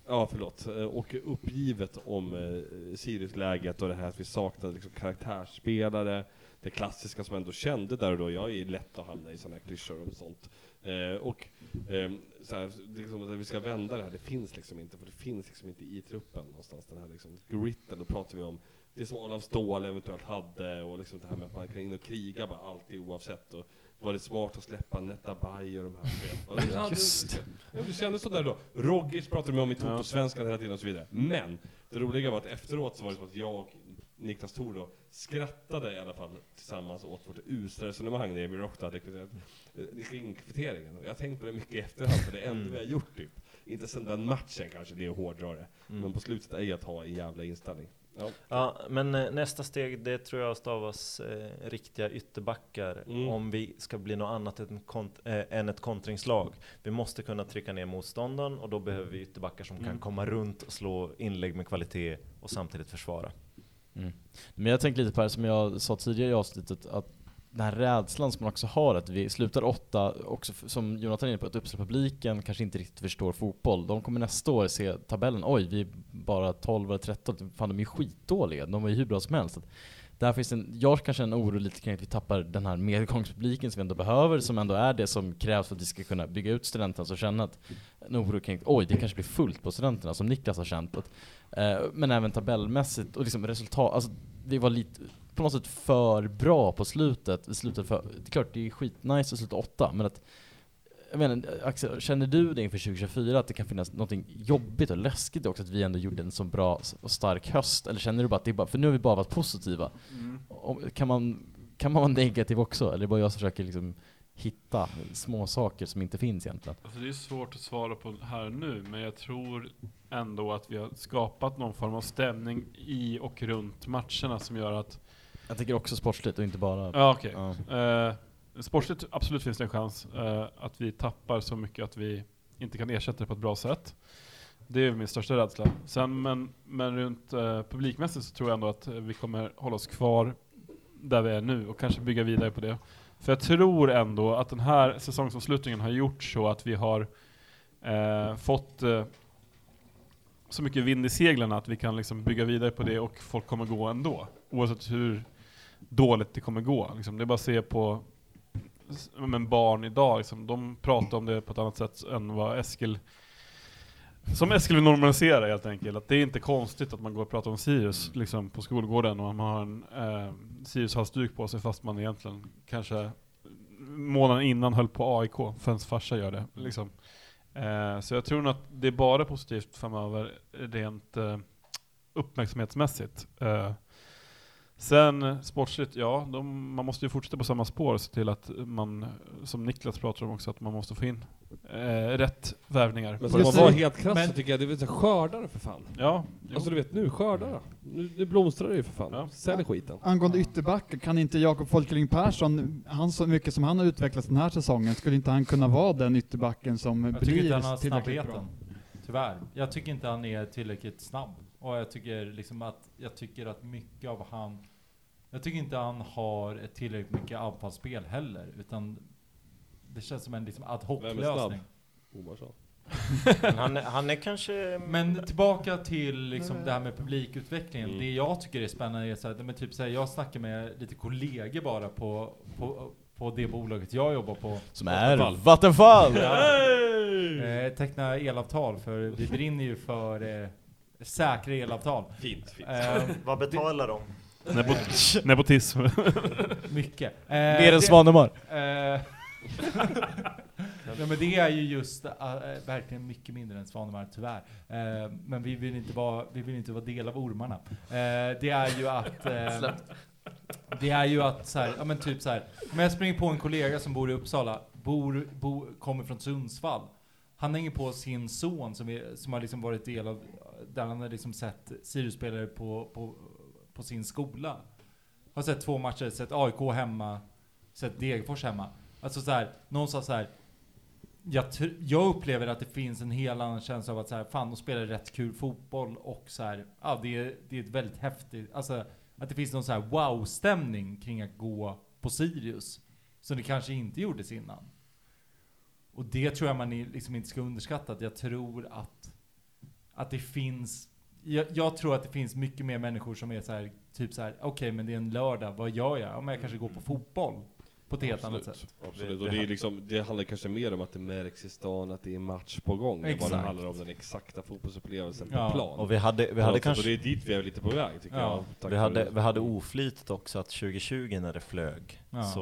[SPEAKER 7] Ja, förlåt. Eh, Och uppgivet om eh, Sirius-läget och det här att vi saknade liksom, karaktärsspelare. Det klassiska som jag ändå kände där och då. Jag är lätt att hamna i sådana här klyschor och sånt. Eh, och eh, så här, det är liksom, att vi ska vända det här. Det finns liksom inte, för det finns liksom inte i truppen någonstans. Den här liksom, gritten, då pratar vi om det som Adolf Ståhl eventuellt hade och liksom det här med att man kan in och kriga bara alltid oavsett. Och var det smart att släppa Netta Bay och de här? du vet. Och-
[SPEAKER 3] Just.
[SPEAKER 7] Ja, du kände så där då. Rogic pratade med om i Toto-svenskan hela tiden och så vidare. Men det roliga var att efteråt så var det som att jag och Niklas Thor då skrattade i alla fall tillsammans åt vårt usla resonemang när Jimmy Rock hade kvitterat eh, kring kvitteringen. Och jag har tänkt på det mycket i efterhand, för det enda vi har gjort typ. Inte sedan den matchen kanske, det är att hårdra det.
[SPEAKER 6] Mm.
[SPEAKER 7] Men på slutet är ju att ha en jävla inställning. Ja.
[SPEAKER 6] Ja, men eh, nästa steg, det tror jag stavas eh, riktiga ytterbackar
[SPEAKER 7] Mm.
[SPEAKER 6] om vi ska bli något annat än, kont- eh, än ett kontringslag. Vi måste kunna trycka ner motståndaren och då behöver vi ytterbackar som
[SPEAKER 7] Mm.
[SPEAKER 6] kan komma runt och slå inlägg med kvalitet och samtidigt försvara.
[SPEAKER 3] Men jag tänker lite på det här som jag sa tidigare i avsnittet, att den här rädslan som man också har, att vi slutar åtta, också f- som Jonathan är inne på, att Uppsala-publiken kanske inte riktigt förstår fotboll. De kommer nästa år se tabellen, oj, vi är bara 12 eller 13, fan de är ju skitdåliga, de var ju hur bra som helst. Så att Där finns en, jag har kanske en oro lite kring att vi tappar den här medgångspubliken som vi ändå behöver, som ändå är det som krävs för att vi ska kunna bygga ut studenterna, så känna att en oro kring, oj det kanske blir fullt på studenterna, som Niklas har känt. Att, eh, men även tabellmässigt och liksom resultat, alltså vi var lite, på något sätt för bra på slutet. Vi slutade för, det är klart det är skitnice att sluta åtta, men att jag menar, Axel, känner du det inför 2024 att det kan finnas något jobbigt och läskigt också att vi ändå gjorde en så bra och stark höst? Eller känner du bara att det är bara, för nu har vi bara varit positiva.
[SPEAKER 2] Mm.
[SPEAKER 3] Om- Kan, man, kan man vara negativ också? Eller är det bara jag som försöker liksom hitta små saker som inte finns egentligen?
[SPEAKER 5] Alltså det är svårt att svara på här nu, men jag tror ändå att vi har skapat någon form av stämning i och runt matcherna som gör att...
[SPEAKER 3] Jag tänker också sportsligt och inte bara...
[SPEAKER 5] Ja, okej.
[SPEAKER 3] Ja.
[SPEAKER 5] Eh, sportsligt absolut finns det en chans eh, att vi tappar så mycket att vi inte kan ersätta det på ett bra sätt. Det är min största rädsla. Sen, men, men runt eh, publikmässigt så tror jag ändå att eh, vi kommer hålla oss kvar där vi är nu och kanske bygga vidare på det. För jag tror ändå att den här säsongsavslutningen har gjort så att vi har eh, fått eh, så mycket vind i seglen att vi kan liksom bygga vidare på det och folk kommer gå ändå. Oavsett hur dåligt det kommer gå. Liksom, det är bara att se på s- men barn idag, liksom, de pratar om det på ett annat sätt än vad Eskil som Eskil vill normalisera helt enkelt, att det är inte konstigt att man går och pratar om Sirius liksom, på skolgården och man har en eh, Sirius-halsduk på sig fast man egentligen kanske månaden innan höll på AIK, för ens farsa gör det. Liksom. Eh, så jag tror nog att det är bara positivt framöver rent eh, uppmärksamhetsmässigt. Eh, Sen eh, sportsligt, ja, de, man måste ju fortsätta på samma spår och se till att man, som Niklas pratar om också, att man måste få in eh, rätt värvningar.
[SPEAKER 7] Men
[SPEAKER 5] på
[SPEAKER 7] ska man
[SPEAKER 5] det-
[SPEAKER 7] vara helt krass
[SPEAKER 2] Men-
[SPEAKER 7] så tycker jag, det är väl så här, skördare för fan.
[SPEAKER 5] Ja, jo.
[SPEAKER 7] Alltså du vet nu, skördare. Nu, nu blomstrar det ju för fan.
[SPEAKER 5] Ja.
[SPEAKER 7] Sälj skiten.
[SPEAKER 1] Angående ytterbackar, kan inte Jakob Folkeling Persson, han så mycket som han har utvecklats den här säsongen, skulle inte han kunna vara den ytterbacken som
[SPEAKER 2] Jag tycker inte han
[SPEAKER 1] blir
[SPEAKER 2] har
[SPEAKER 1] tillräckligt bra?
[SPEAKER 2] snabbheten. Tyvärr. Jag tycker inte han är tillräckligt snabb. Och jag tycker liksom att, jag tycker att mycket av han, jag tycker inte han har ett tillräckligt mycket anfallsspel heller. Utan det känns som en liksom ad
[SPEAKER 7] Vem är snabb?
[SPEAKER 2] hoc-lösning.
[SPEAKER 7] Omarsson.
[SPEAKER 6] Men han, är- han är kanske... mm,
[SPEAKER 2] Men tillbaka till liksom det här med publikutvecklingen.
[SPEAKER 3] Mm.
[SPEAKER 2] Det jag tycker är spännande är så här, men typ så här, jag snackar med lite kollegor bara på, på, på det bolaget jag jobbar på.
[SPEAKER 3] Som är Vattenfall! Mm.
[SPEAKER 2] Eh, teckna elavtal, för vi brinner ju för eh, säkra elavtal.
[SPEAKER 7] Fint, fint.
[SPEAKER 2] Eh,
[SPEAKER 6] Vad betalar de?
[SPEAKER 5] Nebo- nepotism.
[SPEAKER 2] mycket. Eh,
[SPEAKER 3] Mer än Svanemar.
[SPEAKER 2] Eh, Nej men det är ju just eh, eh, verkligen mycket mindre än Svanemar tyvärr. Eh, men vi vill inte vara, vi vill inte vara del av ormarna. Eh, det är ju att... Eh, Det är ju att så här, ja men typ så här. Om jag springer på en kollega som bor i Uppsala, bor, bo, kommer från Sundsvall. Han hänger på sin son som, är, som har liksom varit del av, där han har liksom sett Sirius-spelare på, på, på sin skola. Har sett två matcher, sett AIK hemma, sett Degerfors hemma. Alltså så här, någon sa så här. Jag, tr- jag upplever att det finns en hel annan känsla av att så här, fan de spelar rätt kul fotboll och så här, ja det är, det är ett väldigt häftigt, alltså att det finns någon så här wow-stämning kring att gå på Sirius. Som det kanske inte gjordes innan. Och det tror jag man i- liksom inte ska underskatta. Att jag tror att, att det finns... Jag, jag tror att det finns mycket mer människor som är så här, typ så här, okej men det är en lördag, vad gör jag? Ja men jag kanske går på fotboll. På ett helt annat sätt.
[SPEAKER 7] Absolut, och det, är liksom, det handlar kanske mer om att det märks i stan att det är match på gång. än vad Det
[SPEAKER 2] Exakt.
[SPEAKER 7] handlar om den exakta fotbollsupplevelsen
[SPEAKER 2] Ja.
[SPEAKER 7] på plan.
[SPEAKER 6] Och vi hade, vi
[SPEAKER 7] På något
[SPEAKER 6] hade
[SPEAKER 7] sätt,
[SPEAKER 6] kanske
[SPEAKER 7] Och det är dit vi är lite på väg tycker
[SPEAKER 2] Ja.
[SPEAKER 7] jag. Tack
[SPEAKER 6] Vi
[SPEAKER 7] vare
[SPEAKER 6] hade,
[SPEAKER 7] det.
[SPEAKER 6] vi hade oflytet också att 2020 när det flög
[SPEAKER 2] Ja.
[SPEAKER 6] så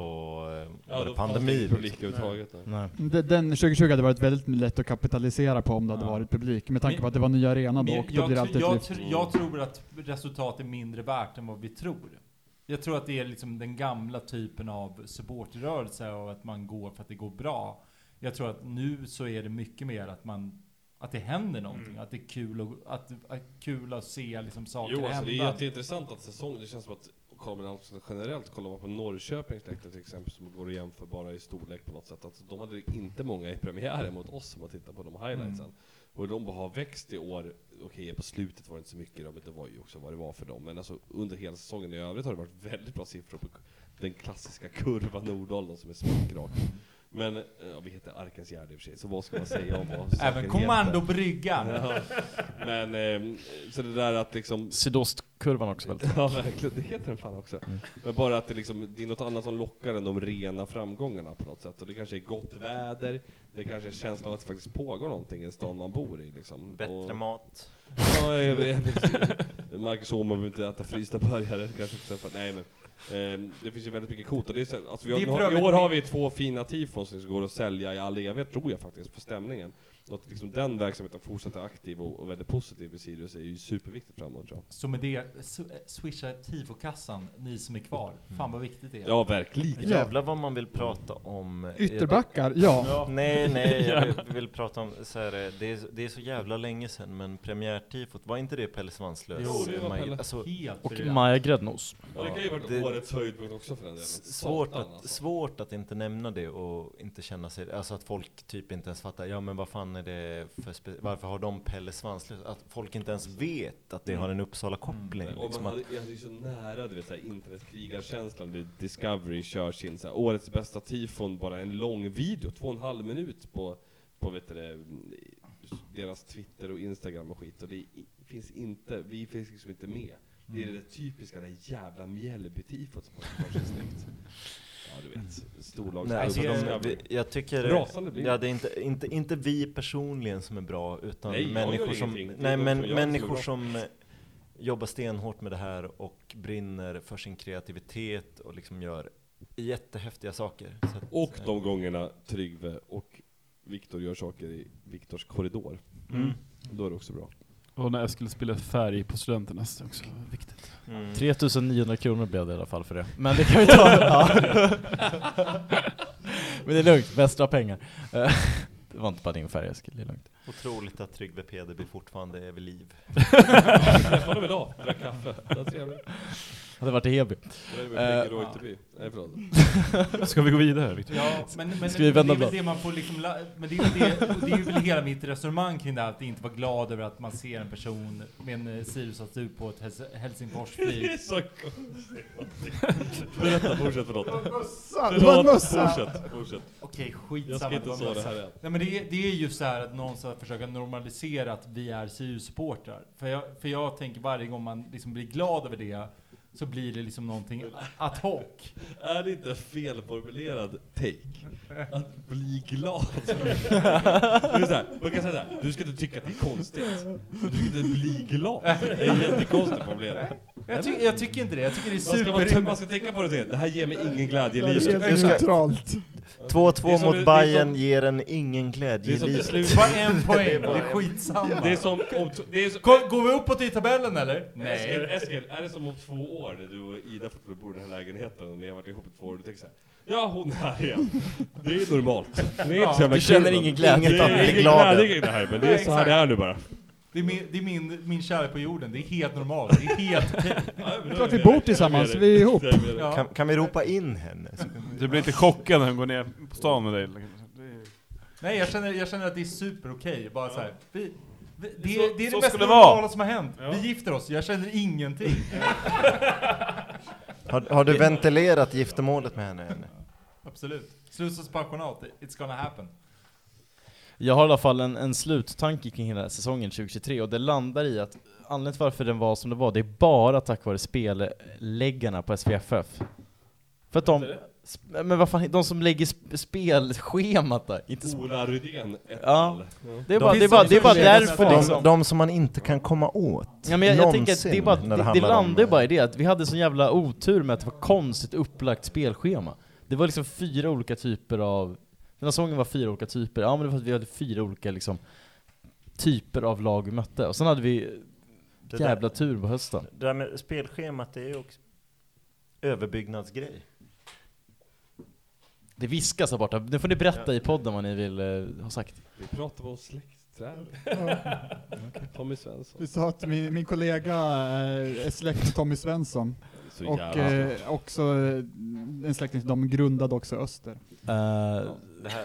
[SPEAKER 6] eh, var
[SPEAKER 7] Ja, då
[SPEAKER 6] det
[SPEAKER 7] fanns det
[SPEAKER 6] pandemi. liksom?
[SPEAKER 7] ingen publik överhuvudtaget. nej.
[SPEAKER 6] Nej.
[SPEAKER 1] Den den 2020 hade varit väldigt lätt att kapitalisera på om det hade
[SPEAKER 2] Ja.
[SPEAKER 1] varit publik, med tanke
[SPEAKER 2] Men-
[SPEAKER 1] på att det var nya arena då
[SPEAKER 2] Men
[SPEAKER 1] och då blir det
[SPEAKER 2] tr-
[SPEAKER 1] alltid ett
[SPEAKER 2] jag,
[SPEAKER 1] lyft.
[SPEAKER 2] tr- jag tror att resultat är mindre värt än vad vi tror. Jag tror att det är liksom den gamla typen av supportrörelse och att man går för att det går bra. Jag tror att nu så är det mycket mer att man att det händer någonting,
[SPEAKER 7] Mm.
[SPEAKER 2] att det är kul och, att, att, kul att se liksom saker
[SPEAKER 7] Jo, alltså, det är
[SPEAKER 2] hända.
[SPEAKER 7] jätteintressant att säsongen, det känns som att kollar man alltså generellt, kollar man på Norrköpings läktare till exempel, som går att jämförbara i storlek på något sätt. Alltså, de hade inte många i premiären mot oss om man tittar på de highlightsen.
[SPEAKER 2] Mm.
[SPEAKER 7] Och de har växt i år, okej på slutet var det inte så mycket då, men det var ju också vad det var för dem. Men alltså under hela säsongen i övrigt har det varit väldigt bra siffror på den klassiska kurvan Nordalen som är smakrak. Men, eh, ja, vi heter Arkens Gärde i och för sig, så vad ska man säga om vad saker
[SPEAKER 2] Även
[SPEAKER 7] heter?
[SPEAKER 2] Kommando Brygga.
[SPEAKER 7] Ja. Men, ehm, så det där att liksom
[SPEAKER 3] Sydostkurvan också väl?
[SPEAKER 7] Ja verkligen, det heter den fan också. Men bara att det, liksom, det är något annat som lockar än de rena framgångarna på något sätt. Och det kanske är gott väder, det kanske är känslan av att det faktiskt pågår någonting i stan man bor i. Liksom.
[SPEAKER 6] Bättre
[SPEAKER 7] Och-
[SPEAKER 6] mat.
[SPEAKER 7] Ja, jag vet. Marcus Åhman behöver inte äta frysta burgare kanske. för att- Nej men. ehm, det finns ju väldigt mycket coolt. Och det är, så här- alltså, vi har,
[SPEAKER 2] Det är
[SPEAKER 7] nu har,
[SPEAKER 2] för
[SPEAKER 7] I
[SPEAKER 2] övrigt-
[SPEAKER 7] år har vi två fina tifon som går att sälja i all evighet tror jag faktiskt, för stämningen. Och att liksom den verksamheten fortsätter aktiv och, och väldigt positiv i Sirius är ju superviktigt framåt tror jag.
[SPEAKER 2] Så med det, sw- eh, swisha tifokassan, ni som är kvar. Fan vad viktigt det är.
[SPEAKER 7] Mm. Ja verkligen.
[SPEAKER 1] Ja.
[SPEAKER 6] Jävlar vad man vill prata om. eh,
[SPEAKER 1] Ytterbackar, ja.
[SPEAKER 6] Nej, nej, jag vill, vill prata om så här, eh, det, är, det är så jävla länge sedan, men premiärtifot, var inte det Pelle Svanslös?
[SPEAKER 2] Jo,
[SPEAKER 7] det var
[SPEAKER 6] Maj-
[SPEAKER 7] Pelle.
[SPEAKER 6] Alltså,
[SPEAKER 2] Helt
[SPEAKER 3] Och
[SPEAKER 2] briljant.
[SPEAKER 3] Maja Gräddnos.
[SPEAKER 7] Ja, det kan ju varit
[SPEAKER 6] Det-
[SPEAKER 7] årets höjdpunkt också för den delen.
[SPEAKER 6] s- svårt,
[SPEAKER 7] Satan,
[SPEAKER 6] att,
[SPEAKER 7] alltså.
[SPEAKER 6] svårt att inte nämna det och inte känna sig, alltså att folk typ inte ens fattar, ja men vad fan är det för, spe- varför har de Pelle Svanslös? Att folk inte ens vet att det har en Uppsala-koppling.
[SPEAKER 7] Mm. Och
[SPEAKER 6] liksom,
[SPEAKER 7] man
[SPEAKER 6] att-
[SPEAKER 7] hade, jag hade ju så nära du vet, såhär, internetkrigarkänslan när Discovery kör sin såhär, årets bästa tifon, bara en lång video, två och en halv minut på, på vet du, det, deras Twitter och Instagram och skit. Och det i- finns inte, vi finns liksom inte med. Det är
[SPEAKER 6] Mm.
[SPEAKER 7] det typiska, det jävla Mjällby-tifot som har så snyggt. Ja du vet, storlags...
[SPEAKER 6] Nej, alltså,
[SPEAKER 2] det är-
[SPEAKER 6] de, vi- jag tycker...
[SPEAKER 7] Rasande blir
[SPEAKER 6] ja, det är inte, inte, inte vi personligen som är bra, utan
[SPEAKER 7] Nej, jag gör
[SPEAKER 6] människor som...
[SPEAKER 7] ingenting. Det
[SPEAKER 6] Nej,
[SPEAKER 7] är de
[SPEAKER 6] men
[SPEAKER 7] som gör
[SPEAKER 6] människor
[SPEAKER 7] som
[SPEAKER 6] som eh, jobbar stenhårt med det här och brinner för sin kreativitet och liksom gör jättehäftiga saker. Så att,
[SPEAKER 7] Och
[SPEAKER 6] eh,
[SPEAKER 7] de gångerna Tryggve och Viktor gör saker i Viktors korridor.
[SPEAKER 6] Mm.
[SPEAKER 7] Då är det också bra.
[SPEAKER 5] Och när jag skulle spela färg på studenternas det är också viktigt.
[SPEAKER 6] Mm.
[SPEAKER 3] 3900 kronor blev det i alla fall för det. Men det kan vi ta. ja. Men det är lugnt, bästa pengar. Eh, det var inte bara din färg Eskil, det är lugnt.
[SPEAKER 6] Otroligt att Tryggve Pederby fortfarande är vid liv.
[SPEAKER 7] Träffade dem idag, drack kaffe. Det var trevligt.
[SPEAKER 3] Hade varit i Heby.
[SPEAKER 7] Det är
[SPEAKER 3] Eh,
[SPEAKER 7] väl Reuterby. Nej förlåt.
[SPEAKER 5] Ska vi gå vidare Viktor?
[SPEAKER 2] Ja, men, men
[SPEAKER 3] Ska vi vända
[SPEAKER 2] det är
[SPEAKER 3] blad?
[SPEAKER 2] väl det man får liksom, la- men det är, väl det, och det är väl hela mitt resonemang kring det här, att inte vara glad över att man ser en person med en eh, Sirius-staty på ett Hels- Helsingforsflyg.
[SPEAKER 7] så konstigt. Berätta, fortsätt förlåt.
[SPEAKER 1] Det var en
[SPEAKER 7] Förlåt,
[SPEAKER 1] mössa!
[SPEAKER 7] Fortsätt, fortsätt.
[SPEAKER 2] Okej,
[SPEAKER 7] Jag ska
[SPEAKER 2] skitsamma.
[SPEAKER 7] inte
[SPEAKER 2] var
[SPEAKER 7] så
[SPEAKER 2] bra.
[SPEAKER 7] det här än.
[SPEAKER 2] Nej men det, är- det är ju så här att någon ska försöka normalisera att vi är Sirius-supportrar. För jag, för jag tänker varje gång man liksom blir glad över det, så blir det liksom någonting ad hoc.
[SPEAKER 7] Är det inte en felformulerad take? Att bli glad? Det är så här, man kan säga såhär, du ska inte tycka att det är konstigt. Du ska inte bli glad. Det är en jättekonstig formulering.
[SPEAKER 2] Jag, ty, jag tycker inte det, jag tycker det är
[SPEAKER 7] Man ska, man,
[SPEAKER 2] super...
[SPEAKER 7] man ska tänka på det och säga, det här ger mig ingen glädje i
[SPEAKER 1] Det
[SPEAKER 7] livet.
[SPEAKER 1] är neutralt.
[SPEAKER 7] Det är
[SPEAKER 8] 2-2
[SPEAKER 7] som- det är
[SPEAKER 8] mot Bayern
[SPEAKER 7] som-
[SPEAKER 8] ger en ingen glädje
[SPEAKER 7] Det är
[SPEAKER 8] i
[SPEAKER 7] som
[SPEAKER 8] livet.
[SPEAKER 7] beslut.
[SPEAKER 2] Bara en poäng,
[SPEAKER 7] bara
[SPEAKER 2] det är
[SPEAKER 7] en.
[SPEAKER 2] skitsamma.
[SPEAKER 7] Det är som... Om, t- det är som
[SPEAKER 2] Går, går vi uppåt i tabellen eller?
[SPEAKER 7] Eskil, Eskil, är det som om två år när du och Ida fortfarande bor i den här lägenheten och ni har varit ihop i två år och du tänker såhär Ja, hon är här igen. Det är normalt. Det är inte så jävla
[SPEAKER 3] du känner
[SPEAKER 7] kul.
[SPEAKER 3] ingen glädje.
[SPEAKER 7] Det
[SPEAKER 8] Ingen
[SPEAKER 7] är
[SPEAKER 8] blir
[SPEAKER 7] ingen
[SPEAKER 8] glad.
[SPEAKER 7] glädje i det här, men det är
[SPEAKER 2] Nej,
[SPEAKER 7] så här det är nu bara.
[SPEAKER 2] Det är, min, det är min, min kärlek på jorden, det är helt normalt. Det är helt okej.
[SPEAKER 1] Det är klart vi bor tillsammans, vi är ihop.
[SPEAKER 2] Ja.
[SPEAKER 8] Kan, kan vi ropa in henne?
[SPEAKER 5] Du blir inte chockad när hon går ner på stan med dig. liksom. Det är-
[SPEAKER 2] Nej, jag känner, jag känner att det är superokej. Bara så här, vi, vi, det, är- det är
[SPEAKER 5] så
[SPEAKER 2] det bästa
[SPEAKER 5] skulle det vara.
[SPEAKER 2] normala som har hänt. Vi gifter oss, jag känner ingenting.
[SPEAKER 8] Har, har du ventilerat giftermålet med henne än?
[SPEAKER 2] Absolut. Slussas pensionat, it's gonna happen.
[SPEAKER 3] Jag har i alla fall en, en sluttanke kring hela säsongen 2023 och det landar i att anledningen till varför den var som den var, det är bara tack vare spelläggarna på SVFF. För att de, sp- men vad fan, de som lägger sp- spelschemat där, inte
[SPEAKER 5] Mm.
[SPEAKER 3] sp-
[SPEAKER 7] Ola Rydén, ett
[SPEAKER 3] Ja.
[SPEAKER 7] ja.
[SPEAKER 3] det är bara,
[SPEAKER 2] finns
[SPEAKER 3] det är bara,
[SPEAKER 2] de
[SPEAKER 3] det är
[SPEAKER 2] som
[SPEAKER 3] bara
[SPEAKER 2] lägger
[SPEAKER 3] därför
[SPEAKER 2] spel.
[SPEAKER 8] De,
[SPEAKER 3] liksom.
[SPEAKER 8] de som man inte kan komma åt.
[SPEAKER 3] Ja, men jag, jag tänker att det, är
[SPEAKER 8] någonsin när det
[SPEAKER 3] bara, det, det
[SPEAKER 8] handlar om,
[SPEAKER 3] landar ju
[SPEAKER 8] eh,
[SPEAKER 3] bara i det att vi hade sån jävla otur med att det var konstigt upplagt spelschema. Det var liksom fyra olika typer av, den här säsongen var fyra olika typer, ja men det var för att vi hade fyra olika liksom typer av lag vi mötte. Och sen hade vi
[SPEAKER 8] Det där-
[SPEAKER 3] jävla tur på hösten.
[SPEAKER 8] Det där med spelschemat, det är ju också överbyggnadsgrej.
[SPEAKER 3] Det viskas här borta, nu får ni berätta i podden vad ni vill eh, ha sagt.
[SPEAKER 7] Vi pratar om släktträd. Tommy Svensson.
[SPEAKER 1] Du sa att min, min kollega eh, är släkt med Tommy Svensson.
[SPEAKER 7] Så
[SPEAKER 1] Och
[SPEAKER 7] jävla
[SPEAKER 1] eh, också eh, en släkting till dem grundade också Öster.
[SPEAKER 3] Eh,
[SPEAKER 8] Det här,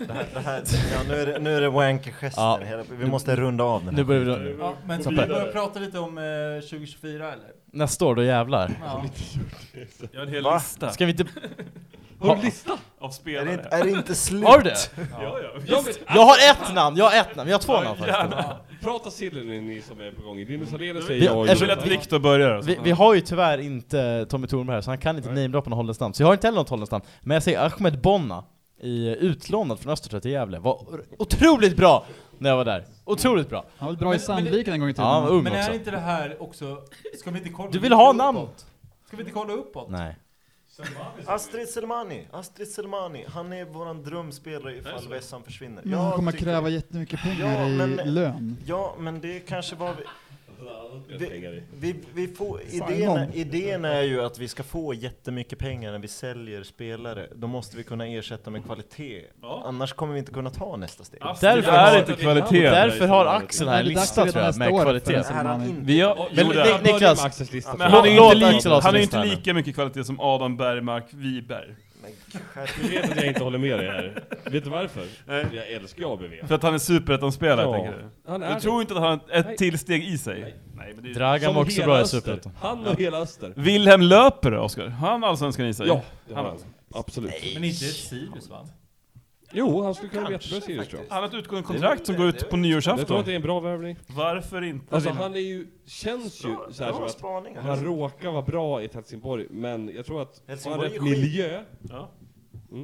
[SPEAKER 8] det här, det här, ja, nu är det, nu är det
[SPEAKER 3] Ja.
[SPEAKER 8] wanker-gesten. hela- Vi måste runda av den
[SPEAKER 3] nu
[SPEAKER 8] här.
[SPEAKER 3] börjar vi då-
[SPEAKER 2] Ja, men
[SPEAKER 3] Gå
[SPEAKER 2] ska vi börja
[SPEAKER 7] vidare.
[SPEAKER 2] prata lite om eh, 2024 eller?
[SPEAKER 3] nästa år, då jävlar.
[SPEAKER 2] Ja.
[SPEAKER 5] Jag har en hel
[SPEAKER 8] Va?
[SPEAKER 5] lista
[SPEAKER 3] Ska vi inte...
[SPEAKER 5] Har du lista? av
[SPEAKER 8] Är
[SPEAKER 5] spelare.
[SPEAKER 8] det, inte- är det inte slut?
[SPEAKER 3] Har du det?
[SPEAKER 7] Ja, ja. ja men,
[SPEAKER 3] Jag har ett namn, jag har ett namn, jag har två namn faktiskt.
[SPEAKER 5] Gärna.
[SPEAKER 7] prata sillen ni som är på gång. Linus Alenius
[SPEAKER 3] Vi-
[SPEAKER 7] säger ja.
[SPEAKER 5] Jag
[SPEAKER 3] eftersom
[SPEAKER 5] vill
[SPEAKER 7] Jonas.
[SPEAKER 5] att Viktor börjar.
[SPEAKER 3] Vi, vi har ju tyvärr inte Tommy Tornberg här, så han kan inte namedroppa något holländskt namn. Så jag har inte heller något holländskt namn. Men jag säger Ahmed Bonna, i, eh, utlånad från Östersund till Gävle. Var otroligt bra när jag var där. Otroligt bra.
[SPEAKER 1] Han var väl bra i
[SPEAKER 2] Men- men
[SPEAKER 1] Sandviken en gång i tiden?
[SPEAKER 3] Ja, han var ung
[SPEAKER 2] Men är
[SPEAKER 3] också.
[SPEAKER 2] inte det här också, ska vi inte kolla
[SPEAKER 3] Du vill ha
[SPEAKER 2] lite
[SPEAKER 3] namn?
[SPEAKER 2] uppåt? Ska vi inte kolla uppåt?
[SPEAKER 3] Nej.
[SPEAKER 8] Astrid Selmani, Astrid Selmani, han är våran drömspelare ifall Vessan försvinner.
[SPEAKER 1] Men Mm, han kommer
[SPEAKER 8] tycker-
[SPEAKER 1] kräva jättemycket pengar
[SPEAKER 8] Ja,
[SPEAKER 1] i
[SPEAKER 8] men-
[SPEAKER 1] lön.
[SPEAKER 8] Ja, men det kanske var... Vi,
[SPEAKER 7] pengar i.
[SPEAKER 8] vi, vi, vi får,
[SPEAKER 1] Fan,
[SPEAKER 8] idén,
[SPEAKER 1] någon.
[SPEAKER 8] idén är ju att vi ska få jättemycket pengar när vi säljer spelare. Då måste vi kunna ersätta med kvalitet. Annars kommer vi inte kunna ta nästa steg.
[SPEAKER 7] Alltså,
[SPEAKER 5] Därför
[SPEAKER 3] har-
[SPEAKER 5] är det inte kvalitet.
[SPEAKER 3] Därför har Axel här en
[SPEAKER 1] Det är dags
[SPEAKER 3] lista
[SPEAKER 1] redan
[SPEAKER 3] tror jag,
[SPEAKER 1] nästa
[SPEAKER 3] med
[SPEAKER 1] år för
[SPEAKER 3] kvalitet.
[SPEAKER 1] den
[SPEAKER 8] Är
[SPEAKER 7] alltså,
[SPEAKER 8] han inte-
[SPEAKER 5] Vi har,
[SPEAKER 3] Men
[SPEAKER 5] jo, det-
[SPEAKER 3] Nik- Niklas,
[SPEAKER 7] Axels lista.
[SPEAKER 5] men han är
[SPEAKER 3] Låt
[SPEAKER 5] inte,
[SPEAKER 3] Axel
[SPEAKER 5] li,
[SPEAKER 3] ha
[SPEAKER 5] han är
[SPEAKER 3] sin
[SPEAKER 5] inte
[SPEAKER 3] lista
[SPEAKER 5] lika mycket kvalitet som Adam Bergmark Wiberg.
[SPEAKER 8] Men skärp-
[SPEAKER 7] Du vet att jag inte håller med dig här. Vet du varför? Jag älskar ABV.
[SPEAKER 5] För att han är superettan-spelare,
[SPEAKER 7] Ja.
[SPEAKER 5] tänker du?
[SPEAKER 7] Han
[SPEAKER 5] Du
[SPEAKER 7] är
[SPEAKER 5] tror inte att han har ett
[SPEAKER 7] Nej.
[SPEAKER 5] till steg i sig? Nej, men det är-
[SPEAKER 3] Dragan
[SPEAKER 7] Som
[SPEAKER 3] var också
[SPEAKER 7] hela
[SPEAKER 3] bra i
[SPEAKER 7] Öster.
[SPEAKER 3] Superettan.
[SPEAKER 7] Han och hela Öster.
[SPEAKER 5] Wilhelm Löper då, Oskar? Har han allsvenskan i sig?
[SPEAKER 7] Ja, det har
[SPEAKER 5] Han-
[SPEAKER 7] han. Absolut.
[SPEAKER 2] Men inte ett Sirius va?
[SPEAKER 7] Jo, han skulle kunna bli jättebra i Sirius tror jag.
[SPEAKER 5] Han har ett utgående kontrakt som går ut på
[SPEAKER 7] Jag tror
[SPEAKER 5] nyårsafton.
[SPEAKER 7] att det är en bra värvning.
[SPEAKER 5] Varför inte?
[SPEAKER 7] Alltså
[SPEAKER 5] Wilhelm?
[SPEAKER 7] han är ju, känns ju så här som
[SPEAKER 8] Bra
[SPEAKER 7] att
[SPEAKER 8] spaning.
[SPEAKER 7] han råkar vara bra i ett Helsingborg, men jag tror att har han
[SPEAKER 8] Helsingborg är
[SPEAKER 7] rätt
[SPEAKER 8] skit.
[SPEAKER 7] miljö,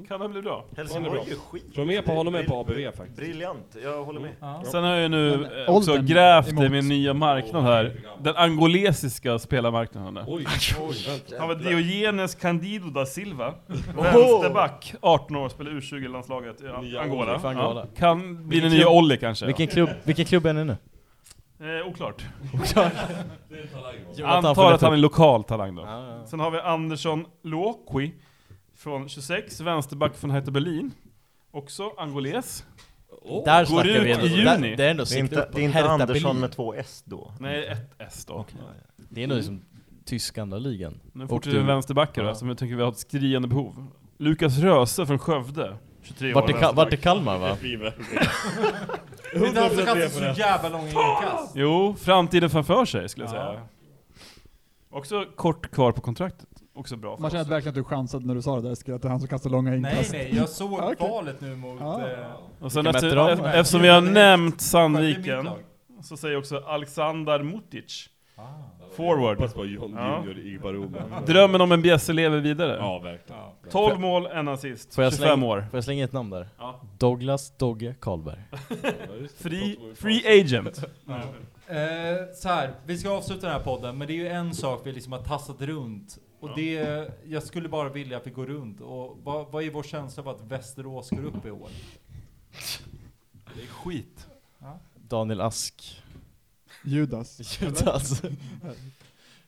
[SPEAKER 5] Kan han bli bra?
[SPEAKER 8] Helsingborg är ju
[SPEAKER 7] tror
[SPEAKER 8] skit.
[SPEAKER 7] mer på honom än på
[SPEAKER 8] Brill-
[SPEAKER 7] ABV faktiskt.
[SPEAKER 8] Briljant, jag håller med.
[SPEAKER 5] Sen har jag ju nu
[SPEAKER 1] Men,
[SPEAKER 5] eh, också
[SPEAKER 1] åldern
[SPEAKER 5] grävt i
[SPEAKER 1] emot.
[SPEAKER 5] min nya marknad här. Den angolesiska spelarmarknaden. Där.
[SPEAKER 7] Oj, oj, vänta.
[SPEAKER 5] Han var Diogenes Candido da Silva, vänsterback, 18 år, spelar U20-landslaget i
[SPEAKER 7] Nya
[SPEAKER 5] Angola.
[SPEAKER 3] Olli för Angola.
[SPEAKER 5] Ja. Kan bli den
[SPEAKER 3] Vilken
[SPEAKER 5] nya
[SPEAKER 3] klubb?
[SPEAKER 5] Olli kanske.
[SPEAKER 3] Vilken klubb, vilken klubb är ni nu?
[SPEAKER 5] Eh, oklart.
[SPEAKER 3] Jonathan får
[SPEAKER 5] Antar
[SPEAKER 3] leta
[SPEAKER 5] att han
[SPEAKER 3] upp.
[SPEAKER 5] är lokal talang då.
[SPEAKER 3] Ja, ja.
[SPEAKER 5] Sen har vi Andersson Luokwi från 26, vänsterback från Hertha Berlin. Också angoles.
[SPEAKER 3] Där
[SPEAKER 5] Går
[SPEAKER 3] snackar vi
[SPEAKER 5] ut
[SPEAKER 3] ändå.
[SPEAKER 5] i
[SPEAKER 3] Där-
[SPEAKER 5] juni.
[SPEAKER 3] Det är ändå
[SPEAKER 8] Det är
[SPEAKER 3] sikte
[SPEAKER 8] inte,
[SPEAKER 3] uppåt.
[SPEAKER 8] det är inte
[SPEAKER 3] Hertha
[SPEAKER 8] Andersson
[SPEAKER 3] Berlin.
[SPEAKER 8] med två S då.
[SPEAKER 5] Nej, ett S då.
[SPEAKER 3] Det är nog som tyska andra ligan.
[SPEAKER 5] Nu
[SPEAKER 3] Och
[SPEAKER 5] fortsätter vi
[SPEAKER 3] du-
[SPEAKER 5] med vänsterbackar då,
[SPEAKER 3] Ja.
[SPEAKER 5] eftersom jag tycker vi har ett skriande behov. Lukas Röse från Skövde, 23
[SPEAKER 3] Vart
[SPEAKER 5] år.
[SPEAKER 3] det, Ka- vart det Kalmar va?
[SPEAKER 2] Det är därför att det är så jävla långa inkast.
[SPEAKER 5] Jo, framtiden framför sig skulle jag
[SPEAKER 2] Ja.
[SPEAKER 5] säga. Också kort kvar på kontraktet. Också bra för
[SPEAKER 1] Man känner
[SPEAKER 5] oss.
[SPEAKER 1] att verkligen att du chansade när du sa det där Eskil, att det är han som kastar långa
[SPEAKER 2] Nej
[SPEAKER 1] inkast.
[SPEAKER 2] nej, jag såg
[SPEAKER 1] Okej.
[SPEAKER 2] valet nu mot...
[SPEAKER 6] Ah.
[SPEAKER 1] Ja.
[SPEAKER 2] Eh,
[SPEAKER 5] Och sen
[SPEAKER 3] Vilka
[SPEAKER 5] efter,
[SPEAKER 3] mötte de?
[SPEAKER 5] eft- eftersom vi har nämnt
[SPEAKER 2] Skövde är mitt
[SPEAKER 5] Sandviken,
[SPEAKER 2] lag.
[SPEAKER 5] så säger jag också Alexander Mutic.
[SPEAKER 6] Ah.
[SPEAKER 5] Forward.
[SPEAKER 7] Hoppas på John
[SPEAKER 5] Ja.
[SPEAKER 7] Junior i Baroma.
[SPEAKER 5] Drömmen om en bjässe lever vidare.
[SPEAKER 7] Ja, verkligen.
[SPEAKER 2] Ja.
[SPEAKER 5] 12 mål, en assist,
[SPEAKER 3] Får jag
[SPEAKER 5] 25
[SPEAKER 3] slänga-
[SPEAKER 5] år.
[SPEAKER 3] Får jag slänga ett namn där?
[SPEAKER 5] Ja.
[SPEAKER 3] Douglas Dogge Karlberg.
[SPEAKER 7] Ja, just det.
[SPEAKER 5] Free, free agent.
[SPEAKER 2] Eh, så här, vi ska avsluta den här podden, men det är ju en sak vi liksom har tassat runt Och det, jag skulle bara vilja att vi går runt och vad, vad är vår känsla av att Västerås går upp i år?
[SPEAKER 5] Det är skit.
[SPEAKER 3] Daniel Ask,
[SPEAKER 1] Judas.
[SPEAKER 3] Judas.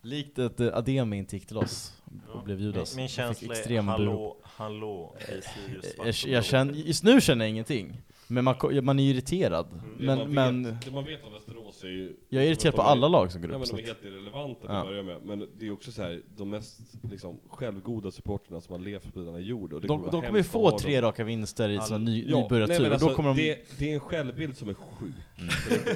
[SPEAKER 3] Likt ett eh, Ademi inte gick till oss och blev Judas.
[SPEAKER 6] Min
[SPEAKER 3] Jag fick
[SPEAKER 6] känsla är
[SPEAKER 3] extrem burop.
[SPEAKER 6] hallå, hallå, vi Sirius, svart
[SPEAKER 3] jag,
[SPEAKER 6] och blå.
[SPEAKER 3] eh, jag känner, just nu känner jag ingenting. Men man, ko- man är ju irriterad.
[SPEAKER 7] Det
[SPEAKER 3] Men,
[SPEAKER 7] man
[SPEAKER 3] men
[SPEAKER 7] vet, det man vet om Västerås är ju...
[SPEAKER 3] jag är irriterad på
[SPEAKER 7] de är-
[SPEAKER 3] alla lag som går
[SPEAKER 7] Ja,
[SPEAKER 3] upp.
[SPEAKER 7] men
[SPEAKER 3] så
[SPEAKER 7] de är
[SPEAKER 3] att-
[SPEAKER 7] helt irrelevanta till
[SPEAKER 3] Ja.
[SPEAKER 7] att börja med. Men det är också så här, de mest liksom, självgoda supporterna som har levt på denna jord. Och det
[SPEAKER 3] De,
[SPEAKER 7] vara
[SPEAKER 3] de kommer ju
[SPEAKER 7] hemskt att
[SPEAKER 3] få
[SPEAKER 7] ha dem.
[SPEAKER 3] tre raka vinster i sina ny,
[SPEAKER 7] Ja, nej,
[SPEAKER 3] nybörjartur,
[SPEAKER 7] men
[SPEAKER 3] och
[SPEAKER 7] alltså,
[SPEAKER 3] då kommer de... Mm.
[SPEAKER 7] det, det är en självbild som är sjuk.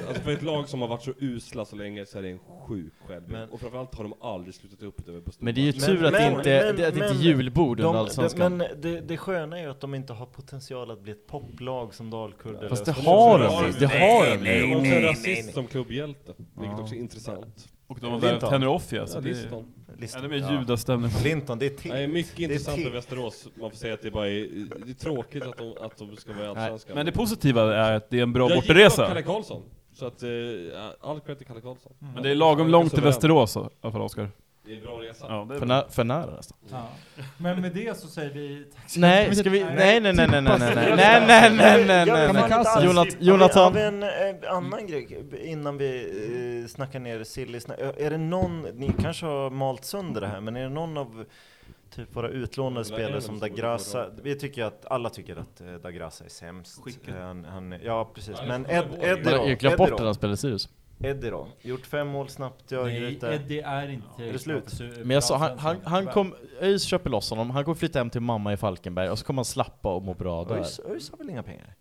[SPEAKER 7] alltså för ett lag som har varit så usla så länge så är det en sjuk självbild.
[SPEAKER 6] Men-
[SPEAKER 7] och framförallt har de aldrig slutat upp över på
[SPEAKER 3] Men det är ju
[SPEAKER 6] Men-
[SPEAKER 3] tur att det
[SPEAKER 6] men-
[SPEAKER 3] inte
[SPEAKER 6] men-
[SPEAKER 3] det, att det inte är
[SPEAKER 6] men-
[SPEAKER 3] julbord under
[SPEAKER 6] De, de,
[SPEAKER 3] Allsvenskan.
[SPEAKER 6] men det, det sköna är ju att de inte har potential att bli ett poplag som Dalkurd eller
[SPEAKER 3] Fast det
[SPEAKER 6] Östersund.
[SPEAKER 3] har de ju, det har de
[SPEAKER 7] De
[SPEAKER 3] ju.
[SPEAKER 7] har en rasist som klubbhjälte, vilket också är intressant. Alltså,
[SPEAKER 5] Och de har
[SPEAKER 6] Linton.
[SPEAKER 5] värvt Henry Offia, så
[SPEAKER 7] Ja,
[SPEAKER 5] det
[SPEAKER 7] visst,
[SPEAKER 5] är
[SPEAKER 7] de-
[SPEAKER 6] Listan.
[SPEAKER 5] ännu mer judastämning.
[SPEAKER 6] Clinton, det är till.
[SPEAKER 7] Nej, mycket intressant
[SPEAKER 6] te.
[SPEAKER 7] med Västerås. Man får säga att det bara är, det är tråkigt att de, att de ska vara i Allsvenskan.
[SPEAKER 5] Men det positiva är att det är en bra
[SPEAKER 7] Jag gillar
[SPEAKER 5] bortaresa.
[SPEAKER 7] Kalle Karlsson. Så att, eh, all cred till Kalle Karlsson.
[SPEAKER 5] Men det är lagom långt till
[SPEAKER 7] Suverän.
[SPEAKER 5] Västerås i alla fall, Oskar.
[SPEAKER 7] Det är en bra resa.
[SPEAKER 5] Ja, det är
[SPEAKER 3] För,
[SPEAKER 5] bra.
[SPEAKER 3] nä, för nära nästan.
[SPEAKER 2] Ja. Men med det så säger vi tack så
[SPEAKER 3] Nej,
[SPEAKER 2] mycket.
[SPEAKER 3] ska vi...
[SPEAKER 2] Nej.
[SPEAKER 3] Nej, nej, nej, nej, nej, nej, nej, nej, nej, nej, nej, nej.
[SPEAKER 1] Kamikaze.
[SPEAKER 3] Jonat-
[SPEAKER 6] Har
[SPEAKER 3] Jonathan.
[SPEAKER 6] vi en eh, annan grej innan vi eh, snackar ner silly snack. Eh, Är det någon, ni kanske har malt sönder det här, men är det någon av typ våra utlånade
[SPEAKER 7] Det där är
[SPEAKER 6] spelare
[SPEAKER 7] väl
[SPEAKER 6] som
[SPEAKER 7] så det
[SPEAKER 6] Dagrassa?
[SPEAKER 7] går då.
[SPEAKER 6] Vi tycker att, alla tycker att eh, Dagrassa är sämst. Eh,
[SPEAKER 2] Skicket.
[SPEAKER 6] Han, han, ja, precis.
[SPEAKER 7] Ja,
[SPEAKER 6] Men
[SPEAKER 7] det är så
[SPEAKER 6] Ed,
[SPEAKER 7] det går.
[SPEAKER 6] Eddie
[SPEAKER 3] Man
[SPEAKER 6] då?
[SPEAKER 3] har ju glömt bort den
[SPEAKER 6] Eddie
[SPEAKER 3] han spelade i Sirius.
[SPEAKER 6] då? Eddie då? Gjort fem mål snabbt, jag
[SPEAKER 2] Nej,
[SPEAKER 6] gryta.
[SPEAKER 2] Eddie är inte
[SPEAKER 6] Är det slut?
[SPEAKER 3] Men jag sa, han, han, han kom... ÖIS köper loss honom, han kommer flytta hem till mamma i Falkenberg, och så kommer han slappa och må bra där.
[SPEAKER 6] ÖIS ÖIS har väl inga pengar?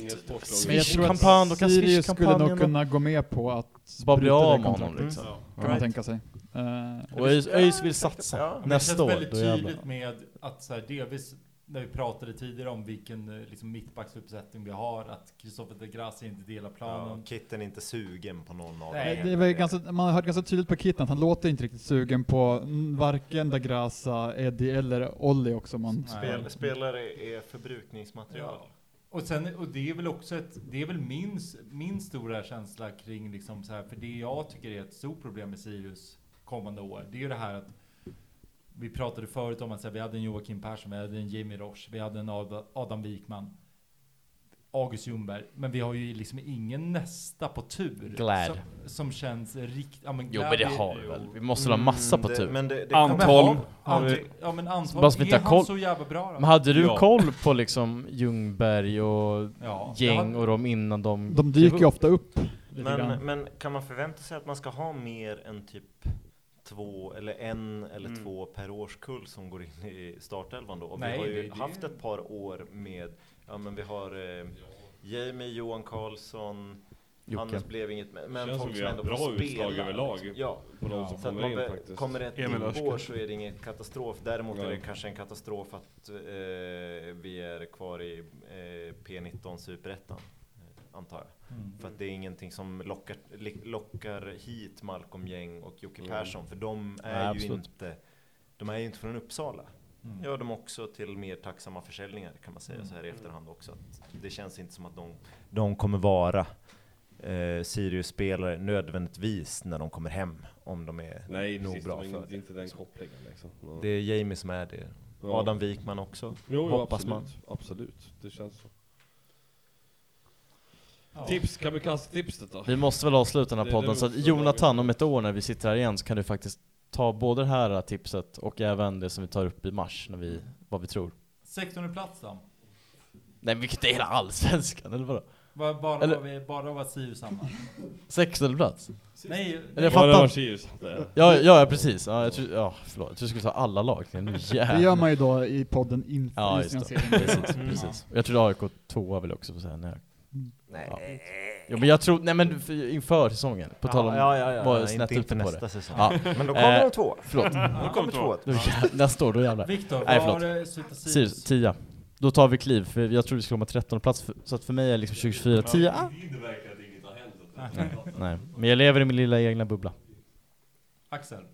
[SPEAKER 1] Men jag tror
[SPEAKER 3] Swish-kampanj, då
[SPEAKER 1] att
[SPEAKER 3] kan
[SPEAKER 1] Sirius skulle nog
[SPEAKER 3] Swish-kampanjen-
[SPEAKER 1] kunna gå med på att
[SPEAKER 3] Bara bli
[SPEAKER 1] bryta det
[SPEAKER 3] av med
[SPEAKER 1] kontraktet, Mm.
[SPEAKER 3] honom liksom.
[SPEAKER 1] Kan man
[SPEAKER 6] Right.
[SPEAKER 1] tänka sig. Eh,
[SPEAKER 3] Och ÖIS, ÖIS vill
[SPEAKER 6] Ja,
[SPEAKER 3] satsa.
[SPEAKER 6] men
[SPEAKER 3] Nästa år,
[SPEAKER 2] Det känns
[SPEAKER 3] då
[SPEAKER 2] väldigt
[SPEAKER 3] jävlar.
[SPEAKER 2] tydligt med att så här, delvis när vi pratade tidigare om vilken eh, liksom, mittbacksuppsättning vi har, att Kristoffer de Gracia inte delar
[SPEAKER 6] Ja,
[SPEAKER 2] planen.
[SPEAKER 6] Kitten är inte sugen på någon av
[SPEAKER 2] Nej,
[SPEAKER 6] dem.
[SPEAKER 1] Det är väl ganska, man har hört ganska tydligt på Kitten att han låter inte riktigt sugen på mm, varken Da Grassa, Eddie eller Olli också. Man.
[SPEAKER 6] Spel,
[SPEAKER 2] Nej.
[SPEAKER 6] spelare är förbrukningsmaterial.
[SPEAKER 2] Ja. Och, sen, och det är väl också ett, det är väl min, s- min stora känsla kring liksom så här, för det jag tycker är ett stort problem med Sirius kommande år, det är ju det här att vi pratade förut om att så här, vi hade en Joakim Persson, vi hade en Jamie Roche, vi hade en Ad- Adam Wikman, August Ljungberg, men vi har ju liksom ingen nästa på tur.
[SPEAKER 3] Glad.
[SPEAKER 2] Som, som känns riktigt, ja men
[SPEAKER 3] Jo
[SPEAKER 2] Glad
[SPEAKER 3] men det
[SPEAKER 2] är-
[SPEAKER 3] har vi väl? Vi måste väl ha massa på
[SPEAKER 6] Mm, Det-
[SPEAKER 3] tur.
[SPEAKER 6] Men det, det
[SPEAKER 2] Ja, men
[SPEAKER 5] Antal. Anton
[SPEAKER 2] har-
[SPEAKER 5] har vi-
[SPEAKER 2] Anton- Ja men Anton,
[SPEAKER 3] Bara som inte
[SPEAKER 2] är han
[SPEAKER 3] har koll.
[SPEAKER 2] så jävla bra
[SPEAKER 3] Men
[SPEAKER 2] då?
[SPEAKER 3] hade du
[SPEAKER 5] Ja.
[SPEAKER 3] koll på liksom Ljungberg och
[SPEAKER 2] Ja, jag
[SPEAKER 3] gäng
[SPEAKER 2] hade-
[SPEAKER 3] och de innan de...
[SPEAKER 1] De dyker ju ofta upp. lite grann.
[SPEAKER 6] Men, men kan man förvänta sig att man ska ha mer än typ två eller en eller
[SPEAKER 5] Mm.
[SPEAKER 6] två per årskull som går in i startelvan då? Och
[SPEAKER 2] Nej,
[SPEAKER 6] vi har ju
[SPEAKER 2] det- det-
[SPEAKER 6] haft ett par år med, ja men vi har eh, Jamie, Johan Karlsson,
[SPEAKER 3] Jocke.
[SPEAKER 6] Hannes blev inget men,
[SPEAKER 7] Känns
[SPEAKER 6] men
[SPEAKER 7] som
[SPEAKER 6] folk
[SPEAKER 7] vi
[SPEAKER 6] som
[SPEAKER 7] har
[SPEAKER 6] ändå
[SPEAKER 7] bra
[SPEAKER 6] får
[SPEAKER 7] utslag
[SPEAKER 6] spela.
[SPEAKER 7] överlag.
[SPEAKER 6] liksom. Ja.
[SPEAKER 7] På de
[SPEAKER 2] Ja.
[SPEAKER 7] som
[SPEAKER 6] Så att
[SPEAKER 7] kommer
[SPEAKER 6] man
[SPEAKER 7] in
[SPEAKER 6] be-
[SPEAKER 7] faktiskt.
[SPEAKER 6] kommer det ett
[SPEAKER 5] Emil
[SPEAKER 6] dippår
[SPEAKER 5] Örskan.
[SPEAKER 6] så är det ingen katastrof. Däremot är det
[SPEAKER 7] Nej.
[SPEAKER 6] kanske en katastrof att eh, vi är kvar i eh, P19 Superettan, eh, antar jag.
[SPEAKER 2] Mm.
[SPEAKER 6] För att det är ingenting som lockar, li- lockar hit Malcolm Gäng och Jocke
[SPEAKER 7] Mm.
[SPEAKER 6] Persson, för de är
[SPEAKER 3] Nej,
[SPEAKER 6] ju
[SPEAKER 3] absolut.
[SPEAKER 6] inte de är ju inte från Uppsala.
[SPEAKER 2] Mm.
[SPEAKER 6] Gör dem också till mer tacksamma försäljningar kan man säga
[SPEAKER 2] Mm.
[SPEAKER 6] så här i efterhand också. Att det känns inte som att de, de kommer vara eh, Sirius-spelare nödvändigtvis när de kommer hem. Om de är
[SPEAKER 7] Nej,
[SPEAKER 6] nog
[SPEAKER 7] precis.
[SPEAKER 6] bra
[SPEAKER 7] de är
[SPEAKER 6] för
[SPEAKER 7] inte,
[SPEAKER 6] det.
[SPEAKER 7] inte den kopplingen liksom. Ja.
[SPEAKER 6] Det är Jamie som är det.
[SPEAKER 7] Ja.
[SPEAKER 6] Adam Wikman också.
[SPEAKER 7] jo, jo,
[SPEAKER 6] hoppas
[SPEAKER 7] absolut.
[SPEAKER 6] man.
[SPEAKER 7] Absolut, det känns så.
[SPEAKER 2] Ja.
[SPEAKER 7] Tips, kan vi kasta tipset då?
[SPEAKER 3] Vi måste väl avsluta den här
[SPEAKER 7] Det- det
[SPEAKER 3] podden, så att
[SPEAKER 7] måste-
[SPEAKER 3] Jonathan om ett år när vi sitter här igen så kan du faktiskt ta både det här tipset och även det som vi tar upp i mars, när vi, vad vi tror.
[SPEAKER 2] 16 plats då?
[SPEAKER 3] Nej vilket är hela allsvenskan, eller vadå?
[SPEAKER 2] Bara, bara,
[SPEAKER 3] Eller-
[SPEAKER 2] var, vi, bara var Sirius samma.
[SPEAKER 3] 16 plats?
[SPEAKER 2] Nej,
[SPEAKER 3] Eller jag
[SPEAKER 7] Bara
[SPEAKER 3] fattar inte.
[SPEAKER 7] Sirius. Det-
[SPEAKER 3] Ja, ja, ja precis. Ja, jag tror, ja, förlåt. Jag tror du skulle ta alla lag. Nej, nu jävlar.
[SPEAKER 1] Det gör man ju då i podden inför
[SPEAKER 3] Ja,
[SPEAKER 1] ja,
[SPEAKER 3] just det.
[SPEAKER 1] serien.
[SPEAKER 3] Precis, precis. Jag tror AIK tvåa vill jag också få säga. Nej.
[SPEAKER 6] Nej.
[SPEAKER 3] Ja. Ja, men jag tror, nej men för- inför säsongen, på tal om
[SPEAKER 6] ja, ja, ja,
[SPEAKER 3] vad
[SPEAKER 6] ja,
[SPEAKER 3] snett
[SPEAKER 6] inte, inte
[SPEAKER 3] uppe på
[SPEAKER 6] nästa
[SPEAKER 3] det.
[SPEAKER 6] säsong.
[SPEAKER 3] Ja,
[SPEAKER 6] Men då kommer
[SPEAKER 3] Eh,
[SPEAKER 6] de två.
[SPEAKER 3] förlåt.
[SPEAKER 6] Då kommer två.
[SPEAKER 3] Nu jä- Nästa år, då jävlar.
[SPEAKER 2] Viktor,
[SPEAKER 3] Nej,
[SPEAKER 2] var
[SPEAKER 3] förlåt.
[SPEAKER 2] det slutar
[SPEAKER 3] Sirius,
[SPEAKER 2] Sirius?
[SPEAKER 3] 10. Då tar vi kliv, för jag tror vi skulle komma 13 plats, för, så att för mig är liksom 2024 10. Ah.
[SPEAKER 4] Det verkar att inget har hänt.
[SPEAKER 3] Nej, men jag lever i min lilla egna bubbla.
[SPEAKER 2] Axel?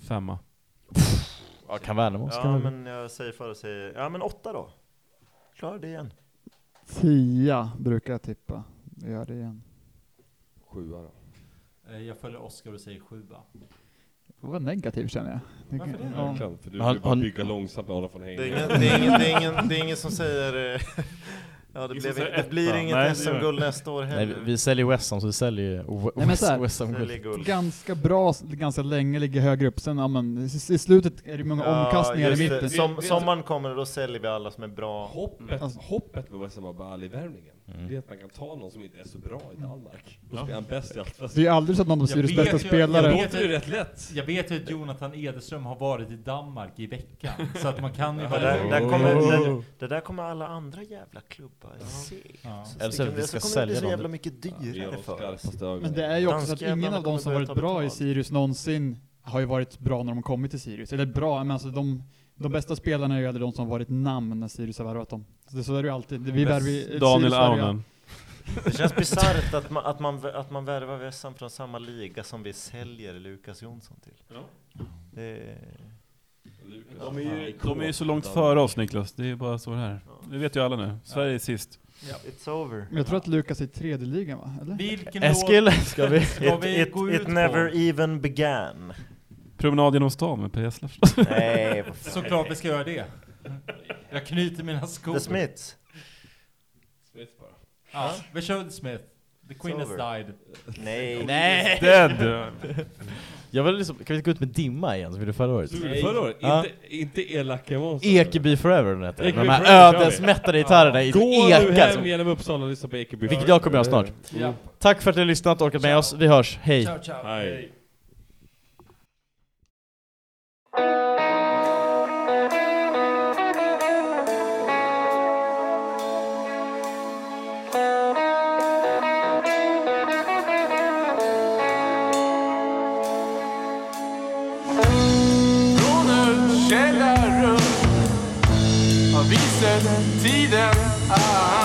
[SPEAKER 5] Femma.
[SPEAKER 3] Ja, kan Värnamo ska
[SPEAKER 6] Ja,
[SPEAKER 3] man-
[SPEAKER 6] men jag säger för och säger, ja men åtta då. Klarar det igen.
[SPEAKER 1] Tia brukar jag tippa. Jag gör det igen.
[SPEAKER 7] Sjua då.
[SPEAKER 2] Eh, Jag följer Oskar och säger sjua.
[SPEAKER 1] Det var negativt känner jag. Det- ja.
[SPEAKER 7] Verkligen, för du
[SPEAKER 3] Men har-
[SPEAKER 7] vill bara
[SPEAKER 3] har-
[SPEAKER 7] bygga långsamt med Adam von
[SPEAKER 6] Det är
[SPEAKER 7] Hängen.
[SPEAKER 6] ingen, det är ingen, det är ingen, det är ingen som säger... eh, Ja, det,
[SPEAKER 5] Ingen
[SPEAKER 6] blev,
[SPEAKER 5] som säger
[SPEAKER 6] det blir
[SPEAKER 5] etta.
[SPEAKER 6] inget
[SPEAKER 5] Nej, det gör
[SPEAKER 6] SM-guld nästa år
[SPEAKER 3] Nej,
[SPEAKER 6] heller.
[SPEAKER 3] vi, vi säljer West Ham, så vi säljer ju West-
[SPEAKER 1] men så här-
[SPEAKER 3] West Ham-guld.
[SPEAKER 6] Säljer guld.
[SPEAKER 1] Ganska bra, s- ganska länge, ligger högre upp. Sen, ja, men, i i slutet är det många
[SPEAKER 6] Ja,
[SPEAKER 1] omkastningar i
[SPEAKER 6] just det.
[SPEAKER 1] mitten.
[SPEAKER 6] Som, sommaren kommer och då säljer vi alla som är bra.
[SPEAKER 7] Hoppet,
[SPEAKER 1] Alltså- Mm.
[SPEAKER 7] hoppet med Wessam Abali-värvningen, det är att man kan ta någon som inte är så bra i Danmark. Då blir han bäst i allt.
[SPEAKER 1] Det är ju aldrig så att någon av Sirius bästa
[SPEAKER 2] jag,
[SPEAKER 1] spelare...
[SPEAKER 2] vet ju
[SPEAKER 7] rätt lätt.
[SPEAKER 2] jag vet ju att Jonathan Edström har varit i Danmark i veckan, så att man kan ju
[SPEAKER 6] Det där,
[SPEAKER 2] vara...
[SPEAKER 6] där kommer, det, det där kommer alla andra jävla klubbar se.
[SPEAKER 2] Ja.
[SPEAKER 6] Så
[SPEAKER 3] Eller så
[SPEAKER 6] sticker
[SPEAKER 3] att
[SPEAKER 6] de-
[SPEAKER 3] vi
[SPEAKER 6] så
[SPEAKER 3] ska
[SPEAKER 6] kommer det bli
[SPEAKER 3] sälja
[SPEAKER 6] så
[SPEAKER 3] dem.
[SPEAKER 6] jävla mycket dyrare för oss.
[SPEAKER 1] Men det är ju också att
[SPEAKER 6] Danskjävlarna
[SPEAKER 1] ingen av de
[SPEAKER 6] kommer
[SPEAKER 1] som
[SPEAKER 6] börja
[SPEAKER 1] varit
[SPEAKER 6] ta
[SPEAKER 1] bra i
[SPEAKER 6] betalt.
[SPEAKER 1] Sirius någonsin har ju varit bra när de kommit till Sirius. Eller bra, men alltså de, de bästa spelarna är ju aldrig de som varit namn när Sirius har värvat dem. Så, det, så är det ju alltid. Vi värvar ju-
[SPEAKER 5] Daniel
[SPEAKER 1] Sirius värvar ju-
[SPEAKER 5] Aunen.
[SPEAKER 6] Det känns bisarrt att man, att, man, att man värvar Wessan från samma liga som vi säljer Lukas Jonsson till.
[SPEAKER 7] Ja.
[SPEAKER 6] Det,
[SPEAKER 7] De är ju,
[SPEAKER 5] De är ju så långt före oss Niklas, det är bara så det är. Det vet ju alla nu. Sverige är sist.
[SPEAKER 6] it's over.
[SPEAKER 1] Men jag tror att Lukas är i tredje ligan va? Eller?
[SPEAKER 2] Vilken låt
[SPEAKER 3] Eskil, ska vi?
[SPEAKER 2] ska
[SPEAKER 6] It,
[SPEAKER 2] vi
[SPEAKER 6] it,
[SPEAKER 2] gå
[SPEAKER 6] it
[SPEAKER 2] ut
[SPEAKER 6] never e-
[SPEAKER 2] på?
[SPEAKER 6] even began.
[SPEAKER 5] Promenad genom stan med P.S. Leffe.
[SPEAKER 6] Nej, vad fan.
[SPEAKER 2] Såklart vi ska göra det. Jag knyter mina skor.
[SPEAKER 6] The Smiths.
[SPEAKER 2] Ja, vi kör The Smith. The Queen has
[SPEAKER 6] Sover.
[SPEAKER 2] died.
[SPEAKER 6] Nej.
[SPEAKER 3] Nej!
[SPEAKER 5] Dead!
[SPEAKER 3] Jag vill liksom, kan vi gå ut med Dimma igen som vi gjorde förra året?
[SPEAKER 7] Förra året?
[SPEAKER 3] Ja.
[SPEAKER 7] Inte, inte elaka monster.
[SPEAKER 3] Ekeby Forever den heter.
[SPEAKER 7] Ekeby
[SPEAKER 3] De här
[SPEAKER 7] Forever,
[SPEAKER 3] ödesmättade gitarrerna i
[SPEAKER 7] Gå nu
[SPEAKER 3] ekar.
[SPEAKER 7] hem
[SPEAKER 3] som-
[SPEAKER 7] genom Uppsala och lyssna på Ekeby.
[SPEAKER 3] Vilket jag kommer göra snart.
[SPEAKER 2] Ja.
[SPEAKER 3] Tack för att ni har lyssnat och orkat med oss. Vi hörs, hej!
[SPEAKER 2] Ciao, ciao.
[SPEAKER 7] Hej.
[SPEAKER 10] Från en källare har vi sett tiden ah.